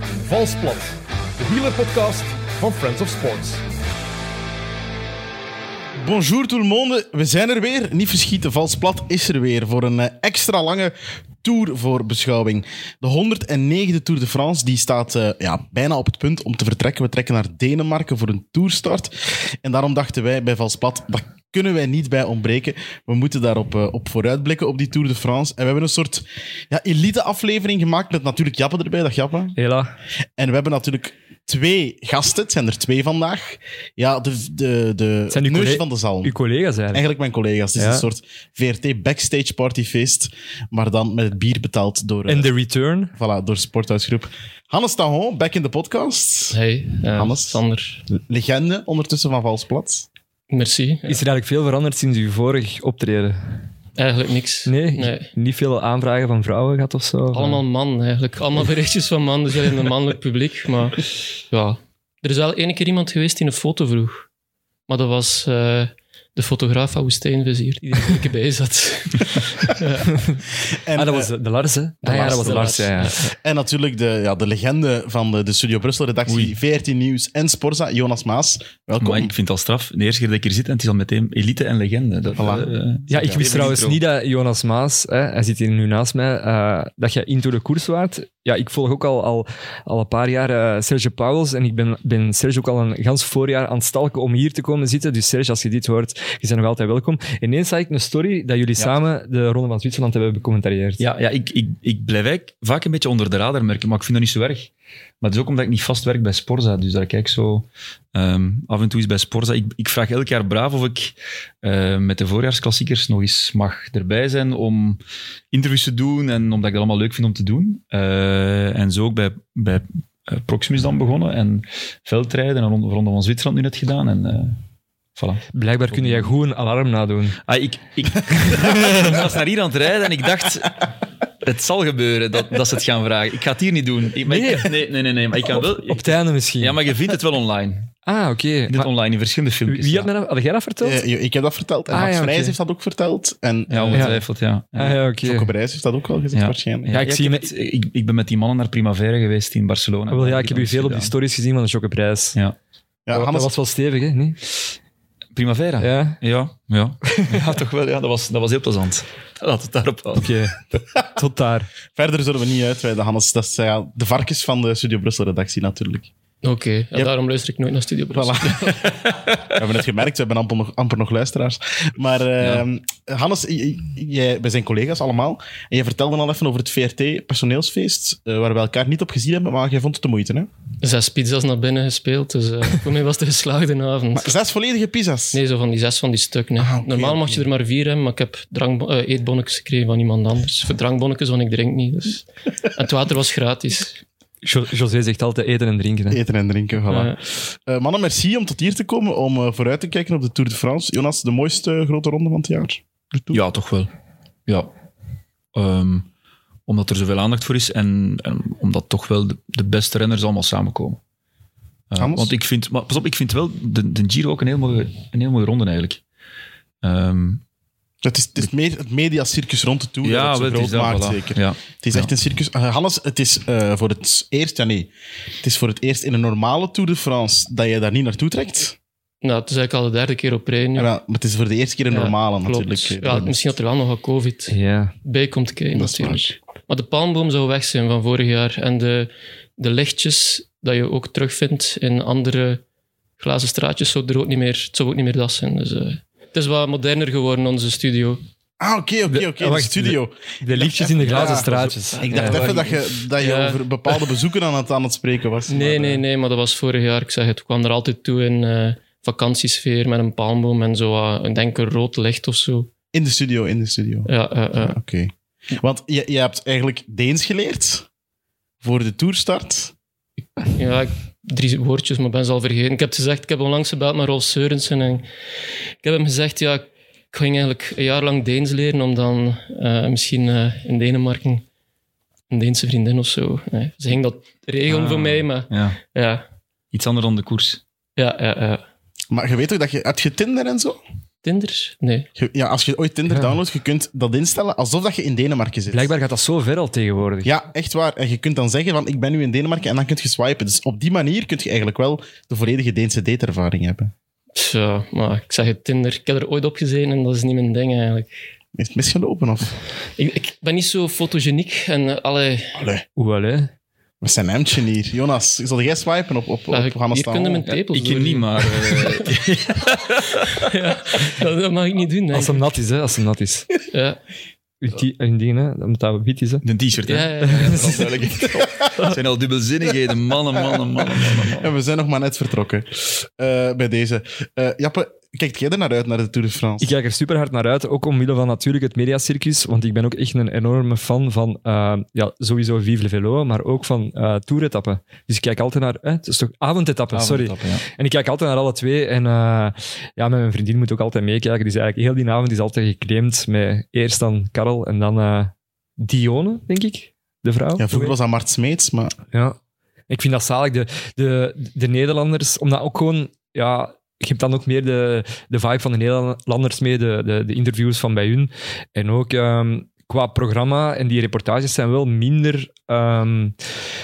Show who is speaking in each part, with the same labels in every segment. Speaker 1: Valsplat, de wielerpodcast van Friends of Sports.
Speaker 2: Bonjour tout le monde, we zijn er weer. Niet verschieten, vals plat is er weer voor een eh, extra lange tour voor beschouwing. De 109e Tour de France die staat eh, ja, bijna op het punt om te vertrekken. We trekken naar Denemarken voor een tourstart. En daarom dachten wij bij vals plat, daar kunnen wij niet bij ontbreken. We moeten daarop eh, op vooruitblikken op die Tour de France. En we hebben een soort ja, elite-aflevering gemaakt met natuurlijk Jappe erbij. Dag Jappe.
Speaker 3: Hela.
Speaker 2: En we hebben natuurlijk twee gasten. Het zijn er twee vandaag. Ja, de, de, de
Speaker 3: zijn uw
Speaker 2: neus
Speaker 3: collega-
Speaker 2: van de zalm.
Speaker 3: Uw collega's eigenlijk.
Speaker 2: Eigenlijk mijn collega's. Het is
Speaker 3: Ja.
Speaker 2: een soort VRT backstage partyfeest, maar dan met het bier betaald door, eh,
Speaker 3: En de return.
Speaker 2: voilà, door Sporthuisgroep. Hannes Tahon, back in de podcast.
Speaker 4: Hey, eh,
Speaker 2: Hannes.
Speaker 4: Sander.
Speaker 2: Legende ondertussen van Valsplat.
Speaker 4: Merci. Ja,
Speaker 3: Is er eigenlijk veel veranderd sinds uw vorig optreden?
Speaker 4: Eigenlijk niks.
Speaker 3: Nee, Niet veel aanvragen van vrouwen gehad of zo?
Speaker 4: Allemaal man, eigenlijk. Allemaal berichtjes van man, dus alleen een mannelijk publiek. Maar ja, er is wel ene keer iemand geweest die een foto vroeg. Maar dat was eh, de fotograaf van Woestijnvizier, die er een keer bij zat.
Speaker 2: En,
Speaker 3: Ah, dat
Speaker 2: eh,
Speaker 3: was de, de Lars, hè? ah, ja,
Speaker 4: Lars,
Speaker 3: dat was de
Speaker 4: de
Speaker 3: Lars, ja. ja.
Speaker 2: en natuurlijk de, ja, de legende van de, de Studio Brussel-redactie, VRT Nieuws en Sporza, Jonas Maas. Welkom.
Speaker 5: Maar ik vind het al straf. De eerste keer dat ik hier zit, en het is al meteen elite en legende. Dat,
Speaker 2: Voilà.
Speaker 5: eh, eh,
Speaker 3: Ja, ik wist trouwens niet dat Jonas Maas, hè, hij zit hier nu naast mij, eh, dat je into de koers waart. Ja, ik volg ook al, al, al een paar jaar eh, Serge Pauwels en ik ben, ben Serge ook al een gans voorjaar aan het stalken om hier te komen zitten. Dus Serge, als je dit hoort, je bent nog altijd welkom. Ineens zag ik een story dat jullie samen de Ronde van Zwitserland hebben becommentarieerd.
Speaker 5: Ja, ja ik, ik, ik blijf eigenlijk vaak een beetje onder de radar merken, maar ik vind dat niet zo erg. Maar het is ook omdat ik niet vast werk bij Sporza. Dus dat ik eigenlijk zo ehm, af en toe eens bij Sporza. Ik, ik vraag elk jaar braaf of ik eh, met de voorjaarsklassiekers nog eens mag erbij zijn om interviews te doen en omdat ik dat allemaal leuk vind om te doen. Eh, en zo ook bij, bij eh, Proximus dan begonnen en veldrijden en Ronde, Ronde van Zwitserland nu net gedaan. En, eh, voilà.
Speaker 3: Blijkbaar kun jij goed een alarm nadoen.
Speaker 5: Ah, ik, ik, ik was naar hier aan het rijden en ik dacht... Het zal gebeuren dat, dat ze het gaan vragen. Ik ga het hier niet doen. Ik, maar ik- nee, nee, nee, nee, Maar ik kan wel...
Speaker 3: Op het einde misschien.
Speaker 5: ja, maar je vindt het wel online.
Speaker 3: Ah, oké.
Speaker 5: Dit
Speaker 3: Maar
Speaker 5: online in verschillende filmpjes.
Speaker 3: Wie
Speaker 5: ja.
Speaker 3: had, mij dat, had jij dat verteld?
Speaker 2: Eh, ik heb dat verteld. En
Speaker 3: Ah,
Speaker 2: Max
Speaker 3: ja, oké.
Speaker 2: Vrijs heeft dat ook verteld. En
Speaker 5: Ja, ongetwijfeld, ja.
Speaker 3: ah, ja, oké.
Speaker 2: Jocke Brijs heeft dat ook wel gezegd,
Speaker 5: Ja.
Speaker 2: waarschijnlijk.
Speaker 3: Ja, ik zie
Speaker 5: heb
Speaker 3: met-
Speaker 5: het- ik, ik ben met die mannen naar Primavera geweest in Barcelona.
Speaker 3: Ah, wel, ja, ik heb u
Speaker 5: Dat
Speaker 3: veel op die
Speaker 5: gedaan.
Speaker 3: stories gezien van de Chocoprijs.
Speaker 5: Ja.
Speaker 2: Ja,
Speaker 3: dat,
Speaker 2: Hannes,
Speaker 3: was wel stevig, hè? Niet?
Speaker 5: Primavera? Ja.
Speaker 3: Ja.
Speaker 5: Ja, ja. toch wel. Ja, dat, was, dat was heel plezant. Laat het daarop houden.
Speaker 3: Oké. Tot daar.
Speaker 2: verder zullen we niet uitweiden, Hannes. Dat is eh, ja, de varkens van de Studio Brussel-redactie natuurlijk.
Speaker 4: Oké, ja, daarom luister ik nooit naar Studio Brussel.
Speaker 2: Voilà. we hebben het gemerkt, we hebben amper nog, amper nog luisteraars. Maar eh, Hannes, j- j- jij, wij zijn collega's allemaal. En jij vertelde al even over het VRT-personeelsfeest, eh, waar we elkaar niet op gezien hebben, maar jij vond het de moeite. Hè?
Speaker 4: Zes pizza's naar binnen gespeeld, dus eh, voor mij was het een geslaagde avond.
Speaker 2: Maar zes volledige pizza's.
Speaker 4: Nee, zo van die zes van die stuk. Nee.
Speaker 2: Ah, oké,
Speaker 4: Normaal mag
Speaker 2: oké.
Speaker 4: je er maar vier hebben, maar ik heb drank, eh, eetbonnetjes gekregen van iemand anders. Voor drankbonnetjes, want ik drink niet. Dus. En het water was gratis.
Speaker 3: Jo- José zegt altijd eten en drinken. Hè.
Speaker 2: Eten en drinken, voilà.
Speaker 4: Eh,
Speaker 2: Eh, mannen, merci om tot hier te komen, om eh, vooruit te kijken op de Tour de France. Jonas, de mooiste eh, grote ronde van het jaar.
Speaker 5: Ja, toch wel. Ja. Ehm, omdat er zoveel aandacht voor is en, en omdat toch wel de, de beste renners allemaal samenkomen. Eh,
Speaker 2: Anders?
Speaker 5: want ik vind, maar pas op, ik vind wel de, de Giro ook een heel mooie, een heel mooie ronde eigenlijk. Ehm,
Speaker 2: Het is, het is meer het mediacircus rond de Tour dat het zo
Speaker 5: wel, het is
Speaker 2: groot
Speaker 5: dat,
Speaker 2: maakt,
Speaker 5: voilà.
Speaker 2: zeker.
Speaker 5: Ja.
Speaker 2: Het is echt een circus. Eh, Hannes, het is eh, voor het eerst, ja nee, het is voor het eerst in een normale Tour de France dat jij daar niet naartoe trekt.
Speaker 4: nou, het is eigenlijk al de derde keer op rij nu.
Speaker 2: Ja, wel, maar het is voor de eerste keer een
Speaker 4: Ja,
Speaker 2: normale
Speaker 4: Klopt.
Speaker 2: natuurlijk. eh,
Speaker 4: Ja, misschien dat er wel nog wat COVID
Speaker 3: Ja.
Speaker 4: bij komt kijken,
Speaker 2: Dat is
Speaker 4: natuurlijk. Maar de palmboom zou weg zijn van vorig jaar. En de, de lichtjes dat je ook terugvindt in andere glazen straatjes, zou er ook niet meer, het zou ook niet meer dat zijn. Dus, eh, het is wat moderner geworden, onze studio.
Speaker 2: Ah, oké, oké, oké. De
Speaker 3: Ja, wacht,
Speaker 2: studio.
Speaker 3: De lichtjes in de glazen
Speaker 2: Ja.
Speaker 3: straatjes.
Speaker 2: Ik dacht
Speaker 3: Ja.
Speaker 2: even dat je, dat je
Speaker 4: Ja.
Speaker 2: over bepaalde bezoeken aan het, aan het spreken was.
Speaker 4: Nee,
Speaker 2: Maar,
Speaker 4: nee,
Speaker 2: eh,
Speaker 4: nee, maar dat was vorig jaar. Ik zeg het, ik kwam er altijd toe in eh, vakantiesfeer met een palmboom en zo. eh, ik denk een rood licht of zo.
Speaker 2: In de studio, in de studio.
Speaker 4: Ja, eh, eh.
Speaker 2: Oké. Want je, je hebt eigenlijk Deens geleerd voor de tourstart.
Speaker 4: ja ik- drie woordjes, maar ben ze al vergeten. Ik heb het gezegd, ik heb onlangs gebeld met Rolf Seurensen en ik heb hem gezegd, ja, ik ging eigenlijk een jaar lang Deens leren om dan eh, misschien eh, in Denemarken een Deense vriendin of zo. Nee, ze ging dat regelen
Speaker 5: Ah.
Speaker 4: voor mij, maar
Speaker 5: Ja.
Speaker 4: ja,
Speaker 5: Iets anders dan de koers.
Speaker 4: ja, ja. ja.
Speaker 2: Maar je weet ook dat je... Heb je Tinder en zo?
Speaker 4: Tinder? Nee.
Speaker 2: Je- Ja, als je ooit Tinder
Speaker 3: Ja.
Speaker 2: downloadt, je kunt dat instellen alsof dat je in Denemarken zit.
Speaker 3: Blijkbaar gaat dat zo ver al tegenwoordig.
Speaker 2: Ja, echt waar. En je kunt dan zeggen van ik ben nu in Denemarken en dan kun je swipen. Dus op die manier kun je eigenlijk wel de volledige Deense dateervaring hebben.
Speaker 4: Pff, ja, maar ik zeg het, Tinder. Ik heb er ooit op gezeten en dat is niet mijn ding eigenlijk.
Speaker 2: Is het misgelopen of?
Speaker 4: Ik, ik ben niet zo fotogeniek en eh, allee,
Speaker 2: Allee,
Speaker 3: Hoewel, hè.
Speaker 2: we zijn hemdje hier. Jonas, zal jij swipen op, op, op
Speaker 4: Ja,
Speaker 2: Hannes
Speaker 4: hier
Speaker 2: Staal?
Speaker 4: kunnen mijn
Speaker 5: Ja,
Speaker 4: tepels
Speaker 5: ik niet, maar eh,
Speaker 4: dat, dat mag ik niet doen.
Speaker 3: Als hem
Speaker 4: Denk. ik.
Speaker 3: nat is, hè. Als hem nat is.
Speaker 4: Ja,
Speaker 3: Ulti- Indien, hè. Dan moet dat wit is, hè.
Speaker 5: de t-shirt, hè.
Speaker 4: ja, ja, ja.
Speaker 5: Dat is duidelijk. Het zijn al dubbelzinnigheden. Mannen, mannen, mannen, mannen. mannen.
Speaker 2: Ja, we zijn nog maar net vertrokken eh, bij deze. Eh, Jappe, kijk jij er naar uit, naar de Tour de France?
Speaker 3: Ik kijk er super hard naar uit, ook omwille van natuurlijk het mediacircus, want ik ben ook echt een enorme fan van eh, ja, sowieso Vive le Velo, maar ook van eh toeretappen. Dus ik kijk altijd naar, eh, het is toch avondetappen, sorry.
Speaker 5: Avondetappen, ja.
Speaker 3: En ik kijk altijd naar alle twee en eh, ja, met mijn vriendin moet ook altijd meekijken. Dus eigenlijk heel die avond is altijd geclaimd met eerst dan Karel en dan eh, Dione, denk ik, de vrouw.
Speaker 2: Ja, vroeger was dat Mart Smeets, maar
Speaker 3: Ja. Ik vind dat zalig, de, de, de Nederlanders, omdat ook gewoon, ja, je hebt dan ook meer de, de vibe van de Nederlanders mee, de, de, de interviews van bij hun. En ook ehm, qua programma en die reportages zijn wel minder, ehm,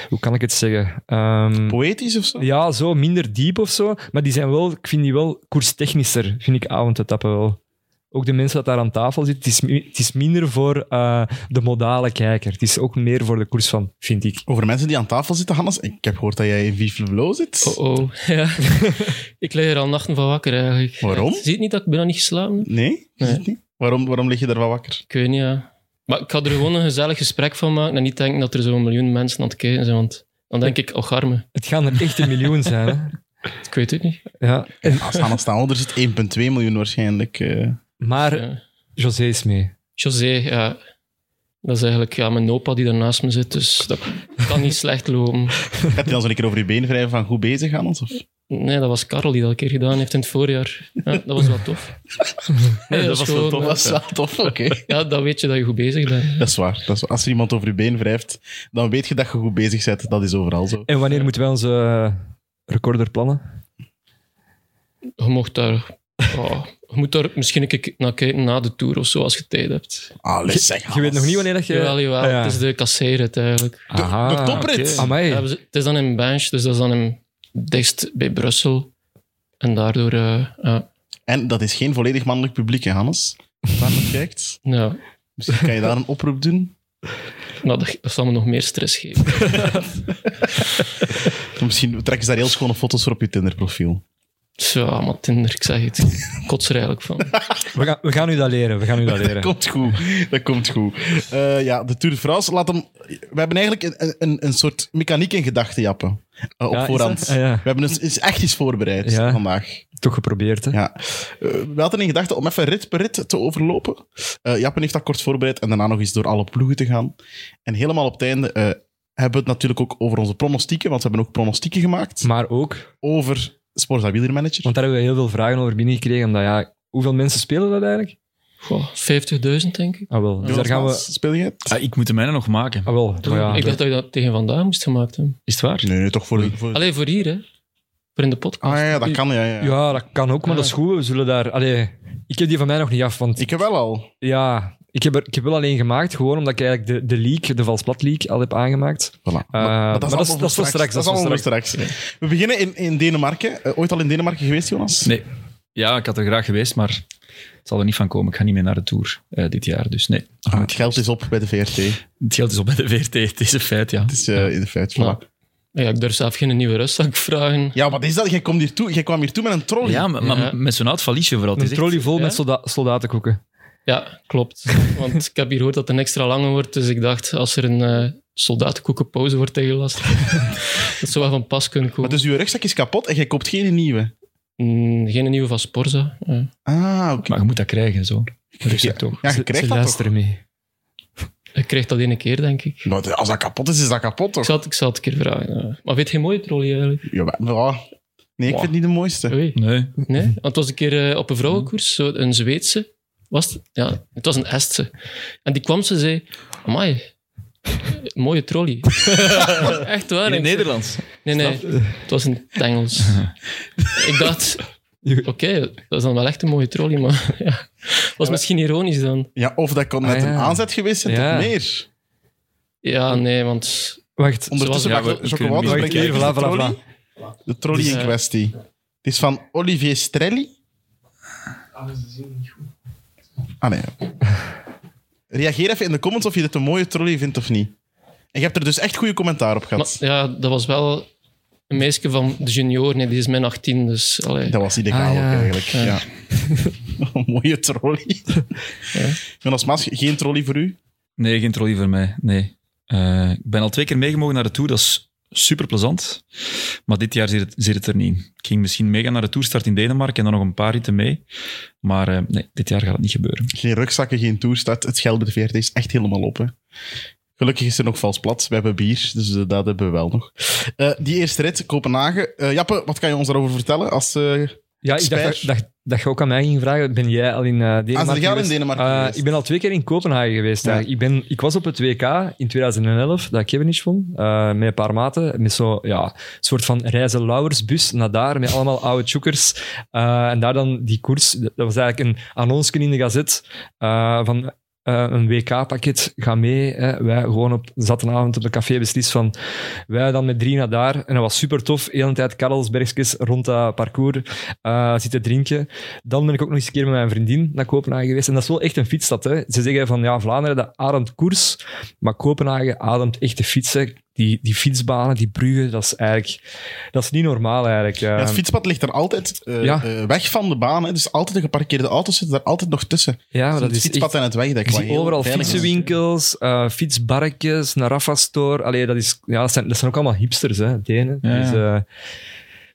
Speaker 3: hoe kan ik het zeggen? Ehm,
Speaker 2: poëtisch of zo?
Speaker 3: ja, zo minder diep of zo, maar die zijn wel, ik vind die wel koerstechnischer, vind ik avondetappen wel. Ook de mensen dat daar aan tafel zitten, het is, mi- het is minder voor eh, de modale kijker. Het is ook meer voor de koers van, vind ik.
Speaker 2: Over mensen die aan tafel zitten, Hannes. Ik heb gehoord dat jij in Vive le Vlo zit.
Speaker 4: Oh, oh. Ja. ik lig er al nachten van wakker eigenlijk.
Speaker 2: Waarom?
Speaker 4: Ziet niet dat ik bijna niet geslapen heb?
Speaker 2: Nee? Is
Speaker 4: Nee.
Speaker 2: het niet? Waarom, waarom lig je daarvan wakker?
Speaker 4: Ik weet niet, ja. Maar ik ga er gewoon een gezellig gesprek van maken en niet denken dat er zo'n miljoen mensen aan het kijken zijn, want dan denk ik, och arme,
Speaker 3: Het gaan er echt een miljoen zijn.
Speaker 4: ik weet het niet.
Speaker 3: Hè? Ja.
Speaker 2: En als Hannes Staal er zit, 1,2 miljoen waarschijnlijk. eh.
Speaker 3: Maar
Speaker 4: Ja.
Speaker 3: José is mee.
Speaker 4: José, ja, dat is eigenlijk ja, mijn opa die daarnaast me zit, dus dat kan niet slecht lopen.
Speaker 2: Gaat hij dan zo een keer over je been wrijven van goed bezig, Hannes? Of?
Speaker 4: Nee, dat was Karel die dat een keer gedaan heeft in het voorjaar. Ja, dat was wel tof. Nee, dat, was wel tof.
Speaker 2: Dat is wel tof, oké.
Speaker 4: Ja, dan weet je dat je goed bezig bent.
Speaker 2: Dat is waar. Dat is, waar. als er iemand over je been wrijft, dan weet je dat je goed bezig bent. Dat is overal zo.
Speaker 3: En wanneer moeten wij onze eh, recorder plannen?
Speaker 4: Je mocht daar... oh, je moet daar misschien een keer naar kijken na de tour of zo, als je tijd hebt.
Speaker 2: Alles zeg,
Speaker 3: Je weet nog
Speaker 2: Hannes.
Speaker 3: niet wanneer dat je...
Speaker 4: Jawel, jawel.
Speaker 3: Ah, ja. Ah.
Speaker 4: Het is de kasseirrit eigenlijk.
Speaker 2: De, de toprit.
Speaker 5: oké.
Speaker 3: Amai.
Speaker 4: Ja, dus- we z- het is dan in Bench, dus dat is dan in, dichtst bij Brussel. En daardoor... eh, ja,
Speaker 2: En dat is geen volledig mannelijk publiek, hè, Hannes? Waar je kijkt.
Speaker 4: nou,
Speaker 2: Misschien kan je daar een oproep doen.
Speaker 4: nou, dat, dat zal me nog meer stress geven.
Speaker 2: Misschien trekken ze daar heel schone foto's voor op je Tinder-profiel.
Speaker 4: Zo, ja, maar Tinder, ik zeg het. Ik kots er eigenlijk van.
Speaker 3: We, gaan, we gaan u dat leren. We gaan u dat
Speaker 2: Dat
Speaker 3: leren.
Speaker 2: komt goed. Dat komt goed. Eh, ja, de Tour de France. Laat hem... We hebben eigenlijk een, een, een soort mechaniek in gedachten, Jappen. Eh, op
Speaker 3: Ja, is
Speaker 2: voorhand.
Speaker 3: dat? Ah, ja.
Speaker 2: We hebben dus is echt iets voorbereid
Speaker 3: Ja.
Speaker 2: vandaag.
Speaker 3: Toch geprobeerd, hè?
Speaker 2: Ja. Eh, we hadden in gedachten om even rit per rit te overlopen. Eh Jappen heeft dat kort voorbereid en daarna nog eens door alle ploegen te gaan. En helemaal op het einde eh, hebben we het natuurlijk ook over onze pronostieken, want we hebben ook pronostieken gemaakt
Speaker 3: Maar ook,
Speaker 2: over Sporza Wielermanager.
Speaker 3: want daar hebben we heel veel vragen over binnengekregen. Omdat, ja, hoeveel mensen spelen dat eigenlijk?
Speaker 4: Goh, 50.000, denk ik.
Speaker 3: Ah, wel. Dus
Speaker 2: Jonas
Speaker 3: daar gaan
Speaker 2: Maas,
Speaker 3: we...
Speaker 2: Speel je het?
Speaker 5: Ah, ik moet de mijne nog maken.
Speaker 3: Ah, wel. Maar ja,
Speaker 4: ik dacht dat je dat tegen vandaag moest gemaakt hebben.
Speaker 5: Is het waar?
Speaker 2: Nee, nee, toch voor... voor...
Speaker 4: Alleen voor hier, hè? Voor in de podcast.
Speaker 2: Ah ja, dat kan, ja. ja.
Speaker 3: ja, dat kan ook, maar dat is goed. We zullen daar... Allee, ik heb die van mij nog niet af, want
Speaker 2: Ik heb wel al.
Speaker 3: ja... Ik heb, er, ik heb wel alleen gemaakt, gewoon omdat ik eigenlijk de, de leak, de valsplat leak, al heb aangemaakt.
Speaker 2: Voilà. maar,
Speaker 3: Eh, maar dat is-
Speaker 2: allemaal
Speaker 3: dat
Speaker 2: voor
Speaker 3: is voor straks,
Speaker 2: Dat is allemaal voor straks. We beginnen in, in Denemarken. Eh, ooit al in Denemarken geweest, Jonas?
Speaker 5: Nee. Ja, ik had er graag geweest, maar het zal er niet van komen. Ik ga niet meer naar de Tour eh, dit jaar, dus nee.
Speaker 2: Ah, het geld is op bij de VRT. Het
Speaker 5: Het geld is op bij de VRT, het is een feit, ja.
Speaker 2: is eh, in feite... Voilà.
Speaker 4: Nou, ja, ik durf zelf geen nieuwe rustzak vragen.
Speaker 2: Ja, wat is dat? Jij, komt hier toe, jij kwam hier toe met een trolley.
Speaker 5: Ja, maar, maar
Speaker 4: Ja.
Speaker 5: met zo'n oud valiesje vooral. Het
Speaker 3: Een
Speaker 5: is echt-
Speaker 3: trolley vol
Speaker 4: Ja?
Speaker 3: met solda- soldatenkoeken.
Speaker 4: Ja, klopt. Want ik heb hier gehoord dat het een extra lange wordt, dus ik dacht, als er een eh soldatenkoekenpauze wordt ingelast, dat zou wel van pas kunnen
Speaker 2: Maar
Speaker 4: komen.
Speaker 2: dus uw rugzak is kapot en jij koopt geen nieuwe.
Speaker 4: Mm, geen nieuwe van Sporza. Ja.
Speaker 2: Ah, oké.
Speaker 5: Maar je moet dat krijgen, zo. Dat is
Speaker 2: Ja.
Speaker 5: het toch.
Speaker 2: Ja, je
Speaker 3: Ze-
Speaker 2: krijgt dat
Speaker 3: ze
Speaker 2: toch?
Speaker 3: luisteren mee.
Speaker 4: Ik kreeg dat ene keer, denk ik.
Speaker 2: Maar de- als dat kapot is, is dat kapot
Speaker 4: Ik
Speaker 2: toch?
Speaker 4: zal, het- ik zal het een keer vragen. ja. Maar weet je, mooie trolley eigenlijk?
Speaker 2: Ja, maar- ja. Nee, ik vind het niet de mooiste.
Speaker 4: Oei.
Speaker 5: Nee.
Speaker 4: Nee? Want het was een keer eh, op een vrouwenkoers, zo een Zweedse. Was het? Ja, het was een Estse. En die kwam, ze zei... Amai, mooie trolley. Echt waar.
Speaker 5: In het
Speaker 4: ik zei,
Speaker 5: Nederlands.
Speaker 4: Nee, nee, het was in het Engels. ik dacht, Oké, dat is dan wel echt een mooie trolley, maar ja. was misschien ironisch dan.
Speaker 2: Ja, of dat kan net
Speaker 3: Ah, ja.
Speaker 2: een aanzet geweest zijn
Speaker 3: Ja.
Speaker 2: tot meer.
Speaker 4: Ja, nee, want
Speaker 3: Wacht,
Speaker 2: Ondertussen
Speaker 5: Zoals-
Speaker 2: ja,
Speaker 5: ja, we- we kunnen
Speaker 2: Waters
Speaker 5: niet-
Speaker 2: ben ik
Speaker 3: Wacht,
Speaker 2: eigenlijk de
Speaker 3: hier, voilà, voilà,
Speaker 2: trolley, de trolley
Speaker 4: Dus,
Speaker 2: in
Speaker 4: eh,
Speaker 2: kwestie. Het is van Olivier Strelli. Ah, nee. Reageer even in de comments of je dit een mooie trolley vindt of niet. En je hebt er dus echt goede commentaar op
Speaker 4: Maar,
Speaker 2: gehad.
Speaker 4: ja, dat was wel een meisje van de junioren. Nee, die is mijn 18, dus... Allee.
Speaker 2: Dat was ideaal
Speaker 3: Ah, ja.
Speaker 2: ook eigenlijk. Ja.
Speaker 4: Ja.
Speaker 2: Een mooie trolley. Jonas Maas, geen trolley voor u?
Speaker 5: Nee, geen trolley voor mij. Nee. Eh, ik ben al twee keer meegemogen naar de Tour. Dat is super plezant. Maar dit jaar zit het, zit het er niet in. Ik ging misschien meegaan naar de Tourstart in Denemarken en dan nog een paar ritten mee. Maar eh, nee, dit jaar gaat het niet gebeuren.
Speaker 2: Geen rugzakken, geen toerstart. Het geld bij de VRT is echt helemaal op. Hè. Gelukkig is er nog vals plat. We hebben bier, dus eh, dat hebben we wel nog. Eh, die eerste rit, Kopenhagen. Eh, Jappe, wat kan je ons daarover vertellen? Als, eh,
Speaker 3: Ja, ik dacht,
Speaker 2: Spijs.
Speaker 3: dat- dat, dat je ook aan mij ging vragen. Ben jij al in eh, Denemarken
Speaker 2: jij al Ah, in
Speaker 3: geweest?
Speaker 2: Denemarken
Speaker 3: Eh,
Speaker 2: geweest?
Speaker 3: Ik ben al twee keer in Kopenhagen geweest.
Speaker 2: Ja.
Speaker 3: eigenlijk. Ik, ben, ik was op het WK in 2011, dat ik even niet vond, eh, met een paar maten. Met zo'n ja, soort van reizen lauwersbus naar daar, met allemaal oude choekers. Eh, en daar dan die koers. Dat was eigenlijk een annonsje in de gazet eh, van... eh, een WK-pakket, ga mee. Hè. Wij gewoon op zaterdagavond op een café beslist van wij dan met drie naar daar. En dat was super tof. Heel de tijd Karelsbergskes rond dat parcours eh, zitten drinken. Dan ben ik ook nog eens een keer met mijn vriendin naar Kopenhagen geweest. En dat is wel echt een fietsstad. Hè. Ze zeggen van ja, Vlaanderen dat ademt koers. Maar Kopenhagen ademt echt de fietsen. Die, die fietsbanen, die bruggen, dat is eigenlijk dat is niet normaal eigenlijk.
Speaker 2: ja, het
Speaker 3: Eh,
Speaker 2: fietspad ligt er altijd eh,
Speaker 3: ja.
Speaker 2: eh, weg van de baan. Hè. Dus altijd de geparkeerde auto's zitten daar altijd nog tussen.
Speaker 3: ja, maar
Speaker 2: dat het fietspad
Speaker 3: echt-
Speaker 2: en het wegdek.
Speaker 3: Ik
Speaker 2: wat
Speaker 3: zie
Speaker 2: heel
Speaker 3: overal
Speaker 2: veilig is.
Speaker 3: fietsenwinkels, eh fietsbarretjes, een Rafa Store. Allee, dat, is, ja, dat, zijn, dat zijn ook allemaal hipsters, hè, Denen.
Speaker 5: Ja, ja.
Speaker 3: Dus, eh,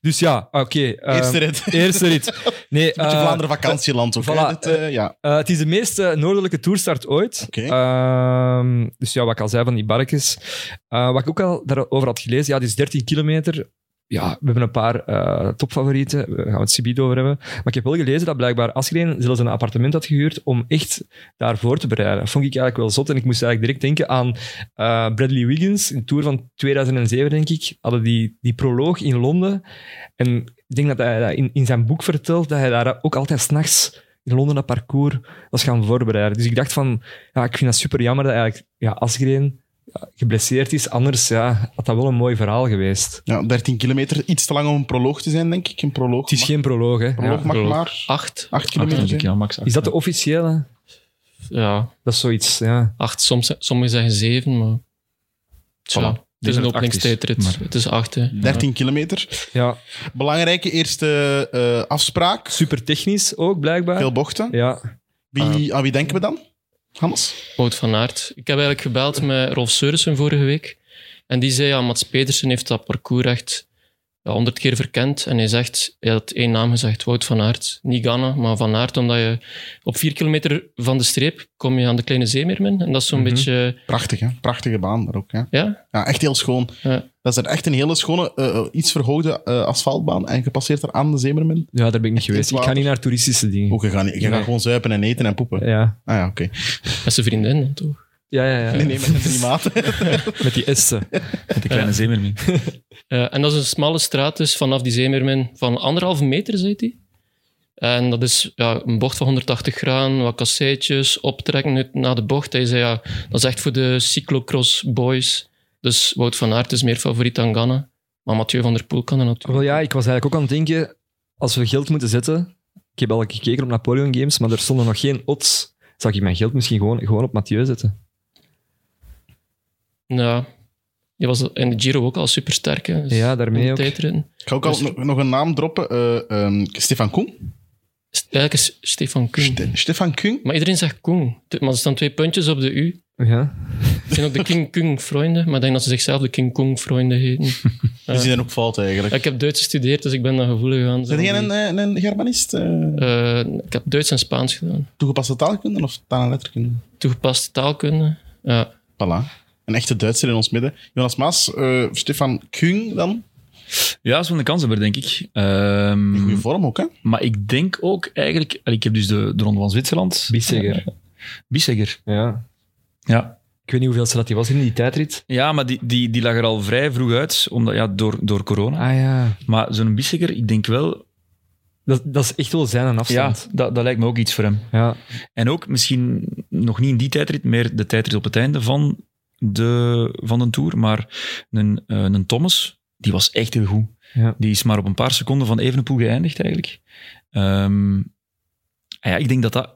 Speaker 3: dus ja, oké. eh,
Speaker 2: Eerste rit.
Speaker 3: Eerste rit. Nee,
Speaker 2: Een beetje
Speaker 3: eh,
Speaker 2: Vlaanderen vakantieland ook. hè.
Speaker 3: voilà,
Speaker 2: Dit, eh, ja.
Speaker 3: eh, het is de meest eh, noordelijke toerstart ooit.
Speaker 2: Oké.
Speaker 3: Ehm, dus ja, wat ik al zei van die barkjes. Eh, wat ik ook al daarover had gelezen, ja, het is 13 kilometer. Ja, we hebben een paar eh, topfavorieten. Daar gaan we het subiet over hebben. Maar ik heb wel gelezen dat blijkbaar Asgreen zelfs een appartement had gehuurd om echt daarvoor te bereiden. Dat vond ik eigenlijk wel zot. En ik moest eigenlijk direct denken aan eh, Bradley Wiggins. In de Tour van 2007, denk ik, hadden die, die proloog in Londen. En ik denk dat hij dat in, in zijn boek vertelt, dat hij daar ook altijd s'nachts in Londen dat parcours was gaan voorbereiden. Dus ik dacht van, ja, ik vind dat super jammer dat eigenlijk ja, Asgreen ja, geblesseerd is. Anders ja, had dat wel een mooi verhaal geweest.
Speaker 2: ja, 13 kilometer. Iets te lang om een proloog te zijn, denk ik. Een proloog.
Speaker 3: Het is geen proloog, hè.
Speaker 2: proloog
Speaker 3: Ja.
Speaker 2: mag
Speaker 4: proloog.
Speaker 2: maar
Speaker 4: 8.
Speaker 2: 8
Speaker 5: Acht,
Speaker 2: kilometer
Speaker 5: denk Ah, ik,
Speaker 2: zijn.
Speaker 5: ja, max. acht.
Speaker 3: Is dat de officiële?
Speaker 4: Ja,
Speaker 3: Dat is zoiets, ja.
Speaker 4: 8. Soms, sommigen zeggen 7, maar... Tja,
Speaker 5: Voilà.
Speaker 4: het is een
Speaker 5: dat het acht
Speaker 4: openingstijdrit.
Speaker 5: is, maar-
Speaker 4: Het is 8, hè.
Speaker 2: 13 kilometer.
Speaker 3: ja.
Speaker 2: Belangrijke eerste eh, afspraak.
Speaker 3: Super technisch ook, blijkbaar.
Speaker 2: Veel bochten.
Speaker 3: Ja,
Speaker 2: Wie, aan wie denken we dan? Hannes?
Speaker 4: Wout van Aert. Ik heb eigenlijk gebeld met Rolf Seurissen vorige week. En die zei, ja, Mats Pedersen heeft dat parcours echt honderd keer verkend. En hij zegt, hij had één naam gezegd, Wout van Aert. Niet Ganna, maar van Aert. Omdat je op vier kilometer van de streep kom je aan de Kleine Zeemeermin. En dat is zo'n
Speaker 3: Mhm.
Speaker 4: beetje...
Speaker 2: Prachtig, hè? Prachtige baan daar ook. Hè?
Speaker 4: Ja?
Speaker 2: Ja, echt heel schoon.
Speaker 4: Ja.
Speaker 2: Dat is er echt een hele schone, eh, eh, iets verhoogde eh, asfaltbaan. En gepasseerd daar aan de Zemermin.
Speaker 3: ja daar ben ik niet geweest.
Speaker 2: in het
Speaker 3: Ik ga
Speaker 2: water.
Speaker 3: niet naar toeristische dingen.
Speaker 2: Ook, je gaat, niet- je gaat
Speaker 3: Nee.
Speaker 2: gewoon zuipen en eten en poepen.
Speaker 3: Ja,
Speaker 2: Ah ja, oké.
Speaker 4: Met zijn vriendin dan toch?
Speaker 3: ja, ja. ja.
Speaker 2: Nee, nee, met de drie maten.
Speaker 3: Met die essen.
Speaker 5: Met de kleine zeemermin.
Speaker 4: Eh, en dat is een smalle straat dus vanaf die Zeemeermin van anderhalve meter, zei hij. En dat is ja, een bocht van 180 graden, wat kasseitjes, optrekken uit- na de bocht. Hij zei, ja, dat is echt voor de cyclocross boys. Dus Wout van Aert is meer favoriet dan Ganna. Maar Mathieu van der Poel kan er natuurlijk.
Speaker 3: Wel ja, ik was eigenlijk ook aan het denken, als we geld moeten zetten... Ik heb al gekeken op Napoleon Games, maar er stonden nog geen odds. Zou ik mijn geld misschien gewoon, gewoon op Mathieu zetten?
Speaker 4: Ja, die was in de Giro ook al supersterk. Hè. Dus
Speaker 3: Ja, daarmee
Speaker 4: in de
Speaker 3: ook.
Speaker 4: tijdritten.
Speaker 2: Ik ga ook
Speaker 3: Dus-
Speaker 2: al nog- nog een naam droppen. eh, ehm, Stefan Koen.
Speaker 4: St- Eigenlijk is Stefan Koen.
Speaker 2: Ste- Stefan Koen.
Speaker 4: maar iedereen zegt Koen. T- Maar er staan twee puntjes op de U.
Speaker 3: Ja.
Speaker 4: Het zijn ook de King Kung-vrienden, maar ik denk dat ze zichzelf de King Kung-vrienden heten.
Speaker 2: Die zijn ook fout eigenlijk.
Speaker 4: Ja, Ik heb Duits gestudeerd, dus ik ben daar gevoelig aan.
Speaker 2: Zijn jij een, eh, een Germanist? eh,
Speaker 4: Eh, ik heb Duits en Spaans gedaan.
Speaker 2: toegepaste taalkunde of taal- en letterkunde?
Speaker 4: Toegepaste taalkunde. Ja.
Speaker 2: Voilà. Een echte Duitser in ons midden. Jonas Maas, eh, Stefan Kung dan.
Speaker 5: Ja, dat is wel een kanshebber, denk ik. Ehm,
Speaker 2: In goede vorm ook, hè?
Speaker 5: maar ik denk ook eigenlijk... Ik heb dus de, de Ronde van Zwitserland.
Speaker 3: Bissegger.
Speaker 5: Bissegger,
Speaker 3: Ja.
Speaker 5: ja.
Speaker 3: Ik weet niet hoeveel ze dat die was in die tijdrit.
Speaker 5: Ja, maar die, die, die lag er al
Speaker 3: Ah.
Speaker 5: vrij vroeg uit, omdat, Ah, ja, door, door corona.
Speaker 3: ja.
Speaker 5: Maar zo'n Bissiger, ik denk wel...
Speaker 3: Dat, dat is echt wel zijn en
Speaker 5: Ja,
Speaker 3: afstand.
Speaker 5: dat, dat lijkt me ook iets voor hem.
Speaker 3: Ja.
Speaker 5: En ook misschien nog niet in die tijdrit, meer de tijdrit op het einde van de, van de Tour. Maar een, eh, een Thomas, die was echt heel goed.
Speaker 3: Ja.
Speaker 5: Die is maar op een paar seconden van Evenepoel geëindigd eigenlijk. Ehm, ah ja, ik denk dat dat...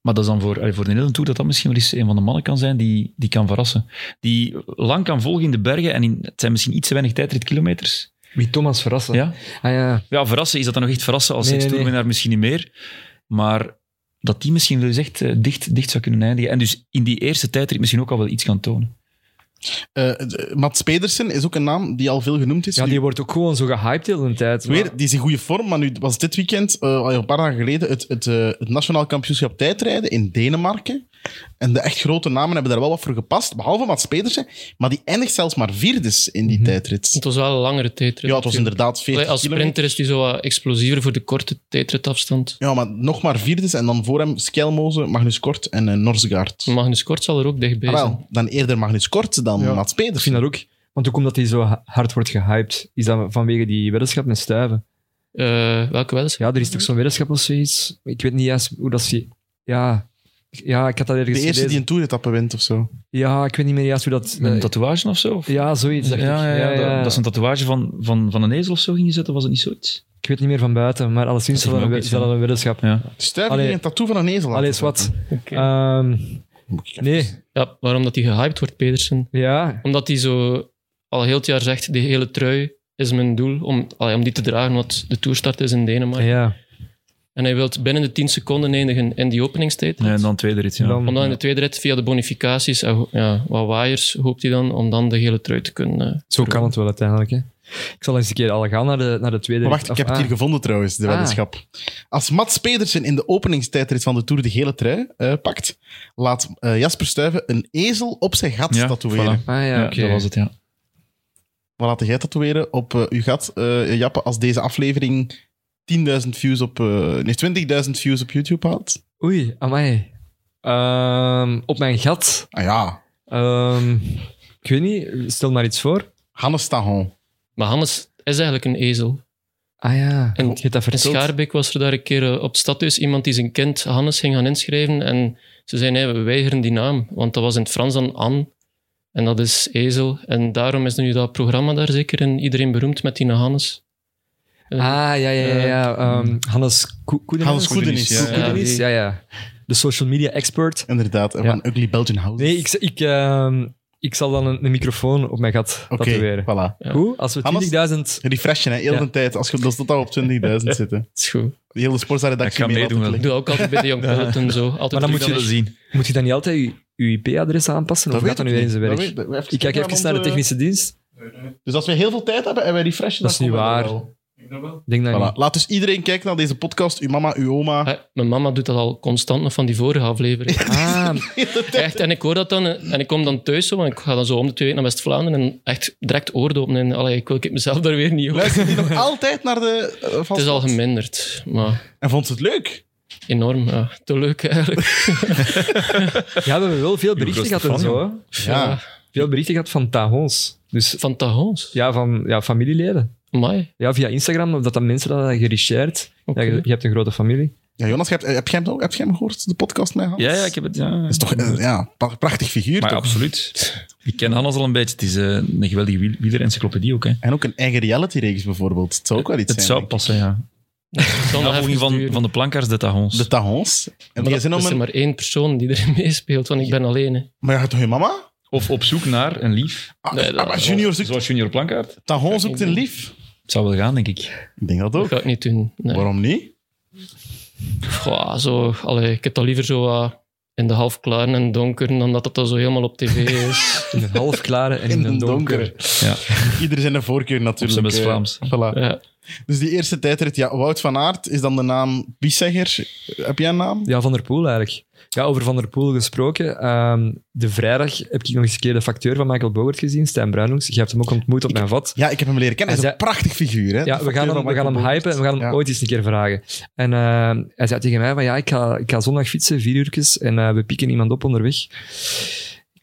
Speaker 5: Maar dat is dan voor, allee, voor de hele Tour dat dat misschien wel eens een van de mannen kan zijn die, die kan verrassen. Die lang kan volgen in de bergen en in, het zijn misschien iets te weinig tijdritkilometers.
Speaker 3: Wie Thomas verrassen.
Speaker 5: Ja?
Speaker 3: Ah, ja.
Speaker 5: ja, verrassen is dat dan nog echt verrassen als
Speaker 3: Nee,
Speaker 5: nee,
Speaker 3: nee,
Speaker 5: ex-toerwinnaar misschien niet meer. Maar dat die misschien wel eens echt eh, dicht, dicht zou kunnen eindigen. En dus in die eerste tijdrit misschien ook al wel iets kan tonen.
Speaker 2: Eh, d- Mats Pedersen is ook een naam die al veel genoemd is.
Speaker 3: ja,
Speaker 2: Nu-
Speaker 3: die wordt ook gewoon zo gehyped de hele tijd.
Speaker 2: Weer,
Speaker 3: maar-
Speaker 2: die is in goede vorm, maar nu was dit weekend, eh, al een paar dagen geleden, het, het, eh, het Nationaal Kampioenschap Tijdrijden in Denemarken. En de echt grote namen hebben daar wel wat voor gepast, behalve Mats Pedersen. Maar die eindigt zelfs maar vierdes in die tijdrit.
Speaker 4: Het was wel een langere tijdrit.
Speaker 2: Ja, het was
Speaker 4: natuurlijk.
Speaker 2: inderdaad 40
Speaker 4: Allee, Als
Speaker 2: kilometer.
Speaker 4: sprinter is hij zo wat explosiever voor de korte tijdritafstand.
Speaker 2: Ja, maar nog maar vierdes. En dan voor hem Skelmoze, Magnus Kort en eh, Norsegaard.
Speaker 4: Magnus Kort zal er ook dichtbij
Speaker 2: Ah,
Speaker 4: zijn.
Speaker 2: wel, dan eerder Magnus Kort dan
Speaker 3: Ja.
Speaker 2: Mats
Speaker 3: Ik vind
Speaker 2: Pedersen.
Speaker 3: dat ook. Want ook omdat hij zo ha- hard wordt gehyped, is dat vanwege die weddenschap met stuiven.
Speaker 4: Eh, welke weddenschap?
Speaker 3: Ja, er is toch zo'n weddenschap of zoiets? Ik weet niet juist hoe dat ze... Ja, ja ik had dat ergens
Speaker 2: De eerste die
Speaker 3: gelezen.
Speaker 2: een toeretappe wint of zo.
Speaker 3: Ja, ik weet niet meer juist hoe dat...
Speaker 5: Met een
Speaker 3: eh,
Speaker 5: tatoeage of zo? Of-
Speaker 3: ja, zoiets.
Speaker 5: ja,
Speaker 3: dacht ik.
Speaker 5: ja, ja, Dat, dat ze een tatoeage van, van, van een ezel of zo gingen zetten, was het niet zoiets?
Speaker 3: Ik weet niet meer van buiten, maar alleszins is
Speaker 5: Dat
Speaker 3: dat
Speaker 5: is
Speaker 3: een,
Speaker 5: me
Speaker 3: we-
Speaker 5: ook
Speaker 3: is
Speaker 5: iets,
Speaker 3: dat
Speaker 5: ja.
Speaker 3: een weddenschap.
Speaker 5: Ja.
Speaker 2: Stuiven
Speaker 3: Allee.
Speaker 2: die een tattoo van een ezel laten
Speaker 3: Allee, is wat.
Speaker 4: Oké.
Speaker 3: Ehm, nee,
Speaker 4: Ja, waarom dat hij gehyped wordt, Pedersen?
Speaker 3: ja.
Speaker 4: Omdat hij zo al heel het jaar zegt, die hele trui is mijn doel om, allee, om die te dragen, want de toerstart is in Denemarken.
Speaker 3: Ja,
Speaker 4: En hij wil binnen de 10 seconden eindigen in die openingstijd.
Speaker 5: Ja, en dan tweede rit, ja.
Speaker 3: dan,
Speaker 4: Om dan in de tweede rit via de bonificaties en ho- ja, wat waaiers hoopt hij dan om dan de gele trui te kunnen. eh,
Speaker 3: zo kan het wel uiteindelijk. Hè. Ik zal eens een keer al gaan naar de, naar de tweede.
Speaker 2: Maar
Speaker 3: rit.
Speaker 2: wacht, ik heb
Speaker 3: Of-
Speaker 2: het hier
Speaker 3: ah,
Speaker 2: gevonden trouwens, de
Speaker 3: Ah.
Speaker 2: weddenschap. Als Mats Pedersen in de openingstijdrit van de Tour de gele trui eh, pakt, laat eh, Jasper Stuyven een ezel op zijn gat
Speaker 5: Ja,
Speaker 2: tatoeëren.
Speaker 5: voilà.
Speaker 3: Ah ja,
Speaker 5: Ja,
Speaker 3: oké.
Speaker 5: dat was het, ja.
Speaker 2: Wat laat jij tatoeëren op eh, uw gat, eh Jappe, als deze aflevering 10.000 views op... eh, nee, 20.000 views op YouTube haalt?
Speaker 3: Oei, amai. Ehm, op mijn gat.
Speaker 2: Ah ja,
Speaker 3: Ehm, ik weet niet, stel maar iets voor.
Speaker 2: Hannes Tahon.
Speaker 4: Maar Hannes is eigenlijk een ezel.
Speaker 3: Ah ja,
Speaker 4: En-
Speaker 3: je hebt dat
Speaker 4: In
Speaker 3: verteld.
Speaker 4: Schaarbeek was er daar een keer eh, op stadhuis iemand die zijn kind Hannes ging gaan inschrijven. En ze zei: nee, we weigeren die naam. Want dat was in het Frans dan An. En dat is ezel. En daarom is nu dat programma daar zeker in iedereen beroemd met die Hannes.
Speaker 3: Ah ja, ja, ja. ja. Ehm, Hannes Ko- Koedenis.
Speaker 2: Hannes Koedenis,
Speaker 3: Ko-
Speaker 2: ja.
Speaker 3: Koedenis, ja, ja. De social media expert.
Speaker 2: Inderdaad, en
Speaker 3: Ja.
Speaker 2: van Ugly Belgian House.
Speaker 3: Nee, ik, z- ik, ehm, ik zal dan een, een microfoon op mijn gat
Speaker 2: Oké,
Speaker 3: tatoeëren.
Speaker 2: voilà.
Speaker 4: Ja.
Speaker 3: Hoe? Als we
Speaker 2: Hannes-
Speaker 3: 20.000...
Speaker 2: Refreshen, hè, heel
Speaker 3: Ja.
Speaker 2: de tijd. Als je dat tot al op 20.000 zitten.
Speaker 4: Dat is goed.
Speaker 2: De hele sportsredactie
Speaker 5: Ik ga
Speaker 2: mee
Speaker 5: meedoen,
Speaker 2: laten
Speaker 5: hè.
Speaker 2: liggen.
Speaker 4: Ik doe dat ook altijd bij de Young Pelot en zo. Altijd
Speaker 3: Maar dan
Speaker 5: Ik
Speaker 3: moet
Speaker 5: wil
Speaker 3: je-
Speaker 5: dat zien.
Speaker 3: Moet je dan niet altijd je, je IP-adres aanpassen? of gaat dat nu weer in zijn werk? ik kijk even naar de technische dienst.
Speaker 2: Dus als we heel veel tijd hebben en wij refreshen,
Speaker 3: Dat
Speaker 2: dan
Speaker 3: is niet
Speaker 2: komen we er
Speaker 3: waar.
Speaker 2: wel.
Speaker 3: Ik Denk dat
Speaker 2: Voilà. Laat dus iedereen kijken naar deze podcast. Uw mama, uw oma.
Speaker 4: Ah, Mijn mama doet dat al constant nog van die vorige aflevering.
Speaker 3: niet. Ah,
Speaker 4: Echt, en ik hoor dat dan eh, en ik kom dan thuis zo, want ik ga dan zo om de twee weken naar West-Vlaanderen en echt direct oordopen en allee, ik wil ik mezelf daar weer niet over.
Speaker 2: Luistert die nog altijd naar de eh, vast-
Speaker 4: Het is al geminderd, maar
Speaker 2: En vond ze het leuk?
Speaker 4: enorm, ja. te leuk eigenlijk.
Speaker 3: ja, we hebben wel veel berichten
Speaker 5: grootste
Speaker 3: gehad en
Speaker 5: fan,
Speaker 3: zo. hè.
Speaker 2: Ja.
Speaker 3: Veel berichten gehad van Tahons. Dus
Speaker 4: Van Tahons,
Speaker 3: ja, van ja, familieleden.
Speaker 4: Amai.
Speaker 3: Ja, via Instagram, of dat dan mensen dat hadden gereshared.
Speaker 4: Oké.
Speaker 3: Ja, je, je hebt een grote familie.
Speaker 2: Ja, Jonas, heb, heb, jij hem, ook- heb jij hem gehoord? De podcast met Hans?
Speaker 5: Ja, ja, ik heb het, ja.
Speaker 2: Dat is toch eh, ja, een prachtig figuur,
Speaker 5: maar
Speaker 2: toch?
Speaker 5: absoluut. Ik ken Hannes al een beetje. Het is eh, een geweldige wiel- wielerencyclopedie ook, hè.
Speaker 2: En ook een eigen reality-reeks bijvoorbeeld. Het zou ook wel iets
Speaker 5: Het
Speaker 2: zijn.
Speaker 5: zou passen, ja.
Speaker 4: Het zal nog
Speaker 5: Navolging
Speaker 4: even
Speaker 5: van,
Speaker 4: duren.
Speaker 5: van de plankaars de Tahons.
Speaker 2: De Tahons. En
Speaker 4: Maar
Speaker 2: die
Speaker 4: dat-
Speaker 2: zijn om
Speaker 4: is er
Speaker 2: een...
Speaker 4: maar één persoon die erin meespeelt, want ik ben alleen. hè.
Speaker 2: Maar ja, gaat toch je mama?
Speaker 5: Of op zoek naar een lief.
Speaker 2: Ah,
Speaker 4: Nee, dat-
Speaker 2: ah, maar junior zoekt...
Speaker 5: Zoals Junior Plankaart.
Speaker 2: Tahon zoekt een lief.
Speaker 5: Het zou wel gaan, denk ik.
Speaker 2: Ik denk dat
Speaker 4: Dat
Speaker 2: ook.
Speaker 4: ga ik niet doen. Nee.
Speaker 2: Waarom niet?
Speaker 4: Goh, zo, allee, ik heb dat liever zo wat in de half klaar en donker dan dat dat dan zo helemaal op tv is.
Speaker 3: In het halfklare en in,
Speaker 2: In
Speaker 3: het
Speaker 2: een
Speaker 3: donker.
Speaker 2: donker.
Speaker 5: Ja.
Speaker 2: Ieder zijn een voorkeur natuurlijk.
Speaker 5: Op zijn best
Speaker 2: eh, voilà.
Speaker 4: ja.
Speaker 2: Dus die eerste tijdrit, ja, Wout van Aert is dan de naam Biesegger. Heb jij een naam?
Speaker 3: Ja, Van der Poel eigenlijk. Ja, over Van der Poel gesproken. ehm, de vrijdag heb ik nog eens een keer de facteur van Michael Bogert gezien, Stijn Bruinhoeks. Je hebt hem ook ontmoet op mijn vat.
Speaker 2: Ja, ik heb hem leren kennen. Hij is een
Speaker 3: Hij
Speaker 2: prachtig figuur. Hè?
Speaker 3: Ja,
Speaker 2: De
Speaker 3: we gaan
Speaker 2: facteur
Speaker 3: hem,
Speaker 2: van
Speaker 3: we gaan hem
Speaker 2: Michael
Speaker 3: hypen en we gaan hem
Speaker 2: Ja.
Speaker 3: ooit eens een keer vragen. En eh, hij zei tegen mij van ja, ik ga, ik ga zondag fietsen, vier uurtjes, en eh, we pikken iemand op onderweg. Ik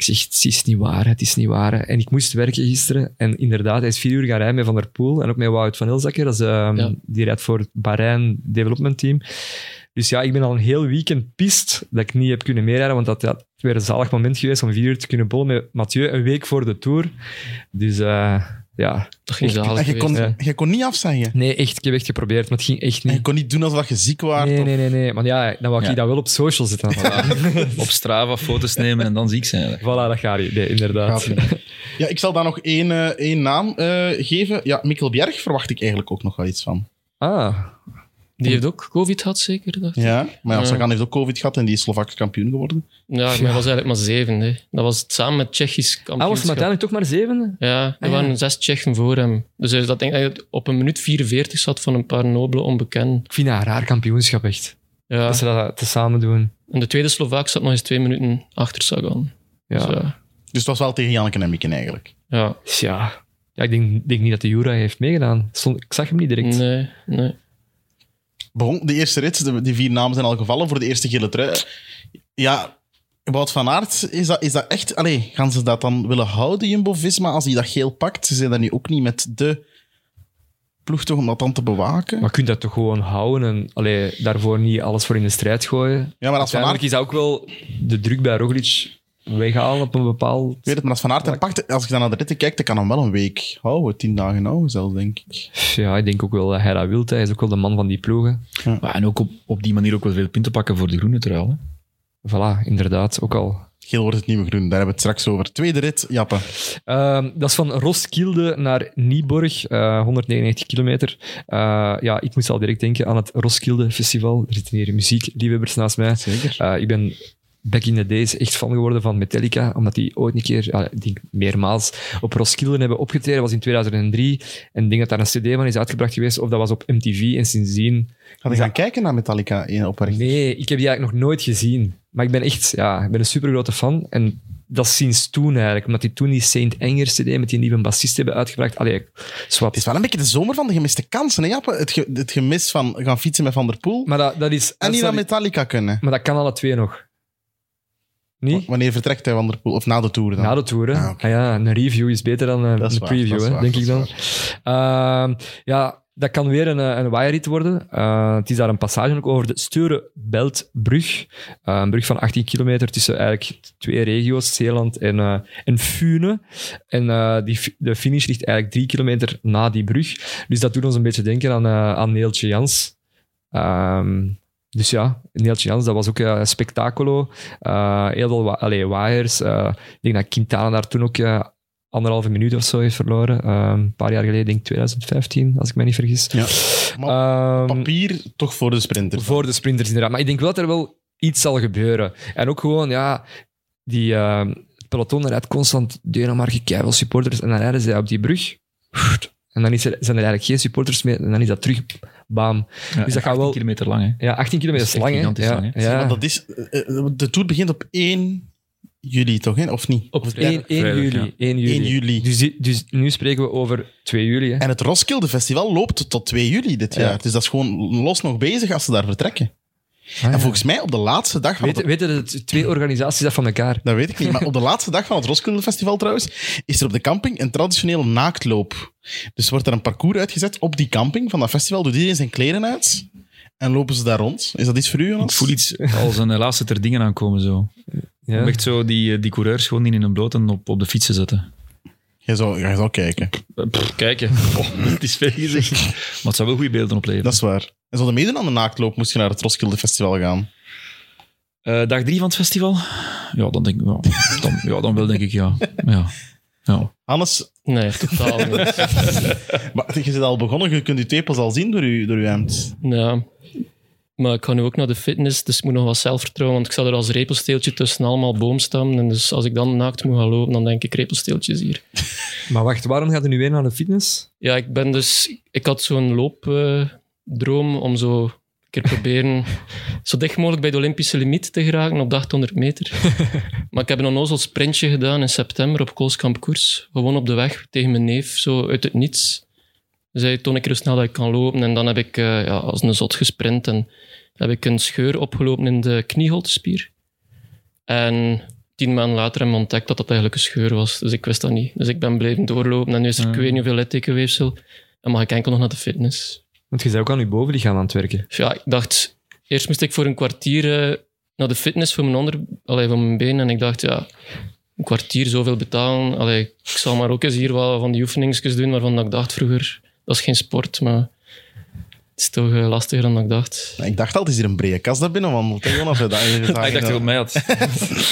Speaker 3: Ik zeg, het is niet waar, het is niet waar. hè. En ik moest werken gisteren. En inderdaad, hij is vier uur gaan rijden met Van der Poel en ook met Wout van Elzakker. Dat is, ehm,
Speaker 4: Ja.
Speaker 3: Die rijdt voor het Bahrein Development Team. Dus ja, ik ben al een heel weekend pist dat ik niet heb kunnen meerijden, want dat had weer een zalig moment geweest om vier uur te kunnen bollen met Mathieu, een week voor de Tour. Dus eh, ja,
Speaker 4: Dat ging zalig
Speaker 2: En je
Speaker 4: geweest
Speaker 2: kon,
Speaker 3: hè.
Speaker 2: je kon niet afzeggen.
Speaker 3: nee, echt, ik heb echt geprobeerd, maar het ging echt
Speaker 2: En
Speaker 3: niet.
Speaker 2: je kon niet doen alsof je ziek was.
Speaker 3: Nee,
Speaker 2: of-
Speaker 3: nee, nee, nee. Maar ja, dan wou ik
Speaker 5: Ja.
Speaker 3: dat wel op social zetten. Voilà,
Speaker 5: Op Strava foto's nemen en dan ziek zijn. hè.
Speaker 3: voilà dat gaat niet. Nee, inderdaad.
Speaker 2: Gaat niet. Ja, ik zal daar nog één, eh, één naam eh, geven. Ja, Mikkel Bjerg verwacht ik eigenlijk ook nog wel iets van.
Speaker 3: Ah,
Speaker 4: Die heeft ook COVID gehad, zeker? dacht ik?
Speaker 2: Ja, maar
Speaker 3: Eh.
Speaker 2: ja,
Speaker 4: Ja.
Speaker 2: Sagan heeft ook COVID gehad en die is Slovaks kampioen geworden.
Speaker 4: Ja, maar hij was eigenlijk maar zeven. Hè. Dat was het samen met Tsjechisch
Speaker 3: ah was hem
Speaker 4: kampioenschap.
Speaker 3: uiteindelijk toch maar zevende?
Speaker 4: ja, er
Speaker 3: Ah, ja.
Speaker 4: waren zes Tsjechen voor hem. Dus hij- dat denk ik dat hij op een minuut 44 zat van een paar nobele onbekenden.
Speaker 3: Ik vind dat een raar kampioenschap, echt.
Speaker 4: Ja.
Speaker 3: Dat ze dat tezamen doen.
Speaker 4: En de tweede Slovaak zat nog eens twee minuten achter Sagan.
Speaker 3: Ja.
Speaker 4: Dus, ja.
Speaker 2: Dus het was wel tegen Janneke en Mikken eigenlijk.
Speaker 4: ja.
Speaker 3: Dus ja, ja ik denk, denk niet dat de Jura heeft meegedaan. Stond, ik zag hem niet direct.
Speaker 4: Nee, nee.
Speaker 2: Bon, de eerste rit, de, die vier namen zijn al gevallen voor de eerste gele trui. Ja, Wout van Aert, is dat, is dat echt... Allee, gaan ze dat dan willen houden, Jumbo-Visma, als hij dat geel pakt? Ze zijn dat nu ook niet met de ploeg toch om dat dan te bewaken?
Speaker 3: Maar je kunt dat toch gewoon houden en allee, daarvoor niet alles voor in de strijd gooien.
Speaker 2: Ja, maar als Van Aert
Speaker 3: Uiteindelijk is dat ook wel de druk bij Roglic weghalen op een bepaald...
Speaker 2: Ik weet het, maar als Van Aert hem pakt, als ik dan naar de ritten kijk, dan kan hem wel een week houden. Tien dagen houden zelfs, denk ik.
Speaker 3: Ja, ik denk ook wel dat hij dat wil. Hij is ook wel de man van die ploegen.
Speaker 5: Maar en ook op, op die manier ook wel veel punten pakken voor de groene trui. hè.
Speaker 3: Voilà, inderdaad, ook al.
Speaker 2: Geel wordt het nieuwe groen, daar hebben we het straks over. Tweede rit, Jappe.
Speaker 3: Ehm, dat is van Roskilde naar Nieborg, eh 199 kilometer. Eh, ja, ik moest al direct denken aan het Roskilde Festival. Er zitten hier muziekliefhebbers naast mij.
Speaker 2: Zeker.
Speaker 3: Eh, ik ben back in the days echt fan geworden van Metallica, omdat die ooit een keer, ja, ik denk meermaals, op Roskilde hebben opgetreden. Dat was in 2003. En ik denk dat daar een cd van is uitgebracht geweest, of dat was op MTV. En sindsdien...
Speaker 2: Ga je gaan kijken naar Metallica in Opperrecht?
Speaker 3: Nee, ik heb die eigenlijk nog nooit gezien. Maar ik ben echt ja, ik ben een supergrote fan. En dat is sinds toen eigenlijk. Omdat die toen die Saint Enger CD met die nieuwe bassist hebben uitgebracht. Allee,
Speaker 2: Het is
Speaker 3: zwart.
Speaker 2: wel een beetje de zomer van de gemiste kansen, hè, Jappe? Het, ge- het gemis van gaan fietsen met Van der Poel
Speaker 3: Maar dat, dat is...
Speaker 2: en
Speaker 3: dat
Speaker 2: niet
Speaker 3: is-
Speaker 2: naar Metallica kunnen.
Speaker 3: Maar dat kan alle twee nog. Niet?
Speaker 2: Wanneer vertrekt hij Van der Poel? Of na de Tour dan?
Speaker 3: Na de tour, hè.
Speaker 2: Oh, Ah, oké.
Speaker 3: Ah ja, een review is beter dan eh,
Speaker 2: Dat is
Speaker 3: een
Speaker 2: waar,
Speaker 3: preview,
Speaker 2: dat is
Speaker 3: hè,
Speaker 2: waar,
Speaker 3: denk
Speaker 2: dat
Speaker 3: ik
Speaker 2: is
Speaker 3: dan. Ehm, ja, dat kan weer een, eh, een waaierrit worden. Eh, het is daar een passage ook over de Sture-Beltbrug. Eh, een brug van 18 kilometer tussen eigenlijk twee regio's, Zeeland en, eh en Fune. En eh, die, fi- de finish ligt eigenlijk drie kilometer na die brug. Dus dat doet ons een beetje denken aan, eh, aan Neeltje Jans. Ehm, dus ja, Neeltje Jans, dat was ook eh, een spektakelo. Eh, heel veel wa- allee, waaiers. Eh, ik denk dat Quintana daar toen ook eh, anderhalve minuut of zo heeft verloren. Eh, een paar jaar geleden, denk ik 2015, als ik me niet vergis.
Speaker 2: Ja. Maar
Speaker 3: Ehm,
Speaker 2: Papier toch voor de sprinter.
Speaker 3: voor de sprinters, inderdaad. Maar ik denk wel dat er wel iets zal gebeuren. En ook gewoon, ja, die eh, het peloton rijdt constant Denemarken, keiveel supporters. En dan rijden zij op die brug. En dan is er, zijn er eigenlijk geen supporters meer. En dan is dat terug, bam.
Speaker 5: Ja,
Speaker 3: Dus dat gaat
Speaker 5: 18
Speaker 3: wel-
Speaker 5: kilometer lang. Hè.
Speaker 3: Ja, 18 kilometer is
Speaker 5: Dat is echt
Speaker 3: lang, hè.
Speaker 5: gigantisch
Speaker 3: ja,
Speaker 5: lang, hè.
Speaker 3: Ja.
Speaker 2: Maar dat is, eh, eh, de Tour begint op 1 juli, toch? Hè? Of niet?
Speaker 4: Op
Speaker 3: Eén-
Speaker 4: vrijdag.
Speaker 3: één
Speaker 5: vrijdag,
Speaker 3: juli.
Speaker 5: ja.
Speaker 3: één juli.
Speaker 2: 1 juli.
Speaker 3: Dus, die- dus nu spreken we over 2 juli. Hè.
Speaker 2: En het Roskilde Festival loopt tot 2 juli dit
Speaker 3: Ja. Ah,
Speaker 2: jaar. Dus dat is gewoon los nog bezig als ze daar vertrekken. En volgens mij op de laatste dag van
Speaker 3: Weet,
Speaker 2: het...
Speaker 3: weten dat het twee organisaties dat van elkaar?
Speaker 2: Dat weet ik niet, maar op de laatste dag van het Roskilde Festival trouwens, is er op de camping een traditionele naaktloop. Dus wordt er een parcours uitgezet op die camping van dat festival, doet iedereen zijn kleren uit en lopen ze daar rond. Is dat iets voor u,
Speaker 5: Ik
Speaker 2: Jonas?
Speaker 5: voel iets als een laatste ter dingen aankomen. Zo.
Speaker 3: Ja.
Speaker 5: Om echt zo die, eh, die coureurs gewoon niet in hun bloot en op, op de fiets te zetten.
Speaker 2: Jij zou, jij zou kijken.
Speaker 5: Eh, pff, kijken. Oh, het is veel gezegd. Maar het zou wel goede beelden opleveren.
Speaker 2: Dat is waar. En zouden meedoen aan de naaktloop moest je naar het Roskilde Festival gaan.
Speaker 5: Eh, dag drie van het festival? Ja, dan denk ik wel. Dan, ja, dan wel denk ik ja. ja. ja.
Speaker 2: Hannes,
Speaker 4: Nee, totaal niet.
Speaker 2: maar, je bent al begonnen, je kunt je tepels al zien door je, door je hemd.
Speaker 4: Ja. Maar ik ga nu ook naar de fitness, dus ik moet nog wat zelfvertrouwen. Want ik zat er als repelsteeltje tussen allemaal boomstammen. En dus als ik dan naakt moet gaan lopen, dan denk ik repelsteeltjes hier.
Speaker 3: Maar wacht, waarom gaat u nu weer naar de fitness?
Speaker 4: Ja, ik ben dus... Ik had zo'n loopdroom eh, om zo een keer proberen zo dicht mogelijk bij de Olympische limiet te geraken op de 800 meter. maar ik heb een onnozel sprintje gedaan in september op Koolskamp Koers. Gewoon op de weg tegen mijn neef, zo uit het niets. Zei, toon ik er snel dat ik kan lopen. En dan heb ik eh, ja, als een zot gesprint en heb ik een scheur opgelopen in de knieholtespier. En tien maanden later hebben we ontdekt dat dat eigenlijk een scheur was. Dus ik wist dat niet. Dus ik ben blijven doorlopen en nu is er
Speaker 5: Ah.
Speaker 4: ik weet niet hoeveel littekenweefsel. En mag ik enkel nog naar de fitness.
Speaker 3: Want je zou ook aan je bovenlichaam aan het werken.
Speaker 4: Dus ja, ik dacht, eerst moest ik voor een kwartier eh, naar de fitness voor mijn, onder, allee, voor mijn been. En ik dacht, ja, een kwartier zoveel betalen. Allee, ik zal maar ook eens hier wel van die oefeningetjes doen waarvan dat ik dacht vroeger, dat is geen sport, maar het is toch eh, lastiger dan dat ik dacht.
Speaker 2: Ik dacht altijd, is hier een brede kast daar binnen wandelt? hè, Jonas? Dat-
Speaker 5: Ah, ik dacht dat je op mij had.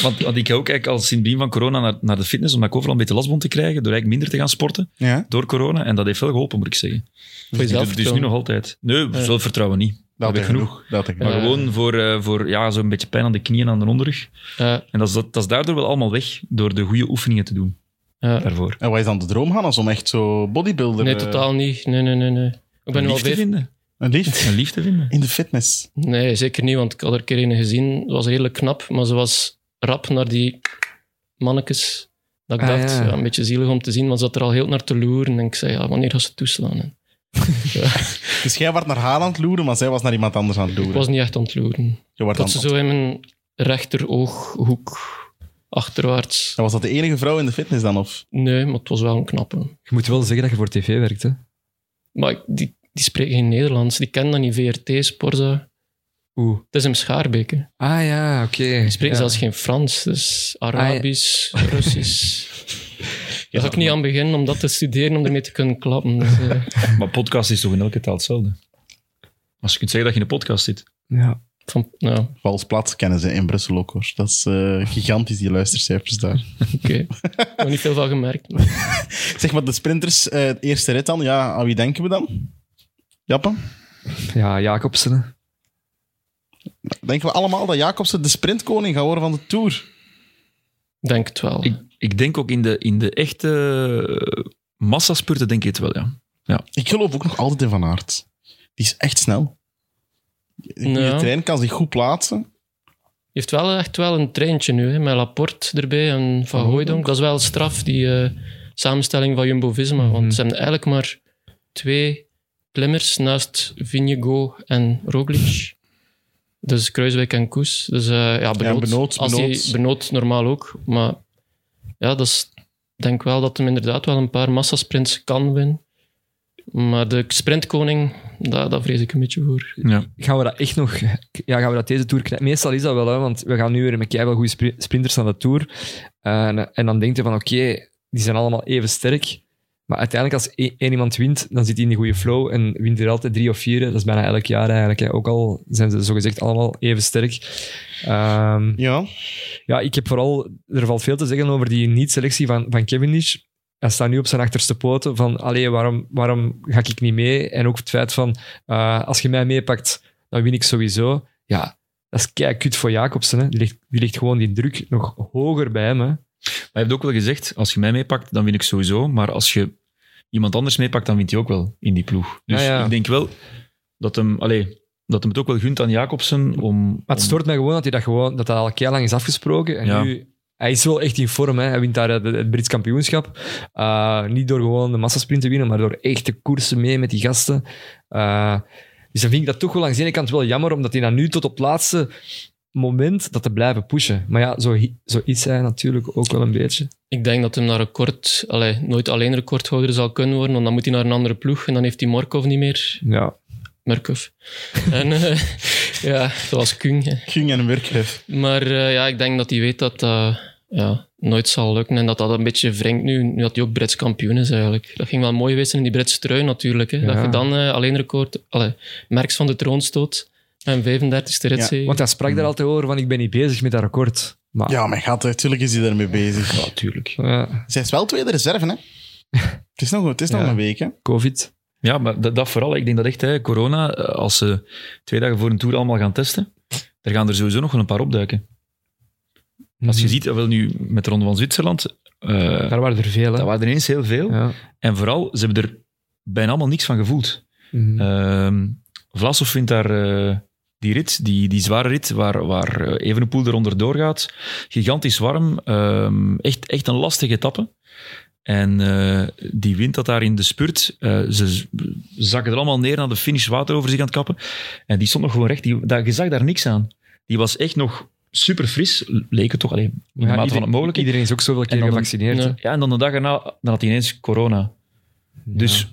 Speaker 5: want, want ik ga ook eigenlijk als symptoom van corona naar, naar de fitness, omdat ik overal een beetje last begon te krijgen, door eigenlijk minder te gaan sporten
Speaker 2: Ja,
Speaker 5: door corona. En dat heeft wel geholpen, moet ik zeggen.
Speaker 4: Voor
Speaker 5: Dus,
Speaker 4: jezelf.
Speaker 5: dus nu nog altijd. Nee, zelfvertrouwen niet.
Speaker 2: dat
Speaker 5: heb
Speaker 2: had
Speaker 5: ik
Speaker 2: genoeg.
Speaker 5: genoeg.
Speaker 2: genoeg. Dat had ik
Speaker 5: Maar
Speaker 2: genoeg.
Speaker 4: Ja.
Speaker 5: gewoon voor, eh, voor ja, zo'n beetje pijn aan de knieën en aan de onderrug.
Speaker 4: Ja,
Speaker 5: En dat is, dat, dat is daardoor wel allemaal weg, door de goede oefeningen te doen
Speaker 4: ja.
Speaker 5: daarvoor.
Speaker 2: En wat is dan de droom, Hannes, om echt zo bodybuilder...
Speaker 4: Nee,
Speaker 2: eh,
Speaker 4: totaal niet. Nee, nee, nee. nee. Ik ben
Speaker 5: een
Speaker 4: nu al
Speaker 5: liefde
Speaker 4: vijf...
Speaker 5: vinden.
Speaker 2: Een liefde
Speaker 5: Een liefde vinden.
Speaker 2: in de fitness.
Speaker 4: Nee, zeker niet, want ik had er een keer een gezien. Het was redelijk knap, maar ze was rap naar die mannetjes. Dat ik
Speaker 3: Ah,
Speaker 4: dacht,
Speaker 3: ja.
Speaker 4: ja. een beetje zielig om te zien, maar ze zat er al heel naar te loeren. En ik zei, ja, wanneer gaat ze toeslaan? En
Speaker 2: Dus jij was naar haar aan het loeren, maar zij was naar iemand anders aan het
Speaker 4: ik
Speaker 2: loeren.
Speaker 4: was niet echt aan het loeren.
Speaker 2: Je werd
Speaker 4: Dat
Speaker 2: aan-
Speaker 4: ze zo in mijn rechterooghoek achterwaarts.
Speaker 2: En was dat de enige vrouw in de fitness dan? Of?
Speaker 4: Nee, maar het was wel een knappe.
Speaker 3: Je moet wel zeggen dat je voor tv werkt, hè.
Speaker 4: Maar ik- die, die spreekt geen Nederlands. Die kent dan niet VRT, Sporza.
Speaker 3: Oeh.
Speaker 4: Het is hem Schaarbeek. hè.
Speaker 3: Ah ja, oké.
Speaker 4: Die spreekt
Speaker 3: Ja. Ah,
Speaker 4: zelfs geen Frans, dus
Speaker 3: ja.
Speaker 4: Arabisch, Russisch. Daar ga ik niet aan beginnen om dat te studeren, om ermee te kunnen klappen. Dus, eh,
Speaker 5: Maar podcast is toch in elke taal hetzelfde? Als je kunt zeggen dat je in een podcast zit.
Speaker 3: Ja.
Speaker 4: van, nou,
Speaker 2: Vals plat kennen ze in Brussel ook hoor. Dat is eh, gigantisch, die luistercijfers daar.
Speaker 4: oké. Ik heb er niet veel van gemerkt. maar-
Speaker 2: Zeg maar, de sprinters, eh, het eerste rit dan. Ja, aan wie denken we dan? Jappen?
Speaker 3: ja, Jacobsen. hè.
Speaker 2: Denken we allemaal dat Jacobsen de sprintkoning gaat worden van de Tour?
Speaker 4: Ik Denk het wel.
Speaker 5: Ik, ik denk ook in de, in de echte eh, massaspurten, denk ik het wel, ja.
Speaker 2: Ik geloof ook nog altijd in Van Aert. Die is echt snel. In de
Speaker 4: Ja.
Speaker 2: trein kan zich goed plaatsen.
Speaker 4: Je heeft wel echt wel een treintje nu, hè, met Laporte erbij en
Speaker 2: Oh,
Speaker 4: Van Hooijdonk. Dat is wel straf, die eh, samenstelling van Jumbo-Visma.
Speaker 2: Mhm.
Speaker 4: Want ze hebben eigenlijk maar twee klimmers naast Vinjego en Roglic. Dus Kruiswijk en Koes. Dus eh, ja, benoot.
Speaker 2: Benoot,
Speaker 4: Als
Speaker 2: Benoot.
Speaker 4: Die, benoot normaal ook. Maar ja, dat is, ik denk wel dat hem inderdaad wel een paar massasprints kan winnen. Maar de sprintkoning, daar, daar vrees ik een beetje voor.
Speaker 5: ja.
Speaker 3: Gaan we dat echt nog... Ja, gaan we dat deze Tour knijpen? Meestal is dat wel, hè, want we gaan nu weer met wel goede spri- sprinters aan de Tour. En, en dan denk je van, oké, die zijn allemaal even sterk. Maar uiteindelijk, als e- één één iemand wint, dan zit hij in de goede flow en wint er altijd drie of vier. Dat is bijna elk jaar eigenlijk. Hè. Ook al zijn ze zogezegd allemaal even sterk. Ehm,
Speaker 2: Ja.
Speaker 3: ja, ik heb vooral... Er valt veel te zeggen over die niet-selectie van, van Cavendish. Hij staat nu op zijn achterste poten van, allee, waarom, waarom ga ik niet mee? En ook het feit van, eh, als je mij meepakt, dan win ik sowieso. Ja, dat is kei kut voor Jacobsen. Hè. Die, ligt, die ligt gewoon die druk nog hoger bij hem. Hè.
Speaker 5: Maar je hebt ook wel gezegd, als je mij meepakt, dan win ik sowieso. Maar als je iemand anders meepakt, dan wint hij ook wel in die ploeg. Dus
Speaker 3: Ja, ja.
Speaker 5: ik denk wel dat hem, allee, dat hem het ook wel gunt aan Jacobsen om...
Speaker 3: Maar het
Speaker 5: om-
Speaker 3: stoort mij gewoon dat hij dat, gewoon, dat, dat al kei lang is afgesproken. En
Speaker 5: Ja.
Speaker 3: nu, hij is wel echt in vorm. Hè. Hij wint daar het, het Brits kampioenschap. Eh, niet door gewoon de massasprint te winnen, maar door echt te koersen mee met die gasten. Eh, dus dan vind ik dat toch wel langs de ene kant wel jammer, omdat hij dan nu tot op het laatste moment dat te blijven pushen. Maar ja, zo, hi- zo is hij natuurlijk ook wel een beetje.
Speaker 4: Ik denk dat hem naar record, allee, nooit alleen recordhouder zal kunnen worden, want dan moet hij naar een andere ploeg en dan heeft hij Morkov niet meer.
Speaker 3: Ja.
Speaker 4: Murkov. en eh, ja, zoals Kung. hè.
Speaker 2: Ging en Wurkhef.
Speaker 4: Maar eh, ja, ik denk dat hij weet dat dat ja, nooit zal lukken en dat dat een beetje wringt nu, nu dat hij ook Brits kampioen is eigenlijk. Dat ging wel mooi wezen in die Britse trui natuurlijk. Hè,
Speaker 3: Ja.
Speaker 4: Dat je dan eh, alleen record, allee, Merks van de troon stoot en 35e
Speaker 2: Ja,
Speaker 4: rit. Ja,
Speaker 3: Want hij sprak daar altijd over van ik ben niet bezig met dat record. Maar, eh,
Speaker 2: Ja, maar gaat, natuurlijk is hij daarmee bezig.
Speaker 5: Ja, tuurlijk.
Speaker 3: Ja,
Speaker 2: Zij is wel tweede reserve, hè? Het is nog, het is nog
Speaker 3: Ja.
Speaker 2: een week, hè?
Speaker 3: covid.
Speaker 5: Ja, maar dat, dat vooral. Ik denk dat echt, hè, corona, eh, als ze twee dagen voor een tour allemaal gaan testen, er gaan er sowieso nog wel een paar opduiken. Als je
Speaker 3: Hmm.
Speaker 5: ziet, eh, wel nu met de Ronde van Zwitserland, eh
Speaker 3: Mhm. Daar waren er veel, hè.
Speaker 5: dat waren er ineens heel veel.
Speaker 3: Ja.
Speaker 5: En vooral, ze hebben er bijna allemaal niks van gevoeld.
Speaker 3: Mhm.
Speaker 5: Ehm Vlasov vindt daar eh, die rit, die, die zware rit, waar, waar eh, Evenepoel eronder doorgaat. Gigantisch warm. ehm, echt, echt een lastige etappe. En eh, die wint dat daar in de spurt. Eh, ze z- zakken er allemaal neer naar de finish, water over zich aan het kappen. En die stond nog gewoon recht. Die, daar, je zag daar niks aan. Die was echt nog super fris, leek het toch, allee, in de
Speaker 3: Ja,
Speaker 5: mate van
Speaker 3: iedereen-
Speaker 5: het mogelijke.
Speaker 3: Iedereen is ook zoveel keer
Speaker 5: dan een-
Speaker 3: gevaccineerd.
Speaker 4: Ja.
Speaker 3: hè.
Speaker 5: Ja, en dan de dag erna dan had hij ineens corona. Dus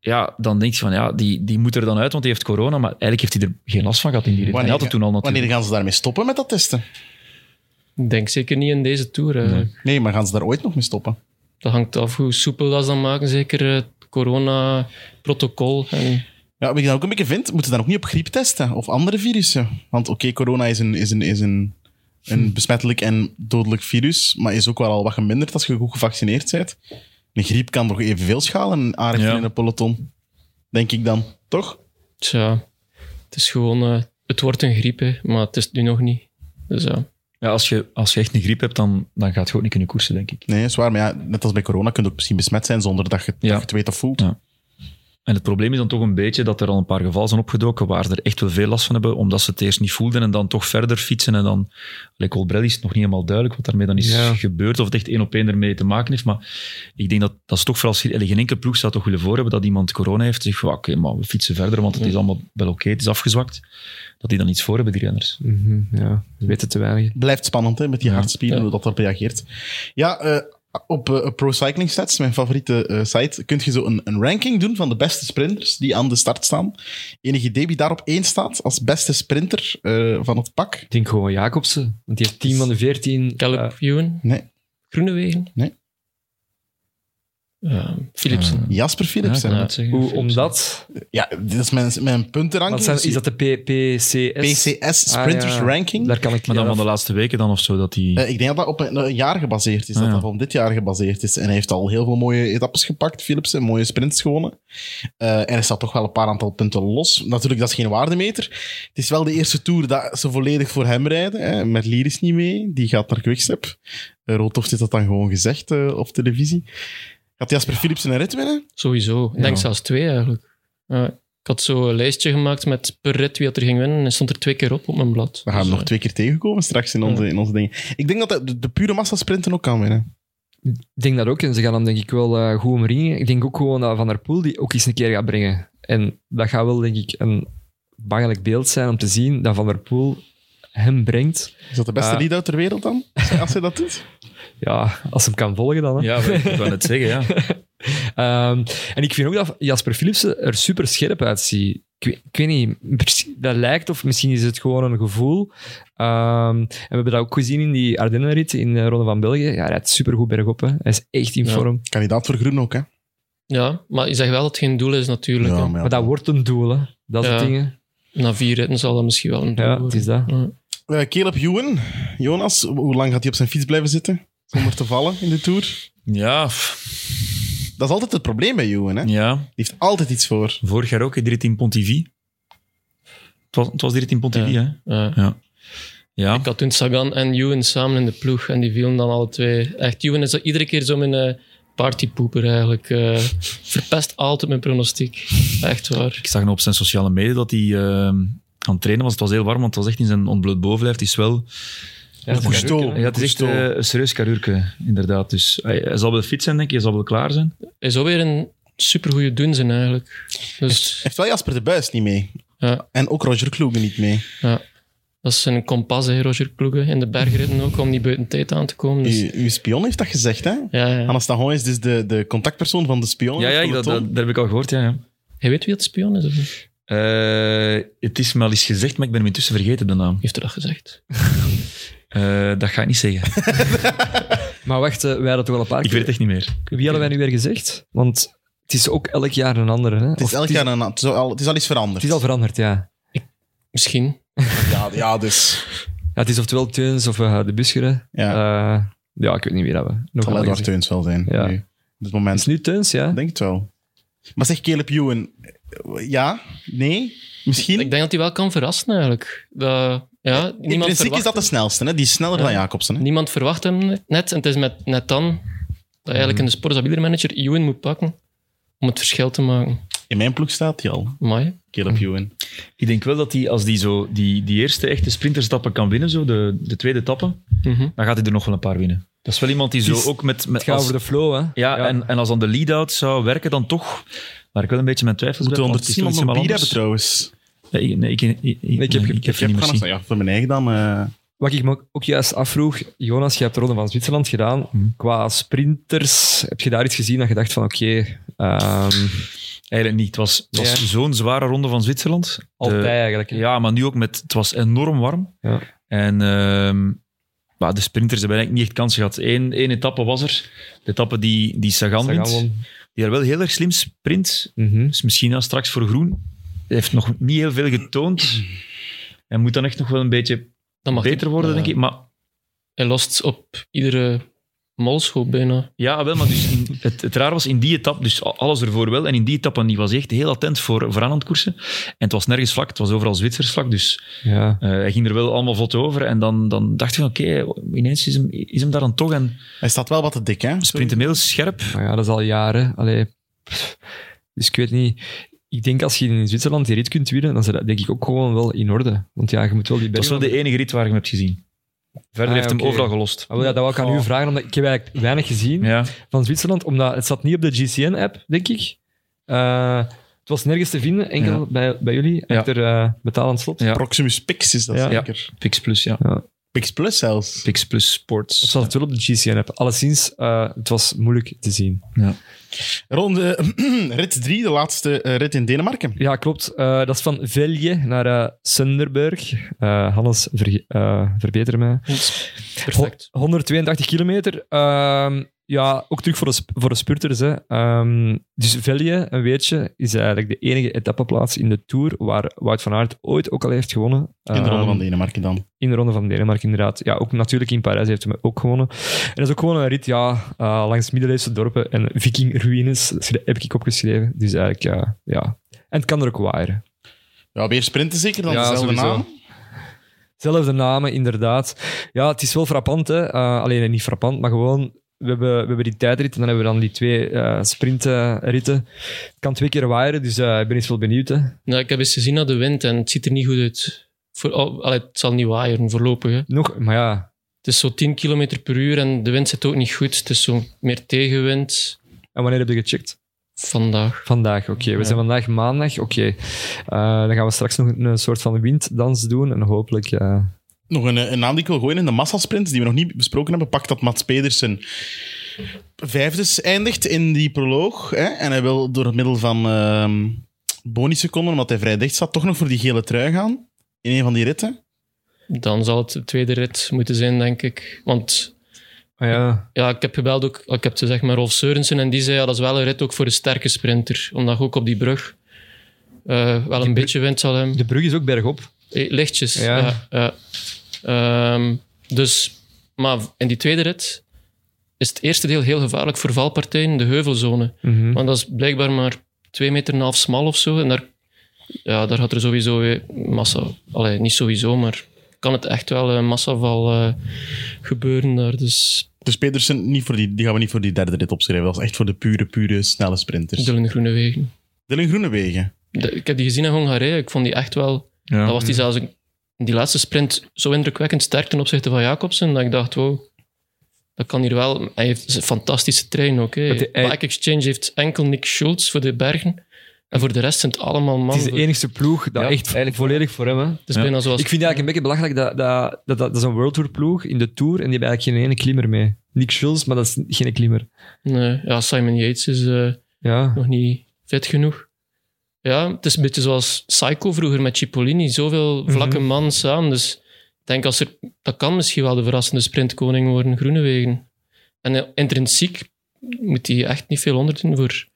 Speaker 5: ja, dan denk je van ja, die, die moet er dan uit, want hij heeft corona. Maar eigenlijk heeft hij er geen last van gehad in die rit. Hij had het toen al natuurlijk.
Speaker 2: wanneer gaan ze daarmee stoppen met dat testen?
Speaker 4: Ik denk zeker niet in deze tour. eh. eigenlijk.
Speaker 2: Nee, maar gaan ze daar ooit nog mee stoppen?
Speaker 4: Dat hangt af hoe soepel dat ze dat maken, zeker eh, het corona-protocol. En
Speaker 2: Ja, wat ik dan ook een beetje vind, moeten ze dan ook niet op griep testen of andere virussen. Want oké, corona is, een, is, een, is een,
Speaker 5: Hm.
Speaker 2: een besmettelijk en dodelijk virus, maar is ook wel al wat geminderd als je goed gevaccineerd bent. Een griep kan nog evenveel schalen aardig
Speaker 5: Ja.
Speaker 2: in een peloton. Denk ik dan, toch?
Speaker 4: tja, het is gewoon... eh, het wordt een griep, hè, maar het is het nu nog niet. Dus ja.
Speaker 5: Ja, als, je, als je echt een griep hebt, dan, dan gaat je ook niet kunnen koersen, denk ik.
Speaker 2: Nee, is waar. Maar ja, net als bij corona kun je ook misschien besmet zijn zonder dat je, dat
Speaker 5: Ja.
Speaker 2: je het weet of voelt.
Speaker 5: Ja. En het probleem is dan toch een beetje dat er al een paar gevallen zijn opgedoken waar ze er echt wel veel last van hebben, omdat ze het eerst niet voelden en dan toch verder fietsen. En dan, like Colbrelli is het nog niet helemaal duidelijk wat daarmee dan is
Speaker 3: Ja.
Speaker 5: gebeurd, of het echt één op één ermee te maken heeft. Maar ik denk dat dat is toch vooral, allee, geen enkele ploeg zou toch willen voor hebben dat iemand corona heeft. Zeg, oké, maar we fietsen verder, want het is allemaal wel oké, het is afgezwakt. Dat die dan iets voor hebben, die renners.
Speaker 3: Mhm, ja, we weten te weinig.
Speaker 2: Blijft spannend hè, met die
Speaker 5: Ja.
Speaker 2: hartspieren, hoe dat daarop reageert. Ja, eh, op eh, Pro Cycling Stats, mijn favoriete eh, site, kun je zo een, een ranking doen van de beste sprinters die aan de start staan. Enige idee wie daar op één staat als beste sprinter eh, van het pak?
Speaker 3: Ik denk gewoon Jacobsen, want die heeft
Speaker 5: Dus
Speaker 3: 10 van de 14.
Speaker 4: Caleb
Speaker 3: eh,
Speaker 4: Ewan,
Speaker 2: Nee,
Speaker 4: Groenewegen?
Speaker 2: Nee.
Speaker 4: Eh, Philipsen.
Speaker 2: Jasper Philipsen.
Speaker 5: Ja,
Speaker 2: Ja,
Speaker 5: ik wou het zeggen.
Speaker 3: hoe, omdat.
Speaker 2: dit is mijn, mijn puntenranking. Dus
Speaker 3: Wat zijn, is dat de P- PCS?
Speaker 2: PCS Sprinters
Speaker 3: Ah, ja.
Speaker 2: Ranking.
Speaker 3: Daar kan ik
Speaker 5: Maar dan
Speaker 3: ja,
Speaker 5: van de
Speaker 3: dat-
Speaker 5: laatste weken dan of zo, dat die...
Speaker 2: Eh, ik denk dat dat op een, een jaar gebaseerd is.
Speaker 5: Ah,
Speaker 2: dat
Speaker 5: ja.
Speaker 2: dat op dit jaar gebaseerd is. En hij heeft al heel veel mooie etappes gepakt, Philipsen. Mooie sprints gewonnen. Eh, en er staat toch wel een paar aantal punten los. Natuurlijk, dat is geen waardemeter. Het is wel de eerste tour dat ze volledig voor hem rijden. Hè. Met Liris niet mee. Die gaat naar Quickstep. Uh, Roodhof heeft dat dan gewoon gezegd eh, op televisie. Gaat Jasper Philipsen een rit winnen?
Speaker 4: Sowieso. Ik denk
Speaker 5: Ja.
Speaker 4: zelfs twee eigenlijk. Ja, ik had zo een lijstje gemaakt met per rit wie dat er ging winnen en stond er twee keer op op mijn blad.
Speaker 2: We gaan hem
Speaker 4: Dus,
Speaker 2: nog twee keer tegenkomen straks in onze, in onze dingen. Ik denk dat hij de, de pure massasprinten ook kan winnen.
Speaker 3: Ik denk dat ook. En ze gaan hem denk ik wel eh, goed omringen. Ik denk ook gewoon dat Van der Poel die ook eens een keer gaat brengen. En dat gaat wel denk ik een bangelijk beeld zijn om te zien dat Van der Poel hem brengt.
Speaker 2: Is dat de beste
Speaker 5: Eh.
Speaker 3: Ah.
Speaker 2: lead-out ter wereld dan? Als hij dat doet?
Speaker 3: Ja, als hem kan volgen dan. Hè.
Speaker 5: Ja, ik wou net zeggen, ja.
Speaker 3: Ehm, en ik vind ook dat Jasper Philipsen er super scherp uitziet. Ik, weet- ik weet niet, precies- dat lijkt of misschien is het gewoon een gevoel. Ehm, en we hebben dat ook gezien in die Ardennenrit in de Ronde van België. Ja, hij rijdt supergoed bergop. Hè. Hij is echt in
Speaker 4: Ja.
Speaker 3: vorm.
Speaker 2: Kandidaat voor groen ook, hè?
Speaker 4: Ja, maar je zegt wel dat het geen doel is natuurlijk. hè.
Speaker 3: Maar dat wordt een doel, hè. Dat soort
Speaker 4: Ja.
Speaker 3: dingen.
Speaker 4: Na vier ritten zal dat misschien wel een doel
Speaker 3: Ja, het
Speaker 4: worden.
Speaker 3: is dat.
Speaker 4: Ja.
Speaker 2: Eh, Caleb Ewan, Jonas, hoe lang gaat hij op zijn fiets blijven zitten zonder te vallen in de Tour?
Speaker 5: Ja, pff,
Speaker 2: Dat is altijd het probleem bij Ewan. Hè? Die
Speaker 5: ja.
Speaker 2: heeft altijd iets voor.
Speaker 5: Vorig jaar ook, hè, die rit in Pontivy. Het was, het was die rit in Pontivy, hè?
Speaker 4: Ja.
Speaker 5: Ja.
Speaker 4: Ik had toen Sagan en Ewan samen in de ploeg en die vielen dan alle twee. Echt, Ewan is zo iedere keer zo mijn eh, partypoeper eigenlijk. eh, verpest altijd mijn pronostiek. Echt waar.
Speaker 5: Ik zag nog op zijn sociale media dat hij eh, aan het trainen was. Het was heel warm, want het was echt in zijn ontbloot bovenlijf. Het is wel...
Speaker 3: Ja, dat is
Speaker 2: Cousteau.
Speaker 3: leuk, hè.
Speaker 5: Ja, het is echt
Speaker 2: Cousteau.
Speaker 5: eh, een serieus karuurke, inderdaad. Dus hij, hij zal wel fit zijn, denk ik. Hij zal wel klaar zijn.
Speaker 4: Hij zou weer een supergoeie doen zijn eigenlijk. Dus
Speaker 2: Heeft wel Jasper de Buis niet mee.
Speaker 4: Ja.
Speaker 2: En ook Roger Kloegen niet mee.
Speaker 4: dat is een kompas, hè, Roger Kloegen. In de bergritten ook, om niet buiten tijd aan te komen. Dus,
Speaker 2: U, uw spion heeft dat gezegd, hè?
Speaker 4: ja, ja.
Speaker 2: Hannes Tagon is dus de, de contactpersoon van de spion.
Speaker 5: Ja, ja ik-
Speaker 2: Peloton.
Speaker 5: dat, dat, dat heb ik al gehoord, ja. ja.
Speaker 4: Hij weet wie het spion is, of niet?
Speaker 5: Eh, het is me al eens gezegd, maar ik ben hem intussen vergeten, de naam.
Speaker 4: Heeft hij dat gezegd?
Speaker 5: Eh, dat ga ik niet zeggen.
Speaker 3: Maar wacht, eh, wij hadden toch wel een paar
Speaker 5: Ik weet
Speaker 3: keer...
Speaker 5: het echt niet meer.
Speaker 3: Wie hadden wij nu weer gezegd? Want het is ook elk jaar een andere. Hè?
Speaker 2: Het is elk jaar een... Het is al, het is al iets veranderd.
Speaker 3: Het is al veranderd, ja.
Speaker 4: Misschien.
Speaker 2: ja, ja, dus...
Speaker 3: ja het is oftewel Teuns of eh, de Buscheren.
Speaker 2: Ja, het
Speaker 3: Eh, ja, ik weet niet wie dat we nog
Speaker 2: zal
Speaker 3: hadden
Speaker 2: Edward
Speaker 3: gezegd.
Speaker 2: Teuns wel zijn.
Speaker 3: Ja.
Speaker 2: Nu, op dit
Speaker 3: Het
Speaker 2: moment.
Speaker 3: is nu Teuns, ja.
Speaker 2: Ik denk het wel. Maar zeg Caleb Ewan... eh, Ja? Nee? Misschien?
Speaker 4: Ik denk dat hij wel kan verrassen, eigenlijk. Dat, ja,
Speaker 2: In
Speaker 4: niemand,
Speaker 2: principe is
Speaker 4: verwacht,
Speaker 2: dat de snelste, hè? Die is sneller
Speaker 4: Ja.
Speaker 2: dan Jacobsen, hè?
Speaker 4: niemand verwacht hem net. En het is met net dan
Speaker 5: Mhm.
Speaker 4: dat eigenlijk in de sport dat iedere manager Ewan moet pakken om het verschil te maken.
Speaker 2: In mijn ploeg staat hij al,
Speaker 4: Amai.
Speaker 2: Caleb
Speaker 3: Hm.
Speaker 2: Ewan.
Speaker 5: Ik denk wel dat hij, als hij zo die, die eerste echte sprinterstappen kan winnen, zo, de, de tweede tappen,
Speaker 4: Mhm.
Speaker 5: dan gaat hij er nog wel een paar winnen. Dat is wel iemand die zo
Speaker 2: Het is-
Speaker 5: ook met... met
Speaker 3: Het gaat
Speaker 5: als-
Speaker 3: over de flow, hè.
Speaker 5: ja, En, en als dan de lead-out zou werken, dan toch... Waar ik wel een beetje mijn twijfels
Speaker 2: Moeten we
Speaker 5: bij heb, want het
Speaker 2: ondertussen nog
Speaker 5: is
Speaker 2: een bier
Speaker 5: toch
Speaker 2: hebben
Speaker 5: iets helemaal
Speaker 2: trouwens?
Speaker 5: anders. Nee, ik- nee, ik- ik- ik-
Speaker 3: heb-
Speaker 5: nee,
Speaker 3: ik
Speaker 5: ik heb
Speaker 2: Ik heb
Speaker 5: niet meer
Speaker 2: gaan
Speaker 5: zien.
Speaker 2: ja, voor mijn eigen dan. eh,
Speaker 3: Wat ik me ook juist afvroeg, Jonas, je hebt de Ronde van Zwitserland gedaan. Qua sprinters, heb je daar iets gezien dat je dacht van oké, ehm,
Speaker 5: Eigenlijk niet. Het was, het was
Speaker 3: Ja.
Speaker 5: zo'n zware ronde van Zwitserland. De-
Speaker 3: altijd eigenlijk. hè?
Speaker 5: ja, maar nu ook met... Het was enorm warm.
Speaker 3: Ja.
Speaker 5: En ehm, maar de sprinters hebben eigenlijk niet echt kans gehad. Eén, één etappe was er. De etappe die, die Sagan
Speaker 3: Sagan
Speaker 5: wint.
Speaker 3: won.
Speaker 5: Die daar wel heel erg slim sprint.
Speaker 3: Mhm.
Speaker 5: Dus misschien ja, straks voor Groen. Hij heeft nog niet heel veel getoond. En moet dan echt nog wel een beetje
Speaker 4: Dat mag
Speaker 5: beter worden,
Speaker 4: Ja.
Speaker 5: denk ik. Maar
Speaker 4: Hij lost op iedere molschoop bijna.
Speaker 5: Ja, wel, maar dus in- het, het raar was in die etappe, dus a- alles ervoor wel. En in die etappe die was hij echt heel attent voor, voor koersen. En het was nergens vlak, het was overal Zwitsers vlak. Dus
Speaker 3: Ja.
Speaker 5: eh, hij ging er wel allemaal vlot over. En dan, dan dacht hij: oké, ineens is hem, is hem daar dan toch. En
Speaker 2: Hij staat wel wat te dik, hè?
Speaker 5: sprint hem heel scherp.
Speaker 3: Maar ja, dat is al jaren. Allee, pff. dus ik weet niet. Ik denk als je in Zwitserland die rit kunt winnen, dan is dat denk ik ook gewoon wel in orde. Want ja, je moet wel die
Speaker 5: Dat was wel
Speaker 3: bergen...
Speaker 5: de enige rit waar je hem hebt gezien. Verder
Speaker 3: Ah,
Speaker 5: heeft hem
Speaker 3: oké.
Speaker 5: overal gelost.
Speaker 3: Maar wel, ja, dat wou ik aan
Speaker 2: Oh.
Speaker 3: u vragen, omdat ik heb eigenlijk weinig gezien
Speaker 5: Ja.
Speaker 3: van Zwitserland. Omdat het zat niet op de GCN-app, denk ik. Eh, het was nergens te vinden, enkel
Speaker 5: Ja.
Speaker 3: bij, bij jullie,
Speaker 5: Ja.
Speaker 3: achter eh betalend slot.
Speaker 5: Ja.
Speaker 2: Proximus Pix is dat
Speaker 3: Ja.
Speaker 2: zeker.
Speaker 5: Pix Plus, ja.
Speaker 2: Pix Plus zelfs.
Speaker 5: Pix Plus
Speaker 3: Het
Speaker 5: Sports.
Speaker 3: zat het wel op de GCN-app. Alleszins, eh, het was moeilijk te zien.
Speaker 2: Ronde rit 3, de laatste eh, rit in Denemarken.
Speaker 3: Ja, klopt. Eh, dat is van Velje naar eh Sunderburg. Eh, Hannes, verge- eh, verbeter mij.
Speaker 4: Perfect.
Speaker 3: Ho- 182 kilometer. Ehm, ja, ook terug voor de, sp- voor de spurters. Hè. Ehm, dus Velje, een weertje, is eigenlijk de enige etappeplaats in de Tour waar Wout van Aert ooit ook al heeft gewonnen.
Speaker 2: In de Ronde
Speaker 3: Ehm,
Speaker 2: van Denemarken dan.
Speaker 3: in de Ronde van Denemarken, inderdaad. Ja, ook natuurlijk in Parijs heeft hij ook gewonnen. En dat is ook gewoon een rit ja, eh, langs middeleeuwse dorpen en vikingruïnes. Dat heb ik opgeschreven. Dus eigenlijk, ja, ja. En het kan er ook waaien.
Speaker 2: Ja, weer sprinten zeker, dan
Speaker 3: Ja,
Speaker 2: dezelfde
Speaker 3: sowieso.
Speaker 2: naam.
Speaker 3: Zelfde namen, inderdaad. Ja, het is wel frappant, hè. Eh, alleen niet frappant, maar gewoon... We hebben, we hebben die tijdrit en dan hebben we dan die twee eh sprintritten. Het kan twee keer waaien, dus eh, ik ben eens wel benieuwd. Hè.
Speaker 4: Ja, ik heb eens gezien naar de wind en het ziet er niet goed uit. Voor, al- allee, het zal niet waaien voorlopig. Hè.
Speaker 3: Nog, maar ja.
Speaker 4: Het is zo 10 km per uur en de wind zit ook niet goed. Het is zo meer tegenwind
Speaker 3: En wanneer heb je gecheckt?
Speaker 4: vandaag.
Speaker 3: Vandaag, oké. We
Speaker 5: Ja.
Speaker 3: zijn vandaag maandag, oké. Eh, dan gaan we straks nog een, een soort van winddans doen en hopelijk... eh,
Speaker 2: Nog een, een naam die ik wil gooien in de massasprints, die we nog niet besproken hebben. Pak dat Mats Pedersen vijfdes eindigt in die proloog. Hè? En hij wil door het middel van ehm bonusseconden, omdat hij vrij dicht staat, toch nog voor die gele trui gaan. In een van die ritten.
Speaker 4: Dan zal het de tweede rit moeten zijn, denk ik. Want
Speaker 3: ah ja.
Speaker 4: ja, ik heb gebeld ook, ik heb gezegd met Rolf Seurensen en die zei ja, dat is wel een rit ook voor een sterke sprinter. Omdat je ook op die brug eh, wel een beetje wind zal hebben.
Speaker 3: De brug is ook bergop.
Speaker 4: Eh, Lichtjes.
Speaker 3: Ja.
Speaker 4: Ja. ja. Ehm, dus, maar in die tweede rit is het eerste deel heel gevaarlijk voor valpartijen, de heuvelzone.
Speaker 3: Mhm.
Speaker 4: Want dat is blijkbaar maar twee meter en een half smal of zo. En daar, ja, daar gaat er sowieso weer massa... Allee, niet sowieso, maar kan het echt wel een massaval eh, gebeuren daar. Dus
Speaker 2: Dus Pedersen, niet voor die, die gaan we niet voor die derde rit opschrijven. Dat is echt voor de pure, pure, snelle sprinters.
Speaker 4: Dylan Groenewegen.
Speaker 2: Dylan Groenewegen.
Speaker 4: De- ik heb die gezien in Hongarije. Ik vond die echt wel...
Speaker 5: Oh. Ja.
Speaker 4: Dat was die zelfs een- in die laatste sprint zo indrukwekkend sterk ten opzichte van Jacobsen. Dat ik dacht, wow, dat kan hier wel. Hij heeft een fantastische trein ook. hè.
Speaker 3: Dat hij- hij-
Speaker 4: Bike Exchange heeft enkel Nick Schultz voor de bergen. En voor de rest zijn het allemaal mannen.
Speaker 3: Het is de enigste ploeg dat
Speaker 5: Ja,
Speaker 3: echt volledig voor hem... Hè.
Speaker 4: Het is
Speaker 5: Ja.
Speaker 4: bijna zoals...
Speaker 3: Ik vind het eigenlijk een beetje belachelijk dat dat, dat, dat, dat is een World Tour ploeg in de Tour en die hebben eigenlijk geen ene klimmer mee. Nick Schulz, maar dat is geen klimmer.
Speaker 4: Nee, ja, Simon Yates is... eh,
Speaker 3: Ja.
Speaker 4: nog niet vet genoeg. Ja, het is een beetje zoals Psycho vroeger met Cipollini. Zoveel vlakke
Speaker 3: Mhm.
Speaker 4: man samen. Dus ik denk, als er, dat kan misschien wel de verrassende sprintkoning worden, Groenewegen. En eh, intrinsiek moet hij echt niet veel onderdoen voor,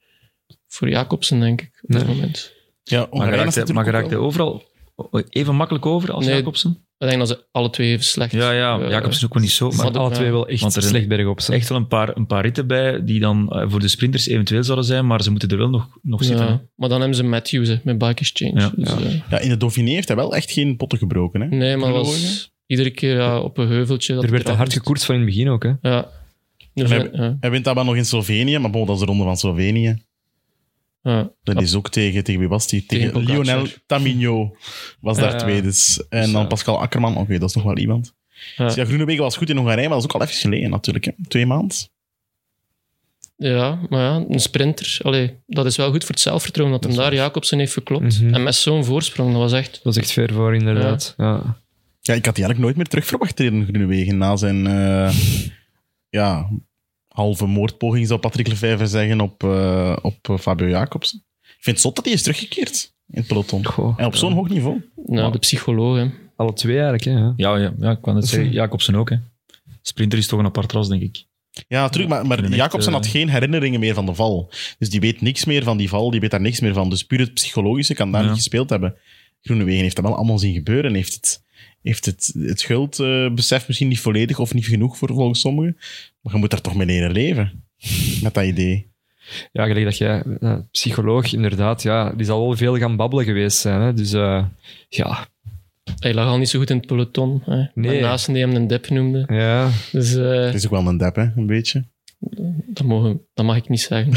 Speaker 4: voor Jacobsen, denk ik, op dit
Speaker 3: Nee.
Speaker 4: moment.
Speaker 2: Ja,
Speaker 5: Maar
Speaker 2: Hongarije is
Speaker 5: geraakt hij- maar
Speaker 2: natuurlijk ook
Speaker 5: geraakt hij
Speaker 2: wel-
Speaker 5: overal even makkelijk over als
Speaker 4: Nee.
Speaker 5: Jacobsen?
Speaker 4: Ik denk dat ze alle twee even slecht...
Speaker 5: Ja, ja.
Speaker 4: eh,
Speaker 5: Jacobsen is ook wel niet zo.
Speaker 3: Maar
Speaker 5: Maar
Speaker 4: dat-
Speaker 3: alle twee wel echt
Speaker 5: Want er zijn-
Speaker 3: slecht bergop.
Speaker 5: Er
Speaker 3: zijn.
Speaker 5: zijn echt wel een paar, een paar ritten bij die dan eh, voor de sprinters eventueel zouden zijn, maar ze moeten er wel nog, nog
Speaker 4: ja,
Speaker 5: zitten. hè.
Speaker 4: maar dan hebben ze Matthews hè, met Bike Exchange.
Speaker 5: Ja,
Speaker 4: Dus,
Speaker 3: ja.
Speaker 4: eh,
Speaker 2: Ja, in de Dauphiné heeft hij wel echt geen potten gebroken.
Speaker 5: Hmm.
Speaker 2: Hè?
Speaker 4: nee, maar dat was
Speaker 2: Groenewegen?
Speaker 4: iedere keer ja, op een heuveltje. dat
Speaker 3: Er werd te
Speaker 4: eraf
Speaker 3: hard
Speaker 4: moest.
Speaker 3: gekoerst van in het begin ook. Hè.
Speaker 4: Ja. Dus,
Speaker 2: En
Speaker 4: ja,
Speaker 2: Hij wint daar wel nog in Slovenië, maar bon, dat is de ronde van Slovenië.
Speaker 4: ja.
Speaker 2: Dat is ook tegen, tegen wie was die? Tegen,
Speaker 4: Tegen Pogacar.
Speaker 2: Lionel Tamino was daar
Speaker 3: Ja.
Speaker 2: tweede. En dan
Speaker 4: ja.
Speaker 2: Pascal Akkerman, oké, dat is nog wel iemand.
Speaker 4: Ja.
Speaker 2: Dus ja, Groenewegen was goed in Hongarije, maar dat is ook al even geleden natuurlijk. Hè. Twee maanden.
Speaker 4: Ja, maar ja, een sprinter. Allee, dat is wel goed voor het zelfvertrouwen dat, hem daar Jacobsen heeft geklopt.
Speaker 3: Mhm.
Speaker 4: En met zo'n voorsprong, dat was echt...
Speaker 3: Dat was echt ver voor, inderdaad. Ja.
Speaker 2: Ja, ik had die eigenlijk nooit meer terug verwacht tegen Groenewegen na zijn eh, ja, halve moordpoging, zou Patrick Lefevre zeggen, op, eh, op eh, Fabio Jacobsen. Ik vind het zot dat hij is teruggekeerd in het peloton.
Speaker 3: Goh,
Speaker 2: En op zo'n hoog niveau.
Speaker 4: Nou, de psycholoog, hè.
Speaker 3: Alle twee eigenlijk. Hè, ja.
Speaker 5: Ja, ja, ja ik kan het
Speaker 3: is
Speaker 5: zeggen.
Speaker 3: een-
Speaker 5: Jacobsen ook, hè. Sprinter is toch een apart ras, denk ik.
Speaker 2: Ja, natuurlijk, maar, maar
Speaker 5: vind hem echt,
Speaker 2: Jacobsen had
Speaker 5: eh,
Speaker 2: geen herinneringen meer van de val. Dus die weet niks meer van die val, die weet daar niks meer van. Dus puur het psychologische kan daar
Speaker 5: Ja.
Speaker 2: niet gespeeld hebben. Groenewegen heeft dat wel allemaal zien gebeuren. Heeft het, heeft het, het schuldbesef misschien niet volledig of niet genoeg voor volgens sommigen. Maar je moet daar toch mee leren leven. Met dat idee.
Speaker 3: ja, gelijk dat jij, eh, psycholoog, inderdaad, ja, die zal wel veel gaan babbelen geweest zijn. Hè, dus eh, ja,
Speaker 4: Hij lag al niet zo goed in het peloton. Hè.
Speaker 3: Nee.
Speaker 4: Maar naast die hem een dep noemde.
Speaker 3: ja.
Speaker 4: Dus eh,
Speaker 2: Het is ook wel een dep, hè? Een beetje.
Speaker 4: dat, mogen, dat mag ik niet zeggen.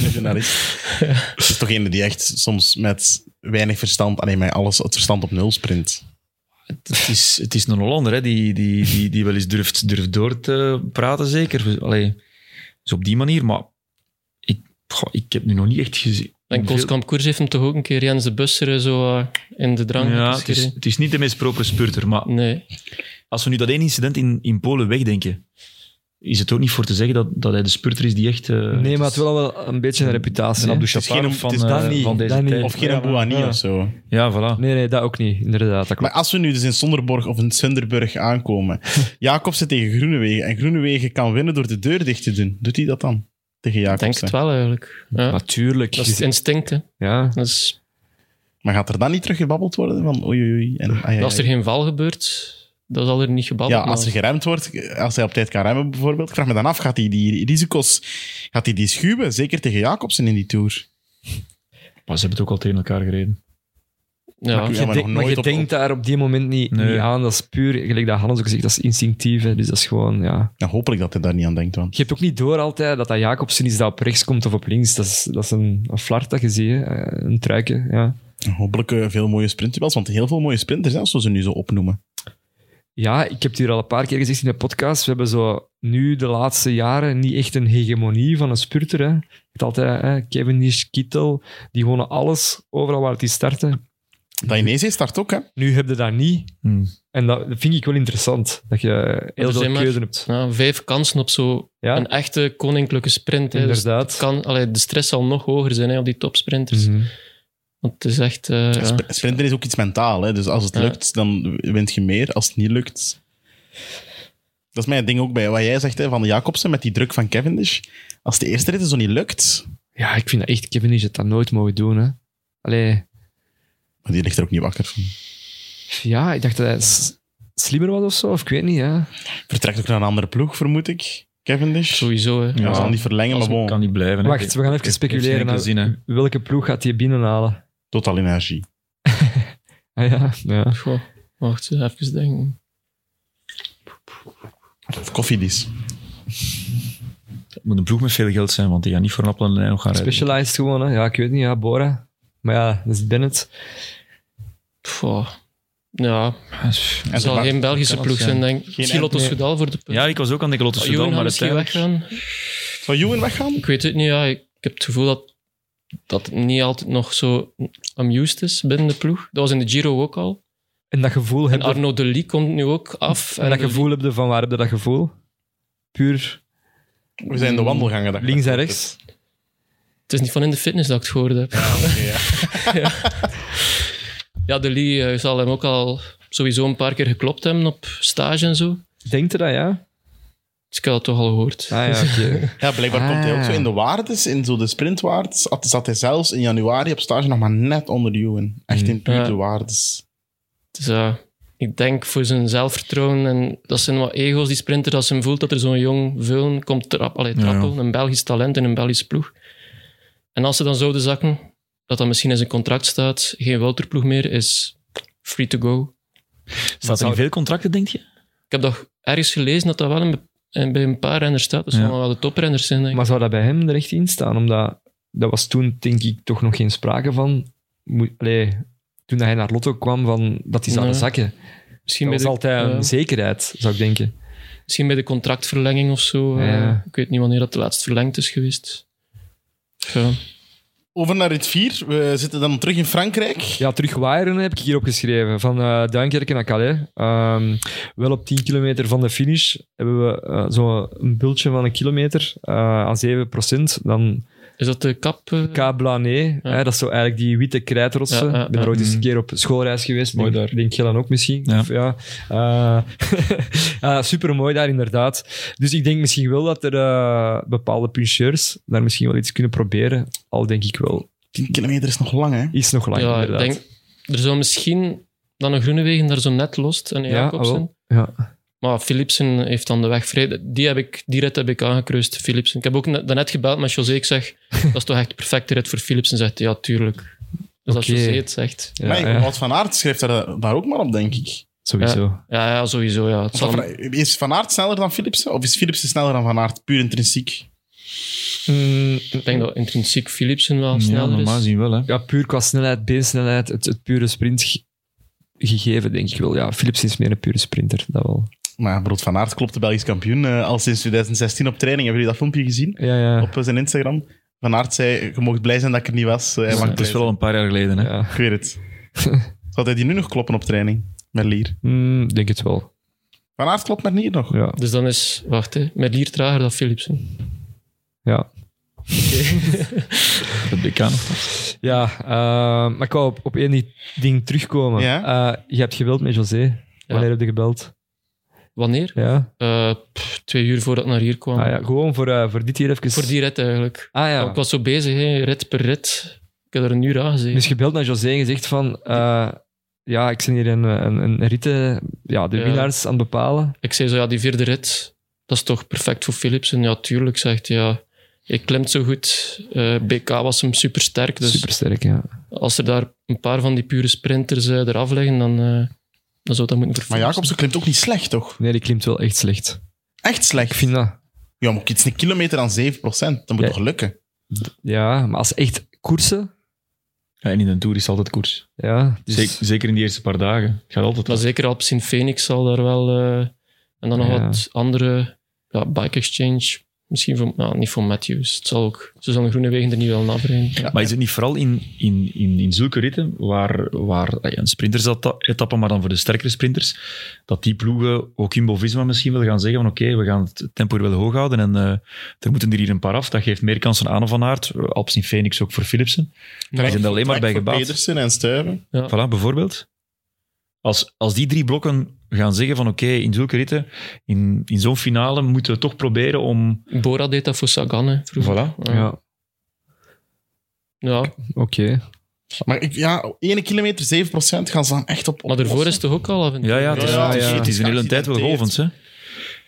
Speaker 2: Een journalist. Het is toch een die echt soms met weinig verstand, alleen met alles, het verstand op nul sprint.
Speaker 5: Het is, het is een Hollander, hè, die, die, die, die wel eens durft, durft door te praten, zeker. Allee, dus op die manier, maar ik, goh, ik heb nu nog niet echt gezien.
Speaker 4: En
Speaker 5: hoeveel-
Speaker 4: Kooskamp Koers heeft hem toch ook een keer Jens de Busser zo eh, in de drang
Speaker 5: Ja, het
Speaker 4: geschreven?
Speaker 5: is, het is niet de meest propere spurter, maar
Speaker 4: Nee.
Speaker 5: Als we nu dat één incident in, in Polen wegdenken, is het ook niet voor te zeggen dat, dat hij de spurter is die echt... eh,
Speaker 3: Nee, maar het is
Speaker 5: is-
Speaker 3: wel wel een beetje een reputatie.
Speaker 5: Een
Speaker 3: hè.
Speaker 5: Abdou
Speaker 2: is geen-
Speaker 5: Chaparro
Speaker 2: het
Speaker 5: van,
Speaker 2: is
Speaker 5: eh,
Speaker 3: dat niet,
Speaker 5: van deze
Speaker 3: dat niet.
Speaker 5: tijd.
Speaker 2: Of geen Abouani
Speaker 3: ja.
Speaker 2: of zo.
Speaker 5: Ja, voilà.
Speaker 3: Nee, nee, dat ook niet. Inderdaad, dat
Speaker 2: Maar
Speaker 3: klopt.
Speaker 2: als we nu dus in Sonderborg of in Sunderburg aankomen, Jacobsen tegen Groenewegen, en Groenewegen kan winnen door de deur dicht te doen, doet hij dat dan? Tegen
Speaker 4: Ik denk
Speaker 2: Jacobsen.
Speaker 4: het wel eigenlijk. Ja.
Speaker 3: Natuurlijk.
Speaker 4: Dat is het instinct, hè.
Speaker 3: Ja.
Speaker 4: Dat is,
Speaker 2: Maar gaat er dan niet teruggebabbeld worden van oei oei, oei en ai, ai,
Speaker 4: Als er
Speaker 2: ai.
Speaker 4: geen val gebeurt, dan zal er niet gebabbeld
Speaker 2: Ja, als er
Speaker 4: worden.
Speaker 2: geremd wordt, als hij op tijd kan remmen bijvoorbeeld, ik vraag me dan af, gaat hij die risico's, gaat hij die schuwen? Zeker tegen Jacobsen in die Tour.
Speaker 5: Maar ze hebben het ook al tegen elkaar gereden.
Speaker 4: Ja.
Speaker 2: Ja,
Speaker 3: Je
Speaker 2: maar
Speaker 3: denkt-
Speaker 2: nog
Speaker 3: maar
Speaker 2: nooit
Speaker 3: je
Speaker 2: op-
Speaker 3: denkt daar op die moment niet,
Speaker 5: Nee.
Speaker 3: niet aan. Dat is puur, gelijk dat Hannes ook zegt, dat is instinctief. hè. Dus dat is gewoon, ja.
Speaker 2: Nou, hopelijk dat hij daar niet aan denkt, want
Speaker 3: Je hebt ook niet door altijd dat dat Jacobsen is dat op rechts komt of op links. Dat is, dat is een, een flart dat je ziet, hè. Eh, een truikje. Ja,
Speaker 2: hopelijk eh, veel mooie sprintduels, want heel veel mooie sprinters, hè, als we ze nu zo opnoemen.
Speaker 3: ja ik heb het hier al een paar keer gezegd in de podcast. We hebben zo nu de laatste jaren niet echt een hegemonie van een spurter. Hè. Je hebt altijd hè, Cavendish, Kittel, die wonen alles overal waar die starten.
Speaker 2: Dainese start ook, hè?
Speaker 3: Nu heb je dat niet. En dat dat vind ik wel interessant, dat je heel veel
Speaker 4: er zijn maar-
Speaker 3: keuze hebt.
Speaker 4: Ja, vijf kansen op zo'n
Speaker 3: Ja,
Speaker 4: echte koninklijke sprint. Hè. Dus
Speaker 3: inderdaad.
Speaker 4: kan, allee, de stress zal nog hoger zijn hè, op die topsprinters.
Speaker 3: Mhm.
Speaker 4: Want het is echt... eh,
Speaker 2: Ja,
Speaker 4: ja.
Speaker 2: sp- Sprinten is ook iets mentaal. Hè? Dus als het
Speaker 4: Ja.
Speaker 2: lukt, dan wint je meer. Als het niet lukt... Dat is mijn ding ook bij wat jij zegt hè, van Jacobsen met die druk van Cavendish. Als de eerste rit zo niet lukt...
Speaker 3: Ja, ik vind dat echt, Kevin is het dat nooit mogen doen. Hè. Allee,
Speaker 2: Maar die ligt er ook niet wakker van.
Speaker 3: ja, ik dacht dat hij s- slimmer was of zo, of ik weet niet. Hè.
Speaker 2: Vertrekt ook naar een andere ploeg, vermoed ik. Cavendish.
Speaker 4: Sowieso, hè.
Speaker 2: Ja,
Speaker 5: Ja.
Speaker 2: ze zal niet verlengen, maar bon,
Speaker 5: kan niet blijven. hè.
Speaker 3: Wacht, we gaan even
Speaker 5: Heeft- heeft
Speaker 3: speculeren.
Speaker 5: geen enkele
Speaker 3: hè.
Speaker 5: zin,
Speaker 3: welke ploeg gaat hij binnenhalen?
Speaker 2: totaal energie.
Speaker 3: Ah, ja, ja.
Speaker 4: Goh, wacht, even denken.
Speaker 2: Of koffiedies.
Speaker 5: Het moet een ploeg met veel geld zijn, want die gaan niet voor een appel en een ei nog gaan rijden.
Speaker 3: Specialized gewoon, hè. ja, ik weet niet, ja, Bora. Maar ja, dat is Bennett.
Speaker 4: Goh. Ja,
Speaker 5: Ja, is-
Speaker 4: het zal
Speaker 2: Bart-
Speaker 4: geen Belgische
Speaker 5: kan
Speaker 4: ploeg
Speaker 5: het zijn.
Speaker 4: zijn, denk ik. Misschien Lotto
Speaker 2: nee.
Speaker 4: Soudal voor de punt.
Speaker 5: Ja, ik was ook aan de Lotte
Speaker 4: Oh,
Speaker 5: Soudal,
Speaker 4: Johan gaat
Speaker 5: maar
Speaker 4: misschien
Speaker 5: uiteindelijk...
Speaker 4: weggaan.
Speaker 2: Zou Ewan weggaan?
Speaker 4: Ik weet het niet, ja. Ik heb het gevoel dat, dat het niet altijd nog zo amused is binnen de ploeg. Dat was in de Giro ook al.
Speaker 3: En dat gevoel
Speaker 4: En
Speaker 3: heb je,
Speaker 4: Arno Delis komt nu ook af.
Speaker 3: en dat gevoel heb je van waar heb je dat gevoel? Puur
Speaker 2: We zijn de wandelgangen. dag.
Speaker 3: links en rechts.
Speaker 4: Het is niet van in de fitness dat ik het gehoord heb. Ja,
Speaker 2: Ah, Oké, ja.
Speaker 4: Delis eh, zal hem ook al sowieso een paar keer geklopt hebben op stage en zo.
Speaker 3: Denkt je dat, ja?
Speaker 4: Dus ik had het toch al gehoord.
Speaker 3: Ah ja, oké.
Speaker 2: Ja, blijkbaar komt hij ook
Speaker 4: Ah.
Speaker 2: zo in de waardes, in zo de sprintwaardes. had- Zat hij zelfs in januari op stage nog maar net onder Ewan. Echt in puur
Speaker 4: Mm. Ja.
Speaker 2: de waardes.
Speaker 4: Dus ja, ik denk voor zijn zelfvertrouwen en dat zijn wat ego's, die sprinter. Als hij voelt dat er zo'n jong veuln komt trap, allee,
Speaker 5: Ja,
Speaker 4: trappelen, een Belgisch talent in een Belgisch ploeg. En als ze dan zouden zakken, dat dan misschien in zijn contract staat, geen Welterploeg meer, is free to go.
Speaker 5: Staat er in veel contracten, denk je?
Speaker 4: Ik heb toch ergens gelezen dat dat wel een, een- bij een paar renners staat. Dus
Speaker 5: Ja.
Speaker 4: allemaal wel de toprenners zijn, denk ik.
Speaker 3: Maar zou dat bij hem er echt in staan? Omdat dat was toen, denk ik, toch nog geen sprake van. Moe- Allee, toen hij naar Lotto kwam, van, dat hij zou
Speaker 4: Nee.
Speaker 3: zakken.
Speaker 4: misschien,
Speaker 3: Dat
Speaker 4: bij
Speaker 3: was
Speaker 4: de,
Speaker 3: altijd
Speaker 4: ja,
Speaker 3: een zekerheid, zou ik denken.
Speaker 4: misschien bij de contractverlenging of zo. eh,
Speaker 3: Ja.
Speaker 4: ik weet niet wanneer dat de laatst verlengd is geweest. Ja.
Speaker 2: Over naar rit 4. We zitten dan terug in Frankrijk.
Speaker 3: Ja, terug waaieren heb ik hier opgeschreven. Van eh Duinkerken naar Calais. Ehm, wel op 10 kilometer van de finish hebben we eh, zo'n bultje van een kilometer eh, aan 7 Dan
Speaker 4: Is dat de kap? eh?
Speaker 3: Cablané.
Speaker 4: Ja.
Speaker 3: Hè, dat is zo eigenlijk die witte krijtrotsen.
Speaker 4: Ja, ja,
Speaker 3: ik ben er
Speaker 4: ja.
Speaker 3: ooit eens een
Speaker 5: Mhm.
Speaker 3: keer op schoolreis geweest.
Speaker 5: Mooi
Speaker 3: denk,
Speaker 5: daar.
Speaker 3: Denk jij dan ook misschien?
Speaker 5: Ja.
Speaker 3: Of, ja. super mooi daar, inderdaad. Dus ik denk misschien wel dat er eh, bepaalde puncheurs daar misschien wel iets kunnen proberen. Al denk ik wel.
Speaker 2: 10 kilometer is nog lang, hè?
Speaker 3: Iets nog langer,
Speaker 4: ja, ik
Speaker 3: inderdaad.
Speaker 4: denk, er zou misschien dan een Groenewegen daar zo net lost en een
Speaker 3: Ja,
Speaker 4: Jacobsen.
Speaker 3: ah, wel. Ja.
Speaker 4: Maar Philipsen heeft dan de weg vrij. Die, heb ik, die rit heb ik aangekruist, Philipsen. Ik heb ook net, daarnet gebeld met José. Ik zeg, dat is toch echt de perfecte rit voor Philipsen? Zegt hij, ja, tuurlijk. Dus als
Speaker 3: Oké.
Speaker 4: José het zegt.
Speaker 3: Ja,
Speaker 2: maar
Speaker 3: ja.
Speaker 2: Wout van Aert schrijft daar, daar ook maar op, denk ik.
Speaker 3: Sowieso.
Speaker 4: Ja, ja sowieso. Ja. Het
Speaker 2: Want
Speaker 4: zal
Speaker 2: dat
Speaker 4: hem-
Speaker 2: Van- Is Van Aert sneller dan Philipsen? Of is Philipsen sneller dan Van Aert? Puur intrinsiek.
Speaker 3: Mm,
Speaker 4: ik denk dat intrinsiek Philipsen wel
Speaker 5: Ja,
Speaker 4: sneller
Speaker 5: normaal
Speaker 4: is.
Speaker 5: gezien wel, hè.
Speaker 3: ja, puur qua snelheid, beensnelheid, het, het pure sprint ge- gegeven, denk ik wel. Ja, Philips is meer een pure sprinter, dat wel.
Speaker 2: Maar Brood Van Aert klopt de Belgisch kampioen eh, al sinds 2016 op training. Hebben jullie dat filmpje gezien?
Speaker 3: Ja, ja.
Speaker 2: Op eh, zijn Instagram. Van Aert zei, je mocht blij zijn dat ik er niet was. Eh, Hij mag
Speaker 5: Het is
Speaker 2: blij
Speaker 5: wel al een paar jaar geleden, hè.
Speaker 2: zijn.
Speaker 3: ja.
Speaker 2: Ik weet het. Zou hij die nu nog kloppen op training? Merlier.
Speaker 3: Mm, denk het wel.
Speaker 2: Van Aert klopt Merlier nog.
Speaker 3: Ja.
Speaker 4: Dus dan is, wacht, hè, Merlier trager dan Philipsen.
Speaker 3: Ja,
Speaker 5: Dat BK nog.
Speaker 3: ja eh, maar ik wou op, op één die- ding terugkomen.
Speaker 2: Ja?
Speaker 3: Eh, je hebt gebeld met José. Wanneer heb je gebeld?
Speaker 4: Wanneer?
Speaker 3: Ja?
Speaker 4: Eh, pff, twee uur voordat ik naar hier kwam.
Speaker 3: Ah, ja. Gewoon voor, eh, voor dit hier even.
Speaker 4: Voor die rit eigenlijk.
Speaker 3: Ah ja.
Speaker 4: Ik was zo bezig, hè, rit per rit. Ik heb er een uur aan gezeten.
Speaker 3: Dus gebeld naar José en gezegd van... eh, ja, ik zit hier een, een, een ritten... Ja, de
Speaker 4: Ja.
Speaker 3: winnaars aan het bepalen.
Speaker 4: Ik zei zo, ja, die vierde rit, dat is toch perfect voor Philipsen? Ja, tuurlijk, zegt hij. Ja. Je klimt zo goed. Eh, BK was hem supersterk. Dus
Speaker 3: Supersterk, ja.
Speaker 4: als er daar een paar van die pure sprinters eh, eraf liggen, dan, eh, dan zou dat moeten
Speaker 2: Maar
Speaker 4: vervangen.
Speaker 2: Jacobsen klimt ook niet slecht, toch?
Speaker 3: Nee, die klimt wel echt slecht.
Speaker 2: Echt
Speaker 3: Ik
Speaker 2: slecht.
Speaker 3: vind dat...
Speaker 2: Ja, maar iets een kilometer aan 7 Dat moet
Speaker 3: Ja.
Speaker 2: toch lukken?
Speaker 3: Ja, maar als echt koersen...
Speaker 5: Ja, en in een tour is altijd koers.
Speaker 3: Ja, dus...
Speaker 5: Zeker, zeker in die eerste paar dagen. Het gaat altijd
Speaker 4: Maar
Speaker 5: wel.
Speaker 4: zeker Alpecin Phoenix zal daar wel... eh, en dan nog
Speaker 3: Ja.
Speaker 4: wat andere... Ja, Bike Exchange. Misschien voor, nou, niet voor Matthews. Het zal ook, ze zullen Groenewegen er niet wel nabrengen. Ja.
Speaker 5: Maar is het niet vooral in, in, in, in zulke ritten, waar, waar ja, een sprintersetappe, maar dan voor de sterkere sprinters, dat die ploegen, ook Jumbo-Visma misschien wel gaan zeggen van oké, we gaan het tempo hier wel hoog houden en eh, er moeten er hier een paar af. Dat geeft meer kansen aan Van Aert, eh, Alps in Phoenix ook voor Philipsen. Die zijn er alleen maar bij
Speaker 2: Trek voor
Speaker 5: gebaat.
Speaker 2: Pedersen en Stuiven.
Speaker 5: Voilà, bijvoorbeeld. Als, als die drie blokken gaan zeggen van oké, in zulke ritten, in, in zo'n finale moeten we toch proberen om...
Speaker 4: Bora deed dat voor Sagan, hè, vroeger.
Speaker 5: Voilà.
Speaker 3: Ja,
Speaker 4: ja,
Speaker 3: oké.
Speaker 2: Maar ik, ja, 1 kilometer 7 gaan ze dan echt op. op
Speaker 4: Maar daarvoor
Speaker 2: lossen.
Speaker 4: is het toch ook al af en toe?
Speaker 5: Ja, ja, het is,
Speaker 2: Ja,
Speaker 5: het is-
Speaker 3: ja.
Speaker 5: Het is een hele tijd wel golvend, hè.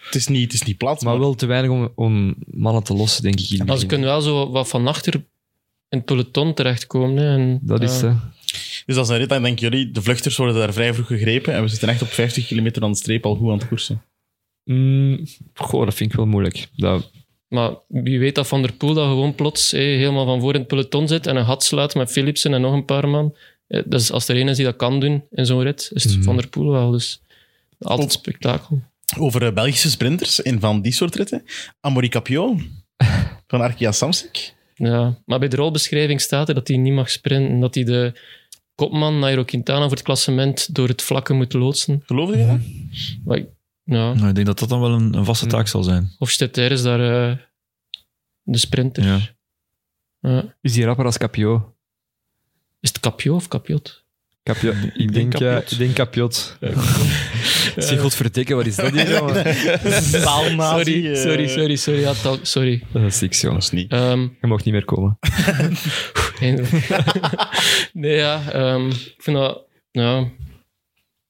Speaker 2: het is niet, het is niet plat.
Speaker 3: Maar wel te weinig om, om mannen te lossen, denk ik. in het
Speaker 4: Maar ze
Speaker 3: begin.
Speaker 4: kunnen wel zo wat van achter in het peloton terechtkomen. Hè. En,
Speaker 3: Dat is...
Speaker 4: ja.
Speaker 3: eh,
Speaker 2: Dus als een rit, dan denken jullie, de vluchters worden daar vrij vroeg gegrepen en we zitten echt op 50 kilometer aan de streep al goed aan het koersen.
Speaker 3: mm, goh, dat vind ik wel moeilijk. Dat,
Speaker 4: Maar wie weet dat Van der Poel dat gewoon plots hé, helemaal van voor in het peloton zit en een gat slaat met Philipsen en nog een paar man. Eh, Dat is, als er één is die dat kan doen in zo'n rit, is het
Speaker 3: Mhm.
Speaker 4: Van der Poel wel. Dus altijd
Speaker 2: Oh.
Speaker 4: spektakel.
Speaker 2: Over eh, Belgische sprinters in van die soort ritten. Amaury Capion van Arkia Samsic.
Speaker 4: Ja. Maar bij de rolbeschrijving staat er dat hij niet mag sprinten. Dat hij de kopman Nairo Quintana voor het klassement door het vlakke moet loodsen.
Speaker 2: Geloof je dat?
Speaker 4: Maar ik- ja.
Speaker 5: Nou, ik denk dat dat dan wel een, een vaste taak zal zijn.
Speaker 4: Of Stetter is daar eh, de sprinter.
Speaker 5: Ja.
Speaker 4: Ja.
Speaker 3: is die rapper als Capio?
Speaker 4: Is het Capio of Capiot?
Speaker 3: Capio ik denk, eh,
Speaker 5: Capiot.
Speaker 3: ik denk Capiot. Zeg, godverdikke, wat is dat hier, jongen?
Speaker 2: Taalnazi,
Speaker 4: Sorry,
Speaker 2: eh,
Speaker 4: sorry, sorry, sorry. Ja, tal- sorry.
Speaker 3: Dat is niks,
Speaker 2: Dat
Speaker 3: jongens.
Speaker 2: is niet.
Speaker 4: Ehm,
Speaker 3: Je mag niet meer komen.
Speaker 4: eindelijk. nee, ja. ehm, ik vind dat... Ja,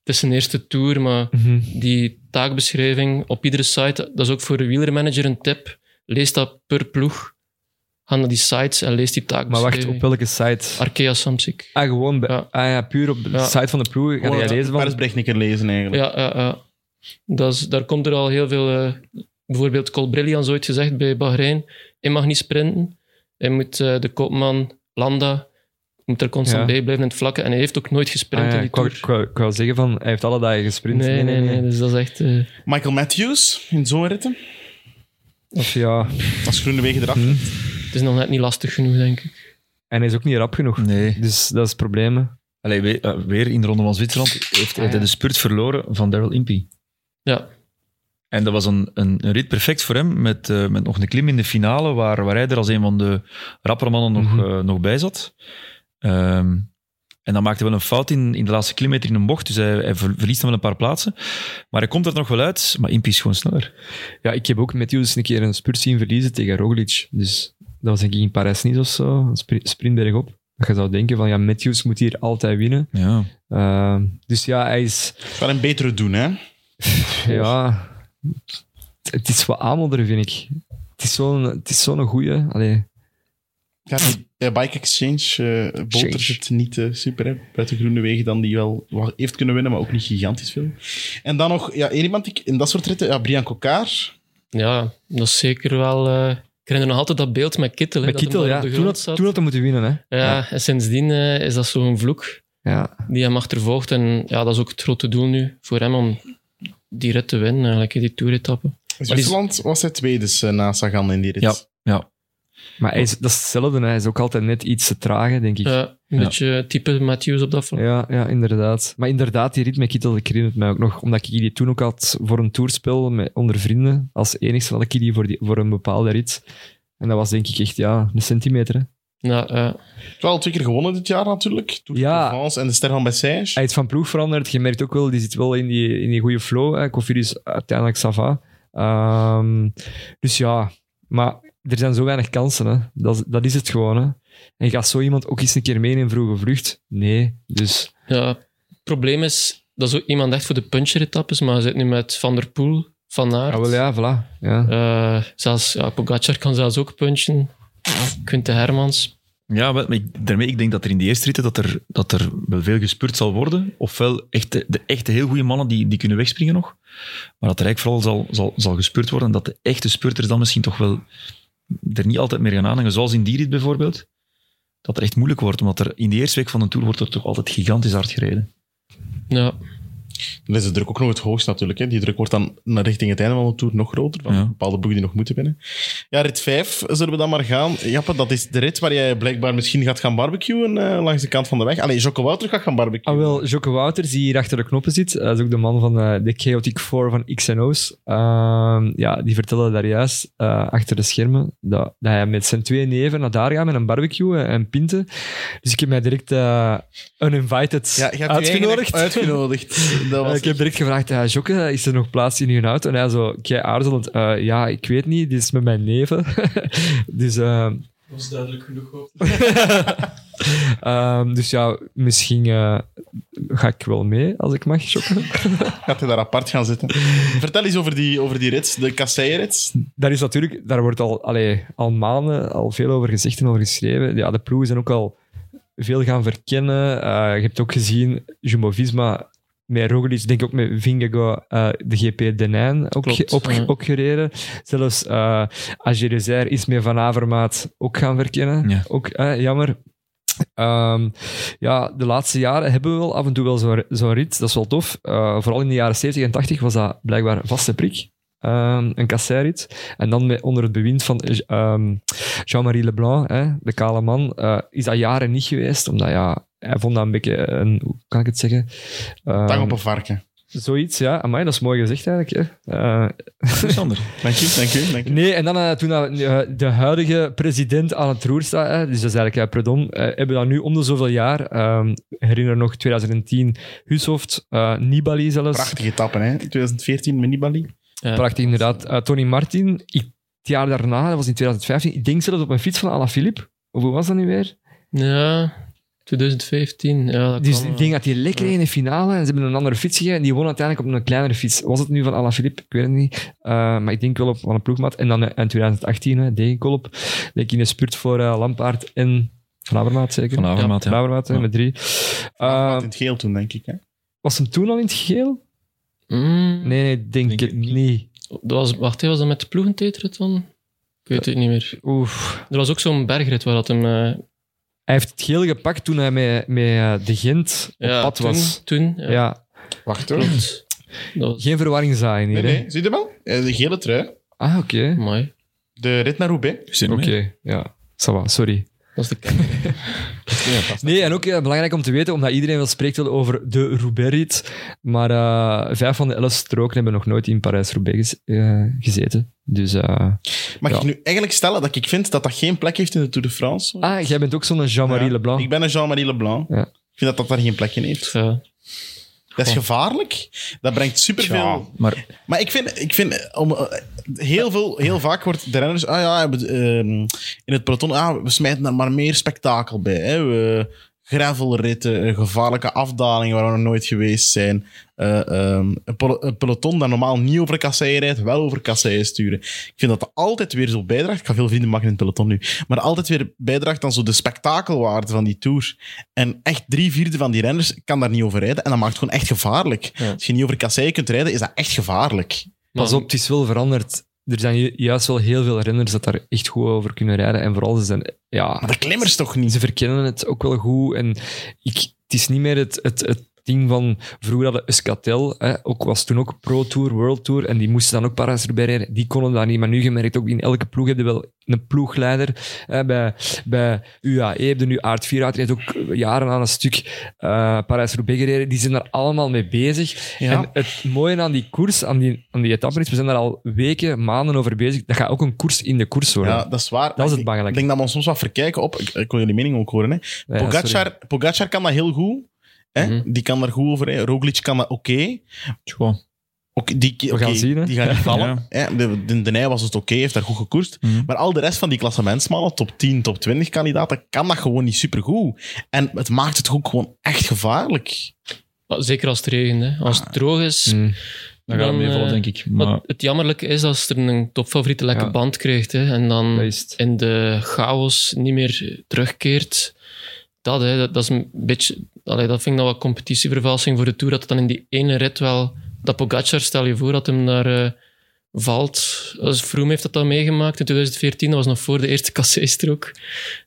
Speaker 4: het is een eerste tour, maar
Speaker 3: Mhm.
Speaker 4: die taakbeschrijving op iedere site, dat is ook voor de wielermanager een tip. Lees dat per ploeg. Ga naar die sites en lees die
Speaker 3: Maar wacht,
Speaker 4: taakbeschrijving.
Speaker 3: op welke site?
Speaker 4: Arkea Samsic.
Speaker 3: Ah, gewoon bij,
Speaker 4: Ja.
Speaker 3: ah, ja, puur op de
Speaker 4: Ja.
Speaker 3: site van de ploeg. Ga jij lezen
Speaker 2: Oh, Paris
Speaker 3: van?
Speaker 2: Brechniker lezen eigenlijk.
Speaker 4: Ja, ja, ja. Dat is, daar komt er al heel veel... eh, bijvoorbeeld Colbrellians ooit gezegd bij Bahrein. Hij mag niet sprinten. Hij moet eh, de kopman Landa... Moet er constant
Speaker 3: Ja.
Speaker 4: bij blijven in het vlakken. En hij heeft ook nooit gesprint
Speaker 3: Ah, ja,
Speaker 4: in die
Speaker 3: ik wou-
Speaker 4: tour.
Speaker 3: ik wou ik wou zeggen van, hij heeft alle dagen gesprint.
Speaker 4: Nee, nee, nee. Dus dat is echt... eh,
Speaker 2: Michael Matthews in zo'n ritten.
Speaker 3: Of ja,
Speaker 2: Als Groenewegen eraf.
Speaker 4: het is nog net niet lastig genoeg, denk ik.
Speaker 3: En hij is ook niet rap genoeg.
Speaker 5: Nee.
Speaker 3: Dus dat is het probleem. hè.
Speaker 5: Allee, we- eh, weer in de Ronde van Zwitserland heeft hij
Speaker 3: Ah, ja.
Speaker 5: de spurt verloren van Daryl Impey.
Speaker 4: Ja.
Speaker 5: En dat was een, een, een rit perfect voor hem, met, eh, met nog een klim in de finale, waar, waar hij er als een van de rappere mannen nog,
Speaker 3: Mhm.
Speaker 5: eh, nog bij zat. Ehm, en dan maakte hij wel een fout in, in de laatste kilometer in een bocht, dus hij, hij ver- verliest dan wel een paar plaatsen. Maar hij komt er nog wel uit, maar Impey is gewoon sneller.
Speaker 3: Ja, ik heb ook Matthews een keer een spurt zien verliezen tegen Roglic. Dus dat was denk ik in Parijs-Nice of zo, een spri- sprint bergop. Dat je zou denken van, ja, Matthews moet hier altijd winnen.
Speaker 5: Ja.
Speaker 3: Eh, dus ja, hij is...
Speaker 2: Kan hem betere doen, hè?
Speaker 3: Ja, het is wat aanmodderen, vind ik. Het is zo'n, het is zo'n goeie. Allee,
Speaker 2: Ja, die, eh, Bike Exchange eh boter
Speaker 3: Exchange.
Speaker 2: zit niet eh, super. Hè? Buiten Groene Wegen dan die wel wat heeft kunnen winnen, maar ook niet gigantisch veel. En dan nog ja, één iemand die ik in dat soort ritten, ja, Brian Kokaar.
Speaker 4: Ja, dat is zeker wel... eh, ik herinner nog altijd dat beeld met Kittel. hè,
Speaker 3: met
Speaker 4: dat hem
Speaker 3: Kittel,
Speaker 4: daar
Speaker 3: ja.
Speaker 4: op de
Speaker 3: Toen
Speaker 4: grond
Speaker 3: had,
Speaker 4: zat.
Speaker 3: toen had hij moeten winnen, hè.
Speaker 4: ja, en sindsdien eh, is dat zo'n vloek
Speaker 3: Ja.
Speaker 4: die hem achtervolgt. En ja, dat is ook het grote doel nu voor hem om die rit te winnen, eigenlijk, hè, die toeretappe.
Speaker 2: In Zwitserland was hij tweede dus, eh, na Sagan in die rit.
Speaker 5: Ja. ja.
Speaker 3: Maar hij is, dat is hetzelfde, hè. hij is ook altijd net iets te traag, denk ik. Ja.
Speaker 4: Ja, een
Speaker 5: Ja.
Speaker 4: beetje type Matthews op dat vlak.
Speaker 3: Ja, inderdaad. Maar inderdaad, die rit met Kittel, ik herinner het mij ook nog. Omdat ik die toen ook had voor een toerspel met, onder vrienden. Als enigste had ik die voor, die voor een bepaalde rit. En dat was denk ik echt, ja, een centimeter. Hè.
Speaker 4: Ja, ja.
Speaker 2: Terwijl twee keer gewonnen dit jaar natuurlijk. Tour
Speaker 3: Ja.
Speaker 2: de France en de Ster van Bessèges.
Speaker 3: Hij is van ploeg veranderd. Je merkt ook wel, die zit wel in die, in die goede flow. Hè. Kofir is uiteindelijk Sava. dus ja, maar er zijn zo weinig kansen. Hè. Dat, is- dat is het gewoon. Hè. En gaat zo iemand ook eens een keer mee in een vroege vlucht? Nee. Dus
Speaker 4: Ja, het probleem is, dat is ook iemand echt voor de puncher-etappes, maar hij zit nu met Van der Poel, Van Aert.
Speaker 3: ja, Ah, wel, ja, voilà. Ja.
Speaker 4: Eh, zelfs, ja, Pogacar kan zelfs ook punchen. Quinte Hermans.
Speaker 5: Ja, wel, maar ik, daarmee, ik denk dat er in die eerste ritten dat er, dat er wel veel gespeurd zal worden. Ofwel echt de, de echte heel goede mannen die, die kunnen wegspringen nog. Maar dat er eigenlijk vooral zal, zal, zal gespeurd worden. En dat de echte spurters dan misschien toch wel er niet altijd meer gaan aanhangen. Zoals in die rit bijvoorbeeld. Dat het echt moeilijk wordt. Omdat er in de eerste week van een tour wordt er toch altijd gigantisch hard gereden.
Speaker 4: Ja,
Speaker 2: Dan is de druk ook nog het hoogst natuurlijk. Hè. Die druk wordt dan naar richting het einde van de Tour nog groter. Van
Speaker 5: Ja.
Speaker 2: bepaalde boeken die nog moeten winnen. Ja, rit 5 zullen we dan maar gaan. Jappe, dat is de rit waar jij blijkbaar misschien gaat gaan barbecuen eh, langs de kant van de weg. Allee, Jocke Wouter gaat gaan barbecuen.
Speaker 3: Ah, wel, Jocke Wouters, die hier achter de knoppen zit, dat is ook de man van eh, de Chaotic Four van X&O's. Ehm, ja, die vertelde daar juist, eh, achter de schermen, dat, dat hij met zijn twee neven naar daar gaat met een barbecue eh, en, en pinten. Dus ik heb mij direct eh uninvited
Speaker 2: Ja, je hebt je eigenlijk
Speaker 3: uitgenodigd.
Speaker 2: Uitgenodigd. Dat
Speaker 3: Eh,
Speaker 2: was
Speaker 3: ik heb direct gevraagd, eh, Jocke, is er nog plaats in uw auto? En hij zo, kei aarzelend, eh, ja, ik weet niet, dit is met mijn neven. dus... ehm,
Speaker 4: Dat was duidelijk genoeg op.
Speaker 3: Ehm, dus ja, misschien eh, ga ik wel mee als ik mag shoppen.
Speaker 2: Gaat hij daar apart gaan zitten? Vertel eens over die, over die rits, de kasseienrits.
Speaker 3: Daar is natuurlijk, daar wordt al, allee, al maanden al veel over gezegd en over geschreven. Ja, de ploegen zijn ook al veel gaan verkennen. Eh, je hebt ook gezien, Jumbo-Visma met Roglic, denk ik ook met Vingego, eh, de GP Denijn ook,
Speaker 4: Klopt,
Speaker 3: ge- op,
Speaker 4: ja.
Speaker 3: ook gereden. Zelfs eh Agirizer is met Van Avermaat ook gaan verkennen.
Speaker 5: Ja.
Speaker 3: Ook eh, jammer. Ehm, ja, de laatste jaren hebben we wel af en toe wel zo'n zo'n rit. Dat is wel tof. Eh, vooral in de jaren 70 en 80 was dat blijkbaar vaste prik. Ehm, een kasseirit. En dan met, onder het bewind van eh, ehm, Jean-Marie Leblanc, hè, de kale man, eh, is dat jaren niet geweest. Omdat ja, hij vond dat een beetje een... Hoe kan ik het zeggen? Ehm,
Speaker 2: Tang op een varken.
Speaker 3: Zoiets, ja. Amai, dat is mooi gezegd eigenlijk. Hè. Eh,
Speaker 5: Dus ander.
Speaker 2: Dank je, dank je, dank je.
Speaker 3: Nee, en dan eh, toen dat, eh, de huidige president aan het roer staat, hè, dus dat is eigenlijk eh, Predom, eh, hebben we dat nu om de zoveel jaar. ehm, herinner nog 2010 Hushoft, eh, Nibali zelfs.
Speaker 2: Prachtige etappen, hè? 2014 met Nibali.
Speaker 3: Prachtig, inderdaad. Eh, Tony Martin, ik, het jaar daarna, dat was in 2015, ik denk zelfs op een fiets van Alaphilippe. Of hoe was dat nu weer?
Speaker 4: Ja, 2015. Ja, dat
Speaker 3: Dus
Speaker 4: kan
Speaker 3: ik
Speaker 4: wel.
Speaker 3: denk dat hij lekker in de finale en ze hebben een andere fiets gegeven en die won uiteindelijk op een kleinere fiets. Was het nu van Alaphilippe? Ik weet het niet. Eh, maar ik denk wel op van een ploegmaat. En dan eh, in 2018, hè, Degenkolop. Denk ik in de spurt voor eh, Lampaard en Van Avermaat zeker.
Speaker 5: Van Avermaat, ja.
Speaker 3: Van Avermaat, hè,
Speaker 5: Ja.
Speaker 3: met drie. Eh,
Speaker 2: in het geel toen, denk ik. Hè?
Speaker 3: was hem toen al in het geel?
Speaker 4: Mm,
Speaker 3: Nee, nee, denk,
Speaker 5: Denk
Speaker 3: het
Speaker 5: het niet.
Speaker 3: niet.
Speaker 4: dat was, wacht, hè, was dat met de ploegentetathon? Ik weet het niet meer.
Speaker 3: Oef.
Speaker 4: Er was ook zo'n bergrit waar dat hem... eh,
Speaker 3: Hij heeft het geel gepakt toen hij met, met eh, de Gent op
Speaker 4: ja,
Speaker 3: pad
Speaker 4: toen,
Speaker 3: was.
Speaker 4: Toen, ja.
Speaker 3: Ja.
Speaker 2: Wacht hoor.
Speaker 4: Klopt. Dat was
Speaker 3: geen verwarring zaaien
Speaker 2: Nee,
Speaker 3: hier. hè.
Speaker 2: nee, zie je wel? Eh, De gele trui.
Speaker 3: Ah, oké.
Speaker 4: mooi.
Speaker 2: De rit naar Roubaix.
Speaker 5: Zin
Speaker 3: Oké,
Speaker 5: mee.
Speaker 3: ja. Ça va, sorry.
Speaker 4: Dat is de kern.
Speaker 3: Nee, en ook eh, belangrijk om te weten, omdat iedereen wel spreekt wel over de Roubaix-rit, maar eh, vijf van de elf stroken hebben nog nooit in Parijs-Roubaix ges- eh, gezeten. Dus, eh,
Speaker 2: Mag
Speaker 3: Ja.
Speaker 2: ik nu eigenlijk stellen dat ik vind dat dat geen plek heeft in de Tour de France?
Speaker 3: ah, jij bent ook zo'n Jean-Marie
Speaker 2: Ja.
Speaker 3: Leblanc.
Speaker 2: Ik ben een Jean-Marie Leblanc.
Speaker 3: Ja.
Speaker 2: Ik vind dat dat daar geen plek in heeft.
Speaker 4: Ja.
Speaker 2: Dat is gevaarlijk. Dat brengt superveel...
Speaker 5: maar
Speaker 2: Maar ik vind, ik vind eh, om, eh, heel, veel, heel vaak wordt de renners... Ah ja, we- ehm, in het peloton, ah, we smijten daar maar meer spektakel bij. Hè. We, gravelritten, eh, gevaarlijke afdalingen waar we nog nooit geweest zijn. Eh, ehm, een, pel- een peloton dat normaal niet over kasseien rijdt, wel over kasseien sturen. Ik vind dat dat altijd weer zo bijdraagt. Ik ga veel vrienden maken in het peloton nu. Maar altijd weer bijdraagt aan zo de spektakelwaarde van die Tour. En echt drie vierde van die renners kan daar niet over rijden. En dat maakt het gewoon echt gevaarlijk.
Speaker 4: Ja.
Speaker 2: Als je niet over kasseien kunt rijden, is dat echt gevaarlijk.
Speaker 3: Pas op, het is wel veranderd. Er zijn ju- juist wel heel veel renners dat daar echt goed over kunnen rijden. En vooral, ze, zijn,
Speaker 2: Maar
Speaker 3: ja,
Speaker 2: de klimmers toch niet?
Speaker 3: ze verkennen het ook wel goed. En ik, het is niet meer het, het, het ding van... Vroeger hadden Escatel, hè, ook, was toen ook Pro Tour, World Tour. En die moesten dan ook Parijs erbij rijden. Die konden dat niet. Maar nu gemerkt, ook in elke ploeg heb je wel een ploegleider. Hè, bij, bij UAE heb je nu Aard Vierhout. Die heeft ook eh, jaren aan een stuk eh Parijs-Roubaix gereden. Die zijn daar allemaal mee bezig.
Speaker 2: Ja.
Speaker 3: En het mooie aan die koers, aan die, aan die etappe is, we zijn daar al weken, maanden over bezig. Dat gaat ook een koers in de koers worden.
Speaker 2: Ja, dat is waar.
Speaker 3: Dat is het
Speaker 2: Ik-
Speaker 3: belangrijke.
Speaker 2: Ik denk dat we ons soms wat verkijken op... Ik, ik wil jullie mening ook horen. Hè.
Speaker 3: Ja, sorry.
Speaker 2: Pogacar, Pogacar kan dat heel goed. Hè?
Speaker 4: Mhm.
Speaker 2: Die kan daar goed over. Hè? Roglic kan dat oké.
Speaker 5: tjoh.
Speaker 2: Oké, die,
Speaker 3: We gaan
Speaker 2: oké,
Speaker 3: zien, hè.
Speaker 2: Die gaan niet vallen.
Speaker 5: Ja.
Speaker 2: Hè? De, de, de Nij was het oké, heeft daar goed gekoerst.
Speaker 5: Mhm.
Speaker 2: Maar al de rest van die klassementsmannen, top 10, top 20 kandidaten, kan dat gewoon niet supergoed. En het maakt het ook gewoon echt gevaarlijk.
Speaker 4: Maar Zeker als het regent. Hè. Als het droog is,
Speaker 3: Mm.
Speaker 5: dan gaat het
Speaker 4: Dan,
Speaker 5: meevallen,
Speaker 4: eh,
Speaker 5: denk ik.
Speaker 4: Maar
Speaker 5: Maar
Speaker 4: het jammerlijke is als er een topfavoriet een lekke
Speaker 3: Ja.
Speaker 4: band krijgt hè, en dan
Speaker 3: Dat is het.
Speaker 4: in de chaos niet meer terugkeert. Dat, hè, dat, dat is een beetje... Allee, dat vind ik dan wat competitievervalsing voor de Tour, dat het dan in die ene rit wel... Dat Pogacar, stel je voor, dat hem daar eh, valt. Als Froome heeft dat dan meegemaakt in 2014, dat was nog voor de eerste kassei-strook,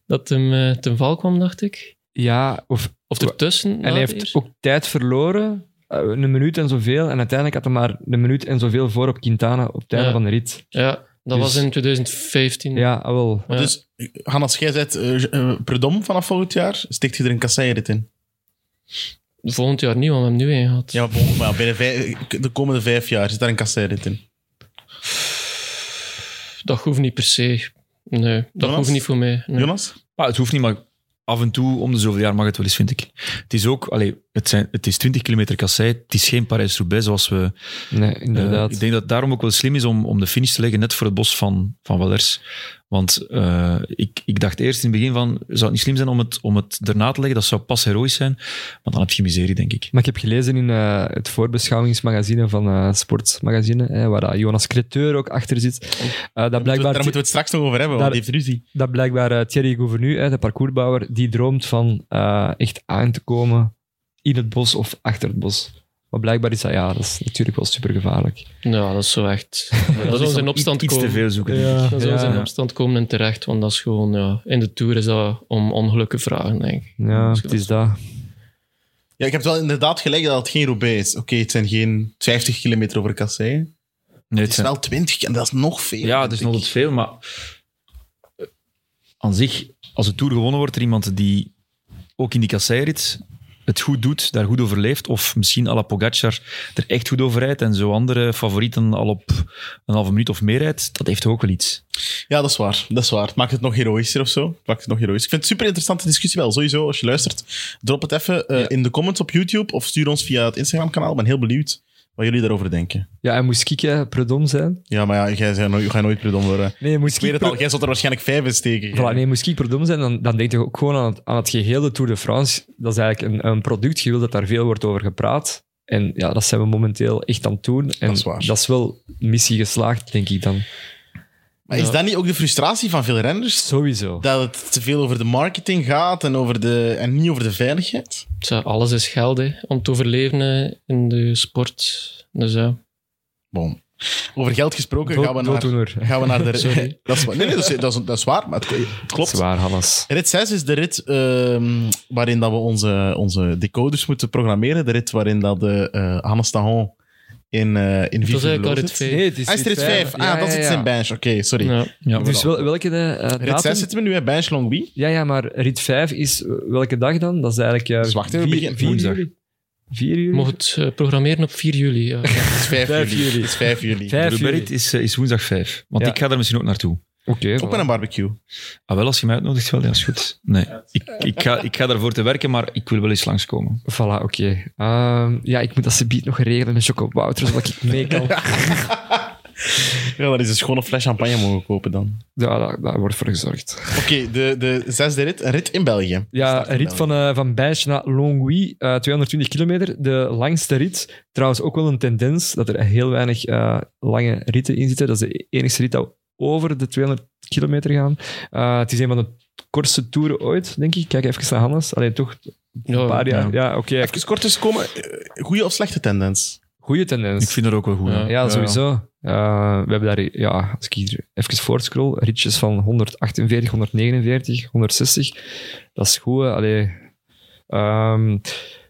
Speaker 4: dat hem eh, ten val kwam, dacht ik.
Speaker 3: Ja, of,
Speaker 4: Of ertussen. na
Speaker 3: en hij
Speaker 4: de
Speaker 3: heeft
Speaker 4: eerste.
Speaker 3: ook tijd verloren. eh, Een minuut en zoveel. En uiteindelijk had hij maar een minuut en zoveel voor op Quintana op het einde
Speaker 4: Ja.
Speaker 3: van de rit.
Speaker 4: Ja, dat
Speaker 3: Dus-
Speaker 4: was in 2015.
Speaker 3: Ja, ah, wel.
Speaker 4: Ja.
Speaker 2: Dus, Hannes, jij zet Predom vanaf volgend jaar, steekt je er een kasseirit in?
Speaker 4: Volgend jaar niet, want we hebben hem nu een gehad.
Speaker 2: Ja, maar, bon, maar binnen vijf- de komende vijf jaar zit daar een kasseirit in.
Speaker 4: Dat hoeft niet per se. Nee, dat
Speaker 2: Jonas?
Speaker 4: hoeft niet voor mij. Nee.
Speaker 2: Jonas?
Speaker 5: Ah, het hoeft niet, maar af en toe, om de zoveel jaar mag het wel eens, vind ik. Het is ook, allee, het, zijn, het is 20 kilometer kassei, het is geen Parijs-Roubaix zoals we...
Speaker 3: Nee,
Speaker 5: eh,
Speaker 3: inderdaad.
Speaker 5: ik denk dat het daarom ook wel slim is om, om de finish te leggen net voor het bos van, van Valers. Want eh, ik, ik dacht eerst in het begin van, zou het niet slim zijn om het, om het erna te leggen? Dat zou pas heroïs zijn, maar dan heb je miserie, denk ik.
Speaker 3: Maar ik heb gelezen in eh, het voorbeschouwingsmagazine van eh Sportsmagazine, hè, waar dat Jonas Creteur ook achter zit, eh, dat,
Speaker 2: Daar moeten we-
Speaker 3: blijkbaar,
Speaker 2: daar moeten we het straks nog over hebben, want
Speaker 3: Daar-
Speaker 2: die heeft ruzie.
Speaker 3: dat blijkbaar eh, Thierry Gouvenu, hè, de parcoursbouwer, die droomt van eh, echt aan te komen in het bos of achter het bos. Maar blijkbaar is dat, ja, dat is natuurlijk wel super gevaarlijk.
Speaker 4: Nou, dat is zo echt. dat zou
Speaker 5: dan
Speaker 4: zijn opstand
Speaker 5: iets, iets te
Speaker 4: komen.
Speaker 5: veel zoeken. denk ik.
Speaker 4: Dat zou
Speaker 3: Ja.
Speaker 4: zijn opstand komen en terecht, want dat is gewoon, ja, in de Tour is dat om ongelukken vragen, denk ik. Dus
Speaker 3: Ja, het is dat.
Speaker 2: Ja, ik heb wel inderdaad gelijk dat het geen Roubaix is. Oké, het zijn geen 50 kilometer over kassei. Het
Speaker 5: Nee, het
Speaker 2: is
Speaker 5: zijn-
Speaker 2: wel 20 en dat is nog veel.
Speaker 5: Ja,
Speaker 2: vind
Speaker 5: het is
Speaker 2: ik.
Speaker 5: nog altijd veel, maar eh, aan zich, als de Tour gewonnen wordt, er iemand die ook in die kasseirit het goed doet, daar goed over leeft, of misschien à la Pogacar er echt goed over rijdt en zo andere favorieten al op een halve minuut of meer rijdt, dat heeft toch ook wel iets.
Speaker 2: Ja, dat is waar. Dat is waar. Het maakt het nog heroïscher of zo. Het maakt het nog heroïs. Ik vind het een super interessante discussie wel. Sowieso, als je luistert, drop het even eh, in de comments op YouTube of stuur ons via het Instagram-kanaal. Ik ben heel benieuwd wat jullie daarover denken.
Speaker 3: Ja, en moest Kieke predom zijn?
Speaker 2: Ja, maar ja, jij, zei nooit- ga nooit predom worden.
Speaker 3: Nee, moest
Speaker 2: Ik weet het al, jij zult er waarschijnlijk vijf in steken.
Speaker 3: Voilà, nee, moest ik perdom zijn, dan, dan denk je ook gewoon aan het, aan het geheel de Tour de France. Dat is eigenlijk een, een product, je wil dat daar veel wordt over gepraat. En ja, dat zijn we momenteel echt aan het doen. En
Speaker 2: Dat is waar.
Speaker 3: wel missie geslaagd, denk ik dan.
Speaker 2: Maar is dat niet ook de frustratie van veel renners?
Speaker 3: Sowieso.
Speaker 2: dat het te veel over de marketing gaat en, over de, en niet over de veiligheid.
Speaker 4: Tja, alles is geld, hè, om te overleven hè, in de sport. Dus ja.
Speaker 2: Bon. Over geld gesproken
Speaker 3: Dood-
Speaker 2: gaan, we naar,
Speaker 3: dooddoener.
Speaker 2: gaan we naar de...
Speaker 4: Sorry.
Speaker 2: Dat is, wa- nee, nee, dat is, dat is, dat is waar, maar het, het klopt.
Speaker 3: Zwaar, Hannes.
Speaker 2: Rit 6 is de rit ehm, waarin dat we onze, onze decoders moeten programmeren. De rit waarin dat de, eh Hannes Tahon in, eh in
Speaker 4: Het was
Speaker 2: Vive
Speaker 4: eigenlijk al
Speaker 2: Veloce.
Speaker 4: rit 5.
Speaker 3: Nee, het is
Speaker 2: Ah, is het rit 5? Ah, dat zit in Bench. Oké, sorry.
Speaker 4: Ja.
Speaker 5: Ja,
Speaker 3: Dus
Speaker 5: voilà.
Speaker 3: wel, welke de, eh,
Speaker 2: Rit
Speaker 3: datum?
Speaker 2: 6 zitten we nu, hè? Bench Longwy.
Speaker 3: Ja, ja, maar rit 5 is eh, welke dag dan? Dat is eigenlijk... eh
Speaker 2: Dus wacht even,
Speaker 3: vier-
Speaker 2: begin-
Speaker 3: vier
Speaker 5: woensdag.
Speaker 3: juli? 4 juli?
Speaker 4: Mocht het eh, programmeren op 4 juli. Ja.
Speaker 2: Het is 5
Speaker 3: Vijf
Speaker 2: juli.
Speaker 3: juli.
Speaker 2: Het is 5 juli.
Speaker 5: De
Speaker 3: Vijf juli.
Speaker 5: Ruberit is, eh, is woensdag 5. Want
Speaker 3: Ja.
Speaker 5: ik ga daar misschien ook naartoe.
Speaker 3: Oké,
Speaker 2: Ook
Speaker 3: voilà.
Speaker 2: met een barbecue.
Speaker 5: Ah, wel, als je mij uitnodigt, wel, ja, is goed. Nee, ik, ik, ga, ik ga daarvoor te werken, maar ik wil wel eens langskomen.
Speaker 3: Voilà, oké. Ehm, ja, ik moet dat subiet nog regelen met Choco Wouter, zodat ik mee kan.
Speaker 2: Ja, daar is een schone fles champagne mogen kopen dan.
Speaker 3: Ja, daar, daar wordt voor gezorgd.
Speaker 2: Oké, de, de zesde rit. Een rit in België.
Speaker 3: Ja,
Speaker 2: Start in
Speaker 3: een rit
Speaker 2: België.
Speaker 3: van, eh van Bijsch naar Longwy, eh 220 kilometer. De langste rit. Trouwens ook wel een tendens dat er heel weinig eh, lange ritten in zitten. Dat is de enige rit dat over de 200 kilometer gaan. Eh, het is een van de kortste toeren ooit, denk ik. Kijk even naar Hannes. Alleen toch
Speaker 4: Ja,
Speaker 3: een paar
Speaker 5: Oh,
Speaker 3: jaar. Ja, oké.
Speaker 2: Even kort eens komen. eh, Goede of slechte tendens?
Speaker 3: Goede tendens.
Speaker 5: Ik vind dat ook wel goed. hè.
Speaker 4: Ja.
Speaker 3: Ja, sowieso. Eh, we hebben daar, ja, als ik hier even voortscroll, ritjes van 148, 149, 160. Dat is goed. hè. Allee. Ehm,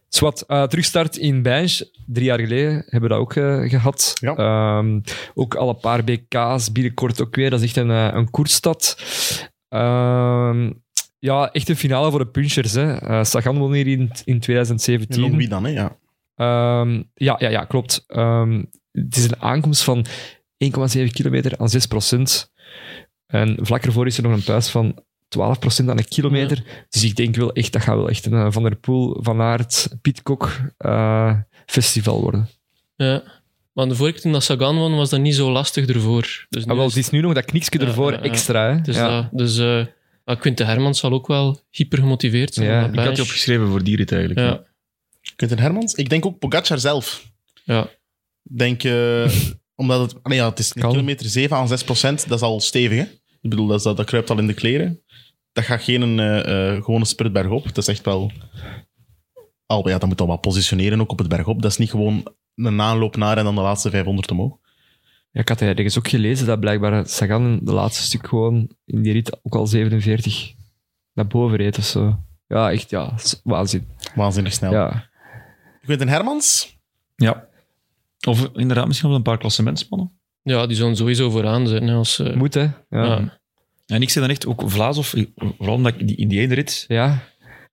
Speaker 3: zwart, eh, terugstart in Bijns. Drie jaar geleden hebben we dat ook eh, gehad.
Speaker 2: Ja.
Speaker 3: Ehm, ook al een paar BK's, binnenkort ook weer. Dat is echt een, eh, een koersstad. Ehm, ja, echt een finale voor de punchers. Hè. Eh, Sagan won hier in, in 2017.
Speaker 2: Longwy dan, hè? Ja.
Speaker 3: Ehm, ja, ja, ja, klopt. Ehm, het is een aankomst van 1,7 kilometer aan 6 procent. En vlak ervoor is er nog een puist van 12 procent aan een kilometer. Dus ik denk wel echt, dat gaat wel echt een eh, Van der Poel, Van Aert, Pietkok eh, festival worden.
Speaker 4: Ja. Maar de vorige keer toen dat Sagan won, was dat niet zo lastig ervoor. Dus nu
Speaker 3: Ah, wel,
Speaker 4: is-
Speaker 3: het is nu nog dat kniksje
Speaker 4: Ja,
Speaker 3: ervoor
Speaker 4: ja, ja.
Speaker 3: extra. Hè?
Speaker 4: dus,
Speaker 3: ja.
Speaker 4: dat- dus eh, ja, Quinten Hermans zal ook wel hyper gemotiveerd zijn.
Speaker 3: Ja,
Speaker 4: om dat
Speaker 5: Ik had je
Speaker 4: badge.
Speaker 5: opgeschreven voor die rit eigenlijk.
Speaker 4: Ja,
Speaker 2: Quinten Hermans? Ik denk ook Pogacar zelf.
Speaker 4: ja.
Speaker 2: Denk, eh, omdat het... Nee, ja, het is een
Speaker 3: Kan.
Speaker 2: kilometer 7 aan 6 procent. Dat is al stevig, hè? Ik bedoel, dat, is- dat, dat kruipt al in de kleren. Dat gaat geen eh, eh, gewone sprint bergop. Dat is echt wel... Al, ja, dat moet al wat positioneren ook op het bergop. Dat is niet gewoon een aanloop naar en dan de laatste 500 omhoog.
Speaker 3: Ja, ik had ergens ook gelezen dat blijkbaar Sagan de laatste stuk gewoon in die rit ook al 47 naar boven reed of zo. Ja, echt, ja, s- waanzin.
Speaker 2: Waanzinnig snel.
Speaker 3: Ja.
Speaker 2: Quinten Hermans?
Speaker 5: Ja. Of inderdaad, misschien wel een paar klassementspannen.
Speaker 4: ja, die zullen sowieso vooraan zijn. hè, Als, eh,
Speaker 3: Moet, hè? Ja.
Speaker 4: ja.
Speaker 5: En ik zei dan echt ook Vlaasov, vooral omdat ik die, in die ene rit,
Speaker 3: ja.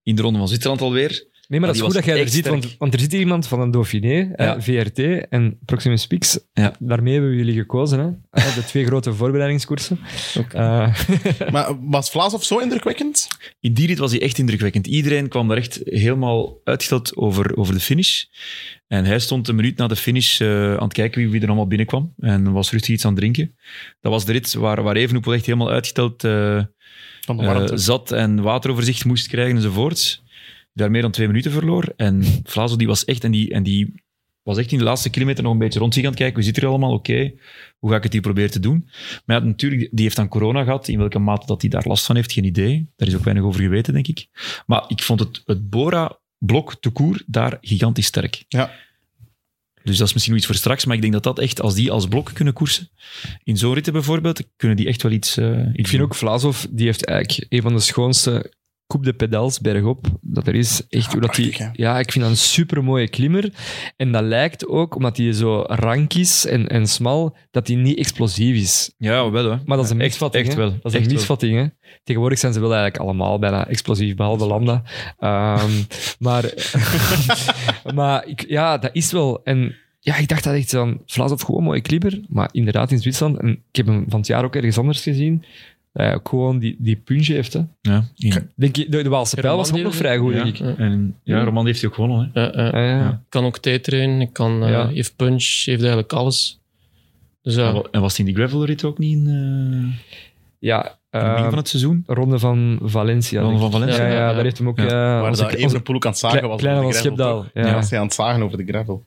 Speaker 5: in de Ronde van Zwitserland alweer,
Speaker 3: Nee, maar
Speaker 5: Maar
Speaker 3: dat is
Speaker 5: die
Speaker 3: goed dat
Speaker 5: was
Speaker 3: jij er ziet,
Speaker 5: echt
Speaker 3: want,
Speaker 5: sterk.
Speaker 3: want er zit hier iemand van een Dauphiné, hè,
Speaker 5: Ja.
Speaker 3: VRT en Proximus Pix.
Speaker 5: Ja.
Speaker 3: Daarmee hebben jullie gekozen, hè? Eh, De twee grote voorbereidingskoersen. Eh,
Speaker 2: Maar was Vlaas of zo indrukwekkend?
Speaker 5: in die rit was hij echt indrukwekkend. Iedereen kwam daar echt helemaal uitgesteld over, over de finish. En hij stond een minuut na de finish eh, aan het kijken wie, wie er allemaal binnenkwam. En was rustig iets aan het drinken. Dat was de rit waar, waar Evenepoel echt helemaal uitgesteld eh,
Speaker 2: Van de warmte.
Speaker 5: eh, zat en wateroverzicht moest krijgen enzovoorts. Daar meer dan twee minuten verloor. En Vlazo die was echt, en die, en die was echt in de laatste kilometer nog een beetje rond zich aan het kijken. Hoe zit het er allemaal? Oké, hoe ga ik het hier proberen te doen? Maar ja, natuurlijk, die heeft dan corona gehad. In welke mate dat hij daar last van heeft, geen idee. Daar is ook weinig over geweten, denk ik. Maar ik vond het, het Bora-blok, te koer, daar gigantisch sterk.
Speaker 2: Ja.
Speaker 5: Dus dat is misschien nog iets voor straks, maar ik denk dat dat echt, als die als blok kunnen koersen, in zo'n ritten bijvoorbeeld, kunnen die echt wel iets... eh, iets
Speaker 3: ik vind ook Vlasov, die heeft eigenlijk een van de schoonste Coupe de Pedals bergop dat er is. Echt, hoe dat die,
Speaker 2: prachtig,
Speaker 3: ja, ik vind dat een supermooie klimmer. En dat lijkt ook, omdat hij zo rank is en, en smal, dat hij niet explosief is.
Speaker 5: Ja, wel hè.
Speaker 3: Maar dat is een
Speaker 5: Echt-
Speaker 3: misvatting.
Speaker 5: echt
Speaker 3: hè?
Speaker 5: wel.
Speaker 3: Dat is een
Speaker 5: Echt wel.
Speaker 3: misvatting. Hè? Tegenwoordig zijn ze wel eigenlijk allemaal bijna explosief, behalve Lambda. Ehm, maar maar ik, ja, dat is wel. En ja, ik dacht dat echt dan Vlaas of gewoon mooie klieber. Maar inderdaad in Zwitserland. En ik heb hem van het jaar ook ergens anders gezien. eh, ook gewoon die, die punch heeft. Hè.
Speaker 5: Ja, in-
Speaker 3: Denk je, de, de Waalse pijl was ook nog vrij goed,
Speaker 5: ja.
Speaker 3: denk ik.
Speaker 5: En ja, Roman heeft hij ook gewonnen. Hè.
Speaker 4: Ja, ja.
Speaker 3: Ja, ja.
Speaker 5: Ja.
Speaker 4: kan ook tijdrijden, ik kan, eh,
Speaker 3: Ja.
Speaker 4: heeft punch, heeft eigenlijk alles. Dus ja,
Speaker 5: En wa- En was hij in die gravelrit ook niet in eh, in
Speaker 3: Ja,
Speaker 5: het begin
Speaker 3: ehm,
Speaker 5: van het seizoen?
Speaker 3: ronde van Valencia.
Speaker 5: Ronde
Speaker 3: denk
Speaker 5: van
Speaker 3: ik.
Speaker 5: Valencia.
Speaker 3: Ja, ja,
Speaker 4: Ja, ja.
Speaker 3: daar heeft hem ook...
Speaker 5: Ja.
Speaker 3: eh,
Speaker 2: Waar
Speaker 3: onze-
Speaker 2: dat
Speaker 3: onze-
Speaker 2: Evenepoel ook aan het zagen
Speaker 3: Kle-
Speaker 2: was.
Speaker 3: Kleine
Speaker 2: over
Speaker 3: van
Speaker 2: de gravel,
Speaker 3: Schepdaal.
Speaker 2: toch?
Speaker 3: Ja.
Speaker 2: Ja, was hij aan het zagen over de gravel.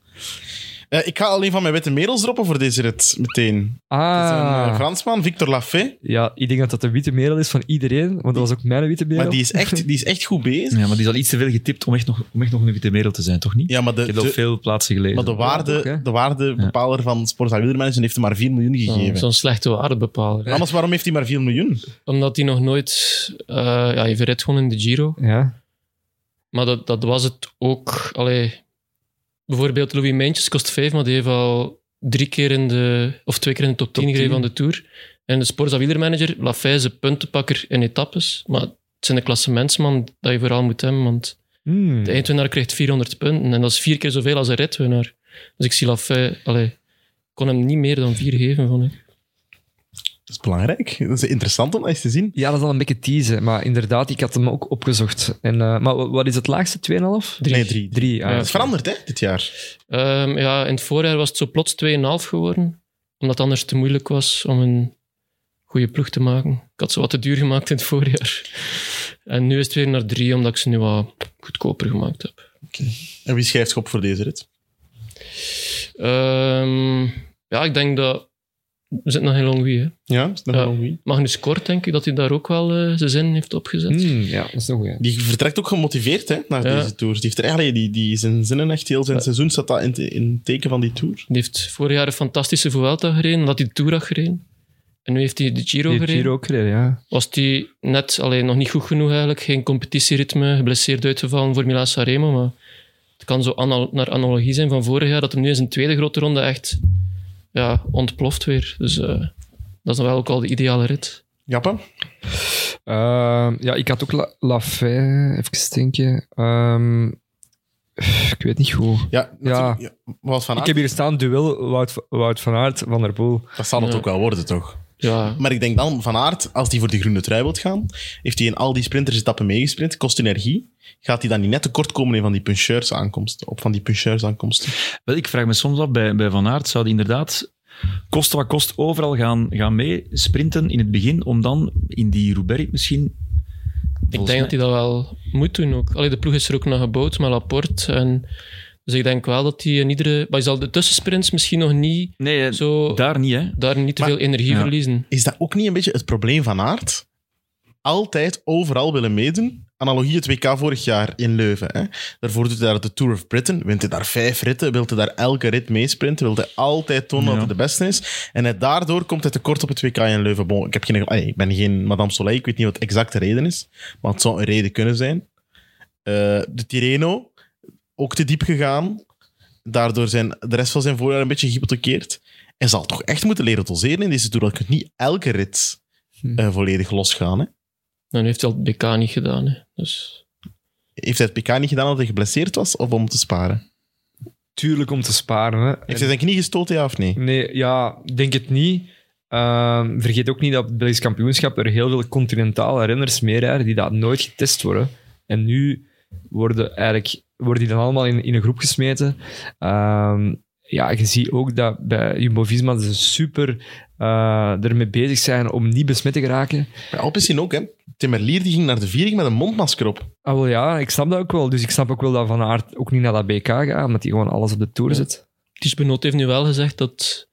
Speaker 2: Eh, ik ga alleen van mijn witte merels droppen voor deze rit, meteen. Het is een eh,
Speaker 3: Ah.
Speaker 2: Fransman, Victor Lafay.
Speaker 3: Ja, ik denk dat dat de witte merel is van iedereen, want dat was ook mijn witte merel.
Speaker 2: Maar die is, echt, die is echt goed bezig.
Speaker 5: Ja, maar die is al iets te veel getipt om echt nog, om echt nog een witte merel te zijn, toch niet?
Speaker 2: Ja, maar
Speaker 5: ik
Speaker 2: de,
Speaker 5: heb dat op
Speaker 2: de,
Speaker 5: veel plaatsen gelezen.
Speaker 2: maar de
Speaker 3: ook, hè?
Speaker 2: waarde, de waardebepaler van Sporza Wildermanagement heeft hem maar 4 miljoen
Speaker 4: zo'n-
Speaker 2: gegeven.
Speaker 4: zo'n slechte waardebepaler.
Speaker 2: Anders, waarom heeft hij maar 4 miljoen?
Speaker 4: Omdat hij nog nooit... eh, ja, hij verredt gewoon in de Giro.
Speaker 3: Ja.
Speaker 4: Maar dat, dat was het ook. Allee, bijvoorbeeld Louis Meentjes kost 5, maar die heeft al drie keer in de, of twee keer in de top 10 gereden van de Tour. En de Sporza wielermanager, Lafayze, puntenpakker in etappes. Maar het zijn de klassementsman dat je vooral moet hebben, want
Speaker 3: Hmm.
Speaker 4: de eindwinnaar krijgt 400 punten en dat is vier keer zoveel als een ritwinnaar. Dus ik zie Lafay, allee, kon hem niet meer dan vier geven, vond ik.
Speaker 2: Dat is belangrijk. Dat is interessant om eens te zien.
Speaker 3: Ja, dat is al een beetje teasen. Maar inderdaad, ik had hem ook opgezocht. En, eh, maar wa- wat is het laagste? ah, 2,5?
Speaker 4: Drie.
Speaker 2: Nee, drie. drie.
Speaker 3: 3.
Speaker 4: Ja.
Speaker 2: Dat is veranderd, hè, dit jaar.
Speaker 4: Ehm, ja, in het voorjaar was het zo plots 2,5 geworden. Omdat het anders te moeilijk was om een goede ploeg te maken. Ik had ze wat te duur gemaakt in het voorjaar. En nu is het weer naar 3, omdat ik ze nu wat goedkoper gemaakt heb.
Speaker 2: En wie schrijft schop voor deze rit?
Speaker 4: Ehm, ja, ik denk dat... We zitten nog in Longwy, hè.
Speaker 2: Ja, is dat
Speaker 4: Ja.
Speaker 2: nog wie?
Speaker 4: Magnus Kort, denk ik, dat hij daar ook wel eh, zijn zin heeft opgezet.
Speaker 3: ja, dat is nog goed.
Speaker 2: Die vertrekt ook gemotiveerd hè, naar
Speaker 4: Ja.
Speaker 2: deze tour. Die heeft er eigenlijk die, die zijn zinnen echt heel zijn seizoen staat dat in, te- in het teken van die tour.
Speaker 4: Die heeft vorig jaar een fantastische Vuelta gereden, dat hij de Tour had gereden. En nu heeft hij de Giro
Speaker 3: Die
Speaker 4: gereden.
Speaker 3: hier ook gereden, ja.
Speaker 4: was die net alleen nog niet goed genoeg eigenlijk. Geen competitieritme, geblesseerd uitgevallen voor Milan Sanremo. Maar het kan zo anal- naar analogie zijn van vorig jaar, dat hem nu in zijn tweede grote ronde echt ja, ontploft weer. Dus eh, dat is dan wel ook al de ideale rit.
Speaker 2: Jappa?
Speaker 3: Ehm, ja, ik had ook La- Lafay, even denken. Ehm, ik weet niet goed.
Speaker 2: Ja, natuurlijk. ja. Wout van
Speaker 3: Ik
Speaker 2: Aert,
Speaker 3: heb hier staan duel Wout, Wout van Aert, Van der Poel.
Speaker 2: dat zal het
Speaker 4: Ja.
Speaker 2: ook wel worden, toch?
Speaker 4: Ja,
Speaker 2: Maar ik denk dan, Van Aert, als hij voor de groene trui wilt gaan, heeft hij in al die sprintersetappen meegesprint, kost energie. Gaat hij dan niet net tekort komen in van die puncheurs aankomsten, op van die puncheurs aankomsten?
Speaker 5: Wel, ik vraag me soms af, bij, bij Van Aert zou die inderdaad kost wat kost overal gaan, gaan mee sprinten in het begin, om dan in die Roubaix misschien...
Speaker 4: ik denk dat hij dat wel moet doen ook. Allee, de ploeg is er ook naar gebouwd met Laporte. En, dus ik denk wel dat hij in iedere... Maar je zal de tussensprints misschien nog niet
Speaker 5: Nee, eh,
Speaker 4: zo daar,
Speaker 5: daar niet, hè.
Speaker 4: niet te
Speaker 2: Maar-
Speaker 4: veel energie
Speaker 5: Ja.
Speaker 4: verliezen.
Speaker 2: Is dat ook niet een beetje het probleem van Aert? Altijd overal willen meedoen. Analogie het WK vorig jaar in Leuven. Hè? Daarvoor doet hij daar de Tour of Britain. Wint hij daar vijf ritten. Wil hij daar elke rit meesprinten. Wil hij altijd tonen dat
Speaker 5: Ja.
Speaker 2: hij de beste is. En net daardoor komt hij tekort op het WK in Leuven. Bon, ik, heb geen, ah, ik ben geen Madame Soleil. Ik weet niet wat de exacte reden is. Maar het zou een reden kunnen zijn. Eh, de Tireno, ook te diep gegaan. Daardoor zijn de rest van zijn voorjaar een beetje gehypothekeerd. En zal toch echt moeten leren doseren in deze Tour. Dat kunt niet elke rit eh, volledig losgaan. Hè?
Speaker 4: Dan heeft hij al het BK niet gedaan. Hè. Dus...
Speaker 2: Heeft hij het PK niet gedaan omdat hij geblesseerd was of om te sparen?
Speaker 3: Tuurlijk om te sparen. Hè.
Speaker 2: Heeft hij zijn knie gestoten, ja of nee?
Speaker 3: Nee, ja, ik denk het niet. Ehm, vergeet ook niet dat op het Belgisch kampioenschap er heel veel continentale renners meerijden die dat nooit getest worden. En nu worden, eigenlijk, worden die dan allemaal in, in een groep gesmeten. Ehm, ja, je ziet ook dat bij Jumbo-Visma ze super eh, ermee bezig zijn om niet besmet te geraken.
Speaker 2: Bij Alpecin ook, hè. Timmerlier die ging naar de viering met een mondmasker op.
Speaker 3: Ah, wel ja, ik snap dat ook wel. Dus ik snap ook wel dat Van Aert ook niet naar dat BK gaat, omdat hij gewoon alles op de toer zet.
Speaker 4: Ties Benoot heeft nu wel gezegd dat,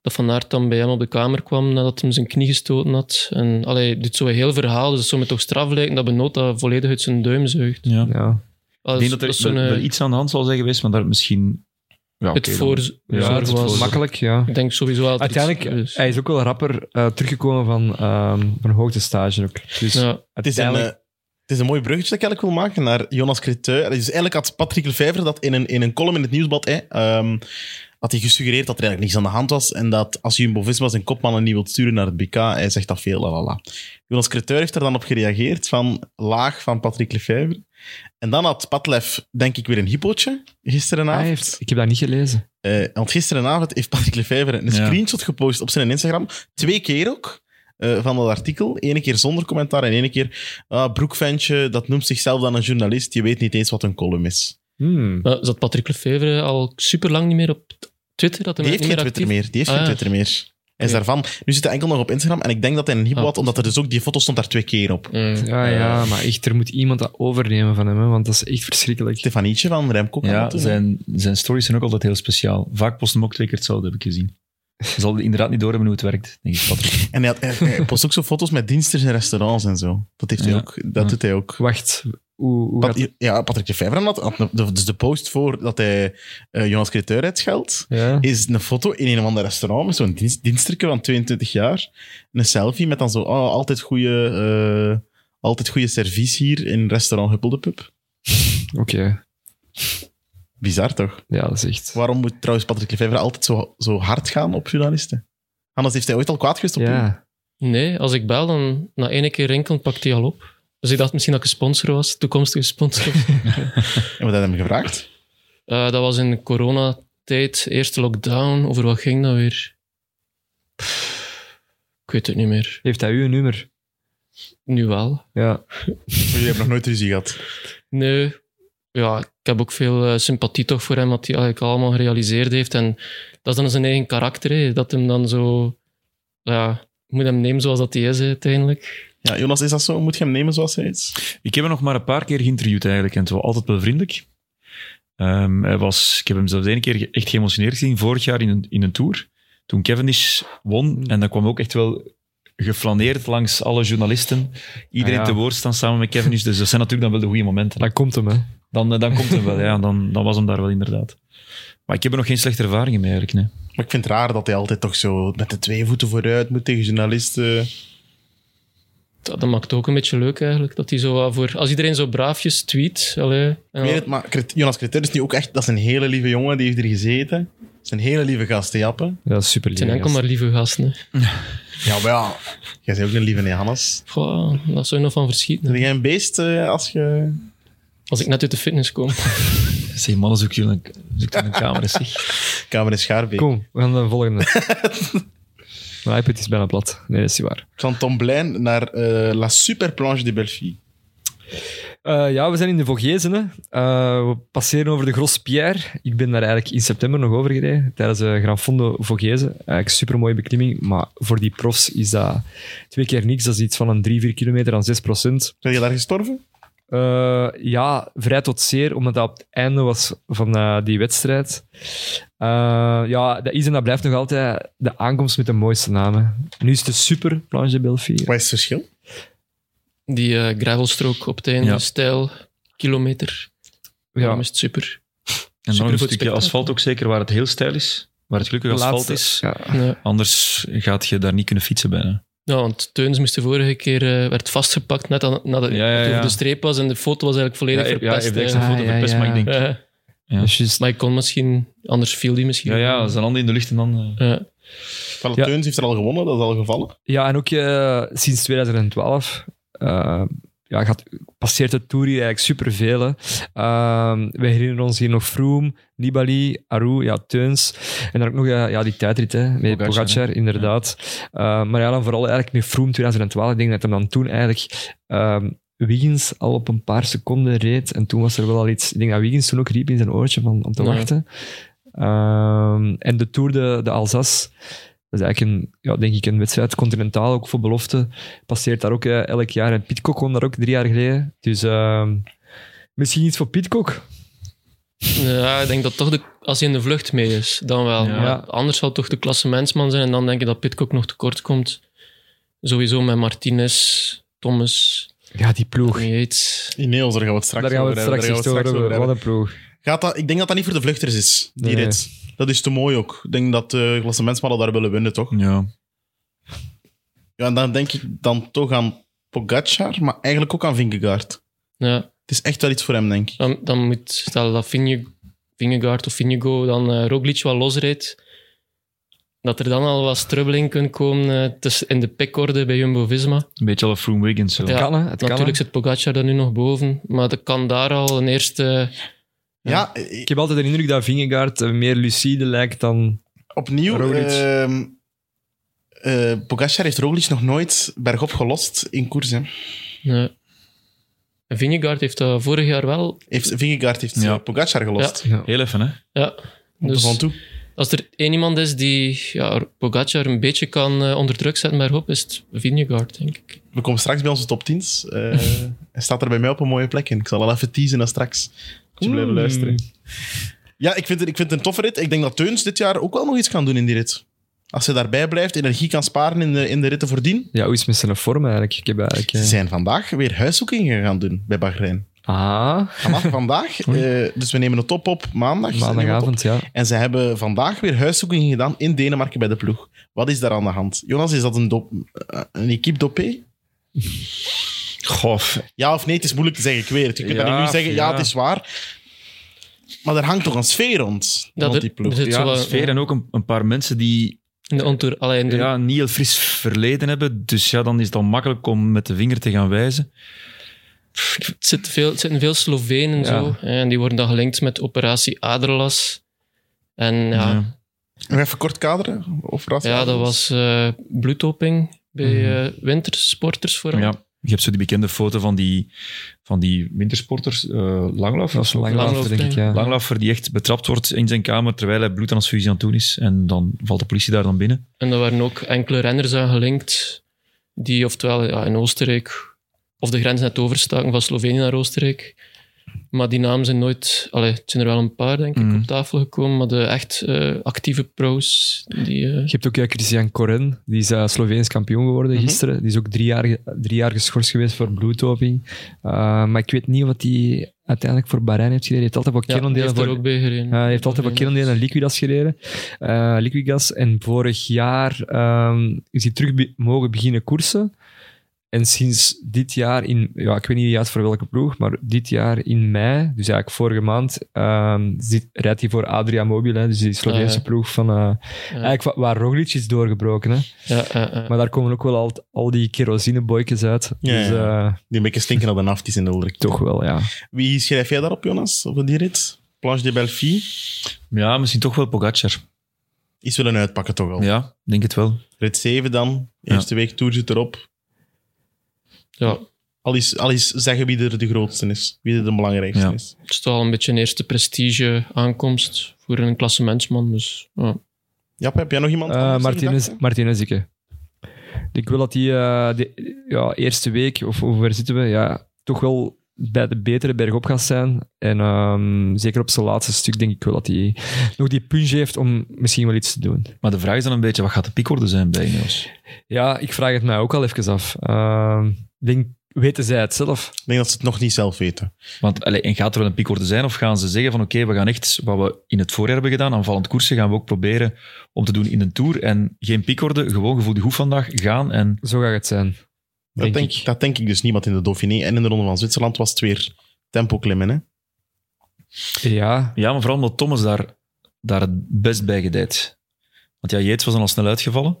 Speaker 4: dat Van Aert dan bij hem op de kamer kwam nadat hij zijn knie gestoten had. En allee, hij doet zo'n heel verhaal, dus het zou me toch straf lijken dat Benoot dat volledig uit zijn duim zuigt.
Speaker 5: Ja.
Speaker 3: Ja.
Speaker 4: Ah,
Speaker 5: Ik denk dat er
Speaker 4: is zo'n,
Speaker 5: wel- wel
Speaker 4: eh,
Speaker 5: iets aan de hand zal zijn geweest, maar daar misschien... Ja,
Speaker 4: het
Speaker 5: oké, dan-
Speaker 4: voorzorg
Speaker 3: Ja, het
Speaker 4: was.
Speaker 3: Dus is makkelijk, ja.
Speaker 4: Ik denk sowieso dus, wel dat er
Speaker 3: Uiteindelijk, eh,
Speaker 4: iets-
Speaker 3: hij is ook wel rapper eh, teruggekomen van, ehm van hoogtestage ook. Dus
Speaker 4: ja,
Speaker 2: Het is, een, eh,
Speaker 3: uiteindelijk...
Speaker 2: het is een mooi bruggetje dat ik eigenlijk wil maken naar Jonas Creteu. Dus eigenlijk had Patrick Lefevre dat in een, in een column in het nieuwsblad. Hè, ehm, had hij gesuggereerd dat er eigenlijk niks aan de hand was. En dat als Jumbo-Visma zijn kopmannen niet wilt sturen naar het BK, hij zegt dat veel, lalala. Jonas Creteu heeft er dan op gereageerd van laag van Patrick Lefevre. En dan had Patlef, denk ik, weer een hypootje gisterenavond.
Speaker 3: Hij heeft, ik heb dat niet gelezen.
Speaker 2: Eh, want gisterenavond heeft Patrick Lefevre een
Speaker 5: Ja.
Speaker 2: screenshot gepost op zijn Instagram. Twee keer ook. eh, van dat artikel. Eén keer zonder commentaar en één keer. Ah, broekventje, dat noemt zichzelf dan een journalist. Je weet niet eens wat een column is.
Speaker 3: Hmm.
Speaker 4: maar zat Patrick Lefevre al super lang niet meer op Twitter? Dat hij
Speaker 2: Die heeft
Speaker 4: niet
Speaker 2: geen
Speaker 4: meer
Speaker 2: Twitter
Speaker 4: actief
Speaker 2: meer. Die heeft
Speaker 4: Ah,
Speaker 2: geen
Speaker 4: ja.
Speaker 2: Twitter meer. Hij is
Speaker 4: Oké.
Speaker 2: daarvan. Nu zit hij enkel nog op Instagram. En ik denk dat hij een hypo
Speaker 4: Ah.
Speaker 2: had, omdat er dus ook die foto stond daar twee keer op.
Speaker 4: Mm.
Speaker 3: Ja, ja, maar echt, er moet iemand dat overnemen van hem, hè, want dat is echt verschrikkelijk.
Speaker 2: Stefanietje van Remco. kan dat
Speaker 5: Ja,
Speaker 2: doen, hè?
Speaker 5: zijn, zijn stories zijn ook altijd heel speciaal. Vaak post hem ook twee keer hetzelfde, heb ik gezien. Ze zal inderdaad niet doorhebben hoe het werkt, denk ik. Patrick.
Speaker 2: En hij, had, hij- hij post ook zo foto's met diensters en restaurants en zo. Dat, heeft hij
Speaker 5: Ja.
Speaker 2: ook, dat
Speaker 5: Ja.
Speaker 2: doet hij ook.
Speaker 3: Wacht, hoe, hoe
Speaker 2: Pat-
Speaker 3: gaat...
Speaker 2: ja, Patrick de Vijver had, had de, dus de post voor dat hij eh, Jonas Creteur uitscheldt,
Speaker 3: Ja.
Speaker 2: is een foto in een of ander restaurant met zo'n dienst, diensterke van 22 jaar. Een selfie met dan zo, oh, altijd goede eh, altijd goede service hier in restaurant Huppelde Pub.
Speaker 3: Oké.
Speaker 2: Bizar toch?
Speaker 3: Ja, dat is echt...
Speaker 2: Waarom moet trouwens Patrick Lefevre altijd zo, zo hard gaan op journalisten? Anders heeft hij ooit al kwaad geweest op u.
Speaker 3: Ja.
Speaker 4: Nee, als ik bel, dan na één keer rinkelen pakt hij al op. Dus ik dacht misschien dat ik een sponsor was, toekomstige sponsor. of zo.
Speaker 2: En wat had hem gevraagd?
Speaker 4: Eh, dat was in coronatijd, eerste lockdown. Over wat ging dat weer? Pff, ik weet het niet meer.
Speaker 3: Heeft hij uw nummer?
Speaker 4: Nu wel.
Speaker 3: Ja.
Speaker 2: Jullie hebben nog nooit ruzie gehad.
Speaker 4: Nee. Ja, ik heb ook veel eh, sympathie toch voor hem, wat hij eigenlijk allemaal gerealiseerd heeft. En dat is dan zijn eigen karakter, hè, dat hem dan zo... Ja, je moet hem nemen zoals dat hij is hè, uiteindelijk.
Speaker 2: Ja, Jonas, is dat zo? Moet je hem nemen zoals hij is?
Speaker 5: Ik heb hem nog maar een paar keer geïnterviewd eigenlijk. En het was altijd wel vriendelijk. Ehm, hij was, ik heb hem zelfs één keer ge- echt geëmotioneerd gezien, vorig jaar in een, in een tour. Toen Cavendish
Speaker 3: Hmm.
Speaker 5: won. En dan kwam hij ook echt wel geflaneerd langs alle journalisten. Iedereen
Speaker 3: Ah, ja.
Speaker 5: te woord staan samen met Cavendish. Dus dat zijn natuurlijk dan wel de goede momenten.
Speaker 3: Dat komt hem, hè.
Speaker 5: Dan, eh, dan komt hem wel, ja. Dan, dan was hem daar wel inderdaad. Maar ik heb er nog geen slechte ervaringen mee eigenlijk, nee.
Speaker 2: Maar ik vind het raar dat hij altijd toch zo met de twee voeten vooruit moet tegen journalisten.
Speaker 4: Dat, dat maakt het ook een beetje leuk eigenlijk. Dat hij zo wat voor... Als iedereen zo braafjes tweet... Allee,
Speaker 2: Ik weet het, maar Cret- Jonas Creter is nu ook echt... Dat is een hele lieve jongen, die heeft er gezeten. Het is een hele lieve gast, hè, Jappe.
Speaker 3: Ja, super
Speaker 4: het zijn enkel maar lieve gasten. hè.
Speaker 2: Ja, maar ja. Jij bent ook een lieve Johannes.
Speaker 4: Goh, daar zou je nog van verschieten.
Speaker 2: Ben jij een beest eh, als je...
Speaker 4: Als ik net uit de fitness kom.
Speaker 5: Zeg, mannen, zoek jullie een, zoek jullie een camera, zeg.
Speaker 2: Kamer in Schaarbeek.
Speaker 3: Kom, we gaan naar de volgende. Mijn iPad is bijna plat. Nee, dat is niet waar.
Speaker 2: Van Tomblain naar eh, La Super Planche de Belfie.
Speaker 3: Eh, ja, we zijn in de Vogezen. Hè. Eh, we passeren over de Grospierre. Ik ben daar eigenlijk in september nog over gereden, tijdens de Gran Fondo Vogezen. Eigenlijk super mooie beklimming, maar voor die profs is dat twee keer niks. Dat is iets van een 3, 4 kilometer aan 6 procent.
Speaker 2: Ben je daar gestorven?
Speaker 3: Eh, ja, vrij tot zeer, omdat dat op het einde was van eh, die wedstrijd. Eh, ja, dat is en dat blijft nog altijd de aankomst met de mooiste namen. Nu is het de super Planche de Belfie.
Speaker 2: Wat is het verschil?
Speaker 4: Die eh, gravelstrook op het einde,
Speaker 5: Ja.
Speaker 4: stijl, kilometer. Ja.
Speaker 3: Ja,
Speaker 4: Daarom is het super.
Speaker 5: En dan
Speaker 4: Supergoed
Speaker 5: nog een stukje
Speaker 4: spektakel.
Speaker 5: asfalt ook zeker, waar het heel stijl is. Waar het gelukkig asfalt
Speaker 3: laatste-
Speaker 5: is.
Speaker 3: Ja.
Speaker 4: Ja.
Speaker 5: Anders gaat je daar niet kunnen fietsen bijna.
Speaker 4: Ja, want Teuns moest de vorige keer eh, werd vastgepakt net aan- nadat
Speaker 5: Ja, ja,
Speaker 4: het over
Speaker 5: ja.
Speaker 4: de streep was en de foto was eigenlijk volledig
Speaker 5: ja, hij
Speaker 4: verpest.
Speaker 5: heeft echt
Speaker 4: hè.
Speaker 5: een foto
Speaker 3: Ah, ja,
Speaker 5: verpest,
Speaker 3: ja.
Speaker 5: maar ik denk...
Speaker 4: Ja.
Speaker 5: Ja.
Speaker 3: Dus juist-
Speaker 4: maar ik kon misschien, anders viel die misschien.
Speaker 5: Ja, ja, zijn handen in de lucht en dan... eh,
Speaker 4: Ja.
Speaker 2: Wel,
Speaker 3: Ja.
Speaker 2: Teuns heeft er al gewonnen, dat is al gevallen.
Speaker 3: Ja, en ook eh, sinds 2012 eh, ja, gaat, passeert de Tour hier eigenlijk superveel. hè. Ehm, we herinneren ons hier nog Froome, Nibali, Aru, ja, Teuns. En dan ook nog eh, ja, die tijdrit hè, met Pogacar,
Speaker 5: Pogacar, hè.
Speaker 3: inderdaad. Eh, maar ja, dan vooral eigenlijk met Froome 2012. Ik denk dat hem dan toen eigenlijk... ehm Wiggins al op een paar seconden reed. En toen was er wel al iets... Ik denk dat Wiggins toen ook riep in zijn oortje van, om te
Speaker 4: Ja.
Speaker 3: wachten. Ehm, en de Tour de, de Alsace... Dat is eigenlijk een, ja, denk ik, een wedstrijd, continentaal ook voor belofte. Passeert daar ook eh, elk jaar. En Pitcock won daar ook drie jaar geleden. Dus ehm, misschien iets voor Pitcock.
Speaker 4: Ja, ik denk dat toch, de, als hij in de vlucht mee is, dan wel.
Speaker 5: Ja.
Speaker 4: Maar anders zal het toch de klassementsman zijn en dan denk ik dat Pitcock nog tekort komt. Sowieso met Martinez, Thomas,
Speaker 3: Ja, die ploeg.
Speaker 4: Yates.
Speaker 2: Ineos, daar gaan we het straks
Speaker 3: daar gaan we
Speaker 2: over
Speaker 3: het
Speaker 2: hebben,
Speaker 3: straks
Speaker 2: daar
Speaker 3: echt
Speaker 2: gaan we
Speaker 3: over
Speaker 2: het straks
Speaker 3: hebben. Wat
Speaker 2: hebben.
Speaker 3: een ploeg.
Speaker 2: Gaat dat, ik denk dat dat niet voor de vluchters is, die
Speaker 3: Nee.
Speaker 2: rit. Dat is te mooi ook. Ik denk dat eh, de klassementsmannen daar willen winnen, toch?
Speaker 5: ja.
Speaker 2: Ja, en dan denk ik dan toch aan Pogacar, maar eigenlijk ook aan Vingegaard.
Speaker 4: Ja.
Speaker 2: Het is echt wel iets voor hem, denk ik.
Speaker 4: Dan, dan moet, stel dat Vinje- Vingegaard of Vinjego dan eh, Roglic wel losrijdt, dat er dan al wat strubbeling kunt komen eh, tussen- in de pickorde bij Jumbo-Visma.
Speaker 5: Een beetje alle Froome Wiggins. Zo.
Speaker 4: Ja,
Speaker 3: kan, hè? Het kan,
Speaker 4: Natuurlijk
Speaker 3: hè.
Speaker 4: zit Pogacar daar nu nog boven, maar dat kan daar al een eerste...
Speaker 2: Ja, eh,
Speaker 3: Ik heb altijd de indruk dat Vingegaard eh, meer lucide lijkt dan...
Speaker 2: opnieuw.
Speaker 3: Roglic.
Speaker 2: ehm, eh, Pogacar heeft Roglic nog nooit bergop gelost in koers. Hè.
Speaker 4: eh, en Vingegaard heeft dat vorig jaar wel.
Speaker 2: Heeft, Vingegaard heeft
Speaker 5: Ja.
Speaker 2: eh, Pogacar gelost.
Speaker 5: Heel even, hè.
Speaker 4: Ja.
Speaker 2: Op de
Speaker 4: Dus
Speaker 2: van toe.
Speaker 4: als er één iemand is die ja, Pogacar een beetje kan eh, onder druk zetten, maar op is het Vingegaard, denk ik.
Speaker 2: We komen straks bij onze top 10's. eh, Hij staat er bij mij op een mooie plek in. Ik zal al even teasen en straks. Moet je blijven
Speaker 3: Oeh.
Speaker 2: luisteren. Ja, ik vind, het, ik vind het een toffe rit. Ik denk dat Teuns dit jaar ook wel nog iets kan doen in die rit. Als hij daarbij blijft, energie kan sparen in de, in de ritten voordien.
Speaker 3: Ja, hoe is het met zijn vorm eigenlijk? Ik heb eigenlijk... eh,
Speaker 2: Ze zijn vandaag weer huiszoekingen gaan doen bij Bahrein.
Speaker 3: Ah,
Speaker 2: Vanaf vandaag. eh, dus we nemen het op op maandag. Ze nemen het op.
Speaker 3: maandagavond, ja.
Speaker 2: En ze hebben vandaag weer huiszoekingen gedaan in Denemarken bij de ploeg. Wat is daar aan de hand? Jonas, is dat een, dop, eh, een equipe dopé?
Speaker 5: Goh,
Speaker 2: Ja of nee? Het is moeilijk te zeggen, ik weet het. Je kunt
Speaker 5: Ja,
Speaker 2: dat niet nu zeggen, ja,
Speaker 5: ja.
Speaker 2: het is waar. Maar er hangt toch een sfeer rond,
Speaker 4: Dat
Speaker 2: rond
Speaker 4: er-
Speaker 2: die ploeg.
Speaker 4: er- Het
Speaker 5: Ja,
Speaker 4: zou-
Speaker 5: de sfeer en ook een, een paar mensen die
Speaker 4: In de ontour, alleen de,
Speaker 5: ja, een niet heel fris verleden hebben. Dus ja, dan is het al makkelijk om met de vinger te gaan wijzen.
Speaker 4: het, zit veel, het zitten veel Slovenen en
Speaker 5: Ja.
Speaker 4: zo. En die worden dan gelinkt met operatie Aderlas. En ja, ja.
Speaker 2: Nog Even kort kaderen? Of
Speaker 4: dat was eh bloeddoping bij
Speaker 3: Mhm.
Speaker 4: eh, wintersporters vooral.
Speaker 5: Ja. Je hebt zo die bekende foto van die, van die wintersporters, eh langlauf.
Speaker 3: Dat is lang later, denk ik. Ja.
Speaker 5: Langlauffer die echt betrapt wordt in zijn kamer terwijl hij bloedtransfusie aan het doen is. En dan valt de politie daar dan binnen.
Speaker 4: En daar waren ook enkele renners aan gelinkt, die oftewel ja, in Oostenrijk of de grens net overstaken van Slovenië naar Oostenrijk. Maar die namen zijn nooit, allee, het zijn er wel een paar denk ik,
Speaker 5: Mhm.
Speaker 4: op tafel gekomen, maar de echt eh, actieve pro's, die, eh,
Speaker 3: Je hebt ook eh, Christian Koren, die is eh, Sloveens kampioen geworden
Speaker 4: Mhm.
Speaker 3: gisteren. Die is ook drie jaar, drie jaar geschorst geweest voor bloeddoping. Eh, maar ik weet niet wat hij uiteindelijk voor Bahrein heeft gereden. Hij heeft altijd wat
Speaker 4: ja, die
Speaker 3: kilondelen
Speaker 4: heeft
Speaker 3: voor
Speaker 4: er ook bij gereden.
Speaker 3: Ja, Eh, hij heeft altijd wat Killendeal en Liquidas gereden. Eh, Liquigas. En vorig jaar ehm, is hij terug be- mogen beginnen koersen. En sinds dit jaar in, ja, ik weet niet juist voor welke ploeg, maar dit jaar in mei, dus eigenlijk vorige maand, ehm, zit, rijdt hij voor Adria Mobile, hè, dus die Sloveense
Speaker 4: Ah, ja.
Speaker 3: ploeg van, eh, eigenlijk wa- waar Roglic is doorgebroken. Hè.
Speaker 4: Ja, ja, ja.
Speaker 3: Maar daar komen ook wel al, al die kerosineboykes uit.
Speaker 2: Ja,
Speaker 3: dus
Speaker 2: ja.
Speaker 3: eh,
Speaker 2: Die een beetje stinken op een af, die zijn de Ulrich.
Speaker 3: toch wel, ja.
Speaker 2: Wie schrijf jij daarop, Jonas? Op die rit? Planche de Belfi?
Speaker 5: Ja, misschien toch wel Pogacar.
Speaker 2: Is willen uitpakken toch al.
Speaker 5: Ja, denk het wel.
Speaker 2: Rit 7 dan. Eerste week Tour zit erop.
Speaker 4: ja,
Speaker 2: Al is, al is zeggen wie er de grootste is. Wie er de belangrijkste
Speaker 5: Ja.
Speaker 2: is.
Speaker 4: het is toch al een beetje een eerste prestige aankomst voor een klassementsman. Dus, ja.
Speaker 2: Jap, heb jij nog iemand
Speaker 3: Eh
Speaker 2: anders in
Speaker 3: Martinez,
Speaker 2: gedachten?
Speaker 3: Martinez Ikke. Ik wil dat die eh, de ja, eerste week, of of waar zitten we, ja, toch wel bij de betere bergop gaat zijn. En ehm, zeker op zijn laatste stuk denk ik wel dat hij nog die punch heeft om misschien wel iets te doen.
Speaker 5: Maar de vraag is dan een beetje, wat gaat de piekorde zijn bij Ineos?
Speaker 3: Ja, ik vraag het mij ook al even af. Ehm, ik denk, weten zij het zelf?
Speaker 2: Ik denk dat ze het nog niet zelf weten.
Speaker 5: Want allee, en gaat er wel een piekorde zijn? Of gaan ze zeggen van oké, we gaan echt wat we in het voorjaar hebben gedaan, aanvallend koersen, gaan we ook proberen om te doen in een tour. En geen piekorde, gewoon gevoel de hoef vandaag, gaan. En
Speaker 3: Zo gaat het zijn.
Speaker 2: Dat denk,
Speaker 3: Denk
Speaker 2: ik. dat denk ik dus niemand in de Dauphiné. En in de Ronde van Zwitserland was het weer tempo klimmen. Hè?
Speaker 3: Ja,
Speaker 5: ja, maar vooral omdat Thomas daar, daar het best bij gedijt. Want ja, Yates was dan al snel uitgevallen.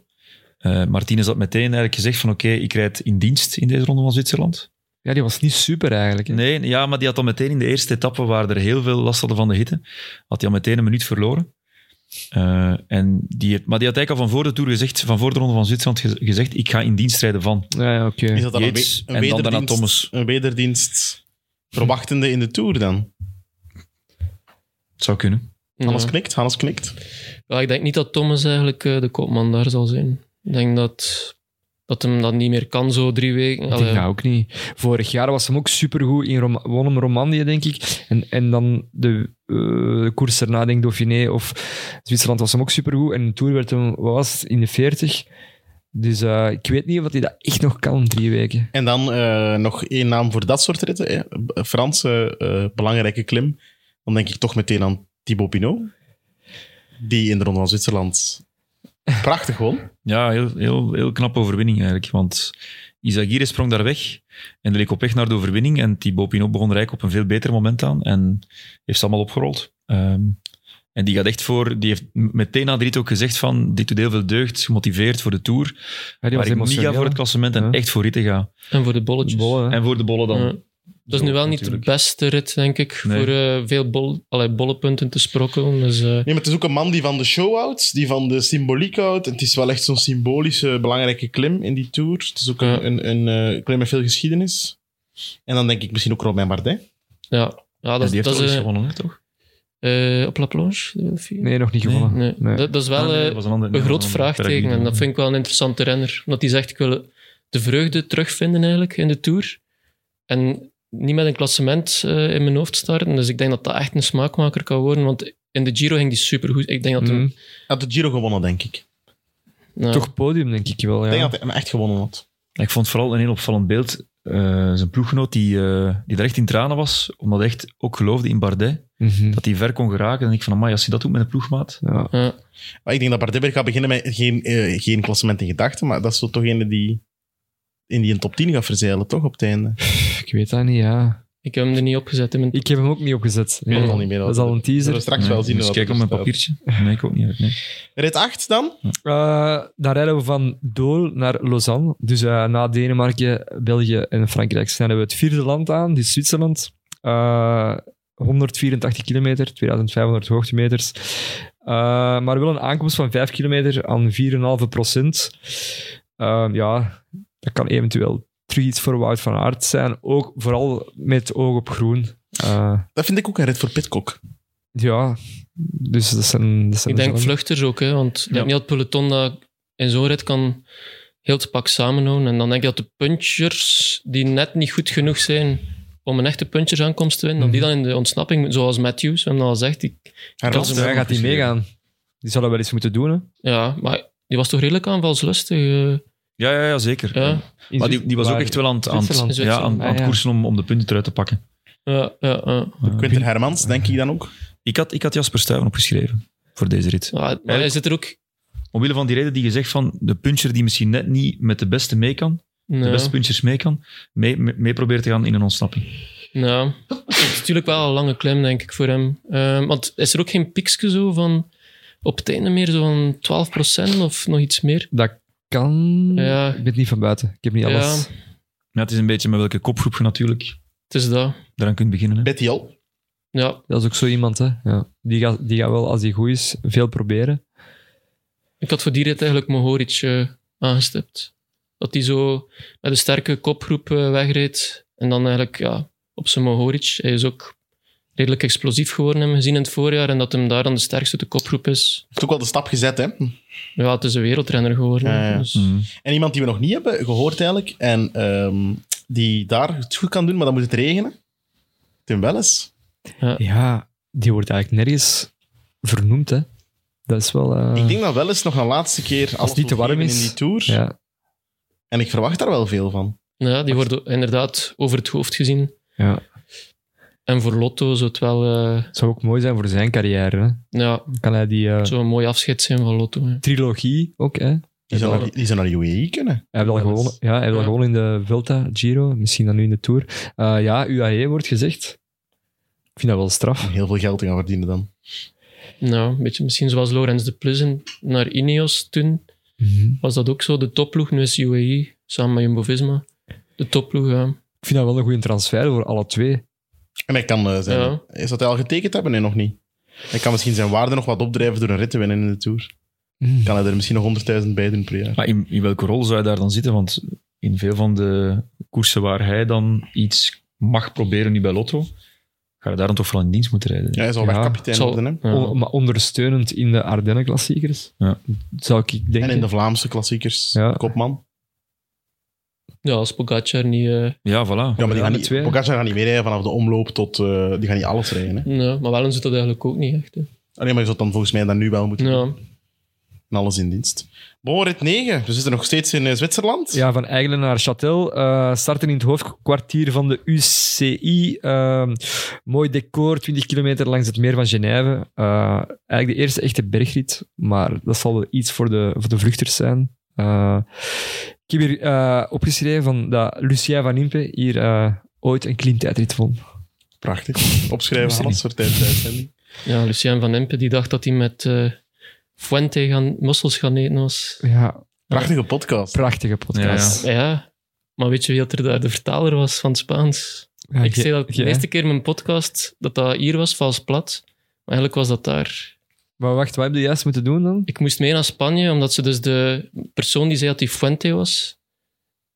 Speaker 5: Eh Martinez had meteen eigenlijk gezegd van oké, ik rijd in dienst in deze ronde van Zwitserland.
Speaker 3: ja, die was niet super eigenlijk. hè.
Speaker 5: Nee, ja, maar die had al meteen in de eerste etappe, waar er heel veel last hadden van de hitte, had hij al meteen een minuut verloren. Eh, en die, heeft- maar die had eigenlijk al van voor de Tour gezegd, van voor de Ronde van Zwitserland gez- gezegd, ik ga in dienst rijden van.
Speaker 3: Ja, ja, oké.
Speaker 2: Is dat dan een,
Speaker 5: Yates
Speaker 2: we- een,
Speaker 5: en dan daarna
Speaker 2: wederdienst,
Speaker 5: Thomas.
Speaker 2: een wederdienst verwachtende in de Tour dan?
Speaker 5: Het zou kunnen.
Speaker 2: Hannes
Speaker 4: Ja.
Speaker 2: knikt, Hannes knikt.
Speaker 4: Ja, ik denk niet dat Thomas eigenlijk eh, de kopman daar zal zijn. Ik denk dat, dat hem dat niet meer kan, zo drie weken.
Speaker 3: Ik
Speaker 4: Allee,
Speaker 3: denk dat ook niet. Vorig jaar was hem ook supergoed in Roma won hem Romandie, denk ik. En, en dan de, eh, de koers erna, denk ik, Dauphiné of Zwitserland was hem ook supergoed. En in de Tour werd hem, wat was het, in de 40. Dus eh, ik weet niet of hij dat echt nog kan, drie weken.
Speaker 2: En dan eh, nog één naam voor dat soort ritten. Hè? B- Franse eh, belangrijke klim. Dan denk ik toch meteen aan Thibaut Pinot. Die in de Ronde van Zwitserland prachtig won.
Speaker 5: Ja, heel, heel, heel knappe overwinning eigenlijk. Want Isagire sprong daar weg en leek op weg naar de overwinning. En Thibaut Pinot begon rijk op een veel beter moment aan en heeft ze allemaal opgerold. Ehm, en die gaat echt voor, die heeft meteen na de rit ook gezegd van, dit doet heel veel deugd, gemotiveerd voor de Tour.
Speaker 3: Ja, die
Speaker 5: waar
Speaker 3: was
Speaker 5: ik niet ga
Speaker 3: emotioneel.
Speaker 5: voor het klassement en
Speaker 3: Ja.
Speaker 5: echt voor ritten ga.
Speaker 4: En voor de bolletjes.
Speaker 3: Bolle, hè.
Speaker 5: En voor de bollen dan.
Speaker 4: Ja. Dat is nu wel niet de beste rit, denk ik,
Speaker 5: Nee.
Speaker 4: voor eh, veel bol, allee, bollepunten te sprokkelen. Dus, eh,
Speaker 2: Nee, maar het is ook een man die van de show houdt, die van de symboliek houdt. En het is wel echt zo'n symbolische, belangrijke klim in die tour. Het is ook een, een, een eh, klim met veel geschiedenis. En dan denk ik misschien ook Robin Bardet.
Speaker 4: ja. ja,
Speaker 5: Ja,
Speaker 4: dat,
Speaker 5: die
Speaker 4: dat
Speaker 5: heeft dat
Speaker 4: is...
Speaker 5: eens
Speaker 4: eh,
Speaker 5: gewonnen, hè, toch?
Speaker 4: eh, op La Planche? de vier?
Speaker 3: Nee, nog niet gewonnen.
Speaker 4: Nee.
Speaker 3: Nee.
Speaker 4: Dat, dat is wel
Speaker 5: Ah, nee,
Speaker 4: eh,
Speaker 5: dat was een ander-
Speaker 4: een
Speaker 5: nee,
Speaker 4: groot
Speaker 5: dat was een ander
Speaker 4: vraagteken.
Speaker 5: Paraglido.
Speaker 4: En dat vind ik wel een interessante renner. Omdat hij zegt, ik wil de vreugde terugvinden eigenlijk in de Tour. En niet met een klassement eh, in mijn hoofd starten. Dus ik denk dat dat echt een smaakmaker kan worden. Want in de Giro ging die supergoed. Ik denk dat hem...
Speaker 3: Mhm.
Speaker 2: Had de Giro gewonnen, denk ik.
Speaker 4: nou,
Speaker 3: Toch podium, denk ik wel.
Speaker 2: Ik
Speaker 3: Ja.
Speaker 2: denk dat hij hem echt gewonnen had.
Speaker 5: Ik vond vooral een heel opvallend beeld. eh, zijn ploeggenoot die, eh, die er echt in tranen was, omdat hij echt ook geloofde in Bardet,
Speaker 3: Mhm.
Speaker 5: dat hij ver kon geraken. En ik van, amai, als je dat doet met een ploegmaat...
Speaker 3: Ja.
Speaker 4: ja.
Speaker 2: Maar ik denk dat Bardet weer gaat beginnen met geen, eh, geen klassement in gedachten. Maar dat is zo toch een die in die een top 10 gaat verzeilen, toch? Op het einde.
Speaker 3: Ik weet dat niet, ja.
Speaker 4: Ik heb hem er niet opgezet in mijn
Speaker 3: Ik heb hem ook niet opgezet.
Speaker 2: weet het al niet meer.
Speaker 3: Dat is al een
Speaker 2: Zullen
Speaker 3: teaser.
Speaker 2: we straks wel zien.
Speaker 5: Eens
Speaker 2: wat
Speaker 5: kijken op
Speaker 2: er
Speaker 5: mijn
Speaker 2: staat.
Speaker 5: papiertje. Nee, ik ook niet. Nee.
Speaker 2: Rit 8 dan?
Speaker 3: Eh, dan rijden we van Dool naar Lausanne. Dus eh, na Denemarken, België en Frankrijk snijden we het vierde land aan, dus Zwitserland. Eh, 184 kilometer, 2500 hoogtemeters. Eh, maar wel een aankomst van 5 kilometer aan 4,5 procent. Eh, ja, dat kan eventueel terug iets voor Wout van Aert zijn. Ook vooral met oog op groen. Eh,
Speaker 2: Dat vind ik ook een rit voor Pitcock.
Speaker 3: ja, dus dat zijn... Dat zijn
Speaker 4: Ik denk
Speaker 3: dezelfde-
Speaker 4: vluchters ook, hè, want ik denk niet dat het peloton dat in zo'n rit kan heel het pak samenhouden. En dan denk ik dat de punchers die net niet goed genoeg zijn om een echte punchersaankomst te winnen, dat
Speaker 3: Mhm.
Speaker 4: die dan in de ontsnapping, zoals Matthews hem al zegt, ik,
Speaker 2: Hij
Speaker 4: Kan
Speaker 2: raast.
Speaker 4: ze
Speaker 3: Daar gaat hij meegaan. Die zal dat wel eens moeten doen, hè.
Speaker 4: ja, maar die was toch redelijk aanvalslustig. eh,
Speaker 5: Ja, ja, ja, zeker.
Speaker 4: ja.
Speaker 5: Maar die, die was ook
Speaker 3: Waar-
Speaker 5: echt wel aan het, aan het-
Speaker 3: Zwitserland.
Speaker 5: ja, aan, aan het
Speaker 3: Ah, ja.
Speaker 5: koersen om, om de punten eruit te pakken. Eh,
Speaker 4: Ja, ja, ja.
Speaker 2: Quinten Hermans, denk ik dan ook.
Speaker 5: Ik had, ik had Jasper Stuyven opgeschreven voor deze rit.
Speaker 4: Maar hij zit er ook...
Speaker 5: Omwille van die reden die je zegt van de puncher die misschien net niet met de beste mee kan, de
Speaker 4: Ja.
Speaker 5: beste punchers mee kan, mee, mee, mee probeert te gaan in een ontsnapping.
Speaker 4: Ja, het is natuurlijk wel een lange klem, denk ik, voor hem. Ehm, want is er ook geen piekje zo van op het einde meer, zo van 12% of nog iets meer?
Speaker 3: Dat kan...
Speaker 4: Ja.
Speaker 3: Ik ben niet van buiten. Ik heb niet
Speaker 4: Ja.
Speaker 3: alles.
Speaker 5: Ja, het is een beetje met welke kopgroep je natuurlijk
Speaker 4: Het is dat.
Speaker 5: daaraan kunt beginnen. Hè.
Speaker 2: Betty al.
Speaker 4: Ja,
Speaker 3: Dat is ook zo iemand, hè. Ja. Die, gaat, die gaat wel, als die goed is, veel proberen.
Speaker 4: ik had voor die rit eigenlijk Mohoric eh, aangestipt. Dat hij zo met een sterke kopgroep eh, wegreed. En dan eigenlijk ja, op zijn Mohoric. Hij is ook redelijk explosief geworden, hebben we gezien in het voorjaar. En dat hem daar dan de sterkste de kopgroep is.
Speaker 2: Heeft ook wel de stap gezet, hè?
Speaker 4: Ja, het is een wereldrenner geworden.
Speaker 2: Ja, ja.
Speaker 4: Dus,
Speaker 5: Mhm.
Speaker 2: En iemand die we nog niet hebben gehoord eigenlijk, en ehm, die daar het goed kan doen, maar dan moet het regenen. Tim Welles.
Speaker 3: Ja, die wordt eigenlijk nergens vernoemd, hè. Dat is wel... eh,
Speaker 2: Ik denk dat Welles nog een laatste keer als
Speaker 3: het niet te warm is.
Speaker 2: in die tour.
Speaker 3: Ja.
Speaker 2: En ik verwacht daar wel veel van.
Speaker 4: nou ja, die worden inderdaad over het hoofd gezien.
Speaker 3: ja.
Speaker 4: En voor Lotto zou het wel eh, nou
Speaker 3: Het zou ook mooi zijn voor zijn carrière, hè.
Speaker 4: ja,
Speaker 3: Kan hij die eh,
Speaker 4: het zou een mooi afscheid zijn van Lotto. hè.
Speaker 3: trilogie ook, hè.
Speaker 2: Die zou,
Speaker 4: Ja.
Speaker 2: naar, die zou naar UAE E kunnen.
Speaker 3: Hij heeft al
Speaker 4: Ja, dat
Speaker 3: gewonnen,
Speaker 4: is-
Speaker 3: ja, hij heeft al
Speaker 4: ja.
Speaker 3: gewonnen in de Vuelta, Giro, misschien dan nu in de Tour. Eh, ja, UAE wordt gezegd. Ik vind dat wel straf.
Speaker 2: Om heel veel geld te gaan verdienen dan.
Speaker 4: Nou, een beetje misschien zoals Lorenz de Plussen naar Ineos toen. Was dat ook zo? De topploeg, nu is UAE samen met Jumbo-Visma. De topploeg, ja.
Speaker 3: Ik vind dat wel een goede transfer voor alle twee.
Speaker 2: En hij kan eh, zijn...
Speaker 4: Ja.
Speaker 2: Is dat hij al getekend hebben? Nee, nog niet. Hij kan misschien zijn waarde nog wat opdrijven door een rit te winnen in de Tour.
Speaker 3: Hmm.
Speaker 2: Kan hij er misschien nog 100.000 bij doen per jaar.
Speaker 5: Maar in, in welke rol zou je daar dan zitten? Want in veel van de koersen waar hij dan iets mag proberen nu bij Lotto, ga je daar dan toch vooral in dienst moeten rijden.
Speaker 2: Ja, hij zal
Speaker 3: Ja.
Speaker 2: wel kapitein
Speaker 4: Zal-
Speaker 2: worden, hè?
Speaker 4: ja.
Speaker 3: On- maar ondersteunend in de Ardennen-klassiekers,
Speaker 5: Ja.
Speaker 3: zou ik denken.
Speaker 2: En in de Vlaamse klassiekers.
Speaker 3: Ja.
Speaker 2: Kopman.
Speaker 4: Ja, als Pogacar niet... eh,
Speaker 5: Ja, voilà.
Speaker 2: Ja, maar die gaan
Speaker 3: de
Speaker 2: niet,
Speaker 3: twee.
Speaker 2: Pogacar gaat niet meer rijden vanaf de omloop tot... eh, die gaan niet alles rijden, hè?
Speaker 4: nee, nou, maar Wellen zit dat eigenlijk ook niet echt. Hè. Nou,
Speaker 2: Ah, Nee, maar je zou het dan volgens mij dan nu wel moeten doen.
Speaker 4: Ja,
Speaker 2: En alles in dienst. Bon, rit 9. We zitten nog steeds in eh, Zwitserland.
Speaker 3: Ja, van Eigelen naar Châtel. eh, starten in het hoofdkwartier van de UCI. Ehm, mooi decor, 20 kilometer langs het meer van Genève. Eh, eigenlijk de eerste echte bergrit, maar dat zal wel iets voor de, voor de vluchters zijn. Eh, ik heb hier eh, opgeschreven van dat Lucien van Impe hier eh, ooit een klimtijdrit won.
Speaker 2: Prachtig. Opschrijven, Hans, voor tijdens de uitzending.
Speaker 4: ja Lucien van Impe, die dacht dat hij met eh, Fuente gaan, mossels gaan eten was.
Speaker 3: Ja,
Speaker 2: Prachtige podcast.
Speaker 3: prachtige podcast.
Speaker 4: Ja, maar weet je wie dat er daar de vertaler was van het Spaans?
Speaker 3: Ja,
Speaker 4: ik
Speaker 3: Ah, ge-
Speaker 4: zei dat de
Speaker 3: ge-
Speaker 4: eerste keer in mijn podcast dat dat hier was, vals plat. Maar eigenlijk was dat daar.
Speaker 3: Maar wacht, wat heb je juist moeten doen dan?
Speaker 4: Ik moest mee naar Spanje, omdat ze dus de persoon die zei dat hij Fuente was,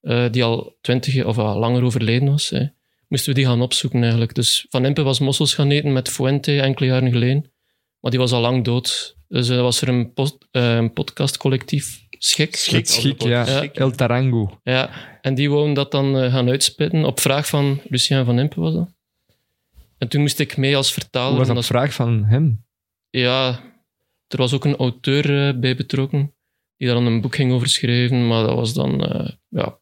Speaker 4: eh, die al twintig of al langer overleden was, hè, moesten we die gaan opzoeken eigenlijk. Dus Van Impe was mossels gaan eten met Fuente enkele jaren geleden, maar die was al lang dood. Dus eh, was er een, post, eh, een podcastcollectief, Schik.
Speaker 3: Het schik, ja.
Speaker 4: Ja.
Speaker 3: El Tarango.
Speaker 4: Ja, en die wouden dat dan eh, gaan uitspitten op vraag van Lucien van Impe was dat. En toen moest ik mee als
Speaker 3: Hoe
Speaker 4: vertaler.
Speaker 3: was dat
Speaker 4: omdat-
Speaker 3: een vraag van hem?
Speaker 4: ja, er was ook een auteur eh, bij betrokken die daar dan een boek ging over schrijven, maar dat was dan, eh, ja.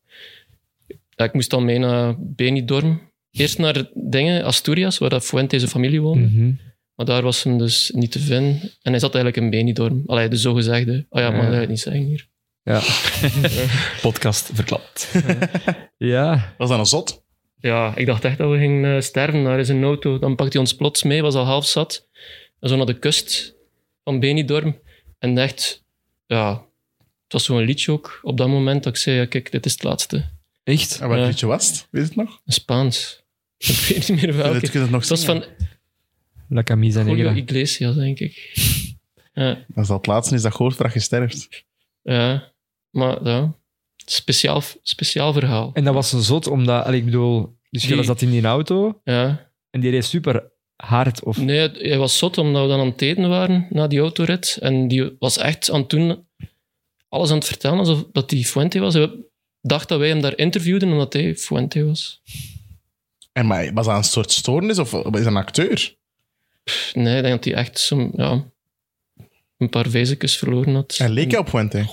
Speaker 4: ja. Ik moest dan mee naar Benidorm. Eerst naar dingen, Asturias, waar dat Fuente zijn familie woonde.
Speaker 3: Mhm.
Speaker 4: Maar daar was hem dus niet te vinden. En hij zat eigenlijk in Benidorm. Allee, de zogezegde. Oh ja, maar
Speaker 3: Ja.
Speaker 4: dat ga ik niet zeggen hier.
Speaker 5: Podcast verklapt.
Speaker 3: Ja,
Speaker 2: Was dat een zot?
Speaker 4: ja, ik dacht echt dat we gingen eh, sterven. Daar is een auto. Dan pakt hij ons plots mee, was al half zat. En zo naar de kust van Benidorm. En echt, ja, het was zo'n liedje ook op dat moment dat ik zei, ja, kijk, dit is het laatste.
Speaker 3: Echt?
Speaker 2: En wat
Speaker 4: Ja.
Speaker 2: weet je was het? Weet je het nog?
Speaker 4: Een Spaans. Ik weet niet meer
Speaker 2: Dat
Speaker 4: welke.
Speaker 2: kun je het nog
Speaker 4: Het was
Speaker 2: zingen.
Speaker 4: van
Speaker 3: La camisa
Speaker 4: Julio
Speaker 3: negra.
Speaker 4: Iglesias, denk ik. Ja,
Speaker 2: Als dat het laatste is dat je hoort dat je sterft.
Speaker 4: ja. maar ja. Speciaal, speciaal verhaal.
Speaker 3: En dat was zo zot, omdat... allee, ik bedoel, dus
Speaker 4: Die-
Speaker 3: jij zat in die auto
Speaker 4: Ja.
Speaker 3: en die reed super hard. Of...
Speaker 4: Nee, het- hij was zot omdat we dan aan het eten waren na die autorit. En die was echt aan het doen, alles aan het vertellen alsof dat hij Fuente was. Hij dacht dat wij hem daar interviewden omdat hij Fuente was.
Speaker 2: En maar was dat een soort stoornis of is dat een acteur?
Speaker 4: Pff, Nee, ik denk dat hij echt zo'n, ja, een paar vezekjes verloren had.
Speaker 2: En leek hij op Wente?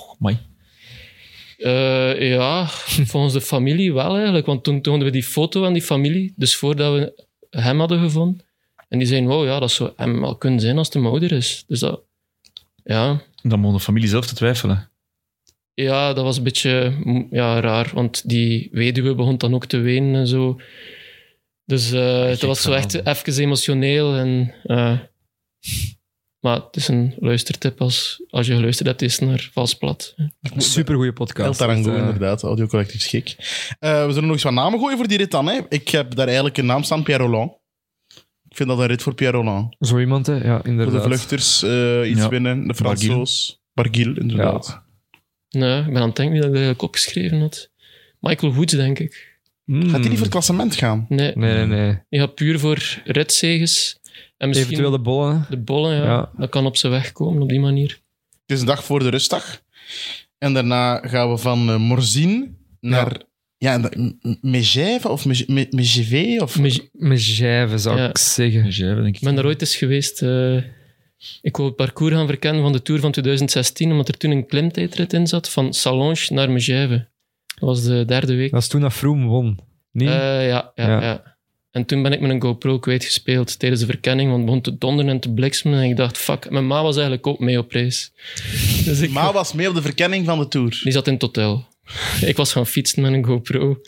Speaker 4: Eh, ja, volgens de familie wel eigenlijk. Want toen toonden we die foto aan die familie, dus voordat we hem hadden gevonden. En die zeiden, wow, ja, dat zou hem wel kunnen zijn als de ouder is. Dus dat, ja,
Speaker 5: Dan begon de familie zelf te twijfelen.
Speaker 4: ja, dat was een beetje mm, ja, raar, want die weduwe begon dan ook te wenen en zo. Dus eh, het
Speaker 5: gek
Speaker 4: was zo
Speaker 5: verhaal,
Speaker 4: echt even emotioneel. En, eh, maar het is een luistertip als, als je geluisterd hebt, is het naar Vals Plat.
Speaker 3: Super goede
Speaker 2: El
Speaker 3: podcast.
Speaker 2: Tarango,
Speaker 3: Dus, eh,
Speaker 2: inderdaad. Audiocollectief schik. Eh, we zullen nog eens wat namen gooien voor die rit dan. Hè. Ik heb daar eigenlijk een naam staan, Pierre Roland. Ik vind dat een rit voor Pierre Roland.
Speaker 3: Zo iemand, hè? Ja,
Speaker 2: Voor de
Speaker 3: inderdaad.
Speaker 2: vluchters eh, iets
Speaker 5: Ja.
Speaker 2: winnen. De
Speaker 5: Barguil.
Speaker 2: Fransoos. Barguil, inderdaad.
Speaker 4: Nee, ik ben aan het denken wie dat ik eigenlijk opgeschreven had. Michael Woods, denk ik.
Speaker 3: Mm.
Speaker 2: Gaat hij niet voor het klassement gaan?
Speaker 4: Nee,
Speaker 3: Nee, nee, nee.
Speaker 4: je gaat puur voor redzeges. En misschien
Speaker 3: Eventueel de bollen.
Speaker 4: de bollen, ja.
Speaker 3: Ja.
Speaker 4: Dat kan op zijn weg komen op die manier.
Speaker 2: Het is een dag voor de rustdag. En daarna gaan we van eh, Morzine naar... Ja. en dat- M- M- Megève of Meg- Me- Megève of...
Speaker 4: Maar
Speaker 3: Mijn jijven, zou
Speaker 4: Ja.
Speaker 3: ik zeggen.
Speaker 5: Jijven, denk ik.
Speaker 4: Ik ben daar ooit eens geweest. eh, ik wou het parcours gaan verkennen van de Tour van 2016, omdat er toen een klimtijdrit in zat van Salonge naar Megève. Dat was de derde
Speaker 2: Ah,
Speaker 4: week.
Speaker 3: Dat is toen dat Froome won. Nee?
Speaker 4: Eh, ja, ja,
Speaker 3: Ja.
Speaker 4: ja. En toen ben ik met een GoPro kwijtgespeeld tijdens de verkenning, want het begon te donderen en te bliksemen. En ik dacht, fuck, mijn ma was eigenlijk ook mee op reis. Dus ik,
Speaker 2: Ma was mee op de verkenning van de Tour.
Speaker 4: Die zat in het hotel. ik was gaan fietsen met een GoPro.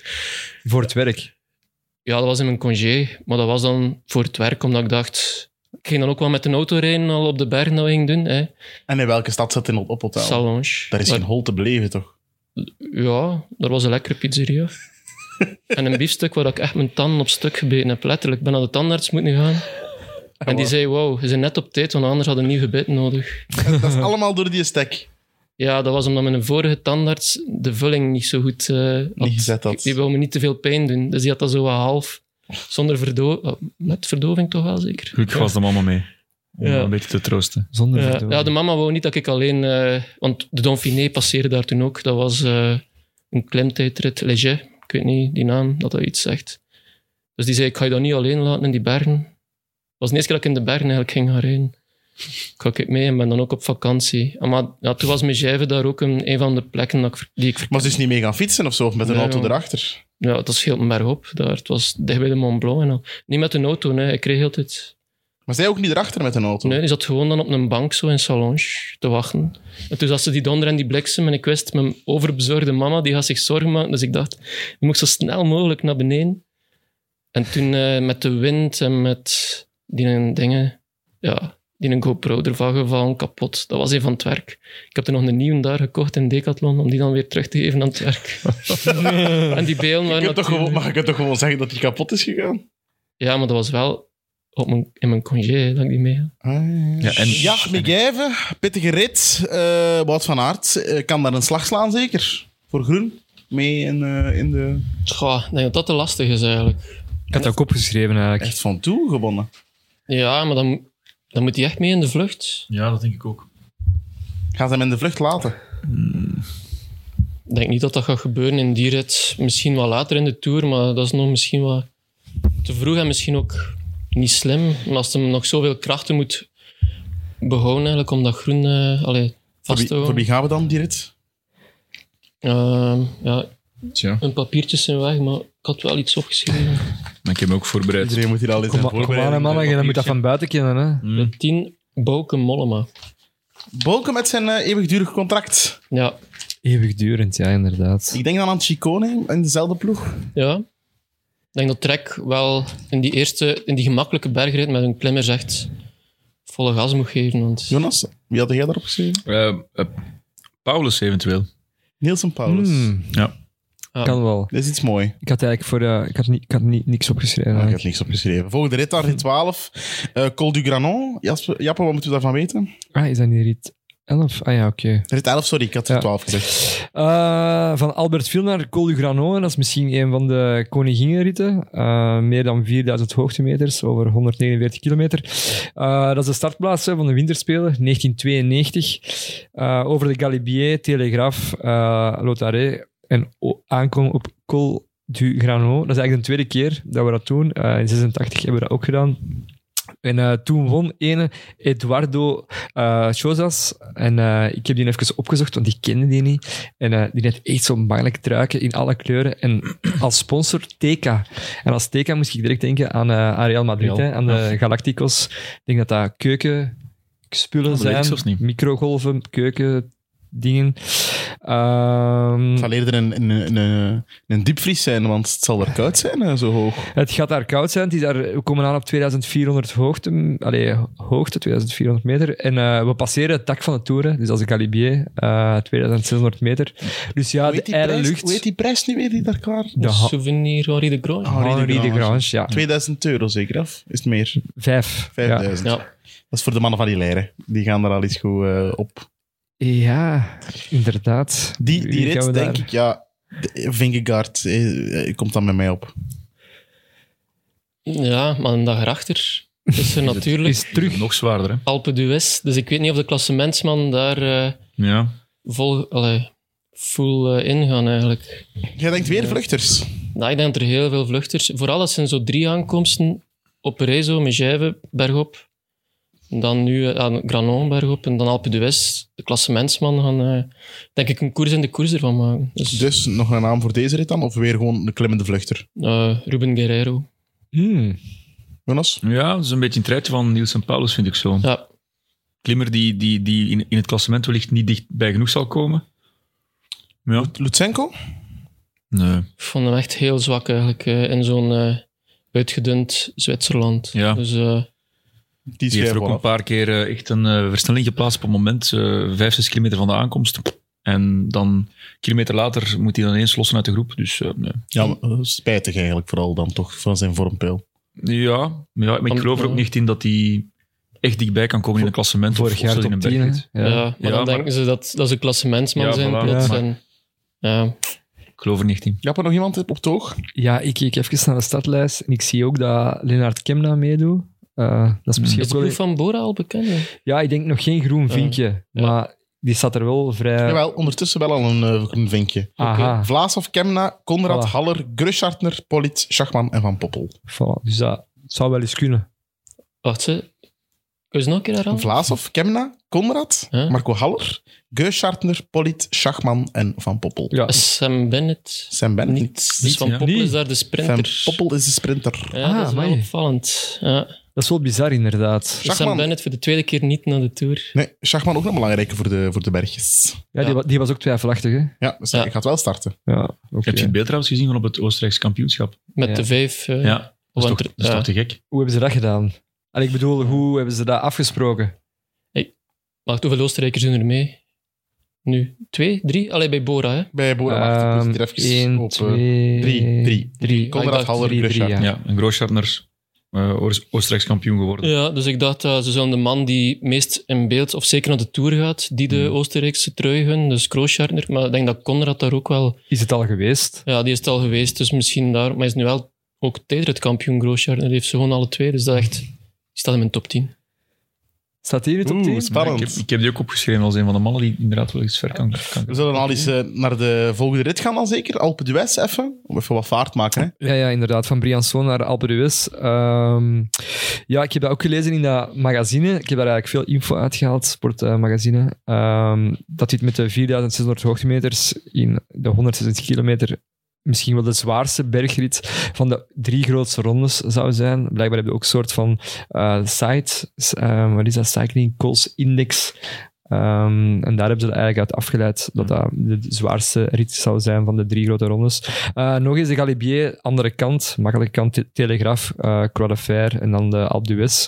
Speaker 3: Voor het werk.
Speaker 4: Ja, dat was in mijn congé, maar dat was dan voor het werk, omdat ik dacht... Ik ging dan ook wel met een auto rijden al op de berg dat we gingen doen. Hè.
Speaker 2: En in welke stad zat hij op op hotel?
Speaker 4: Salonge.
Speaker 2: Daar is
Speaker 4: Maar-
Speaker 2: geen hol te beleven, toch?
Speaker 4: Ja, daar was een lekkere pizzeria. en een biefstuk waar ik echt mijn tanden op stuk gebeten heb. Letterlijk, ik ben naar de tandarts moeten gaan. En die zei, wow, je bent net op tijd, want anders had een nieuw gebit nodig.
Speaker 2: dat is allemaal door die stek.
Speaker 4: Ja, dat was omdat mijn vorige tandarts de vulling niet zo goed eh, had.
Speaker 2: Niet gezet had.
Speaker 4: Die wou me niet te veel pijn doen. Dus die had dat zo wat half, zonder verdo oh, met verdoving toch wel zeker.
Speaker 5: Gelukkig was de mama mee. Om
Speaker 4: Ja.
Speaker 5: een beetje te troosten.
Speaker 3: Zonder
Speaker 2: eh,
Speaker 4: Ja,
Speaker 3: verdoving.
Speaker 4: Eh, ja, de mama wou niet dat ik alleen... eh, want de Dauphiné passeerde daar toen ook. Dat was eh, een klimtijdrit, Léger. Ik weet niet die naam, dat dat iets zegt. Dus die zei, ik ga je dat niet alleen laten in die bergen. Het was de eerste keer dat ik in de bergen eigenlijk ging gaan rijden. Ik ga ik mee en ben dan ook op vakantie. En maar ja, toen was Megève daar ook een, een van de plekken dat ik, ver- die ik... ver-
Speaker 2: Maar ze is niet mee gaan fietsen of zo, of met een
Speaker 4: Nee,
Speaker 2: auto
Speaker 4: joh.
Speaker 2: erachter.
Speaker 4: Ja, dat scheelt me bergop. Daar, het was dicht bij de Mont Blanc en al. Niet met een auto, nee. Ik kreeg heel tijd...
Speaker 2: Maar zij ook niet erachter met een auto.
Speaker 4: Nee, die zat gewoon dan op een bank zo in Salonge te wachten. En toen zat ze die donder en die bliksem en ik wist, mijn overbezorgde mama die gaat zich zorgen maken. Dus ik dacht, ik moet zo snel mogelijk naar beneden. En toen eh, met de wind en met die dingen, ja, die een GoPro ervan gevallen, kapot. Dat was even van het werk. Ik heb er nog een nieuwe daar gekocht in Decathlon om die dan weer terug te geven aan het werk. en die beelden
Speaker 2: Je
Speaker 4: waren
Speaker 2: kunt toch
Speaker 4: natuurlijk-
Speaker 2: gewoon, maar je kunt toch gewoon zeggen dat die kapot is gegaan?
Speaker 4: Ja, maar dat was wel op mijn, in mijn congé hè, dat ik die mee had.
Speaker 2: Ah, ja,
Speaker 5: en-
Speaker 2: ja Megève, pittige rit. eh Wout van Aert eh, kan daar een slag slaan, zeker? Voor Groen? Mee in, eh, in de...
Speaker 4: Goh, ik denk dat dat te lastig is eigenlijk.
Speaker 3: Ik had dat ook opgeschreven eigenlijk.
Speaker 2: Echt van toe gewonnen.
Speaker 4: Ja, maar dan, dan moet hij echt mee in de vlucht.
Speaker 5: Ja, dat denk ik ook.
Speaker 2: Gaan ze hem in de vlucht laten?
Speaker 4: Ik denk niet dat dat gaat gebeuren in die rit. Misschien wel later in de Tour, maar dat is nog misschien wat te vroeg en misschien ook niet slim. Maar als hij nog zoveel krachten moet behouden eigenlijk om dat groen eh, allee,
Speaker 2: Voor
Speaker 4: vast
Speaker 2: wie,
Speaker 4: te
Speaker 2: voor
Speaker 4: houden.
Speaker 2: wie gaan we dan, die rit?
Speaker 4: Ehm, ja,
Speaker 5: Tja,
Speaker 4: hun papiertjes zijn weg, maar ik had wel iets opgeschreven.
Speaker 5: maar ik heb me ook voorbereid.
Speaker 2: Iedereen moet hier al eens
Speaker 3: Kom,
Speaker 2: aan
Speaker 3: maar- kom aan, hè,
Speaker 2: voorbereiden.
Speaker 3: mannen. Dan moet dat van buiten kennen, hè.
Speaker 5: Mm.
Speaker 4: De 10, Bouke Mollema.
Speaker 2: Bolken met zijn eh, eeuwigdurig contract.
Speaker 4: Ja,
Speaker 3: Eeuwigdurend, ja, inderdaad.
Speaker 2: Ik denk dan aan Chicone in dezelfde ploeg.
Speaker 4: ja. denk dat Trek wel in die eerste, in die gemakkelijke bergrit met een klimmer echt volle gas moet geven. Want
Speaker 2: Jonas, wie had jij daarop geschreven?
Speaker 5: Eh, eh, Paulus eventueel.
Speaker 2: Nielsen Paulus.
Speaker 3: Hmm,
Speaker 4: ja,
Speaker 3: kan wel.
Speaker 2: Dat is iets mooi.
Speaker 3: Ik had eigenlijk voor... eh, ik had, niet, ik had niet, niks opgeschreven.
Speaker 2: Ah, ik heb
Speaker 3: eigenlijk.
Speaker 2: niks opgeschreven. Volgende rit daar in 12. eh Col du Granon. Jasper, Jappe, wat moeten we daarvan weten?
Speaker 3: Ah, is dat niet rit 11? Ah ja, oké.
Speaker 2: Rit 11, sorry, ik had
Speaker 3: Ja.
Speaker 2: 12 gezegd.
Speaker 3: Eh, van Albert Viel naar Col du Granon. Dat is misschien een van de koninginritten. Eh, meer dan 4000 hoogtemeters over 149 kilometer. Eh, dat is de startplaats hè, van de Winterspelen, 1992. Eh, over de Galibier, Telegraaf, eh Lotaré en o- aankomen op Col du Granon. Dat is eigenlijk de tweede keer dat we dat doen. Eh, in 86 hebben we dat ook gedaan. En eh, toen won ene Eduardo eh Chozas. En eh, ik heb die even opgezocht, want die kende die niet. En eh, die had echt zo'n bangelijk truiken in alle kleuren. En als sponsor Teka. En als Teka moest ik direct denken aan, eh, aan Real Madrid,
Speaker 5: Real,
Speaker 3: hè, aan de Galacticos. Ik denk dat dat keukenspullen
Speaker 5: dat weet ik
Speaker 3: zijn.
Speaker 5: zelfs niet.
Speaker 3: Microgolven, keukendingen. Ehm,
Speaker 2: Het zal eerder een, een, een, een, een diepvries zijn, want het zal er koud zijn, eh, zo hoog.
Speaker 3: Het gaat daar koud zijn. Het is daar, we komen aan op 2400 hoogte, allee, hoogte 2400 meter. En eh, we passeren het dak van de toeren, dus als een Calibier, eh 2600 meter. Dus ja,
Speaker 2: Hoe
Speaker 3: de
Speaker 2: heet die
Speaker 3: ijle
Speaker 2: prijs-
Speaker 3: lucht.
Speaker 2: Hoe heet die prijs nu weer die daar klaar?
Speaker 3: De ha-
Speaker 4: souvenir Henri de Groot.
Speaker 3: Ah,
Speaker 2: Henri de
Speaker 3: Henri de
Speaker 2: Grange.
Speaker 3: Grange, ja.
Speaker 2: 2000 euro zeker, af? Is het meer?
Speaker 3: Vijf. Ja.
Speaker 2: 5000.
Speaker 4: Ja.
Speaker 2: Dat is voor de mannen van die leiren. Die gaan daar al iets goed eh, op.
Speaker 3: Ja, inderdaad.
Speaker 2: Die, die
Speaker 3: Wie gaan we
Speaker 2: rit, denk
Speaker 3: daar-
Speaker 2: ik, ja... de- Vingegaard eh, eh, komt dan met mij op.
Speaker 4: ja, maar een dag erachter is er natuurlijk
Speaker 3: Is terug.
Speaker 5: Nog zwaarder, hè?
Speaker 4: Alpe d'Huez. Dus ik weet niet of de klassementsman daar eh,
Speaker 5: Ja.
Speaker 4: vol, allee, full eh, in gaan eigenlijk.
Speaker 2: Jij denkt weer vluchters.
Speaker 4: Nou, ik denk dat er heel veel vluchters... Vooral dat zijn zo drie aankomsten op Rezo, Megève, bergop. En Dan nu eh, aan Granon, bergop. En dan Alpe d'Huez. De klassementsman gaan, eh, denk ik, een koers in de koers ervan maken. Dus,
Speaker 2: Dus nog een naam voor deze rit dan? Of weer gewoon een klimmende vluchter?
Speaker 4: eh, Ruben Guerrero.
Speaker 3: Hmm.
Speaker 2: Jonas?
Speaker 5: ja, dat is een beetje een truitje van Niels en Paulus, vind ik zo.
Speaker 4: Ja,
Speaker 5: Klimmer die, die, die in, in het klassement wellicht niet dichtbij genoeg zal komen. Ja,
Speaker 2: Lutsenko?
Speaker 5: nee.
Speaker 4: Ik vond hem echt heel zwak eigenlijk eh, in zo'n eh, uitgedund Zwitserland.
Speaker 5: Ja.
Speaker 4: Dus eh,
Speaker 2: Die
Speaker 5: Die heeft er
Speaker 2: schrijven
Speaker 5: ook
Speaker 2: wel
Speaker 5: een
Speaker 2: af.
Speaker 5: paar keer eh, echt een eh, versnelling geplaatst op het moment, eh, vijf, zes kilometer van de aankomst. En dan, kilometer later, moet hij dan eens lossen uit de groep. Dus eh, nee.
Speaker 2: Ja, maar, eh, spijtig eigenlijk vooral dan toch van zijn vormpeil.
Speaker 5: ja, maar ja, maar ik geloof er ook niet in dat hij echt dichtbij kan komen in een klassement.
Speaker 3: Vorig
Speaker 5: of,
Speaker 3: jaar
Speaker 5: of zelfs
Speaker 3: top
Speaker 5: in
Speaker 3: 10.
Speaker 5: een
Speaker 3: hè.
Speaker 5: bergrit.
Speaker 4: ja.
Speaker 3: Ja.
Speaker 4: maar
Speaker 5: Ja,
Speaker 4: dan
Speaker 5: maar-
Speaker 4: denken ze dat, dat ze klassementsman
Speaker 5: Ja,
Speaker 4: zijn
Speaker 5: voilà.
Speaker 4: plots.
Speaker 3: Ja.
Speaker 4: En, ja.
Speaker 5: Ik geloof er niet in.
Speaker 2: Ja, maar nog iemand op het oog?
Speaker 3: Ja, ik keek even naar de startlijst en ik zie ook dat Lennart Kemna meedoet. Eh, dat is misschien
Speaker 4: Is de
Speaker 3: ook wel...
Speaker 4: ploeg van Bora al bekend? hè?
Speaker 3: Ja, ik denk nog geen groen vinkje, maar die staat er wel vrij...
Speaker 2: Jawel, ondertussen wel al een eh, groen vinkje.
Speaker 3: Aha.
Speaker 2: Vlaas of Kemna, Konrad,
Speaker 3: Voilà.
Speaker 2: Haller, Grushartner, Politz, Schachman en Van Poppel.
Speaker 3: Voilà, dus dat zou wel eens kunnen.
Speaker 4: Wacht, ze. Kun je ze nog een keer herhalen?
Speaker 2: Vlaas of Kemna, Konrad,
Speaker 4: Ja.
Speaker 2: Marco Haller, Grushartner, Politz, Schachman en Van Poppel.
Speaker 3: Ja,
Speaker 4: Sam Bennett.
Speaker 2: Sam Bennett
Speaker 4: Niet.
Speaker 2: niet.
Speaker 4: Dus Van
Speaker 5: ja.
Speaker 4: Poppel
Speaker 3: Niet.
Speaker 4: is daar de
Speaker 2: Van
Speaker 4: sprinter.
Speaker 2: Poppel is de sprinter.
Speaker 4: Ja,
Speaker 3: Ah,
Speaker 4: dat is wel
Speaker 3: amai.
Speaker 4: opvallend. Ja.
Speaker 3: dat is wel bizar inderdaad.
Speaker 4: Dus Sam
Speaker 2: Schachman.
Speaker 4: Bennett voor de tweede keer niet naar de Tour.
Speaker 2: Nee, Schachman ook nog belangrijker voor de, voor de bergjes.
Speaker 3: Ja, Die,
Speaker 4: Ja.
Speaker 3: wa- die was ook twijfelachtig, hè?
Speaker 2: Ja, dus hij
Speaker 4: Ja.
Speaker 2: gaat wel starten.
Speaker 3: Ja, oké.
Speaker 5: Heb je het beeld trouwens gezien van op het Oostenrijkse kampioenschap?
Speaker 4: Met
Speaker 3: Ja.
Speaker 4: de vijf. eh,
Speaker 5: Ja, eh, dat is toch,
Speaker 4: want
Speaker 5: dat
Speaker 4: er-
Speaker 5: is
Speaker 4: ja.
Speaker 5: toch te gek?
Speaker 3: Hoe hebben ze dat gedaan? Allee, ik bedoel, hoe hebben ze dat afgesproken?
Speaker 4: Wacht, hoeveel Oostenrijkers doen er mee? Nu? Twee? Drie? Alleen bij Bora, hè?
Speaker 2: Bij Bora
Speaker 3: Ehm,
Speaker 2: Wacht, ik moet het hier even
Speaker 3: Eén,
Speaker 2: op, eh,
Speaker 3: twee...
Speaker 2: drie, drie.
Speaker 3: Drie.
Speaker 4: Kom-
Speaker 2: Konrad
Speaker 4: dacht
Speaker 2: Haller,
Speaker 3: drie, drie,
Speaker 2: Grushartner.
Speaker 5: Ja,
Speaker 3: Ja.
Speaker 5: een Grootschartner, Oostenrijks kampioen geworden.
Speaker 4: Ja, dus ik dacht, eh, ze zullen de man die meest in beeld, of zeker naar de Tour gaat, die de
Speaker 5: Hmm.
Speaker 4: Oostenrijkse trui hun, dus Kroosjartner. Maar ik denk dat Conrad daar ook wel...
Speaker 3: Is het al geweest?
Speaker 4: Ja, die is het al geweest, dus misschien daar... Maar hij is nu wel ook tijdritkampioen, Kroosjartner. Die heeft ze gewoon alle twee, dus dat echt... Die staat in mijn top 10.
Speaker 3: Staat die in de top
Speaker 2: Oeh,
Speaker 3: 10?
Speaker 2: spa- Spannend.
Speaker 5: Ik heb, ik heb die ook opgeschreven als een van de mannen die inderdaad wel eens ver kan. kan.
Speaker 2: We zullen al eens eh, naar de volgende rit gaan dan zeker. Alpe d'Huez even. Om even wat vaart maken. Hè.
Speaker 3: Ja, ja, inderdaad. Van Briançon naar Alpe d'Huez. Ehm, ja, ik heb dat ook gelezen in dat magazine. Ik heb daar eigenlijk veel info uitgehaald, sportmagazine. Ehm dat dit met de 4600 hoogtemeters in de 160 kilometer misschien wel de zwaarste bergrit van de drie grootste rondes zou zijn. eh, Blijkbaar hebben we ook een soort van eh, site. S- ehm, wat is dat? Cycling Calls Index. Ehm, en daar hebben ze er eigenlijk uit afgeleid dat dat de zwaarste rit zou zijn van de drie grote rondes. Eh, nog eens de Galibier, andere kant, makkelijke kant, Te- Telegraaf, eh Croix de Fer en dan de Alpe d'Huez.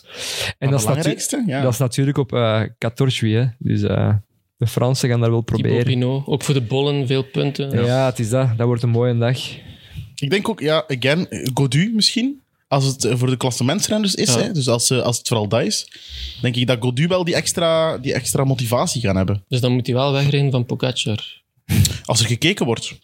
Speaker 3: En dat is, natu-
Speaker 2: belangrijkste? Ja.
Speaker 3: dat is natuurlijk op eh 14 hè. Dus eh, de Fransen gaan daar wel
Speaker 4: Thibaut
Speaker 3: proberen.
Speaker 4: Pinot, ook voor de bollen, veel punten.
Speaker 3: Ja. het is dat. Dat wordt een mooie dag.
Speaker 2: Ik denk ook, ja, again, eh, Godu misschien. Als het eh, voor de klassementsrenners is,
Speaker 4: Ja.
Speaker 2: hè, dus als, eh, als het vooral dat is, denk ik dat Godu wel die extra, die extra motivatie gaan hebben.
Speaker 4: Dus dan moet hij wel wegrijden van Pogacar.
Speaker 2: Als er gekeken wordt.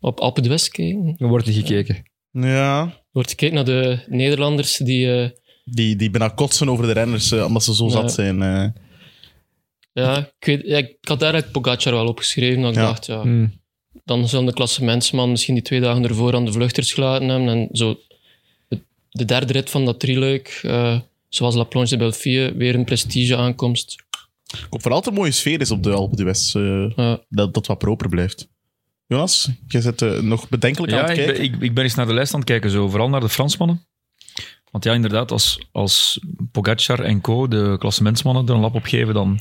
Speaker 4: Op Alpe d'Huez kijken.
Speaker 3: Er wordt niet gekeken.
Speaker 2: Ja.
Speaker 4: Wordt gekeken naar de Nederlanders die... eh,
Speaker 2: Die, die bijna kotsen over de renners, eh, omdat ze zo
Speaker 4: Ja.
Speaker 2: zat zijn. eh.
Speaker 4: ja, ik, weet, ja, ik had daar eigenlijk Pogacar wel opgeschreven. Dat ik
Speaker 2: Ja.
Speaker 4: dacht, ja,
Speaker 3: Hmm.
Speaker 4: dan zullen de klassementsman misschien die twee dagen ervoor aan de vluchters gelaten hebben. En zo de, de derde rit van dat drieluik, eh zoals La Plonge de Belfië, weer een prestige aankomst.
Speaker 2: Ik hoop vooral dat er een mooie sfeer is op de Alpe d'Huez. eh,
Speaker 4: Ja.
Speaker 2: dat, dat wat proper blijft. Jonas, jij zit eh, nog bedenkelijk aan
Speaker 5: Ja,
Speaker 2: het
Speaker 5: ik
Speaker 2: kijken.
Speaker 5: ben, ik, ik ben eens naar de lijst aan het kijken, zo. vooral naar de Fransmannen. Want ja, inderdaad, als, als Pogacar en co, de klassementsmannen, er een lap op geven, dan,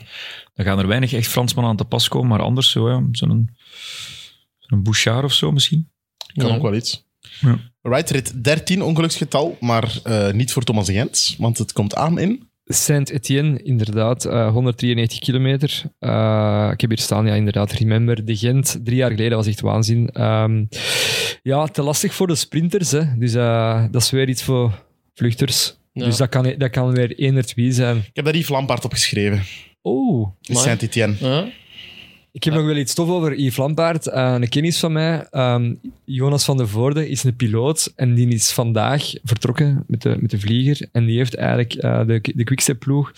Speaker 5: dan gaan er weinig echt Fransmannen aan te pas komen. Maar anders, zo, ja, zo'n zo'n Bouchard of zo misschien.
Speaker 2: Kan
Speaker 4: Ja.
Speaker 2: ook wel iets.
Speaker 5: Ja.
Speaker 2: Right, rit 13, ongeluksgetal, maar eh, niet voor Thomas Gent, want het komt aan in.
Speaker 3: Saint-Étienne, inderdaad, eh, 193 kilometer. Eh, ik heb hier staan, ja, inderdaad. Remember de Gent, drie jaar geleden was echt waanzin. Ehm, ja, te lastig voor de sprinters, hè. Dus eh, dat is weer iets voor vluchters.
Speaker 4: Ja.
Speaker 3: Dus dat kan, dat kan weer Enert wie zijn.
Speaker 2: Ik heb daar Yves Lampaard op geschreven.
Speaker 3: Oh,
Speaker 2: in
Speaker 4: Amai.
Speaker 2: Saint-Étienne.
Speaker 4: Ja?
Speaker 3: ik heb nog wel iets tof over Yves Lampaard. Eh, een kennis van mij, ehm, Jonas van der Voorde, is een piloot. En die is vandaag vertrokken met de, met de vlieger. En die heeft eigenlijk eh, de, de Quickstep-ploeg.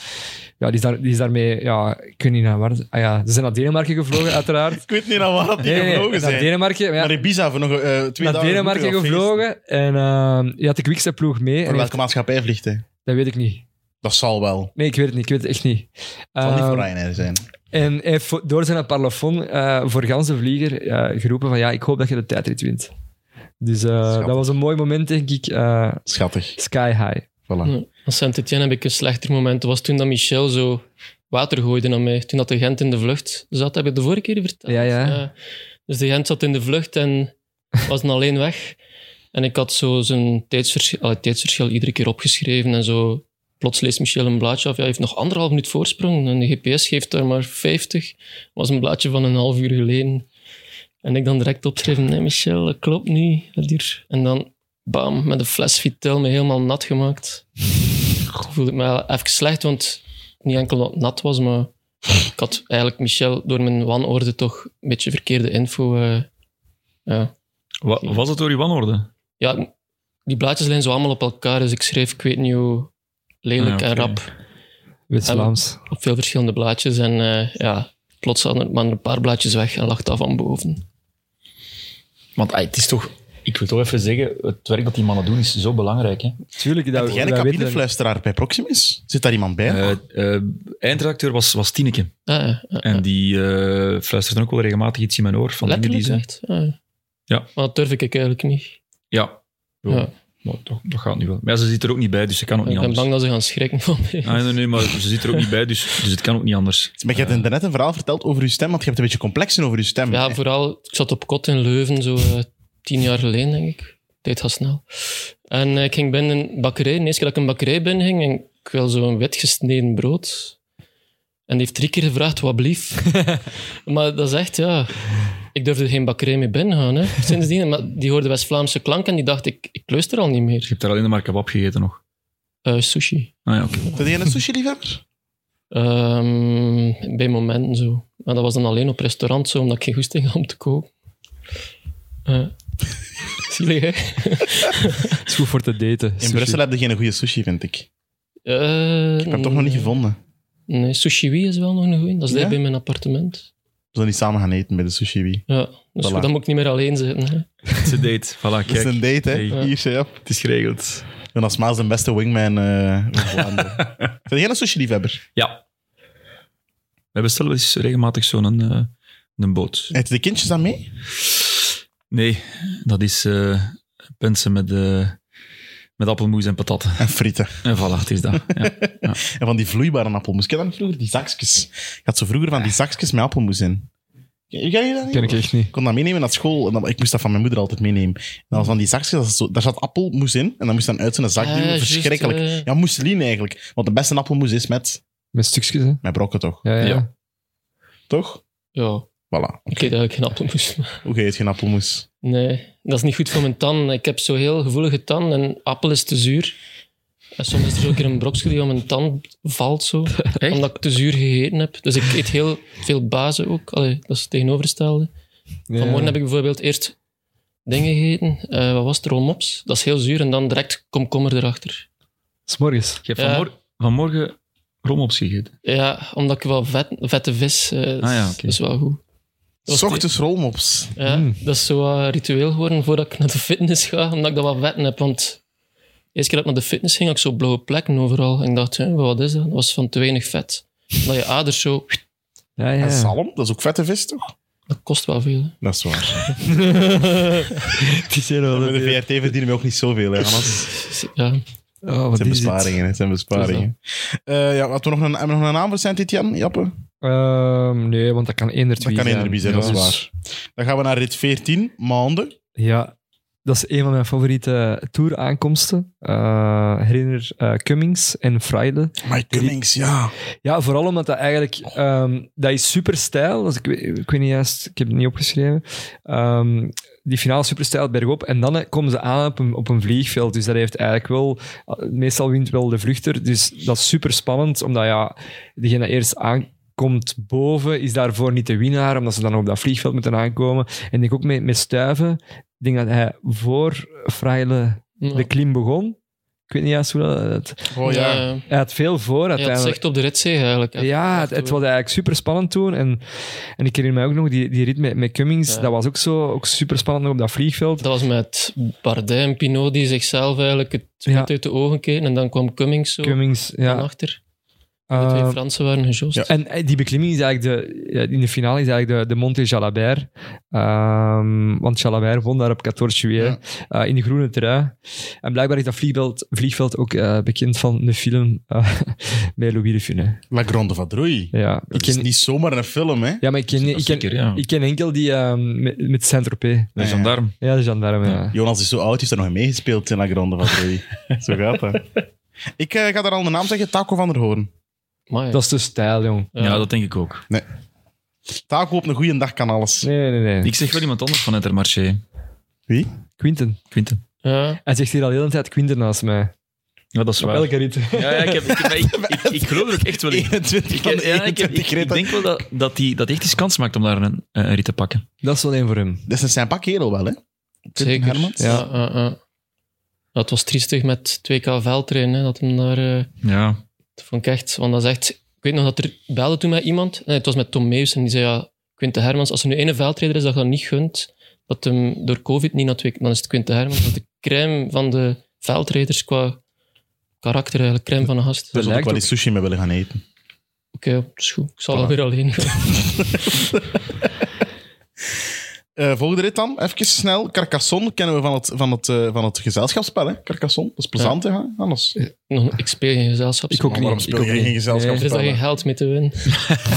Speaker 3: Ja, die, is daar, die is daarmee... Ja, ik weet niet naar waar... Ah ja, ze zijn naar Denemarken gevlogen, uiteraard.
Speaker 2: Ik weet niet naar waar dat die
Speaker 3: Nee, nee,
Speaker 2: gevlogen
Speaker 3: naar
Speaker 2: zijn.
Speaker 3: Denemarken. Maar ja,
Speaker 2: Naar Ibiza voor nog eh, twee
Speaker 3: naar
Speaker 2: dagen.
Speaker 3: Denemarken
Speaker 2: moeten we op feest.
Speaker 3: gevlogen. En ehm je had de Quickstep-ploeg mee. En
Speaker 2: Voor
Speaker 3: die
Speaker 2: welke
Speaker 3: had-
Speaker 2: maatschappij vliegt hij?
Speaker 3: dat weet ik niet.
Speaker 2: Dat zal wel.
Speaker 3: Nee, ik weet het niet. Ik weet het echt niet.
Speaker 2: Het zal niet
Speaker 3: Ehm,
Speaker 2: voor Ryanair zijn.
Speaker 3: En hij heeft vo- door zijn parlofoon eh, voor gans de vlieger eh, geroepen van ja, ik hoop dat je de tijdrit wint. Dus eh,
Speaker 2: Schattig.
Speaker 3: dat was een mooi moment, denk ik. eh,
Speaker 2: Schattig.
Speaker 3: sky high.
Speaker 2: Voilà.
Speaker 4: Ja. Als Saint-Etienne heb ik een slechter moment. Dat was toen dat Michel zo water gooide naar mij. Toen dat de Gent in de vlucht zat, heb ik de vorige keer verteld.
Speaker 3: Ja, ja.
Speaker 4: dus de Gent zat in de vlucht en was dan alleen weg. En ik had zo zijn tijdsverschil, allee, tijdsverschil iedere keer opgeschreven en zo. Plots leest Michel een blaadje af. Ja, hij heeft nog anderhalf minuut voorsprong en de GPS geeft daar maar 50. was een blaadje van een half uur geleden. En ik dan direct opschreven, nee Michel, dat klopt niet. Wat hier? En dan, bam, met een fles Vitel me helemaal nat gemaakt voelde ik me wel even slecht, want niet enkel dat het nat was, maar ik had eigenlijk Michel door mijn wanorde toch een beetje verkeerde info. eh, ja.
Speaker 5: Wa- was het door je wanorde?
Speaker 4: ja, die blaadjes liggen zo allemaal op elkaar, dus ik schreef, ik weet niet hoe, lelijk
Speaker 5: Ah,
Speaker 4: en
Speaker 5: oké.
Speaker 4: rap
Speaker 3: Wit-Vlaams.
Speaker 4: op veel verschillende blaadjes. En eh, ja, plots hadden er maar een paar blaadjes weg en lag dat van boven.
Speaker 5: Want ah, het is toch... Ik wil toch even zeggen, het werk dat die mannen doen is zo belangrijk. Hè?
Speaker 3: Tuurlijk, dat,
Speaker 2: Heb jij een
Speaker 3: dat weten we.
Speaker 2: cabinefluisteraar bij Proximus? Zit daar iemand bij?
Speaker 5: Eh, eh, eindredacteur was, was Tineke.
Speaker 4: Ah, ja, ja, ja.
Speaker 5: En die eh fluistert dan ook wel regelmatig iets in mijn oor van dingen die
Speaker 4: Letterlijk
Speaker 5: ze...
Speaker 4: echt. Ah, ja.
Speaker 5: Ja.
Speaker 4: Maar dat durf ik eigenlijk niet.
Speaker 5: Ja.
Speaker 4: Ja.
Speaker 5: Maar toch, dat gaat nu wel. Maar ja, ze zit er ook niet bij, dus ze kan ook
Speaker 4: Ik
Speaker 5: niet
Speaker 4: ben
Speaker 5: anders.
Speaker 4: bang dat ze gaan schrikken van mij.
Speaker 5: Ah, nee, nee, maar ze zit er ook niet bij, dus, dus het kan ook niet anders.
Speaker 2: Maar je hebt
Speaker 5: eh.
Speaker 2: daarnet een verhaal verteld over je stem, want je hebt een beetje complexen over je stem.
Speaker 4: Ja, vooral, ik zat op kot in Leuven, zo eh, tien jaar geleden, denk ik. Tijd gaat snel. En eh, ik ging binnen een bakkerij. De eerste keer dat ik een bakkerij binnen ging, en ik wil zo'n wit gesneden brood. En die heeft drie keer gevraagd, wat blief. maar dat is echt, ja... Ik durfde geen bakkerij mee binnen gaan, hè. Sindsdien, maar die hoorde West-Vlaamse klank en die dacht, ik, ik luister al niet
Speaker 5: Dus Je
Speaker 4: meer.
Speaker 5: hebt daar alleen maar kebab gegeten nog.
Speaker 4: Eh, sushi.
Speaker 5: Ah ja, oké.
Speaker 2: Ben jij een sushi-liefhebber?
Speaker 4: Ehm, bij momenten zo. Maar dat was dan alleen op restaurant zo, omdat ik geen goesting had om te koken. Eh zielig, hè?
Speaker 3: Het is goed voor te daten.
Speaker 2: In Brussel heb je geen goede sushi, vind ik. Ik
Speaker 4: Eh,
Speaker 2: heb hem toch nog niet gevonden.
Speaker 4: Nee, Sushi Wii is wel nog een goeie. Dat is
Speaker 2: Ja?
Speaker 4: daar bij mijn appartement.
Speaker 2: We zullen niet samen gaan eten bij de sushi wie.
Speaker 4: Ja, dus
Speaker 2: Voilà.
Speaker 4: goed, dan moet ik niet meer alleen zitten. Hè.
Speaker 5: Het is een date. Voilà,
Speaker 2: Het is
Speaker 5: kijk.
Speaker 2: een date, hè?
Speaker 5: Hey.
Speaker 2: Hier, ja.
Speaker 5: Het is geregeld.
Speaker 2: Jonas Maas, de beste wingman eh van Vlaanderen. ben jij een sushi-liefhebber?
Speaker 5: Ja. We bestellen wel eens regelmatig zo'n eh, een boot.
Speaker 2: Eet de kindjes aan mee?
Speaker 5: Nee, dat is eh pensen met, eh, Met appelmoes en patatten.
Speaker 2: En frieten.
Speaker 5: En voilà, het is dat. Ja.
Speaker 2: En van die vloeibare appelmoes. Ken je dat niet vroeger? Die zakjes. Ik had zo vroeger van die zakjes met appelmoes in. Ken ken je dat niet?
Speaker 3: ken ik echt niet.
Speaker 2: Ik kon dat meenemen naar school. En dan, ik moest dat van mijn moeder altijd meenemen. En dan was van die zakjes, dat is zo, daar zat appelmoes in. En dan moest je dan uit zijn zak
Speaker 4: Ah,
Speaker 2: duwen.
Speaker 4: juist,
Speaker 2: Verschrikkelijk.
Speaker 4: eh.
Speaker 2: Ja, mousseline eigenlijk. Want de beste appelmoes is met,
Speaker 3: Met stukjes, hè?
Speaker 2: met brokken, toch?
Speaker 3: Ja, ja.
Speaker 5: Ja.
Speaker 2: Toch?
Speaker 4: Ja,
Speaker 2: Voilà.
Speaker 4: ik eet eigenlijk geen appelmoes. maar-
Speaker 2: Hoe heet geen appelmoes?
Speaker 4: Nee, dat is niet goed voor mijn tanden. Ik heb zo heel gevoelige tanden en appel is te zuur. En soms is er ook een brokje die aan mijn tand valt, zo, omdat ik te zuur gegeten heb. Dus ik eet heel veel bazen ook. Allee, dat is het tegenovergestelde.
Speaker 3: Ja.
Speaker 4: Vanmorgen heb ik bijvoorbeeld eerst dingen gegeten. Eh, wat was het? Rolmops. Dat is heel zuur en dan direct komkommer erachter.
Speaker 3: S'morgens.
Speaker 5: Je hebt
Speaker 4: Ja.
Speaker 5: vanmor- vanmorgen rom opgegeten.
Speaker 4: Ja, omdat ik wel vet, vette vis... eh
Speaker 5: Ah ja,
Speaker 4: dat
Speaker 5: oké.
Speaker 4: is wel goed. Dat was
Speaker 2: S ochtends rolmops.
Speaker 4: Ja,
Speaker 3: Mm.
Speaker 4: dat is zo wat ritueel geworden voordat ik naar de fitness ga, omdat ik dat wat wetten heb. Want de eerste keer dat ik naar de fitness ging, had ik zo blauwe plekken overal. En ik dacht, hè, wat is dat? Dat was van te weinig vet. Omdat je aders zo...
Speaker 3: Ja, ja.
Speaker 2: En zalm, dat is ook vette vis, toch?
Speaker 4: Dat kost wel veel. hè.
Speaker 2: Dat is waar.
Speaker 3: Het is heel
Speaker 2: Met de VRT verdienen we ook niet zoveel, hè, Hannes?
Speaker 4: Dus, Ja.
Speaker 3: Oh,
Speaker 2: Het
Speaker 3: wat
Speaker 2: zijn
Speaker 3: is dit?
Speaker 2: besparingen, hè, het zijn besparingen. Eh, ja, hadden we nog een, hebben we nog een naam voor Saint Etienne, Jappe?
Speaker 3: Ehm, nee, want dat kan eender
Speaker 2: Dat
Speaker 3: twee
Speaker 2: kan
Speaker 3: zijn.
Speaker 2: inderdaad zijn,
Speaker 3: Ja.
Speaker 2: dat is waar. Dan gaan we naar rit 14, maanden.
Speaker 3: Ja, dat is een van mijn favoriete touraankomsten. Eh herinner eh, Cummings en Friday.
Speaker 2: My Cummings, ja.
Speaker 3: Ja, vooral omdat dat eigenlijk... ehm, dat is superstijl. Dus ik, weet- ik weet niet juist, ik heb het niet opgeschreven. Ehm, die finale superstijl bergop. En dan eh, komen ze aan op een, op een vliegveld. Dus dat heeft eigenlijk wel... eh, Meestal wint wel de vluchter. Dus dat is super spannend. Omdat ja, degene dat eerst aankomt boven, is daarvoor niet de winnaar. Omdat ze dan op dat vliegveld moeten aankomen. En ik denk ook met, met stuiven. Ik denk dat hij voor Fraile
Speaker 4: Ja.
Speaker 3: de klim begon. Ik weet niet juist hoe dat... het-
Speaker 2: Oh ja.
Speaker 4: Ja,
Speaker 3: Hij had veel voor
Speaker 4: Je had
Speaker 3: uiteindelijk.
Speaker 4: zicht op de ritzee eigenlijk. hè.
Speaker 3: Ja, het, het was eigenlijk super spannend toen. En, en ik herinner me ook nog die, die rit met, met Cummings.
Speaker 4: Ja.
Speaker 3: Dat was ook, zo, ook super spannend op dat vliegveld.
Speaker 4: Dat was met Bardet en Pinot die zichzelf eigenlijk het
Speaker 3: Ja.
Speaker 4: vet uit de ogen keken. En dan kwam Cummings zo
Speaker 3: Cummings,
Speaker 4: van
Speaker 3: ja.
Speaker 4: achter. De twee
Speaker 3: Ehm,
Speaker 4: Fransen waren gejost.
Speaker 3: en eh, die beklimming is eigenlijk de, ja, in de finale is eigenlijk de, de Monte Jalabert. Ehm, want Jalabert won daar op 14 juillet eh, in de groene trui. En blijkbaar is dat vliegveld, vliegveld ook eh, bekend van de film eh, met Louis de Funès.
Speaker 2: La Grande Vadrouille.
Speaker 3: Ja, ik
Speaker 2: Dat is
Speaker 3: ken,
Speaker 2: niet zomaar een film, hè.
Speaker 3: ja, maar ik ken, ik ken,
Speaker 5: Zeker, ja.
Speaker 3: ik ken enkel die ehm, met, met Saint-Tropez.
Speaker 5: De gendarme.
Speaker 3: Ja, de gendarme. ja.
Speaker 2: Jonas is zo oud, heeft er nog in meegespeeld in La Grande Vadrouille. zo gaat dat. Ik eh, ga daar al een naam zeggen, Taco van der Hoorn.
Speaker 4: Amai.
Speaker 3: Dat is de stijl, jong.
Speaker 5: Ja. dat denk ik ook.
Speaker 2: Taco op een goede dag kan alles.
Speaker 3: Nee, nee, nee.
Speaker 5: Ik zeg wel iemand anders van Intermarché.
Speaker 2: Wie?
Speaker 3: Quinten.
Speaker 5: Quinten.
Speaker 4: ja.
Speaker 3: Hij zegt hier al de hele tijd Quinten naast mij.
Speaker 5: Ja, dat is
Speaker 3: Op
Speaker 5: waar.
Speaker 3: elke rit.
Speaker 5: Ja, ja, ik, heb, ik, heb- ik, ik, ik geloof er ook echt wel in.
Speaker 2: 21
Speaker 5: Ik,
Speaker 2: van
Speaker 5: ja,
Speaker 2: de
Speaker 5: ik, heb-
Speaker 2: 21
Speaker 5: ik, ik
Speaker 2: ritten.
Speaker 5: denk wel dat, dat, die, dat die echt eens kans maakt om daar een, eh, een rit te pakken.
Speaker 3: Dat is wel één voor hem.
Speaker 2: Dat is een sympa kerel wel, hè. Quinten
Speaker 4: Zeker.
Speaker 2: Hermans.
Speaker 4: Ja. ja, ja. Dat was triestig met 2K veldtrainen. Dat hem daar... eh,
Speaker 5: Ja.
Speaker 4: dat vond ik echt... Want dat is echt... Ik weet nog dat er belde toen met iemand. Nee, het was met Tom Meus. En die zei, ja, Quinte Hermans, als er nu één veldtrainer is dat je dat niet gunt, dat hem door COVID niet naar 2K... Dan is het Quinte Hermans. Dat is de crème van de veldrijders qua karakter eigenlijk. Crème van een gast.
Speaker 2: Daar
Speaker 4: Oké,
Speaker 2: zou ik
Speaker 3: lijkt
Speaker 2: wel
Speaker 3: ook-
Speaker 2: eens sushi mee willen gaan eten.
Speaker 4: dat is goed. Ik zal alweer alleen gaan.
Speaker 2: Eh, volgende rit dan, even snel. Carcassonne kennen we van het, van het, eh, van het gezelschapsspel, hè? Carcassonne, dat is plezant, hè, Hannes?
Speaker 4: Nog- Ik speel geen gezelschap.
Speaker 3: Ik ook
Speaker 2: Maar waarom
Speaker 3: niet. Ik
Speaker 2: speel
Speaker 3: ook
Speaker 2: je geen
Speaker 3: niet.
Speaker 4: Er is
Speaker 2: gezelschapsspel?
Speaker 4: daar geen
Speaker 2: hè?
Speaker 4: geld mee te winnen.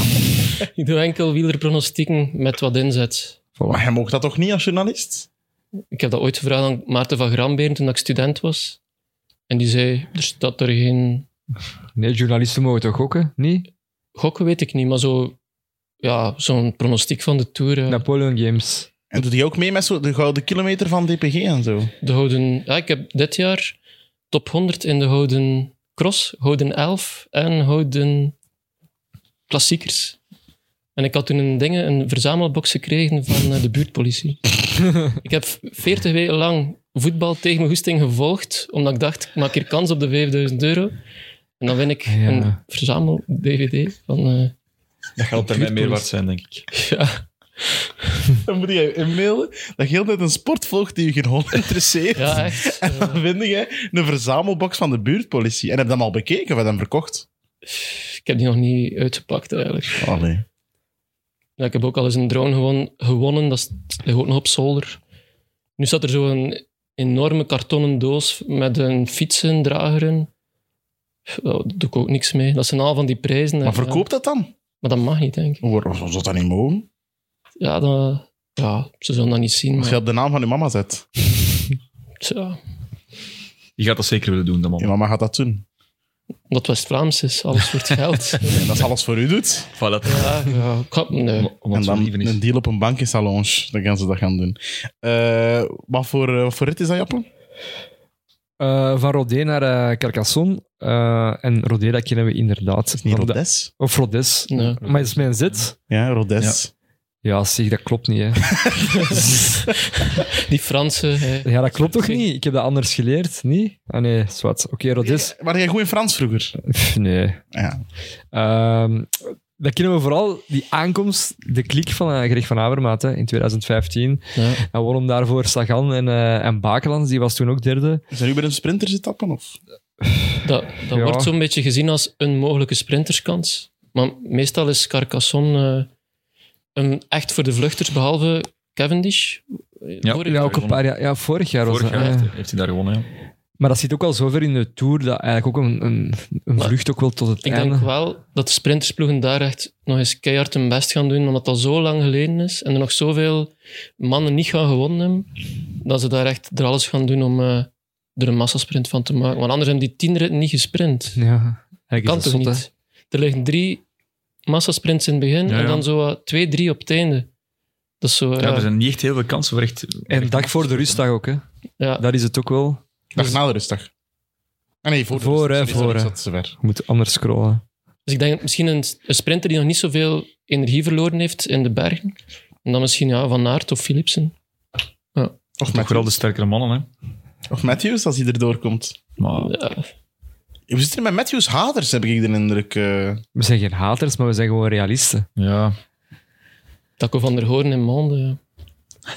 Speaker 4: ik doe enkel wielerpronostieken met wat inzet.
Speaker 2: Maar hij mocht dat toch niet als journalist?
Speaker 4: Ik heb dat ooit gevraagd aan Maarten van Gramberen toen ik student was. En die zei, er staat er geen...
Speaker 3: Nee, journalisten mogen toch gokken? Niet?
Speaker 4: Gokken weet ik niet, maar zo... Ja, zo'n pronostiek van de Tour. ja.
Speaker 3: Napoleon Games.
Speaker 2: En doet hij ook mee met zo de gouden kilometer van DPG en zo?
Speaker 4: De Gouden... Ja, ik heb dit jaar top 100 in de Gouden Cross, Gouden 11 en Gouden Klassiekers. En ik had toen een, ding, een verzamelbox gekregen van eh, de buurtpolitie. ik heb 40 weken lang voetbal tegen mijn goesting gevolgd, omdat ik dacht, ik maak hier kans op de 5000 euro. En dan win ik
Speaker 3: Ja.
Speaker 4: een verzamel-dvd van... eh,
Speaker 5: Dat gaat op termijn meer waard zijn, denk ik.
Speaker 4: ja,
Speaker 2: Dan moet je een mail dat je heel net een sport volgt die je geen hond interesseert.
Speaker 4: ja, echt. eh,
Speaker 2: Dan vind je een verzamelbox van de buurtpolitie. En heb je hem al bekeken of heb je hem verkocht?
Speaker 4: ik heb die nog niet uitgepakt, eigenlijk.
Speaker 2: Allee.
Speaker 4: Ja, ik heb ook al eens een drone gewon- gewonnen. Dat ligt ook nog op zolder. Nu staat er zo'n enorme kartonnen doos met een fietsendrager in. Pff, Daar doe ik ook niks mee. Dat zijn al van die prijzen.
Speaker 2: Maar
Speaker 4: Ja.
Speaker 2: verkoopt dat dan?
Speaker 4: Maar dat mag niet, denk ik.
Speaker 2: Hoe zou dat niet mogen?
Speaker 4: Ja, dat, ja ze zullen dat niet zien.
Speaker 2: Als
Speaker 4: Maar,
Speaker 2: je op de naam van je mama zet.
Speaker 4: tja,
Speaker 5: Je gaat dat zeker willen doen, dat man.
Speaker 2: Je mama gaat dat doen.
Speaker 4: omdat West-Vlaams is, alles wordt geld.
Speaker 2: En dat is alles voor u doet.
Speaker 5: Voilà.
Speaker 4: ja, ja, ik had- nee.
Speaker 5: Om- Omdat
Speaker 2: En
Speaker 5: het zo
Speaker 2: dan
Speaker 5: lief is.
Speaker 2: een deal op een bank in Salons. Dan gaan ze dat gaan doen. Eh, wat, voor, eh, wat voor rit is dat, Jappe?
Speaker 3: Eh, van Rodé naar eh, Carcassonne. Eh, en Rodé, dat kennen we inderdaad.
Speaker 2: Is niet
Speaker 3: Van de-
Speaker 2: Rodes?
Speaker 3: Of Rodes.
Speaker 4: Nee.
Speaker 3: Maar dat is mijn zit.
Speaker 2: Ja, Rodes.
Speaker 3: Ja, zeg, dat klopt niet, hè.
Speaker 4: Die Fransen. hè.
Speaker 3: Ja, dat klopt toch
Speaker 4: Zeg.
Speaker 3: niet? Ik heb dat anders geleerd, niet? Ah nee, zwart. Oké, Rodes.
Speaker 2: Maar Eh, jij goed in Frans vroeger?
Speaker 3: Pff, nee.
Speaker 2: Ja.
Speaker 3: Ehm dat kennen we vooral, die aankomst, de klik van eh, Greg van Avermaat hè, in 2015.
Speaker 4: Ja.
Speaker 3: Hij won hem daarvoor Sagan en, eh en Bakelands, die was toen ook derde.
Speaker 2: Zijn u bij een sprinter zitten of?
Speaker 4: Dat, dat
Speaker 3: Ja.
Speaker 4: wordt zo'n beetje gezien als een mogelijke sprinterskans. Maar meestal is Carcassonne eh, een echt voor de vluchters, behalve Cavendish.
Speaker 5: Ja,
Speaker 4: Vorig
Speaker 3: Ja,
Speaker 4: jaar
Speaker 3: ook een
Speaker 4: gewonnen.
Speaker 3: paar jaar. Ja, vorig jaar
Speaker 5: Vorig
Speaker 3: was dat.
Speaker 5: jaar
Speaker 3: ja.
Speaker 5: heeft, heeft hij daar gewonnen, ja.
Speaker 3: Maar dat zit ook al zover in de Tour, dat eigenlijk ook een, een, een
Speaker 4: Maar
Speaker 3: vlucht ook wel tot het
Speaker 4: Ik
Speaker 3: einde...
Speaker 4: denk wel dat de sprintersploegen daar echt nog eens keihard hun best gaan doen, omdat dat al zo lang geleden is en er nog zoveel mannen niet gaan gewonnen hebben, dat ze daar echt er alles gaan doen om eh, er een massasprint van te maken. Want anders hebben die tien ritten niet
Speaker 3: Mhm.
Speaker 4: gesprint.
Speaker 3: Ja, eigenlijk
Speaker 4: kan
Speaker 3: is dat
Speaker 4: toch
Speaker 3: zot, hè.
Speaker 4: niet? Er liggen drie massasprints in het begin
Speaker 5: Ja,
Speaker 4: en
Speaker 5: ja.
Speaker 4: dan zo wat twee, drie op het einde. Dat is zo...
Speaker 5: ja.
Speaker 4: ja,
Speaker 5: Er zijn niet echt heel veel kansen voor echt...
Speaker 3: En een dag voor de rustdag ook, hè.
Speaker 4: ja.
Speaker 3: Dat is het ook wel.
Speaker 2: Dag na de rustdag. Ah nee, voor de
Speaker 3: Voor,
Speaker 2: rustdag.
Speaker 3: hè,
Speaker 2: Sorry, sorry,
Speaker 3: voor,
Speaker 2: ik
Speaker 3: hè.
Speaker 2: zat te ver.
Speaker 3: Je moet anders scrollen.
Speaker 4: Dus ik denk misschien een, een sprinter die nog niet zoveel energie verloren heeft in de bergen. En dan misschien ja, Van Aert of Philipsen.
Speaker 2: Of
Speaker 5: Toch vooral de
Speaker 2: Matthews,
Speaker 5: sterkere mannen, hè.
Speaker 2: of Matthews, als hij erdoor komt.
Speaker 5: Maar
Speaker 4: Ja,
Speaker 2: We zitten met Matthews haters, heb ik de indruk. eh.
Speaker 3: We zijn geen haters, maar we zijn gewoon realisten.
Speaker 5: ja,
Speaker 4: Taco van der Hoorn in Monde. Ja.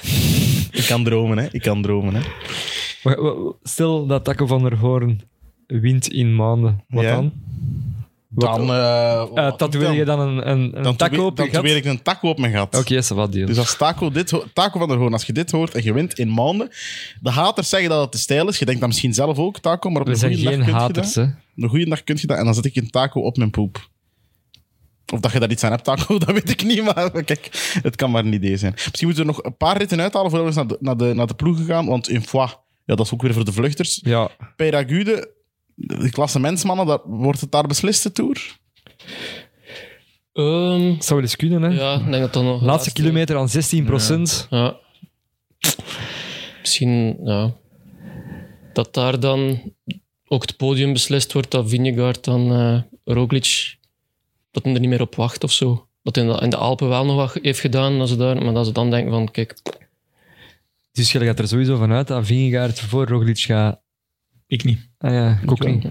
Speaker 2: Ik kan dromen, hè. Ik kan dromen, hè.
Speaker 3: Wa- wa- eh, Stel dat Taco van der Hoorn wint in maanden. Wat
Speaker 2: Ja.
Speaker 3: dan? Wat-
Speaker 2: Dan... eh
Speaker 3: Eh,
Speaker 2: wat
Speaker 3: tatoeëer je
Speaker 2: dan?
Speaker 3: dan een, een, een
Speaker 2: Dan
Speaker 3: tak
Speaker 2: tatoe-
Speaker 3: op je
Speaker 2: Dan
Speaker 3: gat?
Speaker 2: probeer ik een taco op mijn gat.
Speaker 3: Oké, ça va, deal.
Speaker 2: Dus als Taco, dit ho- Taco van der Hoorn, als je dit hoort en je wint in maanden, de haters zeggen dat het te stijl is. Je denkt dat misschien zelf ook, Taco, maar op
Speaker 3: We
Speaker 2: een
Speaker 3: zijn
Speaker 2: goede dag
Speaker 3: geen
Speaker 2: kun je
Speaker 3: haters,
Speaker 2: dat.
Speaker 3: hè.
Speaker 2: Op een goede dag kun je dat en dan zet ik een Taco op mijn poep. Of dat je daar iets aan hebt, Taco, dat weet ik niet, maar kijk, het kan maar een idee zijn. Misschien moeten we nog een paar ritten uithalen voordat we eens naar de, naar de, naar de ploegen gaan, want in Foix, ja, dat is ook weer voor de vluchters.
Speaker 3: Ja.
Speaker 2: Peyragude, de klassementsmannen, dat, wordt het daar beslist, de Tour?
Speaker 4: Ehm,
Speaker 3: Het zou wel eens kunnen, hè.
Speaker 4: ja, ik denk dat dan nog...
Speaker 3: Laatste kilometer aan 16 procent.
Speaker 4: Ja. Misschien, ja. Dat daar dan ook het podium beslist wordt, dat Vinegaard dan eh, Roglic, dat hij er niet meer op wacht of zo. Dat hij in de, in de Alpen wel nog wat heeft gedaan, dat ze daar, maar dat ze dan denken van, kijk,
Speaker 3: Dus je gaat er sowieso vanuit dat Vingegaard voor Roglic gaat...
Speaker 5: ik niet.
Speaker 3: Ah ja, ik ook
Speaker 4: wel.
Speaker 3: niet.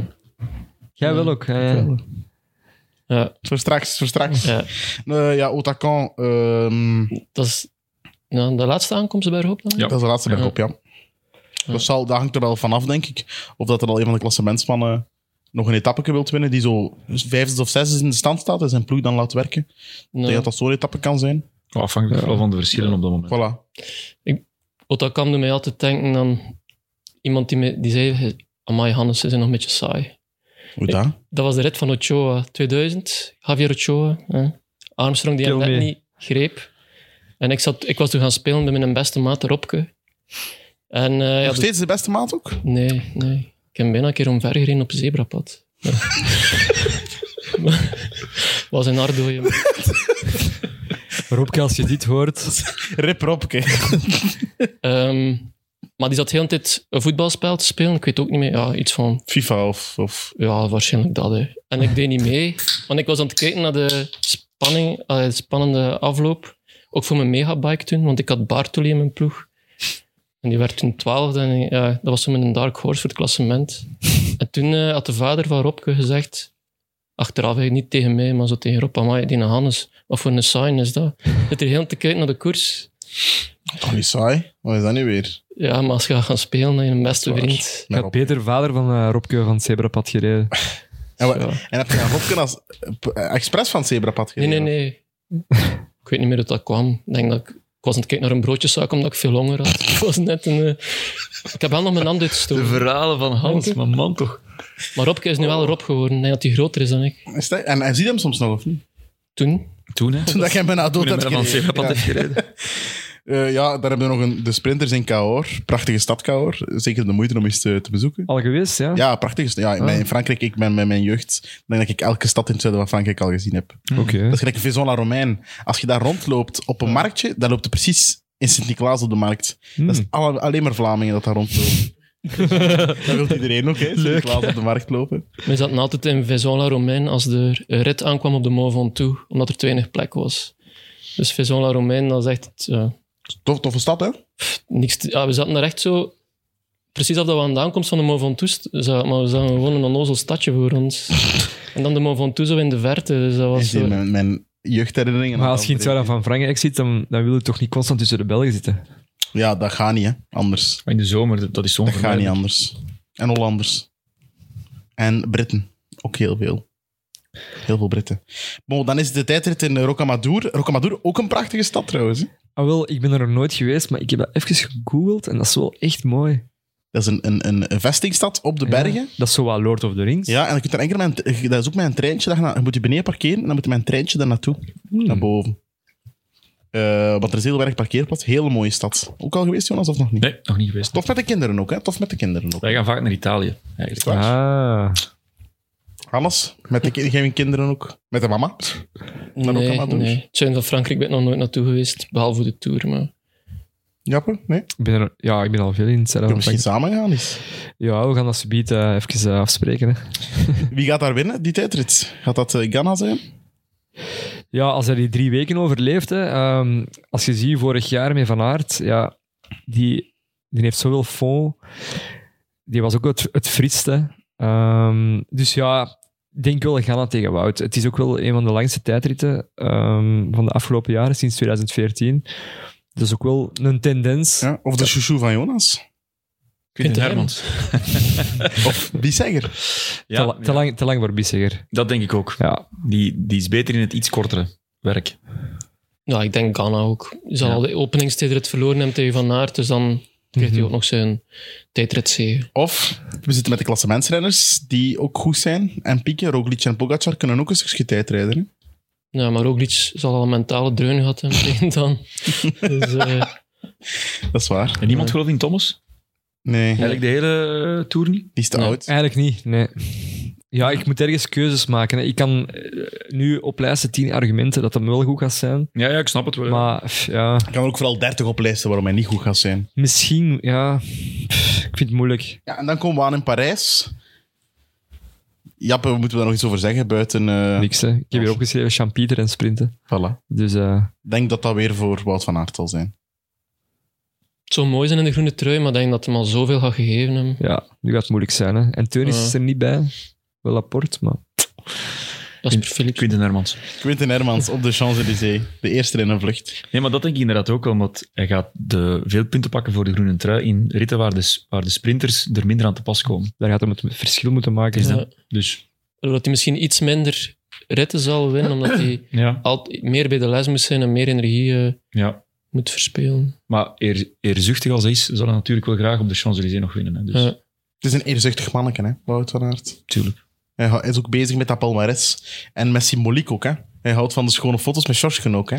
Speaker 3: Jij wel ook. ah, ja.
Speaker 4: ja,
Speaker 2: Voor straks, voor straks.
Speaker 4: ja.
Speaker 2: Eh, ja, Otakan, ehm,
Speaker 4: Dat is nou, de laatste aankomst bij Rob dan?
Speaker 5: Ja.
Speaker 2: Dat is de laatste
Speaker 5: Ja.
Speaker 2: berg op, ja. Dat, zal, dat hangt er wel vanaf, denk ik. Of dat er al een van de klassementsmannen nog een etappe wilt winnen, die zo vijfde of zesde in de stand staat en zijn ploeg dan laat werken. Ik
Speaker 4: Nou,
Speaker 2: denk dat dat zo'n etappe kan zijn.
Speaker 5: Ja, Afhankelijk vooral van de verschillen op dat moment.
Speaker 2: Voilà.
Speaker 4: Otakam doet mij altijd denken aan iemand die, me, die zei, amai Hannes, ze zijn nog een beetje saai.
Speaker 2: Hoe dat?
Speaker 4: Dat was de rit van Ochoa 2000. Javier Ochoa. Hè. Armstrong die hem
Speaker 3: Kill
Speaker 4: net
Speaker 3: me.
Speaker 4: niet greep. En ik, zat, ik was toen gaan spelen met mijn beste maat Robke. En eh, ja,
Speaker 2: Nog
Speaker 4: de-
Speaker 2: steeds de beste maat ook?
Speaker 4: nee, nee. Ik heb bijna een keer omver gereden op een zebrapad. Ja. Maar- was een Ardo. jongen.
Speaker 3: Robke, als je dit hoort...
Speaker 2: Rip Robke.
Speaker 4: Ehm, maar die zat heel de tijd een voetbalspel te spelen. Ik weet ook niet meer. Ja, iets van
Speaker 2: FIFA of... of
Speaker 4: Ja, waarschijnlijk dat. Hè. En ik deed niet mee, want ik was aan het kijken naar de spanning, eh, de spannende afloop. Ook voor mijn megabike toen, want ik had Bartoli in mijn ploeg. En die werd toen twaalfde en ja, dat was toen met een dark horse voor het klassement. En toen eh, had de vader van Robke gezegd, achteraf hè, niet tegen mij, maar zo tegen Rob, amai, die Hannes, wat voor een sign is dat? Zit er heel te kijken naar de koers.
Speaker 2: toch oh, niet saai? Wat is dat nu weer?
Speaker 4: Ja, maar als je gaat gaan spelen, dan je een beste
Speaker 2: Dat is waar.
Speaker 4: vriend.
Speaker 3: Ik
Speaker 2: Met
Speaker 3: had
Speaker 2: Rob.
Speaker 3: Peter, vader van eh, Robke, van het Zebrapad gereden.
Speaker 2: En, wat-
Speaker 4: Ja.
Speaker 2: en heb je dan Robke als eh, p- eh, expres van het zebrapad
Speaker 4: Nee,
Speaker 2: gereden?
Speaker 4: nee, nee. ik weet niet meer hoe dat kwam. Ik denk dat ik Ik was aan het kijken naar een broodjeszaak omdat ik veel honger had. Ik was net een... eh, Ik heb wel nog mijn hand
Speaker 5: De
Speaker 4: uitgestoken.
Speaker 5: verhalen van Hans, maar man toch.
Speaker 4: Maar Robke is nu wel Rob geworden. Hij dat hij groter is dan ik.
Speaker 2: Is dat- en, en zie je hem soms nog, of niet?
Speaker 4: Toen.
Speaker 5: Toen, hè?
Speaker 2: Toen dat jij bijna dood
Speaker 5: Toen
Speaker 2: had
Speaker 5: ik van
Speaker 2: gereden.
Speaker 5: Zebrapad
Speaker 2: Ja.
Speaker 5: heb gereden.
Speaker 2: Eh, ja, daar hebben we nog een, de sprinters in Cahors. Prachtige stad Cahors. Zeker de moeite om eens te, te bezoeken.
Speaker 3: Al geweest, ja?
Speaker 2: Ja, prachtig. is- Ja, in,
Speaker 3: Ah.
Speaker 2: mijn- in Frankrijk, ik ben met mijn jeugd. Ik denk dat ik elke stad in het zuiden van Frankrijk al gezien heb.
Speaker 3: Oké.
Speaker 2: Dat is gelijk Vaison la Romaine. Als je daar rondloopt op een marktje, dan loopt er precies in Sint-Niklaas op de markt. Dat
Speaker 3: Hmm.
Speaker 2: is alle- alleen maar Vlamingen dat daar rondlopen. dat wil iedereen ook, hè? Sint-Niklaas op de markt lopen.
Speaker 4: We zaten altijd in Vaison la Romaine als de rit aankwam op de Mont Ventoux. Omdat er te weinig plek was. Dus Vaison la Romaine, dat is echt... eh,
Speaker 2: Tof, toffe stad, hè?
Speaker 4: niks te- ja, we zaten daar echt zo... Precies af dat we aan de aankomst van de Mont Ventoux st- zaten, maar we zagen gewoon een onnozel stadje voor ons. en dan de Mont Ventoux zo in de verte, dus dat was
Speaker 2: Is die
Speaker 4: zo...
Speaker 2: mijn, mijn jeugdherinneringen.
Speaker 3: eh, Maar als je in het zuiden van Frankrijk zit, dan, dan wil je toch niet constant tussen de Belgen zitten.
Speaker 2: Ja, dat gaat niet, hè? Anders.
Speaker 5: Maar in de zomer, dat- dat is zo'n
Speaker 2: Dat gaat niet anders. En Hollanders. En Britten. Ook heel veel. Heel veel Britten. Bon, dan is het de tijdrit in eh, Rocamadour. Rocamadour, ook een prachtige stad trouwens. hè.
Speaker 3: Ah, wel, ik ben er nog nooit geweest, maar ik heb dat even gegoogeld en dat is wel echt mooi.
Speaker 2: Dat is een, een, een, een vestingstad op de bergen.
Speaker 3: Ja, dat is zo wat Lord of the Rings.
Speaker 2: Ja, en je kunt daar enkel met een, dat is ook met een treintje. Dat je, na- je moet je beneden parkeren en dan moet je met een treintje daar naartoe.
Speaker 3: Hmm.
Speaker 2: Naar boven. Eh, want er is heel erg parkeerplaats. Hele mooie stad. Ook al geweest, Jonas, of nog niet?
Speaker 5: Nee, nog niet geweest.
Speaker 2: Tof met de kinderen ook, hè? Tof met de kinderen ook.
Speaker 5: Wij gaan vaak naar Italië. Eigenlijk.
Speaker 3: Ah.
Speaker 2: Alles. Met de ki- geen kinderen ook. Met de mama. Maar ook allemaal
Speaker 4: Nee,
Speaker 2: doen.
Speaker 4: nee. Het zuiden van Frankrijk ben ik nog nooit naartoe geweest, behalve de Tour, maar...
Speaker 2: Jappe? Nee?
Speaker 3: Ik ben er, ja, ik ben al veel in het zuiden
Speaker 2: Kunnen
Speaker 3: van
Speaker 2: we misschien samen
Speaker 3: Frankrijk.
Speaker 2: gaan eens?
Speaker 3: Ja, we gaan dat subiet eh, even eh, afspreken. Hè.
Speaker 2: Wie gaat daar winnen, die tijdrit? Gaat dat eh, Ghana zijn?
Speaker 3: Ja, als hij die drie weken overleeft, hè, ehm, als je ziet vorig jaar met Van Aert, ja, die, die heeft zoveel fond. Die was ook het, het fritste. Ehm, dus ja, ik denk wel Ghana tegen Wout. Het is ook wel een van de langste tijdritten ehm, van de afgelopen jaren, sinds 2014. Dat is ook wel een tendens.
Speaker 2: Ja, of de chouchou van Jonas?
Speaker 5: Quinten
Speaker 4: Quinten
Speaker 5: Hermans.
Speaker 2: Of Bissegger?
Speaker 3: te,
Speaker 5: Ja,
Speaker 3: la- te
Speaker 5: ja,
Speaker 3: lang, te lang voor Bissiger.
Speaker 5: dat denk ik ook.
Speaker 3: Ja,
Speaker 5: Die, die is beter in het iets kortere werk.
Speaker 4: Ja, ik denk Ghana ook. Ze zal
Speaker 5: Ja.
Speaker 4: al de openingstijdrit verloren hebben tegen Van Aert, dus dan krijgt hij
Speaker 3: Mhm.
Speaker 4: ook nog zijn tijdritzege.
Speaker 2: Of we zitten met de klassementsrenners die ook goed zijn en pieken. Roglic en Pogacar kunnen ook een stukje tijdrijden. hè?
Speaker 4: Ja, maar Roglic zal al een mentale dreun gehad hebben tegen dan. Dus, eh,
Speaker 2: Dat is waar.
Speaker 5: En niemand gelooft in Thomas?
Speaker 2: Nee, die
Speaker 5: Eigenlijk de hele eh, tour niet?
Speaker 2: is te
Speaker 4: Nee.
Speaker 2: oud.
Speaker 3: Eigenlijk niet, nee. Ja, ik moet ergens keuzes maken. hè. Ik kan eh, nu oplijsten tien argumenten dat dat wel goed gaat zijn.
Speaker 5: Ja, ja, ik snap het wel.
Speaker 3: Maar pff, ja,
Speaker 2: Ik kan er ook vooral 30 oplijsten waarom hij niet goed gaat zijn.
Speaker 3: misschien, ja. pff, ik vind het moeilijk.
Speaker 2: Ja, en dan komen we aan in Parijs. Jappe, moeten we daar nog iets over zeggen buiten... eh,
Speaker 3: Niks, hè. Ik heb hier opgeschreven champieter en sprinten.
Speaker 2: voilà.
Speaker 3: Dus eh,
Speaker 2: Ik denk dat dat weer voor Wout van Aert zal zijn.
Speaker 4: het zou mooi zijn in de groene trui, maar ik denk dat hij al zoveel gaat gegeven hebben.
Speaker 3: ja, nu gaat het moeilijk zijn. Hè. En Teunis
Speaker 4: Ja.
Speaker 3: is er niet bij. Wel apport, maar...
Speaker 4: Dat is per Philips.
Speaker 5: Quinten Hermans.
Speaker 2: Quinten Hermans op de Champs-Élysées. De eerste in een vlucht.
Speaker 5: Nee, maar dat denk ik inderdaad ook wel, want hij gaat de, veel punten pakken voor de groene trui in ritten waar de, waar de sprinters er minder aan te pas komen.
Speaker 3: Daar gaat hem het verschil moeten maken.
Speaker 5: Is dat?
Speaker 4: Ja.
Speaker 5: Dus
Speaker 4: Doordat hij misschien iets minder ritten zal winnen, omdat hij
Speaker 5: ja.
Speaker 4: altijd meer bij de les moet zijn en meer energie eh,
Speaker 5: ja.
Speaker 4: moet verspelen.
Speaker 5: Maar eer, eerzuchtig als hij is, zal hij natuurlijk wel graag op de Champs-Élysées nog winnen. Hè. Dus,
Speaker 4: Ja.
Speaker 2: Het is een eerzuchtig manneke, hè, Wout van Aert.
Speaker 5: tuurlijk.
Speaker 2: Hij hou- hij is ook bezig met dat palmarès. En met symboliek ook, hè. Hij houdt van de schone foto's met Sjorgen ook, hè.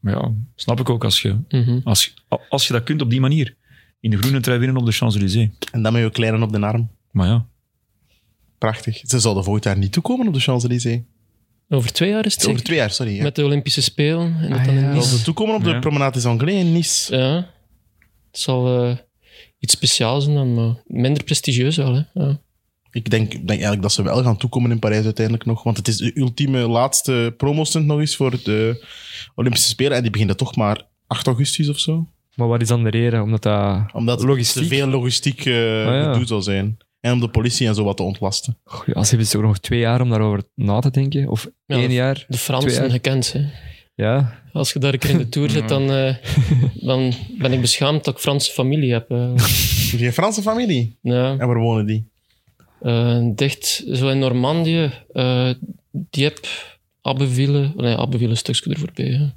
Speaker 5: Maar ja, snap ik ook als je,
Speaker 4: Mhm.
Speaker 5: als, je- als je dat kunt op die manier. In de groene trui winnen op de Champs-Élysées.
Speaker 2: En dan met je kleinen op de arm.
Speaker 5: Maar ja,
Speaker 2: Prachtig. Ze zouden volgend jaar niet toekomen op de Champs-Élysées.
Speaker 4: Over twee jaar is het
Speaker 2: Over
Speaker 4: zeker?
Speaker 2: twee jaar, sorry. Ja.
Speaker 4: Met de Olympische Spelen. En dat
Speaker 3: Ah,
Speaker 4: dan
Speaker 3: ja.
Speaker 4: in
Speaker 2: Ze
Speaker 4: Nice.
Speaker 2: zouden toekomen op de
Speaker 5: Ja.
Speaker 2: Promenade des Anglais in Nice.
Speaker 4: Ja. Het zal eh, iets speciaals zijn dan, maar minder prestigieus wel. Hè? Ja.
Speaker 2: Ik denk, denk eigenlijk dat ze wel gaan toekomen in Parijs uiteindelijk nog. Want het is de ultieme laatste promostunt nog eens voor de Olympische Spelen. En die beginnen toch maar 8 augustus of zo.
Speaker 3: Maar wat is dan de reden? Omdat dat...
Speaker 2: Omdat
Speaker 3: Logistiek. Ah,
Speaker 2: te veel logistiek eh
Speaker 3: ja.
Speaker 2: gedoe zal zijn. En om de politie en zo wat te ontlasten.
Speaker 3: Goh, ja, ze hebben toch nog twee jaar om daarover na te denken? Of
Speaker 4: Ja,
Speaker 3: één
Speaker 4: dat-
Speaker 3: jaar?
Speaker 4: De
Speaker 3: Twee
Speaker 4: Fransen
Speaker 3: jaar.
Speaker 4: gekend. Hè?
Speaker 3: Ja.
Speaker 4: Als je daar een keer in de Tour zit, dan, eh, dan ben ik beschaamd dat ik Franse familie heb. eh.
Speaker 2: Heb je een Franse familie?
Speaker 4: Ja.
Speaker 2: En waar wonen die?
Speaker 4: Eh, dicht zo in Normandië, eh Dieppe, Abbeville. Nee, Abbeville is een stukje er voorbij. Hè.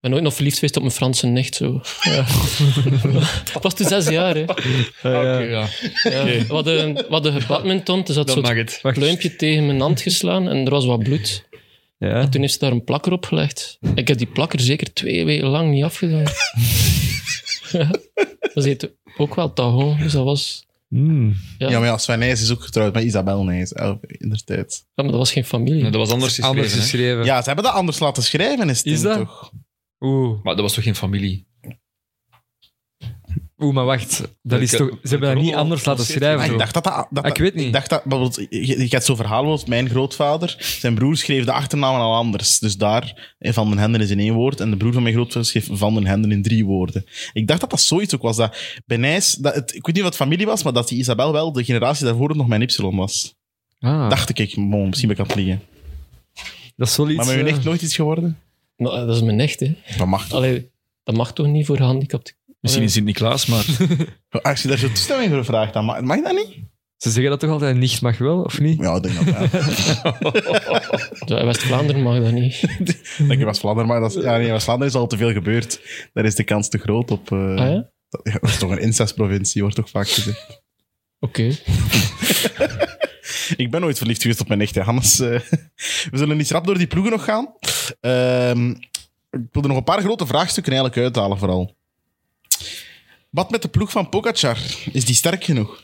Speaker 4: ben nooit nog verliefd geweest op mijn Franse nicht. Zo. Ja. Ik was toen zes jaar. Hè. Ja. We, hadden, we hadden gebadminton, dus had
Speaker 5: Dat mag
Speaker 4: zo'n
Speaker 5: het.
Speaker 4: pluimpje tegen mijn hand geslaan en er was wat bloed.
Speaker 3: Ja.
Speaker 4: Toen heeft ze daar een plakker op gelegd. Ik heb die plakker zeker twee weken lang niet afgedaan. ja. Dat heet ook wel Tahoe, dus dat was...
Speaker 3: Hmm.
Speaker 4: Ja.
Speaker 2: Ja, maar ja, Sven Nijs is ook getrouwd met Isabel Nijs, eh, inderdaad.
Speaker 4: Ja, maar dat was geen familie.
Speaker 5: dat was anders geschreven.
Speaker 3: Anders
Speaker 5: hè?
Speaker 3: geschreven.
Speaker 2: Ja, ze hebben dat anders laten schrijven, is het
Speaker 3: Is
Speaker 2: ding
Speaker 3: dat? Ah,
Speaker 2: toch?
Speaker 3: Oeh.
Speaker 5: Maar dat was toch geen familie?
Speaker 3: Oeh, maar wacht. Dat is
Speaker 5: Ik-
Speaker 3: toch, ze hebben dat niet
Speaker 5: Rommel
Speaker 3: anders laten
Speaker 5: passeert
Speaker 3: schrijven.
Speaker 2: Ah, ik
Speaker 3: toch?
Speaker 2: dacht dat dat... dat-
Speaker 3: Ik weet niet.
Speaker 2: Ik dacht dat... bijvoorbeeld, Je, je hebt zo'n verhaal als mijn grootvader. Zijn broer schreef de achternaam al anders. Dus daar, eh, Van den Henden is in één woord. En de broer van mijn grootvader schreef Van den Henden in drie woorden. Ik dacht dat dat zoiets ook was. Dat bij Nijs... Dat het, ik weet niet wat familie was, maar dat die Isabel wel de generatie daarvoor nog mijn Y was.
Speaker 3: Ah,
Speaker 2: Dacht ik, bon, misschien ben ik aan het liegen.
Speaker 3: dat is wel iets...
Speaker 2: Maar ben je
Speaker 3: eh,
Speaker 2: echt nooit iets geworden?
Speaker 4: Maar, eh, dat is mijn nicht, hè.
Speaker 2: Dat mag toch?
Speaker 4: Allee, dat mag toch niet voor gehandicapten?
Speaker 5: Misschien in Sint-Niklaas, maar
Speaker 2: Als je daar zo toestemming voor vraagt, dan mag, mag dat niet?
Speaker 3: Ze zeggen dat toch altijd, nicht mag wel, of niet?
Speaker 2: Ja, ik denk dat wel.
Speaker 4: Ja, in West-Vlaanderen mag dat niet.
Speaker 2: Denk je West-Vlaanderen, maar dat is, ja, nee, in West-Vlaanderen is al te veel gebeurd. Daar is de kans te groot op. eh,
Speaker 4: Ah ja?
Speaker 2: dat, ja, dat is toch een incestprovincie, wordt toch vaak gezegd.
Speaker 4: Oké.
Speaker 2: Ik ben nooit verliefd geweest op mijn echte Hannes. eh. we zullen iets rap door die ploegen nog gaan. Ehm, ik wil er nog een paar grote vraagstukken eigenlijk uithalen, vooral. Wat met de ploeg van Pogacar? Is die sterk genoeg?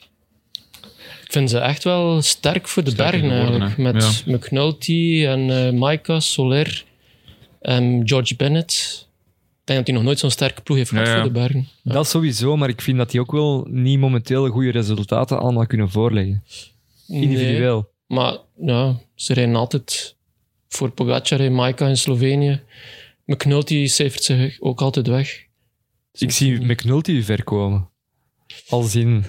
Speaker 4: Ik vind ze echt wel sterk voor de
Speaker 5: Sterker
Speaker 4: bergen
Speaker 5: geworden,
Speaker 4: eigenlijk.
Speaker 5: hè.
Speaker 4: Met McNulty en eh Maika, Soler, en George Bennett. Ik denk dat hij nog nooit zo'n sterke ploeg heeft gehad
Speaker 5: Ja, ja.
Speaker 4: voor de bergen.
Speaker 3: Dat sowieso, maar ik vind dat die ook wel niet momenteel goede resultaten allemaal kunnen voorleggen.
Speaker 4: Nee,
Speaker 3: Individueel.
Speaker 4: maar ja, ze rijden altijd voor Pogacar en Maika in Slovenië. McNulty cijfert zich ook altijd weg. Dus
Speaker 3: Ik zie McNulty ver komen. Als in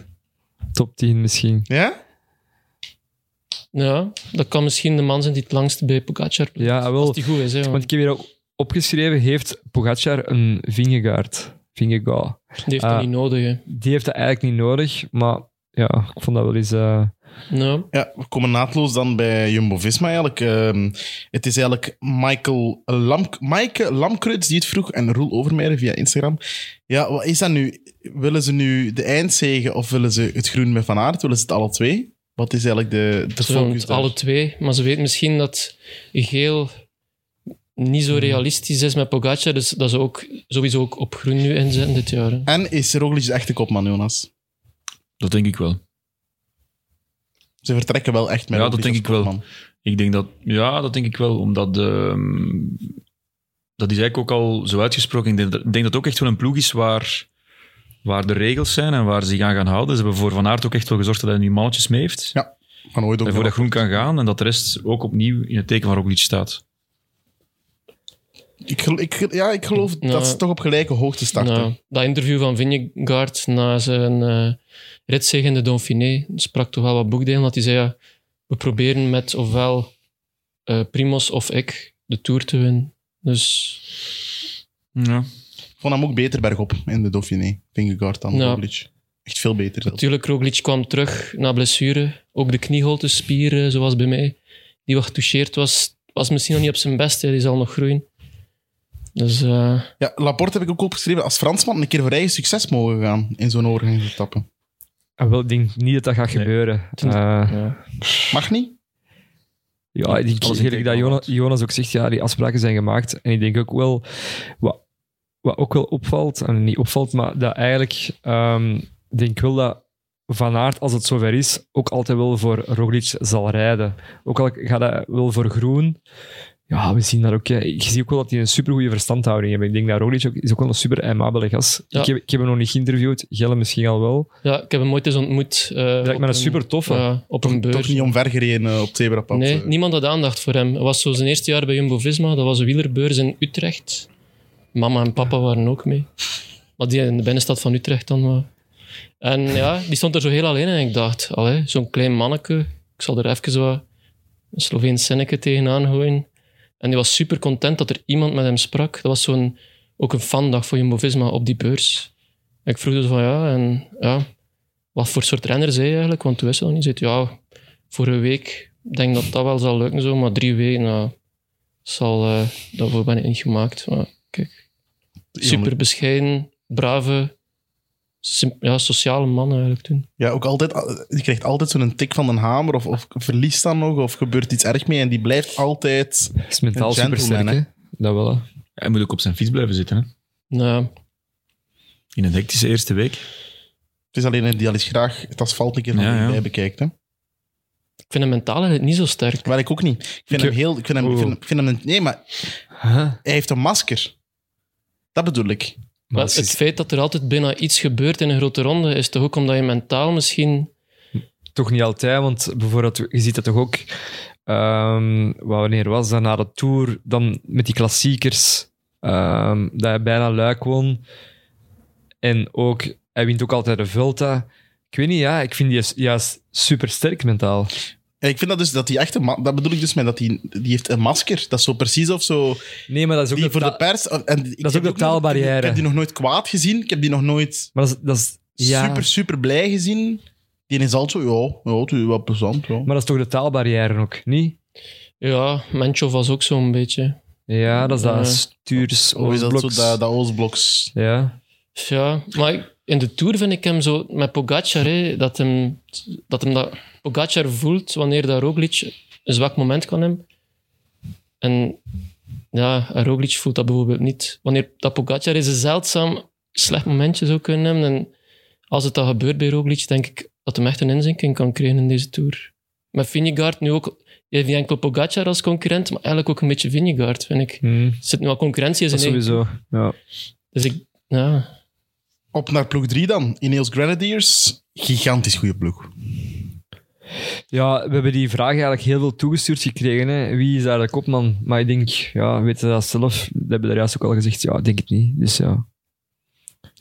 Speaker 3: top 10 misschien.
Speaker 2: Ja?
Speaker 4: Ja, dat kan misschien de man zijn die het langst bij Pogacar blijft.
Speaker 3: Ja,
Speaker 4: Als
Speaker 3: wel.
Speaker 4: die goed is, hè.
Speaker 3: Want
Speaker 4: want
Speaker 3: ik heb hier ook opgeschreven, heeft Pogacar een Vingegaard? Vingegaard.
Speaker 4: Die heeft dat
Speaker 3: Ah.
Speaker 4: niet nodig, hè.
Speaker 3: Die heeft dat eigenlijk niet nodig, maar ja, ik vond dat wel eens... eh,
Speaker 4: Ja.
Speaker 2: Ja, we komen naadloos dan bij Jumbo-Visma eigenlijk. Ehm, het is eigenlijk Michael Lamk Maaike Lamkruts die het vroeg en Roel Overmeijer via Instagram. Ja, wat is dat nu? Willen ze nu de eindzegen of willen ze het groen met Van Aert? Willen ze het alle twee? Wat is eigenlijk de, de
Speaker 4: Ze willen
Speaker 2: focus
Speaker 4: het
Speaker 2: daar?
Speaker 4: alle twee, maar ze weten misschien dat geel niet zo realistisch is met Pogacar, dus dat ze ook sowieso ook op groen nu inzetten dit jaar. hè.
Speaker 2: En is Roglic de echte kopman, Jonas?
Speaker 5: dat denk ik wel.
Speaker 2: Ze vertrekken wel echt met
Speaker 5: Ja, dat
Speaker 2: Roglic
Speaker 5: denk
Speaker 2: als
Speaker 5: ik wel.
Speaker 2: kopman.
Speaker 5: Ik denk dat, ja, dat denk ik wel, omdat ehm, dat is eigenlijk ook al zo uitgesproken. Ik denk, dat- ik denk dat het ook echt wel een ploeg is waar, waar de regels zijn en waar ze zich aan gaan houden. Ze hebben voor Van Aert ook echt wel gezorgd dat hij nu mannetjes mee heeft.
Speaker 2: Ja, Van ooit ook
Speaker 5: en voor dat
Speaker 2: nog.
Speaker 5: groen kan gaan en dat de rest ook opnieuw in het teken van Roglic staat.
Speaker 2: ik, gel- ik, ja, ik geloof
Speaker 4: Nou,
Speaker 2: dat ze toch op gelijke hoogte starten.
Speaker 4: Nou, dat interview van Vingegaard na zijn eh ritzege in de Dauphiné sprak toch wel wat boekdelen, dat hij zei, ja, we proberen met ofwel eh Primos of ik de Tour te winnen. Dus
Speaker 5: Ja.
Speaker 2: Ik vond hem ook beter bergop in de Dauphiné. Vingegaard dan
Speaker 4: Ja.
Speaker 2: Roglic. Echt veel beter zelfs.
Speaker 4: Natuurlijk, Roglic kwam terug na blessure. Ook de knieholtespier, eh, zoals bij mij, die wat getoucheerd was, was misschien nog niet op zijn best. hè. Die zal nog groeien. Dus eh,
Speaker 2: Ja, Laporte heb ik ook opgeschreven als Fransman een keer voor eigen succes mogen gaan in zo'n overgang etappe.
Speaker 3: ah, wel, ik denk niet dat dat gaat
Speaker 5: Nee.
Speaker 3: gebeuren. Eh,
Speaker 2: Mag niet?
Speaker 3: Ja, ik denk
Speaker 5: alles in
Speaker 3: eerlijk dat
Speaker 5: teken
Speaker 3: Jona-
Speaker 5: houdt.
Speaker 3: Jonas ook zegt, ja, die afspraken zijn gemaakt. En ik denk ook wel, wat, wat ook wel opvalt, en niet opvalt, maar dat eigenlijk, ehm, ik denk wel dat Van Aert, als het zover is, ook altijd wel voor Roglic zal rijden. Ook al gaat hij wel voor Groen. Ja, we zien dat ook. hè. Ik zie ook wel dat hij een supergoeie verstandhouding heeft. Ik denk dat Roglic ook, is ook wel een super aimabele gast.
Speaker 4: Ja.
Speaker 3: Ik, heb, ik heb hem nog niet geïnterviewd. Gelle misschien al wel.
Speaker 4: ja, ik heb hem ooit eens ontmoet. eh,
Speaker 3: Lijkt
Speaker 4: op
Speaker 3: me een super toffe.
Speaker 4: ja, op een beurs.
Speaker 2: Toch niet omvergereden eh, op het zebrapad.
Speaker 4: nee,
Speaker 2: eh.
Speaker 4: niemand had aandacht voor hem. Het was zo zijn eerste jaar bij Jumbo-Visma. Dat was een wielerbeurs in Utrecht. Mama en papa waren ook mee. Maar die in de binnenstad van Utrecht dan wel. En ja, die stond er zo heel alleen en ik dacht, allee, zo'n klein manneke. Ik zal er even wat een Sloveens zinnetje tegenaan gooien. En die was super content dat er iemand met hem sprak. Dat was zo'n, ook een fandag voor Jumbo-Visma op die beurs. En ik vroeg dus van ja, en ja, wat voor soort renner zei je eigenlijk? Want toen wist hij nog niet. Hij zei, ja, voor een week. Ik denk dat dat wel zal lukken, zo, maar drie weken, nou, zal, eh, daarvoor ben ik niet gemaakt. Maar kijk, Super bescheiden, brave, sim- ja, sociale man eigenlijk toen.
Speaker 2: Ja, ook altijd, die krijgt altijd zo'n tik van een hamer, of, of verliest dan nog, of gebeurt iets erg mee. En die blijft altijd.
Speaker 3: Dat is mentaal
Speaker 2: Een
Speaker 3: super
Speaker 2: gentleman,
Speaker 3: sterk, hè? Dat wel. hè.
Speaker 5: Hij moet ook op zijn fiets blijven zitten. Hè?
Speaker 4: Nou,
Speaker 5: In een hectische eerste week.
Speaker 2: Het is alleen een die al eens graag het asfalt een keer van
Speaker 5: Ja, ja.
Speaker 2: dichtbij bekijkt. Hè?
Speaker 4: ik vind hem mentaal eigenlijk niet zo sterk.
Speaker 2: Maar ik ook niet. Ik vind hem heel. Ik vind hem, ik vind, hem- ik vind hem een- nee, maar
Speaker 3: Huh?
Speaker 2: hij heeft een masker. Dat bedoel ik.
Speaker 3: Maar
Speaker 4: Maar
Speaker 3: het
Speaker 4: het
Speaker 3: is
Speaker 4: feit dat er altijd bijna iets gebeurt in een grote ronde, is toch ook omdat je mentaal misschien...
Speaker 3: toch niet altijd, want bijvoorbeeld, je ziet dat toch ook, ehm, wat wanneer was dat, na de Tour, dan met die klassiekers, ehm, dat hij bijna Luik won. En ook, hij wint ook altijd de Vuelta. Ik weet niet, ja, ik vind die juist- juist super sterk mentaal.
Speaker 2: En ik vind dat dus dat die echte. ma- Dat bedoel ik dus met dat die, die heeft een masker. Dat is zo precies of zo.
Speaker 3: Nee, maar dat is ook
Speaker 2: Die
Speaker 3: de
Speaker 2: voor
Speaker 3: ta-
Speaker 2: de pers. En ik
Speaker 3: ook
Speaker 2: heb
Speaker 3: de
Speaker 2: nog-
Speaker 3: taalbarrière.
Speaker 2: Ik heb die nog nooit kwaad gezien. Ik heb die nog nooit
Speaker 3: Maar dat is, dat is- ja,
Speaker 2: super, super blij gezien. Die is altijd zo. Ja, ja het is wel plezant. Ja.
Speaker 3: maar dat is toch de taalbarrière ook, niet?
Speaker 4: Ja, Menchov was ook zo'n beetje.
Speaker 3: Ja, dat is dat
Speaker 4: Eh,
Speaker 3: stuurs...
Speaker 2: Of is dat zo,
Speaker 3: oostbloks.
Speaker 2: dat, dat Oostbloks?
Speaker 3: Ja.
Speaker 4: Ja, maar ik- in de Tour vind ik hem zo... Met Pogacar, hè, dat, hem, dat hem dat... Pogacar voelt wanneer dat Roglic een zwak moment kan hebben. En ja, en Roglic voelt dat bijvoorbeeld niet. Wanneer dat Pogacar is een zeldzaam slecht momentje zou kunnen hebben. En als het dan gebeurt bij Roglic, denk ik dat hem echt een inzinking kan krijgen in deze Tour. Met Vinegaard nu ook... Je hebt niet enkel Pogacar als concurrent, maar eigenlijk ook een beetje Vinegaard, vind ik.
Speaker 3: Hm,
Speaker 4: Er zit nu al concurrentie in
Speaker 3: dat
Speaker 4: zijn eigen-
Speaker 3: sowieso. Ja.
Speaker 4: Dus ik... Ja.
Speaker 2: Op naar ploeg 3 dan. Ineos Grenadiers. Gigantisch goede ploeg.
Speaker 3: Ja, we hebben die vraag eigenlijk heel veel toegestuurd gekregen. Hè. Wie is daar de kopman? Maar ik denk, ja, weten ze dat zelf? Dat hebben we daar juist ook al gezegd. Ja, ik denk het niet. Dus ja.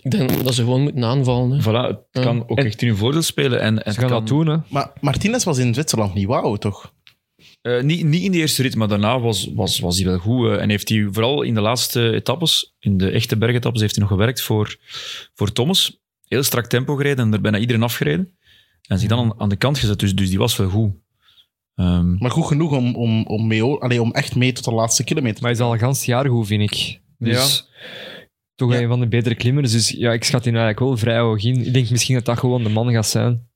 Speaker 4: Ik denk dat ze gewoon moeten aanvallen. Hè.
Speaker 5: Voilà, het
Speaker 4: Ja.
Speaker 5: kan ook
Speaker 3: En-
Speaker 5: echt in hun voordeel spelen. En, en
Speaker 3: Ze
Speaker 5: het
Speaker 3: gaan
Speaker 5: kan-
Speaker 3: dat doen, hè.
Speaker 2: Maar Martinez was in Zwitserland niet wauw, toch?
Speaker 5: Eh, niet, niet in de eerste rit, maar daarna was, was, was hij wel goed. eh, en heeft hij vooral in de laatste etappes, in de echte bergetappes, heeft hij nog gewerkt voor, voor Thomas. Heel strak tempo gereden en er bijna iedereen afgereden. En zich dan aan, aan de kant gezet, dus, dus die was wel goed. Ehm,
Speaker 2: Maar goed genoeg om, om, om, mee, allee, om echt mee tot de laatste kilometer.
Speaker 3: Maar hij is al een gans jaar goed, vind ik. Dus toch
Speaker 2: Ja.
Speaker 3: een van de betere klimmers. Dus ja, ik schat die eigenlijk wel vrij hoog in. Ik denk misschien dat dat gewoon de man gaat zijn.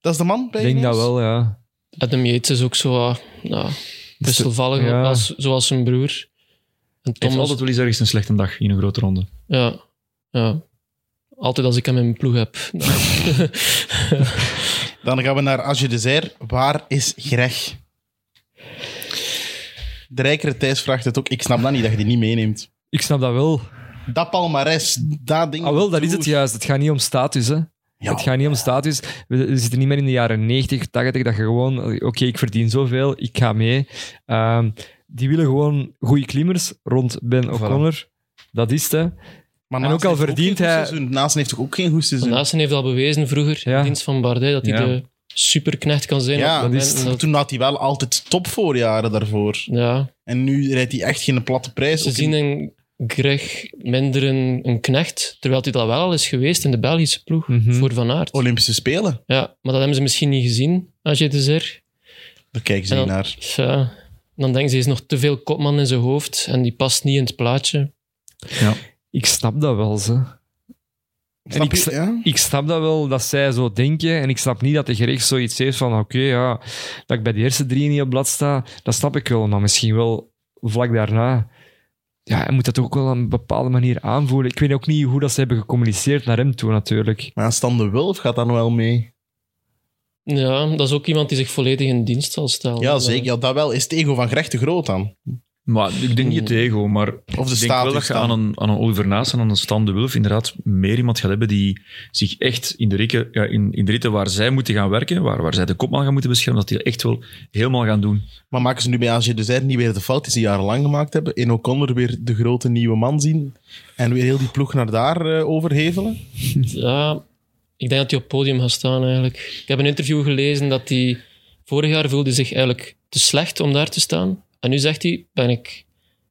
Speaker 2: dat is de man bij
Speaker 3: Ik denk dat
Speaker 2: Ineos?
Speaker 3: wel, ja.
Speaker 4: Adam Yates is ook zo ah, nou, wisselvallig,
Speaker 3: ja.
Speaker 4: als, zoals zijn broer. En
Speaker 5: heeft
Speaker 4: Thomas,
Speaker 5: altijd wel eens ergens een slechte dag in een grote ronde.
Speaker 4: ja, ja. Altijd als ik hem in mijn ploeg heb. Nou,
Speaker 2: Dan gaan we naar Agé Désert. Waar is Greg? De rijkere Thijs vraagt het ook. Ik snap dat niet, dat je die niet meeneemt.
Speaker 3: Ik snap dat wel.
Speaker 2: Dat palmarès, dat ding.
Speaker 3: Ah, wel, dat is het juist. Het gaat niet om status, hè.
Speaker 2: Ja.
Speaker 3: Het gaat niet om status. We, we zitten niet meer in de jaren 90, 80, dat je gewoon... Oké, ik verdien zoveel, ik ga mee. Ehm, die willen gewoon goede klimmers rond Ben O'Connor. Dat is het, hè.
Speaker 2: Maar
Speaker 3: En
Speaker 2: Naasten
Speaker 3: ook al
Speaker 2: heeft
Speaker 3: verdient
Speaker 2: geen goed
Speaker 3: hij-
Speaker 2: seizoen. Naasten heeft toch ook geen goed seizoen?
Speaker 4: Naasten heeft al bewezen vroeger,
Speaker 3: Ja.
Speaker 4: in dienst van Bardet, dat hij
Speaker 5: Ja.
Speaker 4: de superknecht kan zijn.
Speaker 2: Ja,
Speaker 4: op het
Speaker 3: dat is
Speaker 4: moment dat-
Speaker 2: Toen had hij wel altijd topvoorjaren daarvoor.
Speaker 4: ja.
Speaker 2: En nu rijdt hij echt geen platte prijs.
Speaker 4: Ze
Speaker 2: Ook in-
Speaker 4: zien een Greg minder een, een knecht, terwijl hij dat wel al is geweest in de Belgische ploeg,
Speaker 3: Mhm.
Speaker 4: voor Van Aert.
Speaker 2: Olympische Spelen.
Speaker 4: Ja, maar dat hebben ze misschien niet gezien, als je het zegt.
Speaker 2: Daar kijken ze
Speaker 4: Ja.
Speaker 2: niet naar.
Speaker 4: Dus, Ja, dan denken ze, hij is nog te veel kopman in zijn hoofd en die past niet in het plaatje.
Speaker 3: Ik snap dat wel, ze. En
Speaker 2: Snap
Speaker 3: ik,
Speaker 2: je?
Speaker 3: sna-
Speaker 2: Ja?
Speaker 3: ik snap dat wel, dat zij zo denken. En ik snap niet dat de gerecht zoiets heeft van... Oké, ja, dat ik bij de eerste drie niet op blad sta, dat snap ik wel. Maar misschien wel vlak daarna... Ja, hij moet dat ook wel op een bepaalde manier aanvoelen. Ik weet ook niet hoe dat ze hebben gecommuniceerd naar hem toe, natuurlijk.
Speaker 2: Maar Stan de Wulf gaat dan wel mee.
Speaker 4: Ja, dat is ook iemand die zich volledig in dienst zal stellen.
Speaker 2: Ja, zeker. Ja, dat wel. Is het ego van Greg te groot dan?
Speaker 5: Maar ik denk niet het ego, maar
Speaker 2: Of de
Speaker 5: ik denk wel
Speaker 2: status
Speaker 5: dat je
Speaker 2: dan?
Speaker 5: aan een, aan een Oliver Naas en aan een Stan de Wulf inderdaad meer iemand gaat hebben die zich echt in de, rikken, ja, in, in de ritten waar zij moeten gaan werken, waar, waar zij de kopman gaan moeten beschermen, dat die echt wel helemaal gaan doen.
Speaker 2: Maar maken ze nu bij AG de Zijde niet weer de fout die ze jarenlang gemaakt hebben? In O'Connor weer de grote nieuwe man zien en weer heel die ploeg naar daar eh, overhevelen?
Speaker 4: Ja, ik denk dat hij op het podium gaat staan eigenlijk. Ik heb een interview gelezen dat hij vorig jaar voelde zich eigenlijk te slecht om daar te staan. En nu zegt hij, ben ik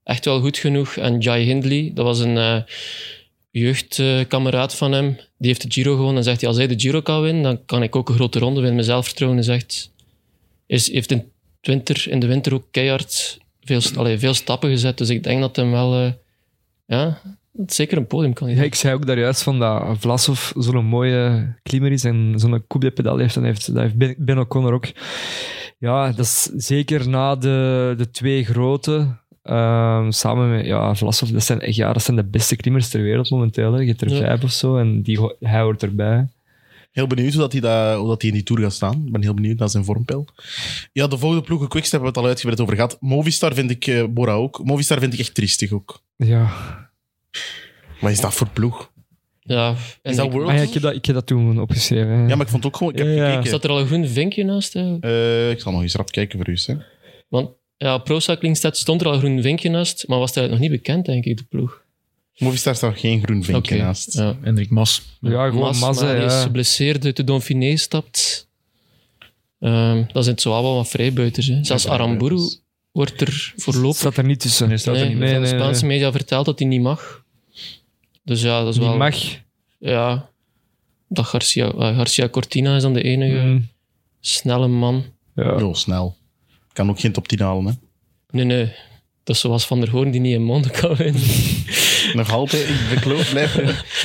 Speaker 4: echt wel goed genoeg. En Jai Hindley, dat was een eh, jeugdkameraad van hem, die heeft de Giro gewonnen. En zegt hij, als hij de Giro kan winnen, dan kan ik ook een grote ronde winnen. Mijn zelfvertrouwen is echt... Is, heeft in, het winter, in de winter ook keihard veel, allee, veel stappen gezet. Dus ik denk dat hem wel... eh, ja, dat zeker een podium kan
Speaker 3: Ja, ik zei ook daar juist van dat Vlasov zo'n mooie klimmer is en zo'n coup de pedal heeft. En dat heeft, dat heeft Ben- Ben O'Connor ook. Ja, dat is zeker na de, de twee grote. ehm, samen met ja, Vlasov, dat zijn echt ja, dat zijn de beste klimmers ter wereld momenteel. Hè. Je hebt er
Speaker 4: Ja.
Speaker 3: vijf of zo en die, ho- hij hoort erbij.
Speaker 2: Heel benieuwd hoe, dat hij, daar- hoe dat hij in die Tour gaat staan. Ik ben heel benieuwd naar zijn vormpeil. Ja, de volgende ploegen, Quickstep, hebben we het al uitgebreid over gehad. Movistar vind ik, eh, Bora ook. Movistar vind ik echt triestig ook.
Speaker 3: Ja.
Speaker 2: Wat is dat voor ploeg?
Speaker 4: Ja, en
Speaker 2: Is dat
Speaker 4: ik-
Speaker 2: World?
Speaker 3: Maar Ah ja, ik heb dat, ik heb dat toen opgeschreven. hè.
Speaker 2: Ja, maar ik vond het ook gewoon... Ik heb
Speaker 3: Ja, ja.
Speaker 2: gekeken.
Speaker 4: Staat er al een groen vinkje naast? eh?
Speaker 2: Eh, ik zal nog eens rap kijken voor u. Hè.
Speaker 4: Want ja, Pro Cycling Stats stond er al een groen vinkje naast, maar was dat nog niet bekend, denk ik, de ploeg.
Speaker 2: Movistar staat geen groen vinkje
Speaker 4: Oké,
Speaker 2: naast.
Speaker 4: Ja.
Speaker 5: Hendrik Mas.
Speaker 3: ja gewoon
Speaker 4: Mas,
Speaker 3: massa.
Speaker 4: maar die is
Speaker 3: ja.
Speaker 4: geblesseerd uit de Dauphiné stapt. Ehm, dat zijn zo allemaal wat vrijbuiters. Hè. Zelfs Aramburu wordt er voorlopig...
Speaker 3: Staat er niet tussen.
Speaker 5: Nee, staat er
Speaker 4: Nee,
Speaker 5: niet
Speaker 3: bij.
Speaker 4: de
Speaker 3: Nee, nee,
Speaker 4: Spaanse media vertelt dat hij niet mag. Dus ja, dat is
Speaker 3: Die
Speaker 4: wel...
Speaker 3: mag.
Speaker 4: Ja. Dat Garcia, eh, Garcia Cortina is dan de enige
Speaker 3: Mm.
Speaker 4: snelle man.
Speaker 3: Ja.
Speaker 2: Jo, snel. Kan ook geen top 10 halen, hè.
Speaker 4: Nee, nee. Dat is zoals Van der Hoorn die niet in Monde kan winnen.
Speaker 2: Nog altijd, ik bekloof, blijf.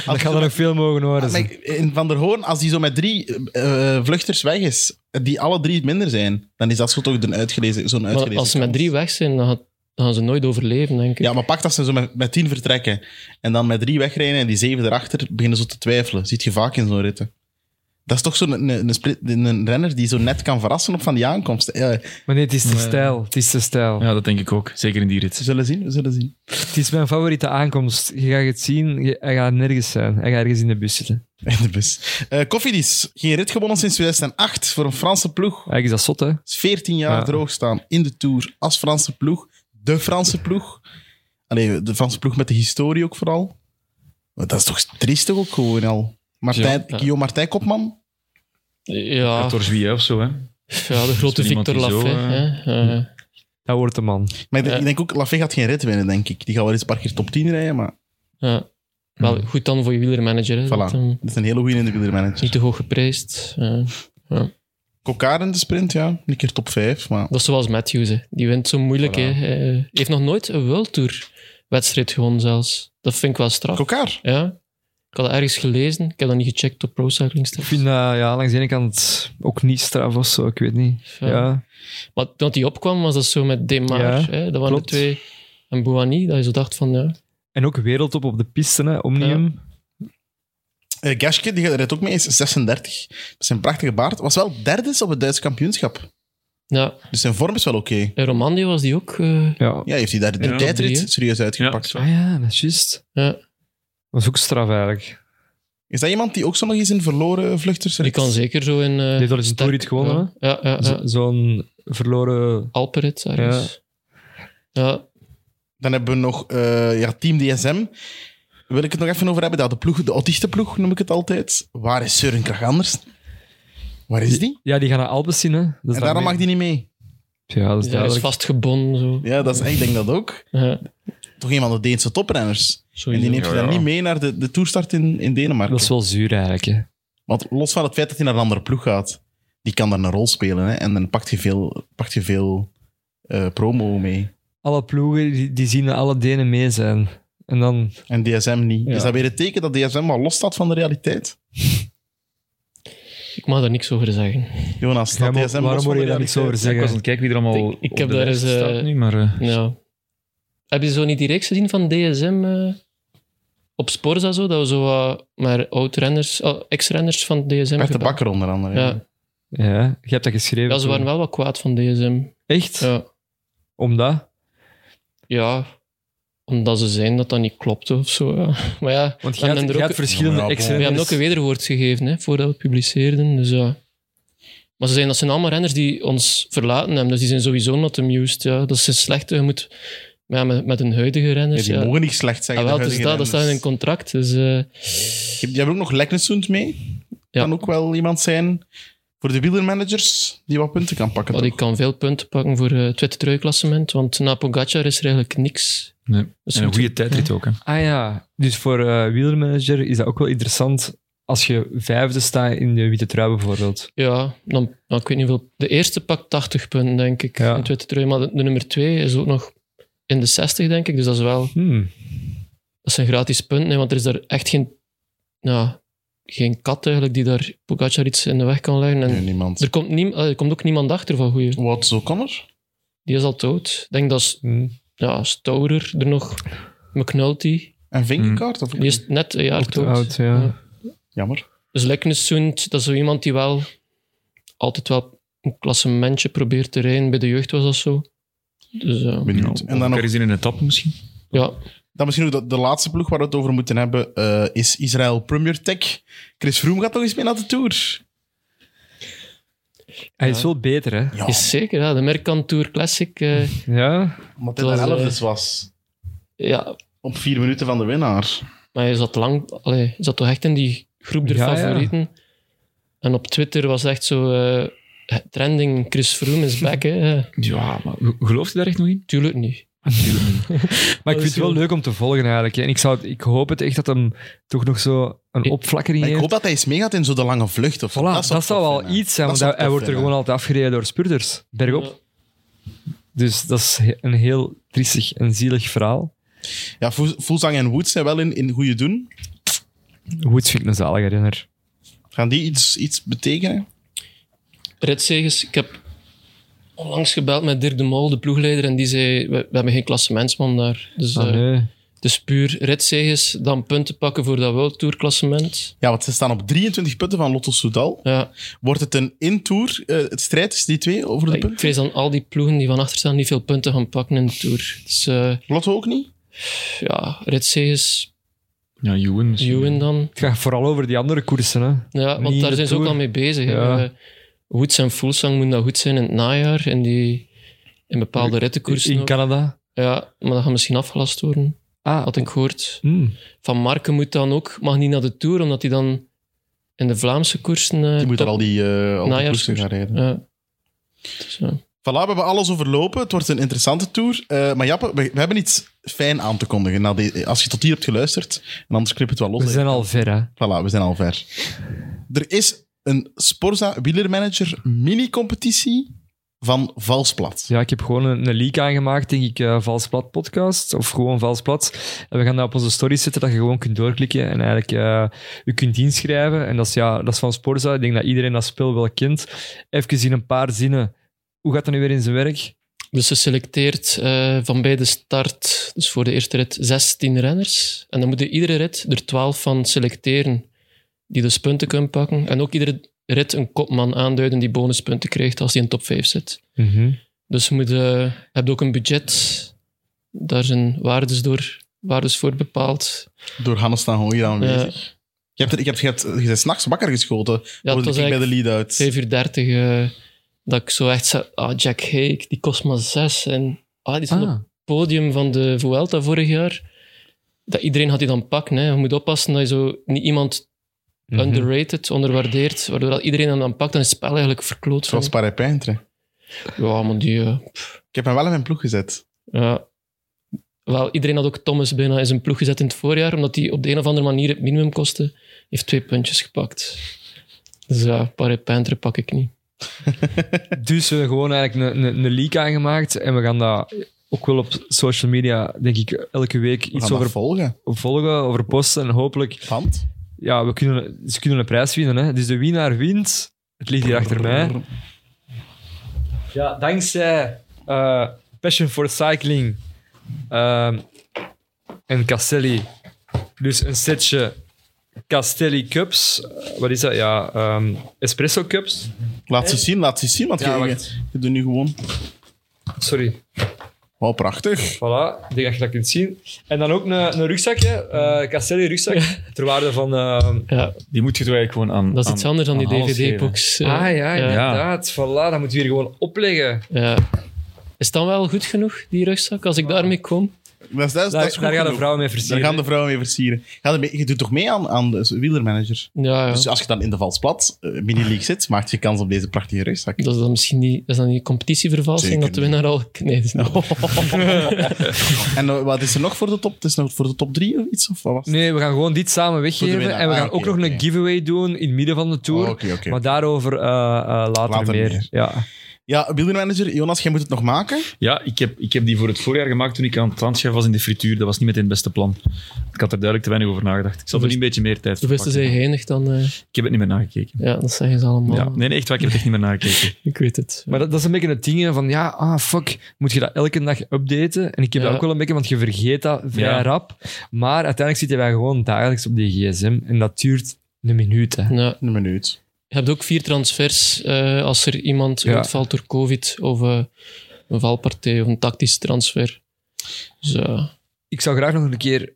Speaker 3: Dat kan er nog veel mogen worden.
Speaker 2: Maar ik- in Van der Hoorn, als die zo met drie eh, eh, vluchters weg is, die alle drie minder zijn, dan is dat zo toch een uitgelezen, zo'n
Speaker 4: Maar
Speaker 2: uitgelezen
Speaker 4: als ze met
Speaker 2: kans.
Speaker 4: drie weg zijn, dan gaan- dan gaan ze nooit overleven, denk ik.
Speaker 2: Ja, maar pak dat ze zo met, met tien vertrekken en dan met drie wegrijden en die zeven erachter beginnen zo te twijfelen. Ziet je vaak in zo'n ritten. Dat is toch zo'n een, een, split- een renner die zo net kan verrassen op van die aankomst. Eh, Ja,
Speaker 3: Maar nee, het is te
Speaker 5: Nee.
Speaker 3: stijl. Het is te stijl.
Speaker 5: Ja, dat denk ik ook. Zeker in die rit.
Speaker 2: we zullen zien, we zullen zien.
Speaker 3: Het is mijn favoriete aankomst. Je gaat het zien. Je, hij gaat nergens zijn. Hij gaat ergens in de bus zitten.
Speaker 2: In de bus. Eh Koffiedis, geen rit gewonnen sinds 2008 voor een Franse ploeg.
Speaker 3: Eigenlijk is dat zot, hè?
Speaker 2: Is 14 jaar
Speaker 3: Ja.
Speaker 2: droog staan in de Tour als Franse ploeg. De Franse ploeg. Allee, de Franse ploeg met de historie ook vooral. Maar dat is toch triestig ook gewoon al. Martijn,
Speaker 4: Ja.
Speaker 2: Guillaume Martijn Kopman.
Speaker 4: Ja,
Speaker 5: Door Zwie of zo, hè.
Speaker 4: ja, de grote
Speaker 5: Is er iemand
Speaker 4: Victor
Speaker 5: die zo,
Speaker 4: Lafay. hè. Eh,
Speaker 3: Dat wordt de man.
Speaker 2: Maar ik,
Speaker 4: Ja.
Speaker 2: ik denk ook, Lafay gaat geen rit winnen, denk ik. Die gaat wel eens een paar keer top 10 rijden, maar
Speaker 4: ja. Wel goed dan voor je wielermanager. Hè.
Speaker 2: Voilà.
Speaker 4: Dat, ehm,
Speaker 2: dat is een hele goede in de wielermanager.
Speaker 4: niet te hoog geprijsd. Eh,
Speaker 2: Kokaar in de sprint, ja. Een keer top 5, maar...
Speaker 4: dat is zoals Matthews. Hè. Die wint zo moeilijk.
Speaker 2: Voilà.
Speaker 4: Hè. Hij eh, heeft nog nooit een World Tour wedstrijd gewonnen zelfs. Dat vind ik wel straf.
Speaker 2: Kokaar.
Speaker 4: Ja. Ik had dat ergens gelezen. Ik heb dat niet gecheckt op Pro
Speaker 3: Ik
Speaker 4: Cycling Stats.
Speaker 3: vind dat ja, langs de ene kant ook niet straf of zo. Ik weet niet.
Speaker 4: Ja.
Speaker 3: Ja.
Speaker 4: Maar toen hij opkwam, was dat zo met Demar.
Speaker 3: Ja,
Speaker 4: hè. Dat waren
Speaker 3: klopt.
Speaker 4: de twee. En Bouani, dat je zo dacht van... Ja,
Speaker 3: En ook wereldtop op de piste, hè? Omnium.
Speaker 2: Eh Gaschke, die rijdt ook mee, is 36. Met zijn prachtige baard. Was wel derde op het Duitse kampioenschap.
Speaker 4: ja.
Speaker 2: Dus zijn vorm is wel oké.
Speaker 4: En Romandi was die ook... eh,
Speaker 3: Ja.
Speaker 2: Ja, heeft hij daar de
Speaker 5: Ja.
Speaker 2: tijdrit
Speaker 4: Drie, hè?
Speaker 2: serieus
Speaker 5: Ja,
Speaker 2: uitgepakt.
Speaker 5: dat
Speaker 3: Ah ja, dat is juist.
Speaker 4: ja.
Speaker 3: Dat is ook straf eigenlijk.
Speaker 2: Is dat iemand die ook zo nog eens in verloren vluchters
Speaker 4: Die kan zeker zo in... eh,
Speaker 3: Die heeft al eens een
Speaker 4: sterk-
Speaker 3: toerrit gewonnen, hè?
Speaker 4: Ja, ja, ja,
Speaker 3: Zo-
Speaker 4: ja.
Speaker 3: Zo'n verloren.
Speaker 4: Alperit ergens. Ja.
Speaker 2: Dan hebben we nog eh, ja, Team DSM. Wil ik het nog even over hebben? Dat de, ploeg, de autistenploeg noem ik het altijd. Waar is Søren Kragh anders? Waar is die?
Speaker 3: Ja, die gaan naar Albes zien, hè? Dat is
Speaker 2: En daarom mag die niet mee.
Speaker 3: die. Ja, dat is
Speaker 4: ja, hij is
Speaker 3: duidelijk.
Speaker 4: vastgebonden. Zo.
Speaker 2: Ja, dat is, ik denk dat ook.
Speaker 4: Ja.
Speaker 2: Toch een van de Deense toprenners. En die neemt je dan niet mee naar de, de toerstart in, in Denemarken.
Speaker 3: Dat is wel zuur eigenlijk. Hè.
Speaker 2: Want los van het feit dat hij naar een andere ploeg gaat, die kan daar een rol spelen. Hè? En dan pakt je veel, pakt je veel eh, promo mee.
Speaker 3: Alle ploegen die, die zien dat alle Denen mee zijn. En dan
Speaker 2: En DSM niet.
Speaker 3: Ja.
Speaker 2: Is dat weer het teken dat DSM wel los staat van de realiteit?
Speaker 4: Ik mag daar niks over zeggen.
Speaker 2: Jonas,
Speaker 3: Ja,
Speaker 2: staat
Speaker 3: maar
Speaker 2: DSM los
Speaker 3: waarom
Speaker 2: van
Speaker 3: hoor
Speaker 2: de
Speaker 3: je daar niks
Speaker 2: realiteit?
Speaker 3: over
Speaker 5: Ja, ik was
Speaker 3: zeggen?
Speaker 5: aan het kijken wie er allemaal
Speaker 4: Ik- ik
Speaker 5: op
Speaker 4: heb
Speaker 5: de
Speaker 4: daar
Speaker 5: lijst
Speaker 4: eens, eh,
Speaker 5: staat nu, maar... eh,
Speaker 4: Ja. Heb je zo niet die reeks gezien van DSM eh, op Sporza? Zo, dat we zo wat maar oud-renners, oh, ex-renners van DSM...
Speaker 2: Bert de
Speaker 4: gebeld-
Speaker 2: Bakker onder andere. ja.
Speaker 4: Ja.
Speaker 3: Ja, je hebt dat geschreven.
Speaker 4: ja, ze waren
Speaker 3: toen.
Speaker 4: wel wat kwaad van DSM.
Speaker 3: Echt?
Speaker 4: Ja.
Speaker 3: Omdat?
Speaker 4: ja omdat ze zijn dat dat niet klopte of zo. Ja. Maar ja,
Speaker 3: Want je
Speaker 4: En
Speaker 3: had,
Speaker 4: dan er
Speaker 3: je
Speaker 4: ook-
Speaker 3: had verschillende
Speaker 2: Ja, maar ja,
Speaker 3: ex
Speaker 4: we hebben ook een wederwoord gegeven hè, voordat we het publiceerden. Dus ja. Maar ze zijn, dat zijn allemaal renners die ons verlaten hebben. Dus die zijn sowieso not amused. Ja. Dat is slecht. Je moet maar ja, met, met hun huidige
Speaker 2: Ja,
Speaker 4: renners.
Speaker 2: die
Speaker 4: dus Ja,
Speaker 2: mogen niet slecht zijn.
Speaker 4: Ah, wel, het is dat, dat staat in hun contract. Dus, eh,
Speaker 2: Die hebben ook nog Leknesund mee.
Speaker 4: Ja.
Speaker 2: Kan ook wel iemand zijn voor de wielermanagers die wat punten kan pakken.
Speaker 4: maar Oh, die
Speaker 2: toch?
Speaker 4: kan veel punten pakken voor eh, het witte trui-klassement. Want na Pogacar is er eigenlijk niks.
Speaker 5: nee.
Speaker 4: Dus
Speaker 5: En
Speaker 4: we
Speaker 5: een goede
Speaker 4: moeten-
Speaker 5: tijdrit ook, hè.
Speaker 3: Ah ja, dus voor eh wielermanager is dat ook wel interessant als je vijfde staat in de witte trui bijvoorbeeld.
Speaker 4: Ja, dan, nou, ik weet niet hoeveel. De eerste pakt 80 punten, denk ik.
Speaker 3: Ja.
Speaker 4: In het witte trui. Maar de, de nummer 2 is ook nog in de 60, denk ik. Dus dat is wel.
Speaker 3: Hmm.
Speaker 4: dat zijn gratis punten, hè, want er is daar echt geen, nou, geen kat eigenlijk die daar Pogacar iets in de weg kan leggen. En
Speaker 2: Nee, niemand.
Speaker 4: er, komt niem- eh, er komt ook niemand achter van goeie.
Speaker 2: Wat, zo kan er?
Speaker 4: Die is al dood. Ik denk dat S- ja, Stourer er nog, McNulty,
Speaker 2: En
Speaker 4: Hmm.
Speaker 2: vingerkaart? Of...
Speaker 4: die is net een jaar
Speaker 3: Ook te
Speaker 4: dood.
Speaker 3: oud, ja.
Speaker 2: Jammer.
Speaker 4: Dus Leknesund, dat is zo iemand die wel altijd wel een klassementje probeert te rijden. Bij de jeugd was dat zo. Dus eh,
Speaker 2: Benieuwd.
Speaker 5: Ja,
Speaker 2: en dan
Speaker 5: ook
Speaker 2: nog
Speaker 5: Er is in een etappe misschien.
Speaker 4: ja,
Speaker 2: Dan misschien ook de, de laatste ploeg waar we het over moeten hebben eh, is Israël Premier Tech. Chris Froome gaat nog eens mee naar de Tour.
Speaker 3: Hij is wel beter, hè?
Speaker 2: Ja,
Speaker 4: is zeker. Ja. De Mercant Tour Classic. eh,
Speaker 3: Ja.
Speaker 2: omdat hij de
Speaker 4: het was, eh,
Speaker 2: elfdes was.
Speaker 4: ja,
Speaker 2: Op vier minuten van de winnaar.
Speaker 4: maar je zat lang... Allee, je zat toch echt in die groep der
Speaker 3: Ja, ja.
Speaker 4: favorieten. En op Twitter was echt zo... eh, trending Chris Froome is back, hè. Eh,
Speaker 5: Ja, maar ge- gelooft je daar echt nog in?
Speaker 4: Tuurlijk niet.
Speaker 3: Maar ik vind het wel leuk om te volgen eigenlijk. hè. En ik, zou het- ik hoop het echt dat hem toch nog zo een
Speaker 4: Ik-
Speaker 3: opflakkering
Speaker 2: Maar ik
Speaker 3: heeft.
Speaker 2: hoop dat hij eens meegaat in zo de lange vlucht. Of zo.
Speaker 3: Voilà, dat,
Speaker 2: zou
Speaker 3: zou
Speaker 2: tof
Speaker 3: wel
Speaker 2: zijn, hè.
Speaker 3: iets zijn,
Speaker 2: Dat
Speaker 3: want
Speaker 2: zou
Speaker 3: hij, hij
Speaker 2: tof
Speaker 3: wordt er
Speaker 2: zijn,
Speaker 3: gewoon altijd afgereden door spurders, bergop.
Speaker 4: Ja.
Speaker 3: Dus dat is he- een heel triestig en zielig verhaal.
Speaker 2: Ja, Fu- Fulzang en Woods zijn wel in, in goede doen.
Speaker 3: Woods vind ik een zalige renner.
Speaker 2: Gaan die iets, iets betekenen?
Speaker 4: Ritzegers, ik heb onlangs gebeld met Dirk de Mol, de ploegleider, en die zei, we, we hebben geen klassementsman daar. Dus
Speaker 3: Ah,
Speaker 4: eh,
Speaker 3: nee.
Speaker 4: het is puur ritzegens, dan punten pakken voor dat World Tour klassement.
Speaker 2: Ja, want ze staan op 23 punten van Lotto Soudal.
Speaker 4: Ja,
Speaker 2: Wordt het een in-tour eh, het strijd tussen die twee over de
Speaker 4: ik
Speaker 2: punten?
Speaker 4: vrees dan al die ploegen die van achter staan niet veel punten gaan pakken in de Tour. Dus eh,
Speaker 2: Lotto ook niet?
Speaker 4: ja, ritzegens,
Speaker 5: Ja, Ewan misschien.
Speaker 4: Ewan dan.
Speaker 3: Het gaat vooral over die andere koersen. Hè.
Speaker 4: Ja,
Speaker 3: Niet
Speaker 4: want daar
Speaker 3: de
Speaker 4: zijn ze ook
Speaker 3: Tour.
Speaker 4: al mee bezig. hè.
Speaker 3: Ja.
Speaker 4: Eh, Woods en Fulsang moeten dat goed zijn in het najaar, in, die, in bepaalde rittenkoersen.
Speaker 3: In
Speaker 4: ook.
Speaker 3: Canada.
Speaker 4: Ja, maar dat gaat misschien afgelast worden,
Speaker 3: Ah,
Speaker 4: had ik gehoord.
Speaker 3: mm.
Speaker 4: Van Marken moet dan ook, mag niet naar de Tour, omdat hij dan in de Vlaamse koersen... eh,
Speaker 2: Die moet er
Speaker 4: top-
Speaker 2: al die,
Speaker 3: Nou
Speaker 2: eh al die
Speaker 4: Najaarskoers.
Speaker 2: koersen gaan rijden.
Speaker 4: Ja. Dus, ja.
Speaker 2: Voilà, we hebben alles overlopen. Het wordt een interessante tour. Eh, maar Jappe, we, we hebben iets fijn aan te kondigen. Na de- als je tot hier hebt geluisterd, en anders knip het wel los.
Speaker 3: we
Speaker 2: hè.
Speaker 3: zijn al ver, hè.
Speaker 2: Voilà, we zijn al ver. Er is een Sporza wielermanager mini-competitie van Valsplat.
Speaker 3: Ja, ik heb gewoon een, een leak aangemaakt, denk ik, eh Vals Plat podcast. Of gewoon Vals Plat. En we gaan dat op onze stories zetten, dat je gewoon kunt doorklikken en eigenlijk eh je kunt inschrijven. En dat is, ja, dat is van Sporza. Ik denk dat iedereen dat spel wel kent. Even in een paar zinnen. Hoe gaat dat nu weer in zijn werk?
Speaker 4: Dus ze selecteert eh, van bij de start, dus voor de eerste rit, 16 renners. En dan moeten iedere rit er 12 van selecteren die dus punten kunnen pakken. En ook iedere rit een kopman aanduiden die bonuspunten krijgt als hij in top 5 zit.
Speaker 2: Mhm.
Speaker 4: Dus je moet, eh, hebt ook een budget. Daar zijn waardes, door, waardes voor bepaald. Eh,
Speaker 2: Door Hannes van Hooy
Speaker 4: Ja.
Speaker 2: aanwezig. Je, hebt, er- je, hebt, je, hebt, je bent s'nachts wakker geschoten.
Speaker 4: Ja,
Speaker 2: Ja,
Speaker 4: het was
Speaker 2: bij de
Speaker 4: eigenlijk
Speaker 2: lead-out.
Speaker 4: 5 uur 30 dat ik zo echt zei, ah, Jack Hake, die kost maar 6. En ah, die stond op
Speaker 3: Ah,
Speaker 4: podium van de Vuelta vorig jaar, dat iedereen had die dan pakken. Hè. Je moet oppassen dat je zo niet iemand
Speaker 3: mhm.
Speaker 4: underrated, onderwaardeert, waardoor dat iedereen hem dan pakt en het spel eigenlijk verkloot. Van.
Speaker 2: Zoals Parapijntre.
Speaker 4: Ja, maar die... eh,
Speaker 2: Ik heb hem wel in mijn ploeg gezet.
Speaker 4: ja. Wel, iedereen had ook Thomas bijna in zijn ploeg gezet in het voorjaar, omdat hij op de een of andere manier het minimum kostte, heeft twee puntjes gepakt. Dus ja, Parapenter pak ik niet.
Speaker 3: Dus we hebben gewoon eigenlijk een, een, een leak aangemaakt. En we gaan dat ook wel op social media, denk ik, elke week
Speaker 2: We
Speaker 3: iets
Speaker 2: gaan dat
Speaker 3: over
Speaker 2: volgen.
Speaker 3: volgen, over posten. En hopelijk
Speaker 2: Want?
Speaker 3: ja, we kunnen, ze kunnen een prijs winnen. Hè. Dus de winnaar wint. Het ligt hier achter mij. Ja, dankzij eh, Passion for Cycling ehm, en Castelli. Dus een setje Castelli Cups. Eh, wat is dat? Ja, ehm, Espresso Cups.
Speaker 2: Laat ze zien, laat ze zien. Want
Speaker 3: Ja,
Speaker 2: je,
Speaker 3: wacht.
Speaker 2: je, je doet nu gewoon...
Speaker 3: Sorry.
Speaker 2: Wauw, prachtig.
Speaker 3: Voilà, ik denk dat je dat kunt zien. En dan ook een, een rugzakje, eh Castelli rugzak, ter waarde van... ehm,
Speaker 4: Ja,
Speaker 5: Die moet je toch eigenlijk gewoon aan...
Speaker 4: dat is
Speaker 5: aan-
Speaker 4: iets anders dan die
Speaker 5: aan Hans geven.
Speaker 4: DVD-box.
Speaker 3: ah ja, inderdaad. Voilà, dat moeten we hier gewoon opleggen.
Speaker 4: ja. Is het dan wel goed genoeg, die rugzak, als ik daarmee kom?
Speaker 2: Dat is, dat is,
Speaker 3: Daar,
Speaker 2: dat is goed
Speaker 3: daar gaan de
Speaker 2: genoeg.
Speaker 3: vrouwen mee
Speaker 2: Daar
Speaker 3: versieren.
Speaker 2: gaan de vrouwen mee versieren. Ga er mee- je doet toch mee aan, aan de wielermanager?
Speaker 4: Ja, ja.
Speaker 2: Dus als je dan in de valsplat eh, mini-league zit, maakt je kans op deze prachtige rugzak.
Speaker 4: Dat is dan misschien niet, is dat niet competitievervalsing
Speaker 2: Zeker
Speaker 4: dat de winnaar al. Nee, dat is niet.
Speaker 2: en eh, wat is er nog voor de top? Het is nog voor de top 3 of iets? Of wat was het?
Speaker 3: Nee, we gaan gewoon dit samen
Speaker 2: Voor
Speaker 3: weggeven.
Speaker 2: de winnaar.
Speaker 3: En we
Speaker 2: Ah,
Speaker 3: gaan
Speaker 2: oké,
Speaker 3: ook nog
Speaker 2: oké.
Speaker 3: een giveaway doen in het midden van de tour.
Speaker 2: Oh, oké, oké.
Speaker 3: Maar daarover eh, eh, later,
Speaker 2: Later
Speaker 3: meer.
Speaker 2: meer.
Speaker 3: Ja.
Speaker 2: Ja, wielrenmanager, Jonas, jij moet het nog maken.
Speaker 5: Ja, ik heb, ik heb die voor het voorjaar gemaakt toen ik aan het landschap was in de frituur. Dat was niet meteen het beste plan. Ik had er duidelijk te weinig over nagedacht. Ik zal er nu een beetje meer
Speaker 4: De
Speaker 5: tijd voor
Speaker 4: beste zijn
Speaker 5: pakken.
Speaker 4: heinig, dan... eh,
Speaker 5: Ik heb het niet meer nagekeken.
Speaker 4: ja, dat zeggen ze allemaal.
Speaker 5: Ja. Nee, nee, echt waar. Ik heb het echt niet meer nagekeken.
Speaker 4: Ik weet het.
Speaker 3: Maar dat, dat is een beetje het ding hè, van, ja, ah, fuck, moet je dat elke dag updaten? En ik heb dat
Speaker 4: Ja.
Speaker 3: ook wel een beetje, want je vergeet dat vrij
Speaker 5: Ja.
Speaker 3: rap. Maar uiteindelijk zitten wij gewoon dagelijks op die gsm en dat duurt een minuut. Hè.
Speaker 4: Ja.
Speaker 2: Een minuut.
Speaker 4: Je hebt ook vier transfers eh, als er iemand
Speaker 3: Ja.
Speaker 4: uitvalt door COVID of eh, een valpartij of een tactische transfer. Dus eh,
Speaker 3: Ik zou graag nog een keer...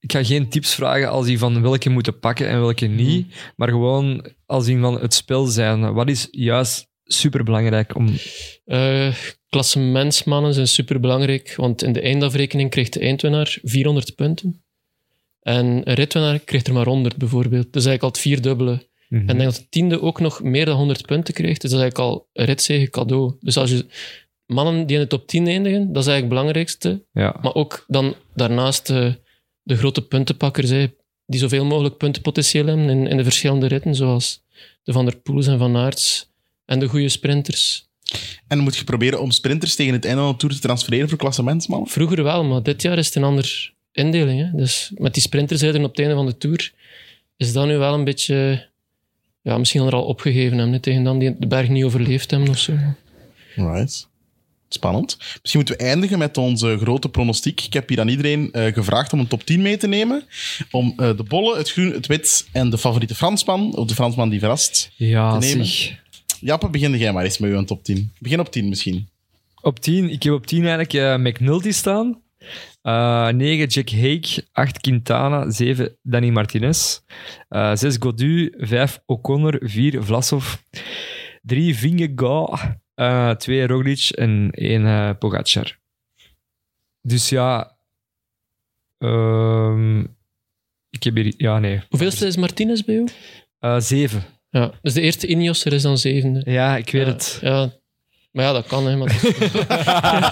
Speaker 3: Ik ga geen tips vragen als die van welke moeten pakken en welke niet.
Speaker 2: Mhm.
Speaker 3: Maar gewoon als die van het spel zijn. Wat is juist superbelangrijk om...
Speaker 4: eh, klassementsmannen zijn superbelangrijk, want in de eindafrekening krijgt de eindwinnaar 400 punten. En een ritwinnaar krijgt er maar 100 bijvoorbeeld. Dus eigenlijk al het vierdubbele.
Speaker 3: Mhm.
Speaker 4: En ik denk dat de tiende ook nog meer dan 100 punten krijgt. Dus dat is eigenlijk al een ritzege cadeau. Dus als je mannen die in de top 10 eindigen, dat is eigenlijk het belangrijkste.
Speaker 3: Ja.
Speaker 4: Maar ook dan daarnaast eh, de grote puntenpakkers, hè, die zoveel mogelijk puntenpotentieel hebben in, in de verschillende ritten, zoals de Van der Poels en Van Aerts en de goede sprinters.
Speaker 2: En dan moet je proberen om sprinters tegen het einde van de Tour te transfereren voor klassementsmannen.
Speaker 4: Vroeger wel, maar dit jaar is het een andere indeling. Hè. Dus met die sprinters op het einde van de Tour is dat nu wel een beetje... Ja, misschien er al opgegeven hebben, hè, tegen dan die de berg niet overleefd hebben of zo.
Speaker 2: Right. Spannend. Misschien moeten we eindigen met onze grote pronostiek. Ik heb hier aan iedereen eh, gevraagd om een top 10 mee te nemen. Om eh, de bolle, het groen, het wit en de favoriete Fransman, of de Fransman die verrast.
Speaker 3: Ja,
Speaker 2: Te nemen.
Speaker 3: zeg.
Speaker 2: Jappe, begin jij maar eens met een top 10. Begin op 10 misschien.
Speaker 3: Op 10, ik heb op 10 eigenlijk eh, McNulty staan. 9 Jack Hake, 8 Quintana, 7 Danny Martinez, 6 Godu, 5 O'Connor, 4 Vlasov, 3 Vingegaard, eh 2 Roglic en 1 eh Pogacar. Dus ja, ehm, ik heb hier, ja nee,
Speaker 4: Hoeveelste is Martinez bij jou?
Speaker 3: Eh 7.
Speaker 4: Ja, dus de eerste Ineos, er is dan zevende.
Speaker 3: Ja, ik weet
Speaker 4: Ja,
Speaker 3: het.
Speaker 4: Ja. Maar ja, dat kan, hè. Maar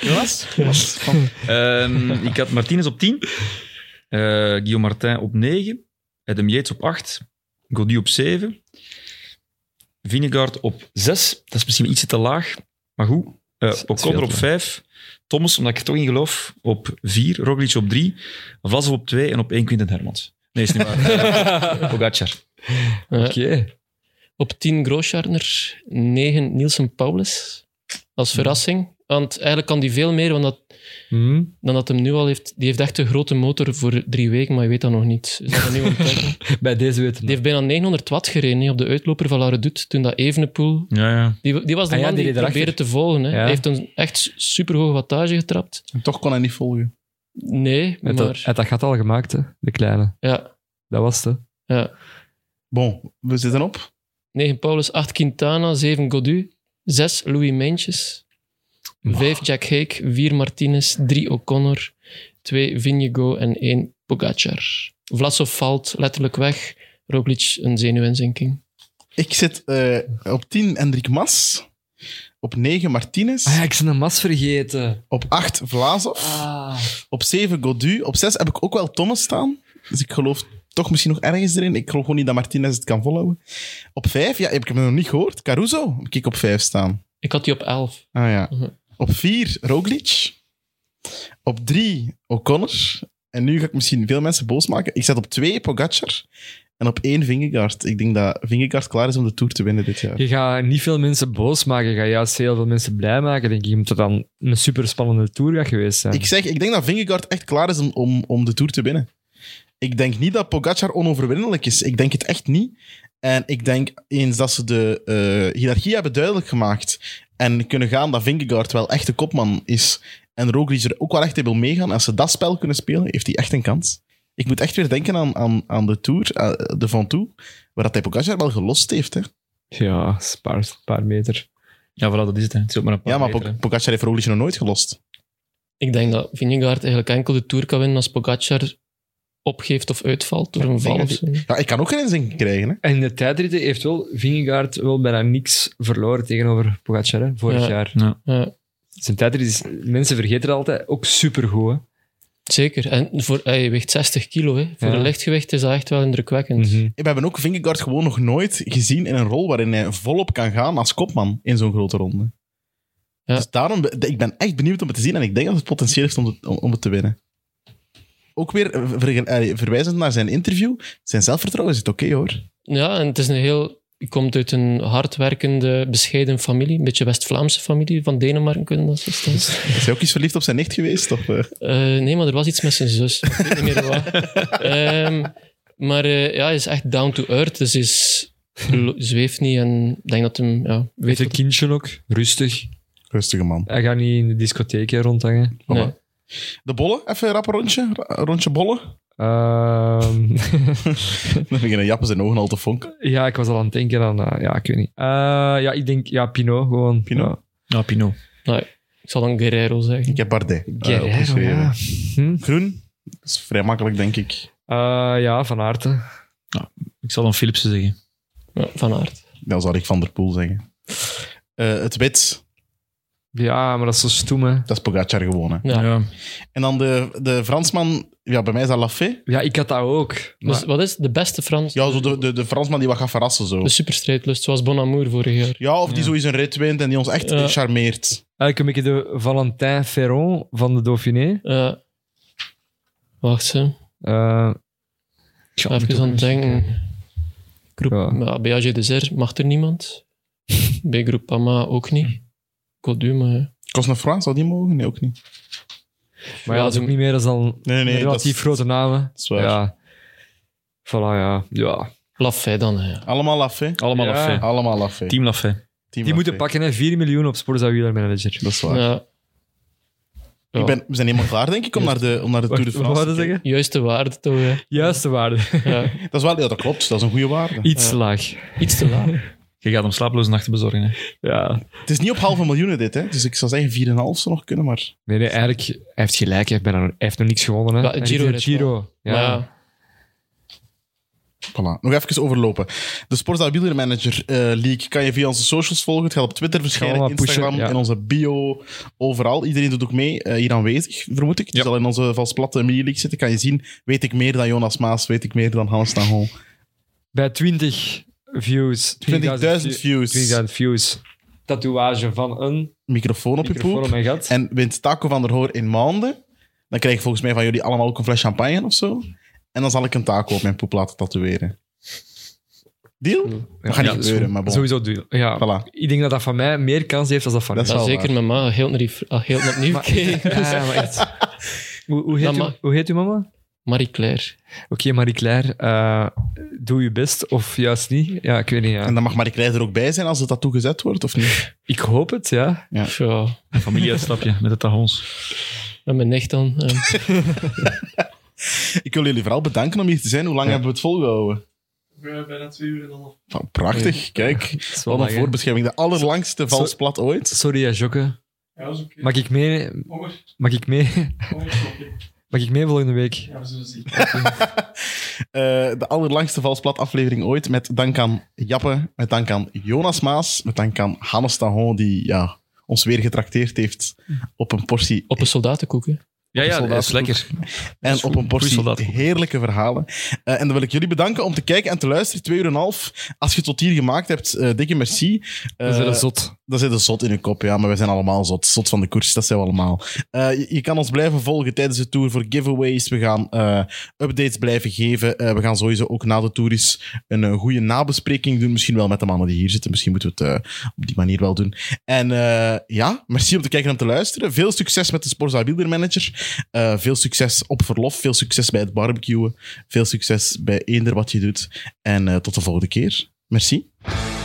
Speaker 2: Jonas?
Speaker 5: Ehm, ik had Martinez op 10. eh, Guillaume Martin op 9. Adam Yates op 8. Gaudu op 7. Vinegaard op 6. Dat is misschien iets te laag. Maar goed. Eh,
Speaker 3: is- dat is
Speaker 5: O'Connor
Speaker 3: veel
Speaker 5: op
Speaker 3: te
Speaker 5: 5. Thomas, omdat ik er toch in geloof, op 4. Roglic op 3. Vlasov op 2. En op 1 Quinten Hermans. Nee, is niet waar. Pogacar.
Speaker 4: Ja.
Speaker 3: Oké.
Speaker 4: Op 10 Grooschartner, 9 Nielsen Paulus. Als verrassing. Want eigenlijk kan die veel meer dan dat,
Speaker 3: Hm.
Speaker 4: dan dat hem nu al heeft. Die heeft echt een grote motor voor drie weken, maar je weet dat nog niet. Is dat een nieuwe ontdekking?
Speaker 3: Bij deze weten
Speaker 4: Die
Speaker 3: we.
Speaker 4: heeft bijna 900 watt gereden hè, op de uitloper van Laredoet. Toen dat Evenepoel...
Speaker 5: Ja, ja.
Speaker 4: Die, die was de
Speaker 3: Ah ja,
Speaker 4: man
Speaker 3: die
Speaker 4: die,
Speaker 3: reed erachter.
Speaker 4: probeerde te volgen. Hè.
Speaker 3: Ja.
Speaker 4: Hij heeft een echt superhoge wattage getrapt.
Speaker 2: En toch kon hij niet volgen.
Speaker 4: Nee,
Speaker 3: Hij had dat- hij
Speaker 4: maar...
Speaker 3: had dat gat al gemaakt, hè, de kleine.
Speaker 4: Ja,
Speaker 3: Dat was het. hè.
Speaker 4: ja.
Speaker 2: Bon, we zitten op.
Speaker 4: 9 Paulus, 8 Quintana, 7 Godu, 6 Louis Meentjes, 5 Jack Hake, 4 Martinez, 3 O'Connor, 2 Vinjego en 1 Pogacar. Vlasov valt letterlijk weg. Roglic een zenuwinzinking.
Speaker 2: Ik zit eh, op 10 Hendrik Mas. Op 9 Martinez.
Speaker 3: Ah ja, Ah. ik ben een mas vergeten.
Speaker 2: Op 8 Vlaasov. Op 7 Godu. Op 6 heb ik ook wel Thomas staan. Dus ik geloof toch misschien nog ergens erin. Ik geloof gewoon niet dat Martinez het kan volhouden. Op 5, ja, heb ik hem nog niet gehoord. Caruso heb ik op 5 staan.
Speaker 4: Ik had die op 11.
Speaker 2: Ah ja.
Speaker 4: Mhm.
Speaker 2: Op 4 Roglic. Op 3 O'Connor. En nu ga ik misschien veel mensen boos maken. Ik zet op 2 Pogacar. En op 1 Vingegaard. Ik denk dat Vingegaard klaar is om de Tour te winnen dit jaar.
Speaker 3: Je gaat niet veel mensen boos maken. Je gaat juist heel veel mensen blij maken, denk ik. Omdat het dan een superspannende tour gaat geweest zijn.
Speaker 2: Ik zeg, ik denk dat Vingegaard echt klaar is om, om, om de Tour te winnen. Ik denk niet dat Pogacar onoverwinnelijk is. Ik denk het echt niet. En ik denk eens dat ze de eh, hiërarchie hebben duidelijk gemaakt en kunnen gaan dat Vingegaard wel echt de kopman is en Roglic er ook wel echt in wil meegaan. Als ze dat spel kunnen spelen, heeft hij echt een kans. Ik moet echt weer denken aan, aan, aan de Tour, eh, de Van Toe, waar dat hij Pogacar wel gelost heeft. Hè.
Speaker 3: Ja, dat is een paar, een paar meter.
Speaker 5: Ja, voilà, dat is het. hè. Het is ook maar een paar
Speaker 2: Ja, maar
Speaker 5: meter, hè.
Speaker 2: Po- Pogacar heeft Roglic nog nooit gelost.
Speaker 4: Ik denk dat Vingegaard eigenlijk enkel de Tour kan winnen als Pogacar opgeeft of uitvalt door een val
Speaker 2: denk
Speaker 4: of
Speaker 2: dat
Speaker 4: zo.
Speaker 2: Ja, ik kan ook geen inzinking krijgen. Hè.
Speaker 3: En in de tijdritten heeft wel Vingegaard wel bijna niks verloren tegenover Pogacar, hè, vorig
Speaker 4: Ja.
Speaker 3: jaar.
Speaker 5: Ja.
Speaker 4: Ja.
Speaker 3: Zijn tijdrit is, mensen vergeten dat altijd, ook supergoed. hè.
Speaker 4: Zeker. En voor, hij weegt 60 kilo. Hè. Voor
Speaker 3: Ja.
Speaker 4: een lichtgewicht is dat echt wel indrukwekkend.
Speaker 3: Mhm.
Speaker 2: We hebben ook Vingegaard gewoon nog nooit gezien in een rol waarin hij volop kan gaan als kopman in zo'n grote ronde.
Speaker 4: Ja.
Speaker 2: Dus daarom, be- ik ben echt benieuwd om het te zien en ik denk dat het potentieel heeft om het, om- om het te winnen. Ook weer eh, verge- eh, verwijzend naar zijn interview. Zijn zelfvertrouwen zit oké hoor.
Speaker 4: Ja, en het is een heel... Je komt uit een hardwerkende, bescheiden familie. Een beetje West-Vlaamse familie van Denemarken, kunnen dat zo stellen.
Speaker 2: Is hij ook eens verliefd op zijn nicht geweest? Of, eh?
Speaker 4: Eh, nee, maar er was iets met zijn zus. Ik weet niet meer wat. Ehm, maar eh, ja, hij is echt down to earth. Dus hij is, lo- zweeft niet en ik denk dat hem... Ja,
Speaker 3: Weet
Speaker 4: weet
Speaker 3: een kindje ook. Rustig.
Speaker 2: Rustige man.
Speaker 3: Hij gaat niet in de discotheek hè, rondhangen.
Speaker 4: wat- nee.
Speaker 2: De bollen, even een rap rondje. Ra- Rondje bollen.
Speaker 3: Ehm,
Speaker 2: Dan beginnen Jappen zijn ogen al te fonken.
Speaker 3: ja, ik was al aan het denken aan... eh, ja, ik weet niet. Eh, ja, ik denk... Ja, Pinot gewoon.
Speaker 2: Pinot?
Speaker 3: Ja.
Speaker 5: Ja, Pinot.
Speaker 4: Ik zal dan Guerrero zeggen.
Speaker 2: Ik heb Bardet eh,
Speaker 3: Guerrero,
Speaker 2: opgeschreven.
Speaker 3: ja. Hm?
Speaker 2: Groen, dat is vrij makkelijk denk ik.
Speaker 3: Eh, ja, Van Aerten.
Speaker 5: Ik zal dan Philipsen zeggen.
Speaker 4: Ja, van aard.
Speaker 2: Dan zou ik Van der Poel zeggen. Eh, het wit,
Speaker 3: Ja, maar dat is zo stoem, hè.
Speaker 2: dat is Pogacar gewonnen.
Speaker 4: Ja.
Speaker 2: En dan de, de Fransman, ja, bij mij is dat Lafay.
Speaker 3: Ja, ik had dat ook. Maar,
Speaker 4: Dus wat is de beste Frans?
Speaker 2: Ja, zo de, de, de Fransman die wat gaat verrassen zo.
Speaker 3: Dus-
Speaker 4: De superstrijdlust, zoals Bonamour vorig jaar.
Speaker 2: ja, of die zo eens een rit wint en die ons echt
Speaker 4: Ja.
Speaker 2: eh, charmeert.
Speaker 3: eigenlijk een beetje de Valentin Ferron van de Dauphiné.
Speaker 4: Eh, wacht, hè.
Speaker 3: Eh,
Speaker 5: Tja, moet ook
Speaker 4: even aan het
Speaker 5: eens-
Speaker 4: denken. Groep
Speaker 3: Ja.
Speaker 4: ja. BAG Desert mag er niemand. B-groep Pama ook niet. Codu, maar... ja.
Speaker 2: Cosnefroid zou die mogen? Nee, ook niet.
Speaker 3: maar ja, dat is ook niet meer als dan
Speaker 2: Nee, nee, nee. dat
Speaker 3: relatief
Speaker 2: is-
Speaker 3: grote namen.
Speaker 2: dat is waar.
Speaker 3: Ja. Voilà, ja. ja.
Speaker 4: Lafay dan, hè.
Speaker 2: Allemaal Lafay.
Speaker 5: Allemaal
Speaker 3: Ja.
Speaker 5: Lafay.
Speaker 2: Allemaal Lafay.
Speaker 5: Team Lafay.
Speaker 2: Team
Speaker 3: Die moeten
Speaker 2: Lafay.
Speaker 3: pakken, hè. 4 miljoen op Sporza Wheeler Manager.
Speaker 2: Dat is waar.
Speaker 4: Ja. Ja,
Speaker 2: Ik ben, we zijn helemaal klaar, denk ik, om naar de, om naar de Tour de
Speaker 3: Wat
Speaker 2: France
Speaker 3: wou
Speaker 2: te
Speaker 3: je
Speaker 2: kijken.
Speaker 3: zeggen?
Speaker 4: Juiste waarde toch, hè.
Speaker 3: Juiste waarde.
Speaker 4: Ja,
Speaker 2: Dat is wel, ja, dat klopt. Dat is een goede waarde.
Speaker 3: Iets laag.
Speaker 4: iets te laat.
Speaker 5: Je gaat hem slapeloze nachten bezorgen. Hè.
Speaker 3: Ja.
Speaker 2: Het is niet op halve miljoenen dit, hè. Dus ik zou zeggen 4,5 zou nog kunnen, maar...
Speaker 3: Nee, nee, eigenlijk, hij heeft gelijk. Hij heeft, bijna- hij heeft nog niks gewonnen. Hè.
Speaker 4: Ja,
Speaker 3: Hij
Speaker 4: Giro
Speaker 3: heeft
Speaker 4: heeft
Speaker 3: een Giro. Ja.
Speaker 4: Maar ja,
Speaker 2: Voilà. Nog even overlopen. De Sporza Wheeler Manager eh, League kan je via onze socials volgen. Het gaat op Twitter verschijnen,
Speaker 3: Gaan we maar
Speaker 2: Instagram,
Speaker 3: pushen, ja.
Speaker 2: in onze bio, overal. Iedereen doet ook mee, eh, hier aanwezig, vermoed ik. Die zal in onze valsplatte mini league zitten. Kan je zien, weet ik meer dan Jonas Maas, weet ik meer dan Hans Nagel.
Speaker 3: Bij 20 views.
Speaker 2: 20.000
Speaker 3: 20.000
Speaker 2: views.
Speaker 3: 20.000 views. Tatoeage van een
Speaker 2: Microfoon op je
Speaker 3: microfoon op
Speaker 2: poep.
Speaker 3: mijn gat.
Speaker 2: En wint Taco van der Hoor in maanden. Dan krijg ik volgens mij van jullie allemaal ook een fles champagne of zo. En dan zal ik een taco op mijn poep laten tatoeëren. Deal? Dat gaat
Speaker 3: Ja,
Speaker 2: niet
Speaker 3: dat is
Speaker 2: gebeuren,
Speaker 3: goed.
Speaker 2: maar bon.
Speaker 3: Sowieso duur. Ja.
Speaker 2: Voilà.
Speaker 3: Ik denk dat dat van mij meer kans heeft dan dat van
Speaker 2: Dat is
Speaker 4: ja,
Speaker 2: wel
Speaker 4: zeker
Speaker 2: waar.
Speaker 4: mijn ma, heel naar ah, heel naar opnieuw
Speaker 3: Maar-
Speaker 4: gekeken.
Speaker 3: Ja, ja, maar echt. Hoe, hoe, heet
Speaker 4: Dat
Speaker 3: u,
Speaker 4: mag.
Speaker 3: hoe heet uw mama? Oké,
Speaker 4: Marie-Claire.
Speaker 3: Marie-Claire, eh, doe je best of juist niet. Ja, ik weet niet. Ja.
Speaker 2: En dan mag Marie Kleij er ook bij zijn als het tattoo gezet wordt, of niet?
Speaker 3: Ik hoop het, ja.
Speaker 2: Ja.
Speaker 4: Ja,
Speaker 5: Een familieuitstapje met de Tahons.
Speaker 4: met mijn nicht dan. eh.
Speaker 2: Ik wil jullie vooral bedanken om hier te zijn. Hoe lang hebben we het volgehouden? Bijna twee uur en half. prachtig, kijk.
Speaker 3: Dat
Speaker 2: Wat
Speaker 3: is wel lang,
Speaker 2: een
Speaker 3: hè.
Speaker 2: voorbeschrijving. De allerlangste vals plat ooit.
Speaker 3: Sorry, hè, Jokke.
Speaker 6: Ja, dat is oké.
Speaker 3: Mag ik mee? Mag ik mee? Mag ik mee volgende week?
Speaker 6: Ja, we zullen zien.
Speaker 2: Eh, de allerlangste vals plat aflevering ooit. Met dank aan Jappe, met dank aan Jonas Maas, met dank aan Hannes Tahon, die ja, ons weer getrakteerd heeft op een portie
Speaker 4: Op een soldatenkoek, hè.
Speaker 5: Ja, ja, dat is
Speaker 2: soldatenkoek.
Speaker 5: lekker.
Speaker 2: En op een
Speaker 5: Goeie
Speaker 2: portie
Speaker 5: soldaat.
Speaker 2: heerlijke verhalen. Eh, en dan wil ik jullie bedanken om te kijken en te luisteren. Twee uur en een half. Als je het tot hier gemaakt hebt, eh, dikke merci.
Speaker 3: Dat is wel
Speaker 2: Eh,
Speaker 3: zot.
Speaker 2: Dan zit een zot in je kop, ja, maar wij zijn allemaal zot. Zot van de koers, dat zijn we allemaal. Eh, je, je kan ons blijven volgen tijdens de tour voor giveaways. We gaan eh, updates blijven geven. Eh, we gaan sowieso ook na de tour eens een, eh, goede nabespreking doen. Misschien wel met de mannen die hier zitten. Misschien moeten we het eh, op die manier wel doen. En eh, ja, merci om te kijken en te luisteren. Veel succes met de Sporza Builder Manager. Eh, veel succes op verlof. Veel succes bij het barbecuen. Veel succes bij eender wat je doet. En eh, tot de volgende keer. Merci.